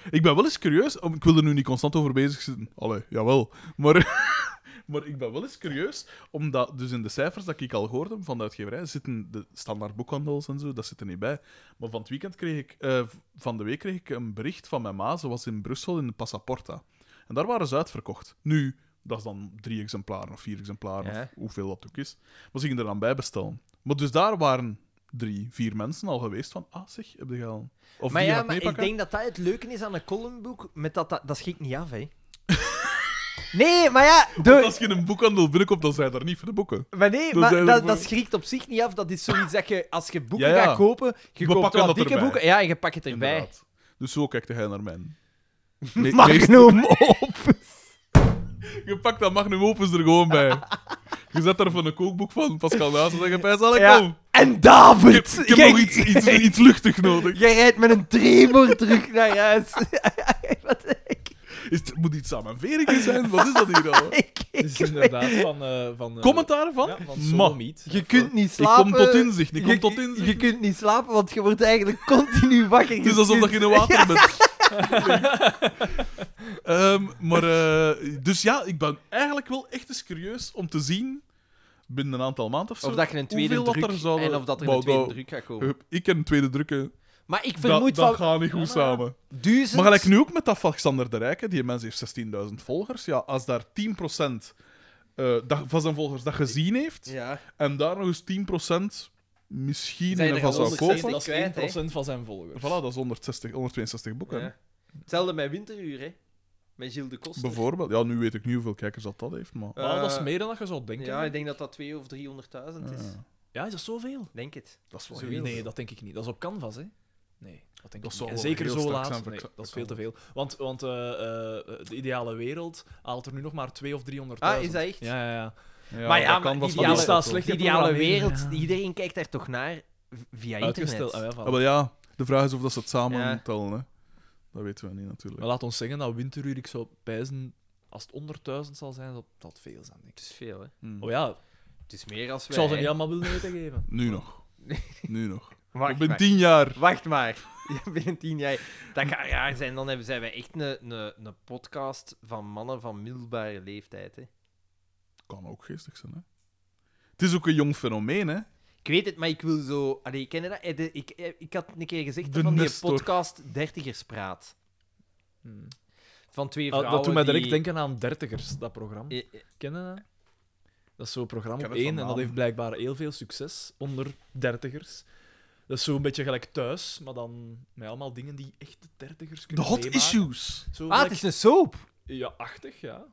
Speaker 2: Ik ben wel eens curieus. om- Ik wil er nu niet constant over bezig zitten. Allee, jawel. Maar, maar ik ben wel eens curieus, omdat dus in de cijfers dat ik al hoorde van de uitgeverij zitten de standaard boekhandels en zo, dat zit er niet bij. Maar van het weekend kreeg ik, eh, v- van de week kreeg ik een bericht van mijn ma. Ze was in Brussel in de Passaporta. En daar waren ze uitverkocht. Nu, dat is dan drie exemplaren of vier exemplaren,
Speaker 4: Ja.
Speaker 2: of hoeveel dat ook is. Maar ze gingen er dan bij bestellen. Maar dus daar waren drie, vier mensen al geweest van, ah zeg, heb je al... Of
Speaker 4: Maar
Speaker 2: die
Speaker 4: ja,
Speaker 2: gaat
Speaker 4: maar ik
Speaker 2: meepakken?
Speaker 4: denk dat dat het leuke is aan een columnboek, met dat, dat, dat schiet niet af, hè. Nee, maar ja,
Speaker 2: Want
Speaker 4: de,
Speaker 2: als je in een boekhandel binnenkomt, dan zijn er niet voor de boeken.
Speaker 4: maar nee,
Speaker 2: Dat
Speaker 4: maar
Speaker 2: zijn er
Speaker 4: dat,
Speaker 2: voor-
Speaker 4: dat schrikt op zich niet af. Dat is zoiets dat je, als je boeken
Speaker 2: Ja, ja.
Speaker 4: gaat kopen, je
Speaker 2: We
Speaker 4: koopt
Speaker 2: pakken
Speaker 4: wel
Speaker 2: dat
Speaker 4: dikke
Speaker 2: erbij.
Speaker 4: boeken, ja, en je pakt het erbij.
Speaker 2: Inderdaad. Dus zo kijkt hij naar mij. Nee,
Speaker 4: Magnum Opus.
Speaker 2: Je pakt dat Magnum Opus er gewoon bij. Je zet daar van een kookboek van Pascal Naas en zegt, "Pijs, zal ik
Speaker 4: Ja.
Speaker 2: kom.
Speaker 4: En
Speaker 2: Ik,
Speaker 4: David!
Speaker 2: ik heb nog iets, iets, iets luchtig nodig.
Speaker 4: Jij rijdt met een tremor terug naar huis.
Speaker 2: Is het, moet iets aan mijn veringen zijn? Wat is dat hier al?
Speaker 3: Het
Speaker 2: Dus
Speaker 3: is inderdaad van... eh van eh,
Speaker 2: Commentaar van?
Speaker 3: Ja, van
Speaker 2: Ma.
Speaker 3: sodomiet.
Speaker 4: Je kunt niet
Speaker 2: Ik
Speaker 4: slapen.
Speaker 2: kom tot inzicht. Ik
Speaker 4: je,
Speaker 2: kom tot
Speaker 4: je,
Speaker 2: inzicht.
Speaker 4: kunt niet slapen, want je wordt eigenlijk continu wakker.
Speaker 2: Het is alsof dat je in een water bent. Ehm, maar, eh, dus ja, ik ben eigenlijk wel echt eens curieus om te zien, binnen een aantal maanden of zo,
Speaker 4: Of dat je een tweede
Speaker 2: hoeveel
Speaker 4: druk...
Speaker 2: dat er zouden...
Speaker 4: En of dat er
Speaker 2: Wou,
Speaker 4: een tweede
Speaker 2: dat-
Speaker 4: druk gaat komen.
Speaker 2: Hup, Ik en een tweede drukken,
Speaker 4: Maar ik
Speaker 2: dat,
Speaker 4: vermoed
Speaker 2: dat
Speaker 4: van
Speaker 2: gaat niet goed samen.
Speaker 4: duizend...
Speaker 2: Maar gelijk nu ook met dat van Xander de Rijke, die mens heeft 16.000 volgers. Ja, als daar 10% eh, dat, van zijn volgers dat gezien heeft,
Speaker 4: Ja.
Speaker 2: en daar nog eens 10% misschien
Speaker 4: Zijn
Speaker 2: een
Speaker 4: er
Speaker 2: van zou
Speaker 4: honderd zestig?
Speaker 2: kopen...
Speaker 3: Dat is
Speaker 4: kwijt, hè?
Speaker 3: 1% van zijn volgers.
Speaker 2: Voilà, dat is 160, 162 boeken. hè.
Speaker 4: Ja. Hetzelfde met Winteruur, hè. Met Gilles de Koster.
Speaker 2: Bijvoorbeeld. Ja, nu weet ik niet hoeveel kijkers dat, dat heeft, maar...
Speaker 3: Maar dat is
Speaker 4: Eh,
Speaker 3: meer dan dat je zou denken.
Speaker 4: Ja, ik denk dat dat 2 of 300.000 is.
Speaker 2: Ja.
Speaker 3: Ja, is dat zoveel?
Speaker 4: Denk het.
Speaker 2: Dat is wel heel...
Speaker 4: Sowieso.
Speaker 3: Nee, dat denk ik niet. Dat is op canvas, hè? Nee, dat denk
Speaker 2: Dat
Speaker 3: ik
Speaker 2: zou
Speaker 3: niet. En
Speaker 2: wel
Speaker 3: zeker
Speaker 2: heel
Speaker 3: zo
Speaker 2: sterk
Speaker 3: laat.
Speaker 2: zijn voor
Speaker 3: nee,
Speaker 2: Xa-
Speaker 3: dat is veel
Speaker 2: voor
Speaker 3: te veel. Want, want eh, eh, de ideale wereld haalt er nu nog maar 2 of 300.000.
Speaker 4: Ah, is dat echt?
Speaker 3: Ja, ja, ja.
Speaker 2: Ja,
Speaker 4: Maar ja,
Speaker 2: dat
Speaker 4: maar
Speaker 2: kan vast
Speaker 4: die
Speaker 2: wel
Speaker 4: staat
Speaker 2: eens
Speaker 3: slecht
Speaker 4: De
Speaker 3: Die
Speaker 4: ideale
Speaker 3: programmering,
Speaker 4: wereld,
Speaker 3: ja.
Speaker 4: iedereen kijkt daar toch naar v- via
Speaker 3: Uitgesteld.
Speaker 4: internet.
Speaker 3: Ah,
Speaker 2: Ja,
Speaker 3: ja, voilà.
Speaker 2: maar ja, de vraag is of dat ze het samen
Speaker 4: Ja.
Speaker 2: tellen, hè. Dat weten we niet, natuurlijk.
Speaker 3: Maar laat ons zeggen dat winteruur, ik zou pijzen, als het onder 1000 zal zijn, zal dat veel zijn, denk
Speaker 4: Het
Speaker 3: ik.
Speaker 4: is veel, hè.
Speaker 2: Hm.
Speaker 3: Oh ja,
Speaker 4: Het is meer als
Speaker 3: ik
Speaker 4: wij.
Speaker 3: zou ze niet
Speaker 4: Dus- hè.
Speaker 3: allemaal willen meegeven.
Speaker 2: Nu nog. Nu nog. Ik
Speaker 4: Wacht
Speaker 2: ben
Speaker 4: maar.
Speaker 2: tien jaar.
Speaker 4: Wacht maar. Ja, binnen tien jaar. Dat gaat raar zijn. Dan hebben, zijn wij echt een, een, een podcast van mannen van middelbare leeftijd. Hè.
Speaker 2: Kan ook geestig zijn, hè. Het is ook een jong fenomeen, hè.
Speaker 4: Ik weet het, maar ik wil zo... Allee, ken je dat? Eh, de- Ik, eh, ik had een keer gezegd
Speaker 2: De
Speaker 4: van die
Speaker 2: Nestor.
Speaker 4: podcast Dertigerspraat.
Speaker 3: Hmm.
Speaker 4: Van twee
Speaker 3: Ah,
Speaker 4: vrouwen
Speaker 3: dat doet mij
Speaker 4: die...
Speaker 3: direct denken aan Dertigers, dat programma.
Speaker 4: Eh, eh,
Speaker 3: Kennen dat? Dat is zo'n programma
Speaker 2: Ik
Speaker 3: op
Speaker 2: ken het
Speaker 3: één
Speaker 2: van
Speaker 3: en dat
Speaker 2: naam.
Speaker 3: heeft blijkbaar heel veel succes onder dertigers. Dat is zo'n beetje gelijk thuis, maar dan met allemaal dingen die echt de dertigers
Speaker 2: De
Speaker 3: kunnen
Speaker 2: hot
Speaker 3: meemaken.
Speaker 2: issues.
Speaker 3: Zo
Speaker 4: Ah, het
Speaker 3: gelijk-
Speaker 4: is een soap.
Speaker 3: Ja, achtig, ja.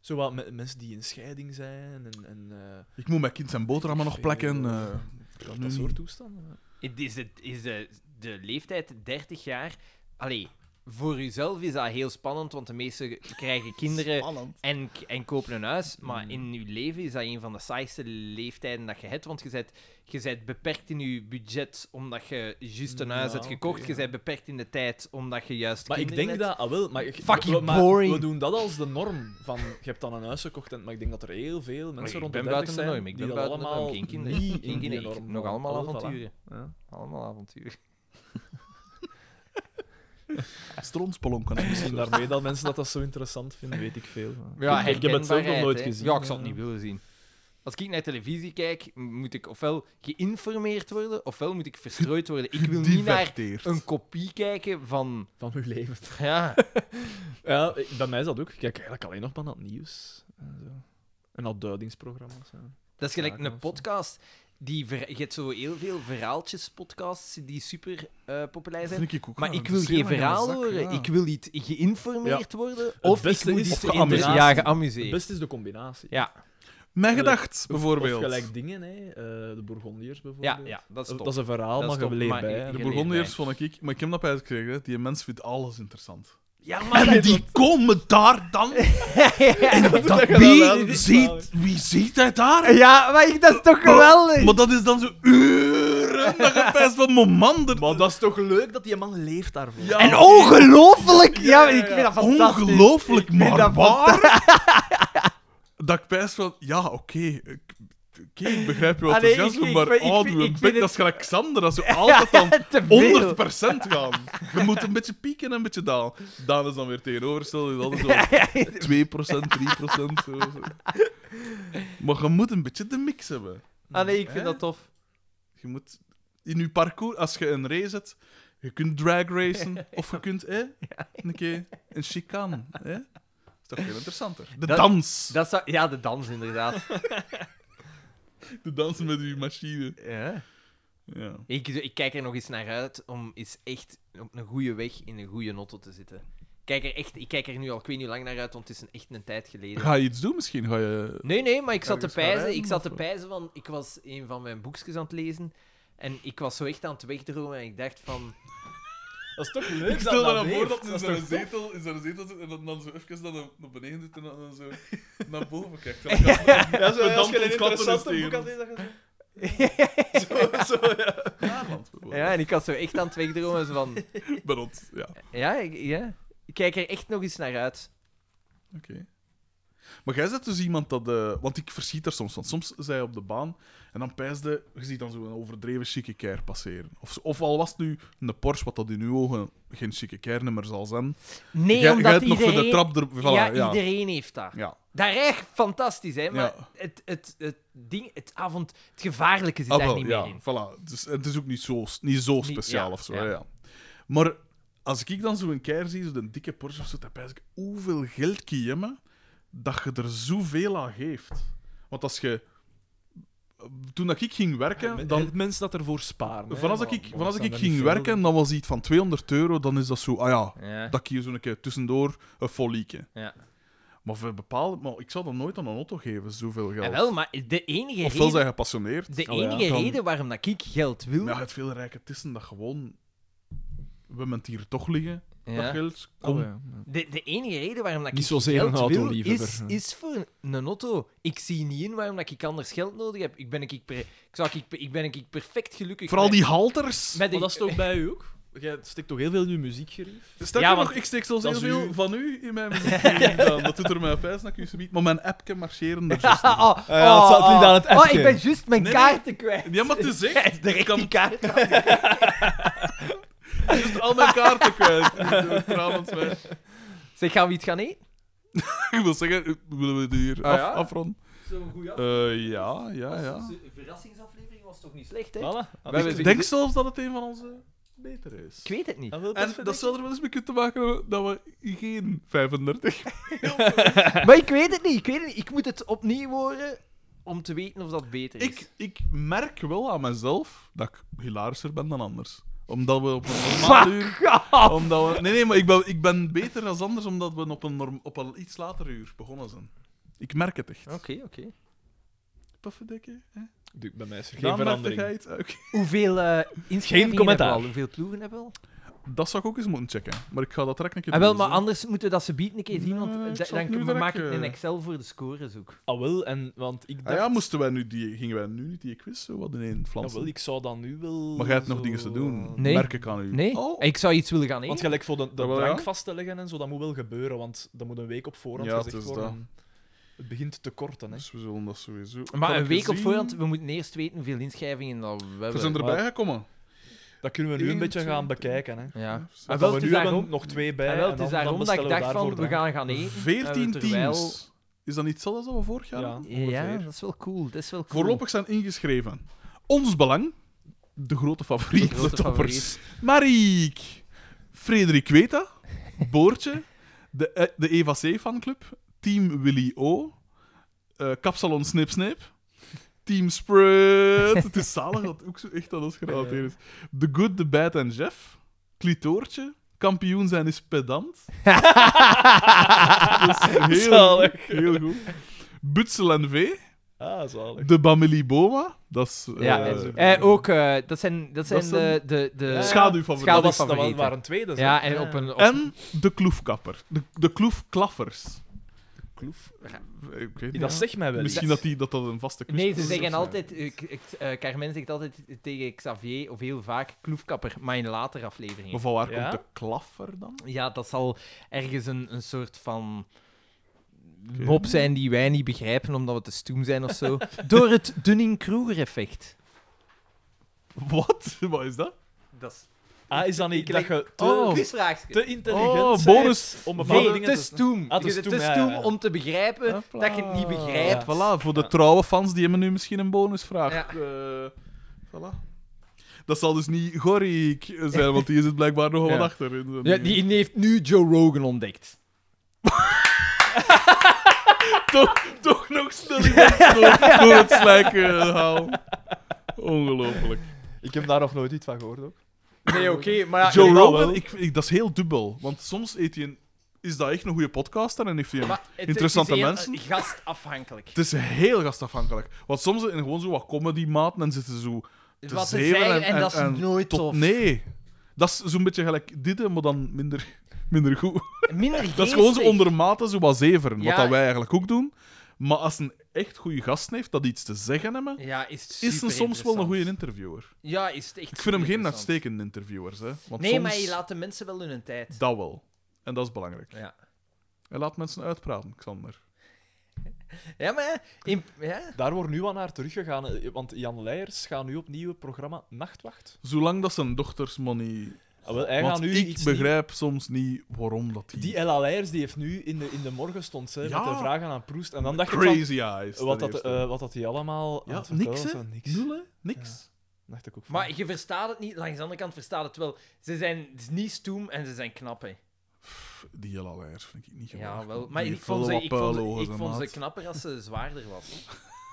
Speaker 3: Zo wat met mensen die in scheiding zijn en, en eh,
Speaker 2: Ik moet mijn kind zijn boterhammen nog plakken. eh.
Speaker 3: dat,
Speaker 2: nu
Speaker 3: dat
Speaker 2: niet.
Speaker 3: soort toestanden.
Speaker 4: Het Hmm. Is, het, is de, de leeftijd 30 jaar... Allee, voor uzelf is dat heel spannend, want de meesten krijgen kinderen...
Speaker 2: Spannend.
Speaker 4: en, en kopen een huis.
Speaker 3: Mm.
Speaker 4: Maar in je leven is dat een van de saaiste leeftijden dat je hebt. Want je bent, je bent beperkt in je budget omdat je juist een huis
Speaker 3: Ja,
Speaker 4: hebt gekocht.
Speaker 3: oké,
Speaker 4: je
Speaker 3: ja.
Speaker 4: bent beperkt in de tijd omdat je juist.
Speaker 3: Maar ik
Speaker 4: kinderen
Speaker 3: denk
Speaker 4: hebt.
Speaker 3: dat, ah wel, maar, ik-
Speaker 4: Fucking
Speaker 3: we, maar
Speaker 4: boring.
Speaker 3: we doen dat als de norm. Van, je hebt dan een huis gekocht, en, maar ik denk dat er heel veel mensen
Speaker 4: ik
Speaker 3: rond
Speaker 4: ben
Speaker 3: de
Speaker 4: buiten de
Speaker 3: 30 zijn
Speaker 4: norm. Ik
Speaker 3: die
Speaker 4: ben
Speaker 3: dat
Speaker 4: buiten de norm.
Speaker 3: allemaal
Speaker 4: Geen kinderen.
Speaker 3: niet
Speaker 4: Geen
Speaker 3: in die
Speaker 4: kinderen. Ik-
Speaker 3: norm
Speaker 4: nog
Speaker 3: vallen.
Speaker 4: allemaal
Speaker 3: Ah, wel, voilà.
Speaker 4: avonturen.
Speaker 3: Ja.
Speaker 4: Allemaal avonturen.
Speaker 2: Stronspolonken.
Speaker 3: Misschien daarmee dat mensen dat, dat zo interessant vinden, weet ik veel.
Speaker 4: Ja,
Speaker 3: ik, heb het zelf nog
Speaker 4: herkenbaarheid,
Speaker 3: nooit
Speaker 4: hè.
Speaker 3: gezien.
Speaker 4: Ja, ik zal het
Speaker 3: ja.
Speaker 4: niet willen zien. Als ik naar televisie kijk, m- moet ik ofwel geïnformeerd worden, ofwel moet ik verstrooid worden. Ik wil niet naar
Speaker 2: Diverteerd.
Speaker 4: een kopie kijken van...
Speaker 3: Van uw leven.
Speaker 4: Ja,
Speaker 3: Ja, ik- bij mij is dat ook. Ik kijk eigenlijk alleen nog maar naar het nieuws. En, zo. en al duidingsprogramma's. Ja.
Speaker 4: Dat is gelijk
Speaker 3: Zaken
Speaker 4: een
Speaker 3: of zo.
Speaker 4: podcast. die ver- je hebt zo heel veel verhaaltjes, podcasts die super eh, populair zijn.
Speaker 2: vind ik ook.
Speaker 4: Maar
Speaker 2: ja,
Speaker 4: ik
Speaker 2: dat
Speaker 4: wil
Speaker 2: is heel
Speaker 4: geen
Speaker 2: erg in de
Speaker 4: verhaal
Speaker 2: zak,
Speaker 4: horen.
Speaker 2: ja.
Speaker 4: Ik wil niet geïnformeerd worden. Of ik
Speaker 3: beste
Speaker 4: moet
Speaker 3: is
Speaker 4: iets
Speaker 2: geamuseerd.
Speaker 4: inter- Ja,
Speaker 3: Het
Speaker 4: geamuseerd.
Speaker 3: beste is de combinatie.
Speaker 2: Mijn gedacht, bijvoorbeeld.
Speaker 3: Of gelijk dingen, hè. eh, de Bourgondiërs
Speaker 4: Ja,
Speaker 3: bijvoorbeeld.
Speaker 4: ja, dat is
Speaker 3: Dat,
Speaker 4: top.
Speaker 3: is een
Speaker 4: Dat
Speaker 3: verhaal,
Speaker 4: is
Speaker 3: maar je
Speaker 4: top,
Speaker 3: leert
Speaker 4: maar
Speaker 3: bij.
Speaker 4: je-
Speaker 3: hè.
Speaker 4: je
Speaker 2: De
Speaker 4: leert
Speaker 2: Bourgondiërs vond ik, maar ik heb dat bij gekregen, hè. die mens vindt alles interessant.
Speaker 4: Ja,
Speaker 2: En die komen daar dan. En dat
Speaker 3: je dan wel, dat
Speaker 2: wie,
Speaker 3: is
Speaker 2: ziet, wie ziet hij daar?
Speaker 4: Ja, maar ik- dat is toch geweldig?
Speaker 2: Maar dat is dan zo uren dat je pijst van mijn man. er-
Speaker 3: Maar dat is toch leuk dat die man leeft daarvoor?
Speaker 2: Ja,
Speaker 4: En ongelooflijk! Ja, maar ik vind dat fantastisch.
Speaker 2: ongelooflijk,
Speaker 4: Ik vind
Speaker 2: maar
Speaker 4: dat
Speaker 2: waar. dat ik pijst van, ja, oké. ik, oké, ik begrijp je
Speaker 4: Ah, nee,
Speaker 2: enthousiasme,
Speaker 4: ik- ik
Speaker 2: maar
Speaker 4: ben- ik
Speaker 2: oh,
Speaker 4: vind-
Speaker 2: doe
Speaker 4: ik
Speaker 2: een
Speaker 4: vind
Speaker 2: bek,
Speaker 4: het-
Speaker 2: dat is gelijk Xander, dat is zo altijd dan
Speaker 4: Te veel.
Speaker 2: 100% gaan. Je moet een beetje pieken en een beetje dalen. Daan is dan weer tegenovergesteld. is altijd zo 2%, 3%. Zo, zo. Maar je moet een beetje de mix hebben.
Speaker 4: Ah nee, ik vind
Speaker 2: Hè?
Speaker 4: dat tof.
Speaker 2: Je moet in je parcours, als je een race hebt, je kunt drag racen of je kunt hè, een keer een chicane. Hè? Dat is toch veel interessanter. De
Speaker 4: Dat-
Speaker 2: dans.
Speaker 4: dat zou... Ja, de dans inderdaad.
Speaker 2: De dans met je machine.
Speaker 4: ja.
Speaker 2: Ja.
Speaker 4: ik, ik kijk er nog eens naar uit om eens echt op een goede weg in een goede notto te zitten. Ik Kijk er echt, ik kijk er nu al ik weet niet hoe lang naar uit, want het is een, echt een tijd geleden.
Speaker 2: Ga je iets doen misschien? Ga je...
Speaker 4: Nee, nee, maar ik zat te
Speaker 2: Ergens gaan
Speaker 4: pijzen.
Speaker 2: rijden,
Speaker 4: Ik zat
Speaker 2: of eh?
Speaker 4: te
Speaker 2: wat?
Speaker 4: pijzen van... Ik was een van mijn boekjes aan het lezen. En ik was zo echt aan het wegdromen en ik dacht van...
Speaker 3: Dat is toch leuk
Speaker 2: Ik stel me
Speaker 3: dat
Speaker 2: dan voor
Speaker 3: leeft.
Speaker 2: dat hij in
Speaker 3: is
Speaker 2: zijn
Speaker 3: toch
Speaker 2: zetel, in zijn zetel zit en dan, dan zo even naar, de- naar beneden doet en dan, dan zo naar boven kijkt. Dan kan-
Speaker 3: Ja,
Speaker 2: Een
Speaker 3: zo, als je
Speaker 2: damp ontklappen
Speaker 3: een
Speaker 2: is
Speaker 3: interessante boek
Speaker 2: tegen.
Speaker 3: had, is dat je
Speaker 2: Naarland bijvoorbeeld.
Speaker 4: Ja, en ik was zo echt aan het wegdromen zo van...
Speaker 2: Bij ons, ja.
Speaker 4: Ja, ik, ja. ik kijk er echt nog eens naar uit.
Speaker 2: Oké. Maar jij bent dus iemand dat... eh, want ik verschiet er soms van. Soms zij op de baan en dan pijsde... Je ziet dan zo'n overdreven chique keer passeren. Of, zo- of al was het nu een Porsche, wat dat in uw ogen geen chique keirnummer zal zijn.
Speaker 4: Nee,
Speaker 2: jij,
Speaker 4: omdat
Speaker 2: jij hebt nog
Speaker 4: iedereen...
Speaker 2: voor de trap... Er, voilà,
Speaker 4: ja,
Speaker 2: ja, ja.
Speaker 4: iedereen heeft dat.
Speaker 2: ja.
Speaker 4: Daar echt fantastisch, hè? Maar
Speaker 2: Ja.
Speaker 4: het, het, het, ding, het avond, het gevaarlijke zit
Speaker 2: Ah,
Speaker 4: daar
Speaker 2: wel,
Speaker 4: niet
Speaker 2: ja,
Speaker 4: meer in.
Speaker 2: Voilà. Dus, het is ook niet zo, niet zo speciaal
Speaker 4: ja,
Speaker 2: of zo.
Speaker 4: ja.
Speaker 2: hè, Ja. Maar als ik dan zo'n keer zie, zo'n dikke Porsche of zo, dan pijs ik hoeveel geld kiemen dat je er zoveel aan geeft. Want als je... Toen dat ik ging werken,
Speaker 3: Dan,
Speaker 2: dan,
Speaker 3: mensen dat ervoor sparen. hè,
Speaker 2: Van als
Speaker 3: want-
Speaker 2: ik,
Speaker 3: want
Speaker 2: van als
Speaker 3: dat
Speaker 2: ik
Speaker 3: zijn er
Speaker 2: ging
Speaker 3: niet
Speaker 2: werken en dat was iets van 200 euro, dan is dat zo, ah ja,
Speaker 4: Ja.
Speaker 2: dat ik hier zo'n keer tussendoor een folieke.
Speaker 4: Ja.
Speaker 2: Maar voor bepaalde, maar ik zou dat nooit aan een auto geven, zoveel
Speaker 4: Ja,
Speaker 2: geld.
Speaker 4: Ah, wel, maar de enige,
Speaker 2: Ofwel
Speaker 4: reden,
Speaker 2: zijn gepassioneerd.
Speaker 4: de
Speaker 3: Oh, ja.
Speaker 4: enige
Speaker 2: Dan-
Speaker 4: reden waarom dat ik geld wil...
Speaker 2: Maar ja, het veel rijke tussen dat gewoon. We hebben het hier toch liggen, dat
Speaker 4: Ja.
Speaker 2: geld.
Speaker 3: veel.
Speaker 2: Kom.
Speaker 3: Oh, ja.
Speaker 4: De, de enige reden waarom dat
Speaker 3: Niet
Speaker 4: ik
Speaker 3: zozeer
Speaker 4: geld
Speaker 3: een auto
Speaker 4: wil,
Speaker 3: liefhebber.
Speaker 4: is, is voor een auto. Ik zie niet in waarom dat ik anders geld nodig heb. Ik ben ik, pre- ik, zou, ik, ik ben ik perfect gelukkig
Speaker 2: Vooral
Speaker 4: met-
Speaker 2: die halters.
Speaker 4: met
Speaker 3: Maar
Speaker 4: een-
Speaker 3: dat is toch bij u ook? Jij steekt toch heel veel in je muziekgerief?
Speaker 2: Stel
Speaker 4: Ja,
Speaker 2: je
Speaker 4: want-
Speaker 2: nog, ik steek zelfs
Speaker 3: dat
Speaker 2: heel
Speaker 3: is
Speaker 2: veel
Speaker 3: uw-
Speaker 2: van u in mijn muziek. dan. Dat doet er mij vijs naar kussen Maar mijn appje marcheren er juist niet.
Speaker 4: Ah, ah,
Speaker 3: Eh, ja, het zat niet aan het
Speaker 4: ah,
Speaker 3: appje.
Speaker 4: ik ben juist mijn
Speaker 2: Nee, nee.
Speaker 4: kaarten kwijt.
Speaker 2: Ja, maar het is echt.
Speaker 4: Direct
Speaker 2: Ik
Speaker 4: die
Speaker 2: kan
Speaker 4: kaart.
Speaker 2: dus al mijn kaarten kwijt. Door Trouwens, mij.
Speaker 4: Zeg, gaan we iets gaan eten?
Speaker 2: Ik wil zeggen, willen we het hier
Speaker 4: Ah,
Speaker 2: af,
Speaker 4: ja?
Speaker 2: afronden?
Speaker 4: Zo'n goeie
Speaker 2: Eh, ja, ja, ja.
Speaker 4: verrassingsaflevering was toch niet slecht, hè?
Speaker 3: Voilà. Ah, dus
Speaker 4: We hebben-
Speaker 2: Ik denk zelfs dat het een van onze betere is.
Speaker 4: Ik weet het niet.
Speaker 3: Ah, Dat wil
Speaker 2: En dat zou er wel eens mee kunnen te maken hebben dat we geen 35
Speaker 4: Maar ik weet het niet, ik weet het niet. Ik moet het opnieuw horen om te weten of dat beter is.
Speaker 2: Ik, ik merk wel aan mezelf dat ik hilarischer ben dan anders. Omdat we op een normaal uur... Omdat we, nee, nee, maar ik ben, ik ben beter dan anders omdat we op een, norm, op een iets later uur begonnen zijn. Ik merk het echt.
Speaker 4: Oké, oké.
Speaker 2: Puffendekkie, hè?
Speaker 3: Bij mij is er geen
Speaker 2: Daan, merkte jij
Speaker 3: verandering.
Speaker 2: iets? Oké.
Speaker 4: Hoeveel eh inschrijvingen
Speaker 3: commentaar.
Speaker 4: hebben we al? Hoeveel ploegen hebben we al?
Speaker 2: Dat zou ik ook eens moeten checken. Maar ik ga dat direct een keer
Speaker 4: Ah, wel,
Speaker 2: doen,
Speaker 4: maar
Speaker 2: dus,
Speaker 4: anders moeten we dat ze bieden een keer zien, want
Speaker 2: Nee, ik
Speaker 4: da-
Speaker 2: zal het
Speaker 4: dan
Speaker 2: nu
Speaker 4: maak ik
Speaker 2: direct,
Speaker 4: een
Speaker 2: eh.
Speaker 4: Excel voor de scores ook.
Speaker 3: Ah, wel, en, want ik
Speaker 2: hè. Ah
Speaker 3: dacht...
Speaker 2: ja, moesten wij nu die, gingen wij nu niet die quiz zo wat in één
Speaker 3: Ah, wel,
Speaker 2: flansen?
Speaker 3: ik zou dan nu wel...
Speaker 2: maar jij hebt nog
Speaker 3: zo-
Speaker 2: dingen te doen.
Speaker 4: Nee.
Speaker 2: Merk ik aan u.
Speaker 4: Nee,
Speaker 2: Oh.
Speaker 4: Ah, ik zou iets willen gaan
Speaker 3: Want
Speaker 4: eten.
Speaker 3: gelijk voor de, de
Speaker 2: Ah, wel, ja.
Speaker 3: drank vast te leggen en zo, dat moet wel gebeuren, want dat moet een week op voorhand
Speaker 2: Ja, het
Speaker 3: gezegd
Speaker 2: is
Speaker 3: worden. Het begint te korten, hè.
Speaker 2: Dus we zullen dat sowieso...
Speaker 4: Maar
Speaker 2: Kan
Speaker 4: een
Speaker 2: ik
Speaker 4: week op
Speaker 2: zien?
Speaker 4: voorhand, we moeten eerst weten hoeveel inschrijvingen dat we
Speaker 2: We
Speaker 4: hebben.
Speaker 2: zijn
Speaker 3: Maar-
Speaker 2: erbij gekomen.
Speaker 3: Dat kunnen we nu een
Speaker 2: Eén,
Speaker 3: beetje
Speaker 2: twee,
Speaker 3: gaan
Speaker 2: drie.
Speaker 3: bekijken, hè.
Speaker 4: Ja.
Speaker 3: Want
Speaker 4: wel, het
Speaker 3: dat we
Speaker 4: is
Speaker 3: nu hebben
Speaker 4: daarom-
Speaker 3: nog twee bij.
Speaker 4: En wel,
Speaker 3: en
Speaker 4: het is
Speaker 3: dan- dan
Speaker 4: daarom dat ik
Speaker 3: bestellen
Speaker 4: dacht
Speaker 3: daarvoor
Speaker 4: van, we
Speaker 3: drank.
Speaker 4: gaan gaan eten.
Speaker 2: 14 teams.
Speaker 4: terwijl-
Speaker 2: Is dat niet hetzelfde als dat we vorig jaar
Speaker 3: Ja.
Speaker 2: hadden?
Speaker 4: Ja,
Speaker 2: Ongeveer.
Speaker 4: dat is wel cool. Dat is wel cool.
Speaker 2: Voorlopig zijn ingeschreven ons belang, de grote favoriet,
Speaker 4: De
Speaker 2: de,
Speaker 4: grote
Speaker 2: toppers. Mariek, Frederik Weta, Boortje, de, eh, de Eva C. fanclub, Team Willy O, eh, Kapsalon Snip Snip, Team Spread. Het is zalig dat ook zo echt aan ons gerelateerd is. The Good, The Bad en Jeff. Clitoortje. Kampioen zijn is pedant. dat is heel,
Speaker 3: Zalig.
Speaker 2: heel goed. Butsel en Vee.
Speaker 3: Ah, zalig.
Speaker 2: De Bameli Boma. Dat is... eh,
Speaker 4: Ja,
Speaker 3: dat is ook-
Speaker 4: eh, ook, eh, dat zijn, dat zijn
Speaker 2: Dat
Speaker 4: de, de, de...
Speaker 2: Schaduwfavorieten.
Speaker 3: Dat, was, dat
Speaker 4: schaduwfavorieten.
Speaker 3: waren twee, dat is
Speaker 4: Ja, en op een... Op...
Speaker 2: En de kloefkapper. De, de kloefklaffers.
Speaker 3: kloef.
Speaker 2: Ik weet niet.
Speaker 3: Dat zegt mij wel iets.
Speaker 2: Misschien dat, die, dat dat een vaste quiz
Speaker 4: Nee,
Speaker 2: is.
Speaker 4: ze zeggen altijd... eh, k- ik- eh, Carmen zegt altijd tegen Xavier, of heel vaak, kloefkapper, maar in latere
Speaker 2: Maar
Speaker 4: afleveringen.
Speaker 2: van waar
Speaker 3: Ja?
Speaker 2: komt de klaffer dan?
Speaker 4: Ja, dat zal ergens een, een soort van... Mop zijn die wij niet begrijpen omdat we te stoem zijn of zo. Door het Dunning-Kruger-effect.
Speaker 2: Wat? Wat is dat?
Speaker 4: Dat is
Speaker 3: Ah, is dat niet dat je te,
Speaker 4: een Oh, quizvraagje.
Speaker 3: te intelligent
Speaker 2: Oh,
Speaker 3: bent
Speaker 2: bonus.
Speaker 3: om bepaalde
Speaker 4: Nee,
Speaker 3: dingen
Speaker 4: te stoem.
Speaker 3: Ah, te
Speaker 4: Je bent
Speaker 3: stoem,
Speaker 4: te
Speaker 3: ja,
Speaker 4: stoem
Speaker 3: ja.
Speaker 4: om te begrijpen dat je het niet begrijpt.
Speaker 2: Voilà, voor de trouwe fans die hebben nu misschien een bonusvraag.
Speaker 4: Ja.
Speaker 2: Eh, voilà. Dat zal dus niet Gorik zijn, want die is het blijkbaar nog
Speaker 4: Ja.
Speaker 2: wat achter. in zijn
Speaker 4: Ja,
Speaker 2: dingen.
Speaker 4: die heeft nu Joe Rogan ontdekt.
Speaker 2: toch, toch nog snel iemand door, door het slijk eh, haal. Ongelooflijk.
Speaker 3: Ik heb daar nog nooit iets van gehoord ook.
Speaker 4: Nee, oké, maar ja,
Speaker 2: Joe
Speaker 4: nee,
Speaker 2: Rogan, ik, ik- dat is heel dubbel. Want soms eet hij een, is dat echt een goede podcaster en heeft hij een
Speaker 4: maar het-
Speaker 2: Interessante
Speaker 4: het is heel,
Speaker 2: mensen.
Speaker 4: eh, Gastafhankelijk.
Speaker 2: Het is heel gastafhankelijk. Want soms zijn gewoon zo wat comedy-maten en zitten ze zo te
Speaker 4: Wat ze
Speaker 2: zeven
Speaker 4: zeggen, en, dat is nooit
Speaker 2: tot
Speaker 4: tof.
Speaker 2: nee. Dat is zo'n beetje gelijk dit, maar dan minder, minder goed.
Speaker 4: Minder
Speaker 2: Dat is
Speaker 4: geestig.
Speaker 2: gewoon zo ondermate zo wat zeveren,
Speaker 4: Ja.
Speaker 2: wat dat wij eigenlijk ook doen. Maar als een echt goede gast heeft dat iets te zeggen hebben,
Speaker 4: Ja, is, het
Speaker 2: is hij soms wel een goede
Speaker 4: superinteressant.
Speaker 2: interviewer.
Speaker 4: Ja, is het echt
Speaker 2: Ik vind hem geen
Speaker 4: superinteressant.
Speaker 2: uitstekende interviewer. Hè? Want
Speaker 4: Nee,
Speaker 2: soms
Speaker 4: maar je laat de mensen wel hun tijd.
Speaker 2: dat wel. En dat is belangrijk.
Speaker 4: Ja.
Speaker 2: Hij laat mensen uitpraten, Xander.
Speaker 4: Ja, maar ja, in, ja.
Speaker 3: Daar wordt nu aan naar teruggegaan, eh, want Jan Leijers gaat nu opnieuw het programma Nachtwacht.
Speaker 2: Zolang dat zijn dochters money
Speaker 3: Ah, wel, hij gaat
Speaker 2: Want
Speaker 3: nu
Speaker 2: ik
Speaker 3: iets
Speaker 2: begrijp soms niet waarom dat die,
Speaker 3: nieuw- Die Ella Leijers die heeft nu in de, in de morgen stond hè,
Speaker 2: Ja.
Speaker 3: met de vragen aan Proest. En dan dacht ik
Speaker 2: crazy eyes.
Speaker 3: van, wat
Speaker 2: ten
Speaker 3: dat,
Speaker 2: eerste.
Speaker 3: eh, wat dat die allemaal
Speaker 2: Ja,
Speaker 3: aan het
Speaker 2: niks,
Speaker 3: vertellen
Speaker 2: hè? Hm.
Speaker 3: was, Niks.
Speaker 2: Nul, hè? Niks.
Speaker 3: Dacht ik ook van.
Speaker 4: Maar je verstaat het niet. Langs de andere kant verstaat het wel. Ze zijn het is niet stoem en ze zijn knap, hè.
Speaker 2: Pff, Die hele layers vind ik niet geweldig.
Speaker 4: Ja, wel. Maar
Speaker 2: Die
Speaker 4: ik
Speaker 2: heeft
Speaker 4: vond,
Speaker 2: wel
Speaker 4: ze,
Speaker 2: wat
Speaker 4: ik, vond ze,
Speaker 2: puilogen,
Speaker 4: ik
Speaker 2: zijn
Speaker 4: vond ze
Speaker 2: maat.
Speaker 4: knapper als ze zwaarder was.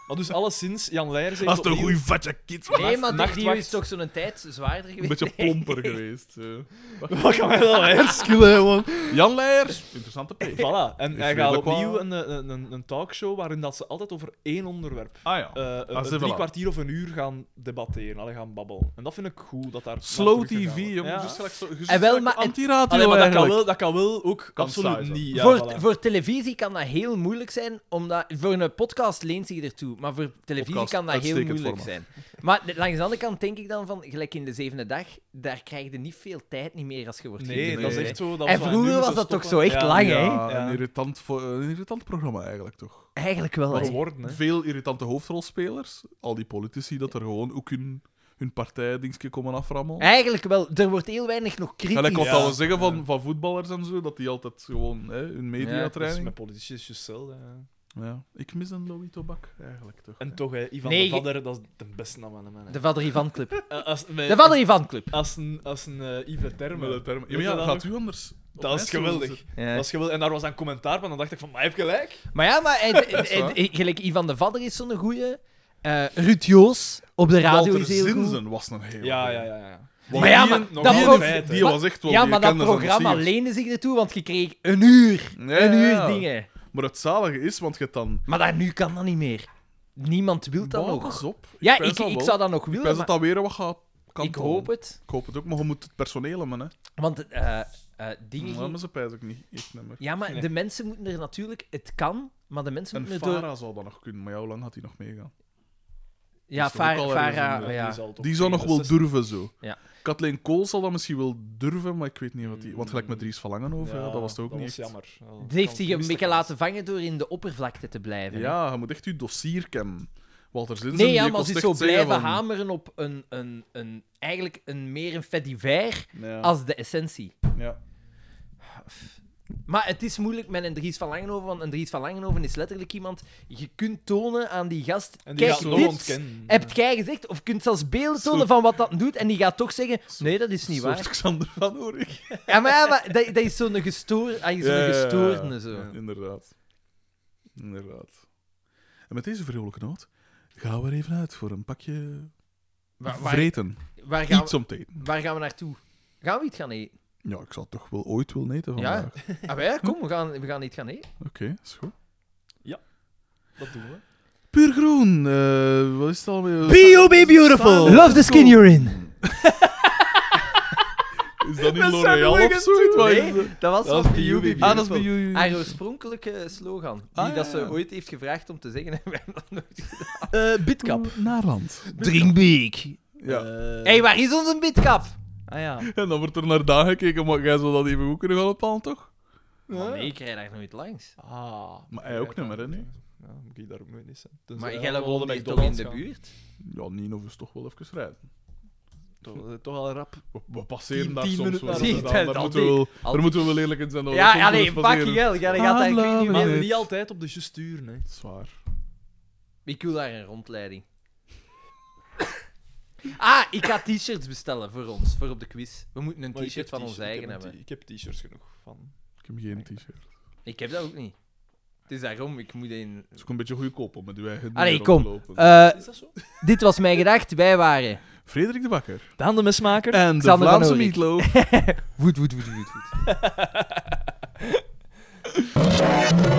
Speaker 3: Maar dus alleszins, Jan Leijers heeft
Speaker 2: Dat is een
Speaker 3: opnieuw-
Speaker 2: goeie vetje kid.
Speaker 4: Nee, maar die- die
Speaker 3: Nachtwacht.
Speaker 4: is toch zo'n tijd zwaarder
Speaker 2: Een
Speaker 4: geweest?
Speaker 2: beetje plomper geweest. eh.
Speaker 3: Wat kan Ella Leijers killen, man?
Speaker 2: Jan Leijers. Interessante P.
Speaker 3: Voilà. En hij gaat
Speaker 2: redelijk wat-
Speaker 3: opnieuw een, eh, een, een, een talkshow waarin dat ze altijd over één onderwerp
Speaker 2: Ah ja.
Speaker 3: eh, een-
Speaker 2: Ah,
Speaker 3: een
Speaker 2: ze
Speaker 3: drie
Speaker 2: voilà.
Speaker 3: kwartier of een uur gaan debatteren, allee, gaan babbelen. En dat vind ik cool dat daar.
Speaker 2: Slow
Speaker 3: naar teruggegaan
Speaker 2: TV,
Speaker 3: wordt.
Speaker 2: jongen.
Speaker 3: Ja.
Speaker 2: Dus gelijk zo.
Speaker 4: En wel, maar het-
Speaker 2: Antiradio
Speaker 3: Allee, maar dat kan,
Speaker 2: eigenlijk.
Speaker 3: wel, dat kan wel ook
Speaker 2: Kan
Speaker 3: absoluut
Speaker 2: saai zijn.
Speaker 3: niet. Ja,
Speaker 4: voor,
Speaker 3: voilà.
Speaker 4: voor televisie kan dat heel moeilijk zijn, omdat... Voor een podcast leent zich ertoe, maar voor televisie
Speaker 2: Podcast,
Speaker 4: kan dat heel
Speaker 2: uitstekend
Speaker 4: moeilijk
Speaker 2: format.
Speaker 4: zijn. Maar de- langs de andere kant denk ik dan van, gelijk in de zevende dag, daar krijg je niet veel tijd niet meer als je wordt
Speaker 3: Nee,
Speaker 4: geïnterviewd,
Speaker 3: dat
Speaker 4: hè.
Speaker 3: is echt zo. Dat
Speaker 4: eh, En
Speaker 3: we
Speaker 4: vroeger
Speaker 3: nu
Speaker 4: was
Speaker 3: moeten
Speaker 4: dat toch zo
Speaker 3: stoppen.
Speaker 4: echt
Speaker 3: Ja.
Speaker 4: lang, hè?
Speaker 2: Ja,
Speaker 3: Ja.
Speaker 2: Ah, een irritant, vo- een irritant programma eigenlijk toch.
Speaker 4: Eigenlijk wel,
Speaker 3: Wat
Speaker 4: hè.
Speaker 3: worden, hè?
Speaker 2: Veel irritante hoofdrolspelers. Al die politici dat er gewoon ook hun, hun partijdingske komen aframmelen.
Speaker 4: Eigenlijk wel. Er wordt heel weinig nog kritisch.
Speaker 2: Gelijk wat
Speaker 3: Ja.
Speaker 2: dat we zeggen van, van voetballers en zo, dat die altijd gewoon hè, hun
Speaker 3: Dat is
Speaker 2: mediatraining.
Speaker 3: met politici is hetzelfde. hè.
Speaker 2: Ja, Ik mis een Louis Tobak eigenlijk toch.
Speaker 3: En toch, hè, Ivan
Speaker 4: Nee,
Speaker 3: de
Speaker 4: je-
Speaker 3: Vadder, dat is de beste naam aan de man. hè.
Speaker 4: De Vader Ivan Club.
Speaker 3: Eh, als- met-
Speaker 4: De Vader Ivan Club.
Speaker 3: Als een, als een eh, Yves Terme.
Speaker 2: Met de termen. Ja,
Speaker 3: Weet
Speaker 2: maar
Speaker 3: je
Speaker 2: ja,
Speaker 3: dat
Speaker 2: gaat
Speaker 3: nog?
Speaker 2: u anders. op
Speaker 3: Dat is
Speaker 2: mij stoelen
Speaker 3: geweldig.
Speaker 2: zitten?
Speaker 4: Ja.
Speaker 3: Dat is geweldig. En daar was dan commentaar van, dan dacht ik van, maar hij heeft gelijk.
Speaker 4: Maar ja, maar hij- hij- hij- gelijk Ivan de Vader is zo'n goeie. Eh Ruud Joos op de radio
Speaker 2: Walter
Speaker 4: is heel goed.
Speaker 2: Zinzen was een heel.
Speaker 3: Ja, ja, ja. ja.
Speaker 2: goeie.
Speaker 4: Maar ja,
Speaker 2: Die-
Speaker 4: maar
Speaker 2: die,
Speaker 4: dat
Speaker 2: die,
Speaker 4: pro-
Speaker 2: die,
Speaker 3: maar-
Speaker 2: was echt wel.
Speaker 4: Ja,
Speaker 2: die
Speaker 4: maar dat
Speaker 2: kende zijn
Speaker 4: programma
Speaker 2: dossiers.
Speaker 4: leende zich ertoe, want je kreeg een uur.
Speaker 2: Ja,
Speaker 4: een uur
Speaker 2: ja.
Speaker 4: dingen.
Speaker 2: Maar het zalige is, want je hebt dan.
Speaker 4: Maar daar, nu kan dat niet meer. Niemand wil dat
Speaker 2: Bah,
Speaker 4: nog.
Speaker 2: pas op.
Speaker 4: Ja,
Speaker 2: pijs
Speaker 4: ik,
Speaker 2: dat
Speaker 4: ik
Speaker 2: wel.
Speaker 4: zou dat nog
Speaker 2: Ik
Speaker 4: willen,
Speaker 2: wens dat
Speaker 4: maar
Speaker 2: dat weer wat gaat
Speaker 4: ik
Speaker 2: kantelen.
Speaker 4: hoop het.
Speaker 2: Ik hoop het ook, maar je moet het personeel hebben. Hè.
Speaker 4: Want eh, eh, dingen...
Speaker 2: Maar
Speaker 4: gingen-
Speaker 2: ze pijs ook niet. Echt nummer.
Speaker 4: Ja, maar de mensen moeten er natuurlijk... Het kan, maar de mensen
Speaker 2: En
Speaker 4: moeten er door...
Speaker 2: Farah zou dat nog kunnen, maar ja, hoe lang gaat hij nog meegaan?
Speaker 4: Ja,
Speaker 2: is toch ook
Speaker 4: Farah...
Speaker 2: al
Speaker 4: Farah,
Speaker 2: ergens in, eh,
Speaker 4: ja.
Speaker 3: eh, zal toch
Speaker 2: Die zou nog wel
Speaker 3: 64
Speaker 2: durven zo.
Speaker 4: Ja.
Speaker 2: Kathleen Kool zal dat misschien wel durven, maar ik weet niet wat die. Want gelijk met Dries van Langenhoven, Mm. ja, dat was toch ook
Speaker 3: dat
Speaker 2: niet.
Speaker 3: was
Speaker 2: echt-
Speaker 3: jammer. Ja,
Speaker 4: Het
Speaker 3: dat
Speaker 4: heeft
Speaker 3: kan
Speaker 4: zich een
Speaker 3: gemiste
Speaker 4: beetje
Speaker 3: kans.
Speaker 4: laten vangen door in de oppervlakte te blijven. hè.
Speaker 2: Ja, je moet echt je dossier kennen. Walter Zinsen.
Speaker 4: Nee, ja, maar
Speaker 2: die kost
Speaker 4: ze
Speaker 2: echt
Speaker 4: zo
Speaker 2: zeggen
Speaker 4: blijven
Speaker 2: van-
Speaker 4: hameren op een, een, een... Eigenlijk een meer een fait divers
Speaker 2: Ja,
Speaker 4: als de essentie.
Speaker 2: ja.
Speaker 4: Maar het is moeilijk met een Dries van Langenhoven, want een Dries van Langenhoven is letterlijk iemand... Je kunt tonen aan die gast...
Speaker 3: En die
Speaker 4: kijk,
Speaker 3: gaat nog
Speaker 4: dit
Speaker 3: ontkennen.
Speaker 4: hebt jij gezegd, of kunt zelfs beelden
Speaker 2: Zo-
Speaker 4: tonen van wat dat doet, en die gaat toch zeggen... Nee, dat is niet
Speaker 2: Soort
Speaker 4: waar.
Speaker 2: Xander van Oorik.
Speaker 4: Ja, maar, ja, maar dat, dat is zo'n gestoor, ah, zo'n
Speaker 2: Ja, ja, ja, ja.
Speaker 4: gestoorde zo.
Speaker 2: Inderdaad. Inderdaad. En met deze vrolijke noot Ga er even uit voor een pakje
Speaker 4: Waar, waar,
Speaker 2: vreten.
Speaker 4: waar, gaan,
Speaker 2: Iets
Speaker 4: we,
Speaker 2: om te eten.
Speaker 4: waar gaan we naartoe? Gaan we iets gaan eten?
Speaker 2: Ja, ik zou toch wel ooit willen eten
Speaker 4: Ja.
Speaker 2: vandaag.
Speaker 4: Ah, wij, kom, we gaan, we gaan iets gaan eten.
Speaker 2: Oké, is goed.
Speaker 3: Dat doen we.
Speaker 2: Puur groen. eh, wat is het alweer?
Speaker 16: be beautiful.
Speaker 17: Love the skin you're in.
Speaker 2: Is dat niet
Speaker 3: We zijn
Speaker 2: L'Oreal
Speaker 3: er weer
Speaker 2: of zoiets? Wat is
Speaker 4: Nee,
Speaker 2: dat?
Speaker 4: dat was
Speaker 2: Dat
Speaker 4: van
Speaker 2: is
Speaker 4: de
Speaker 2: Beauty
Speaker 4: UBB.
Speaker 2: Beautiful. Ah, dat is bij jullie.
Speaker 4: Haar oorspronkelijke slogan, die
Speaker 2: Ah, ja,
Speaker 4: dat ze
Speaker 2: ja.
Speaker 4: ooit heeft gevraagd om te zeggen. en wij hebben dat nooit gedaan.
Speaker 3: Bitkap.
Speaker 2: Naarland.
Speaker 17: Drink big.
Speaker 2: Ja.
Speaker 3: Eh.
Speaker 4: Hé, hey, waar is onze bidkap?
Speaker 3: Ah ja.
Speaker 2: En dan wordt er naar daar gekeken, maar jij zou dat even goed kunnen gaan ophalen, toch?
Speaker 4: Oh, nee, ik krijg daar nooit langs.
Speaker 3: Ah.
Speaker 2: Maar hij ook niet meer, hè, nee?
Speaker 3: Ja, moet ik daar ook nooit eens zijn.
Speaker 4: maar
Speaker 3: Tenzij
Speaker 4: jij
Speaker 3: we
Speaker 4: loopt
Speaker 3: naar de
Speaker 4: hier toch in
Speaker 3: eh, McDonald's
Speaker 4: de
Speaker 3: gaan.
Speaker 4: buurt?
Speaker 2: Ja, Nino is toch wel even rijden.
Speaker 3: Toch, eh, toch al rap.
Speaker 2: We, we passeren
Speaker 3: Tien-
Speaker 2: daar
Speaker 3: tien
Speaker 2: soms
Speaker 3: minuten
Speaker 2: wel.
Speaker 3: naar
Speaker 2: eens
Speaker 4: de-
Speaker 2: aan.
Speaker 4: dat
Speaker 2: Daar moeten,
Speaker 4: die-
Speaker 2: we wel,
Speaker 4: al
Speaker 2: daar
Speaker 4: die-
Speaker 2: moeten we wel eerlijk in zijn. dat we
Speaker 4: Ja, ja,
Speaker 2: soms wel
Speaker 4: nee,
Speaker 2: eens
Speaker 4: fuck
Speaker 2: passeren.
Speaker 4: hell. Jij gaat daar ik weet niet
Speaker 3: Maar
Speaker 4: meer.
Speaker 3: niet altijd op de just sturen, hè.
Speaker 2: Zwaar.
Speaker 4: Ik wil daar een rondleiding. Ah, ik ga t-shirts bestellen voor ons, voor op de quiz. We moeten een
Speaker 3: Maar ik
Speaker 4: t-shirt
Speaker 3: heb
Speaker 4: van ons
Speaker 3: t-shirt- ik
Speaker 4: eigen
Speaker 3: heb een
Speaker 4: hebben.
Speaker 3: t- Ik heb t-shirts genoeg van.
Speaker 2: Ik heb geen t-shirt.
Speaker 4: Ik heb dat ook niet. Het is daarom, ik moet een...
Speaker 2: Het is ook een beetje goedkoop om met uw eigen
Speaker 4: Allee,
Speaker 2: dingen
Speaker 4: kom. Eh.
Speaker 2: rond te lopen.
Speaker 3: Is dat zo?
Speaker 4: dit was mijn gedacht, wij waren...
Speaker 2: Frederik de Bakker.
Speaker 3: Daan de mesmaker.
Speaker 2: En de
Speaker 4: Xander van
Speaker 2: Vlaamse
Speaker 4: Oorik.
Speaker 2: Meatloaf.
Speaker 4: Woed, woed, woed, woed, woed.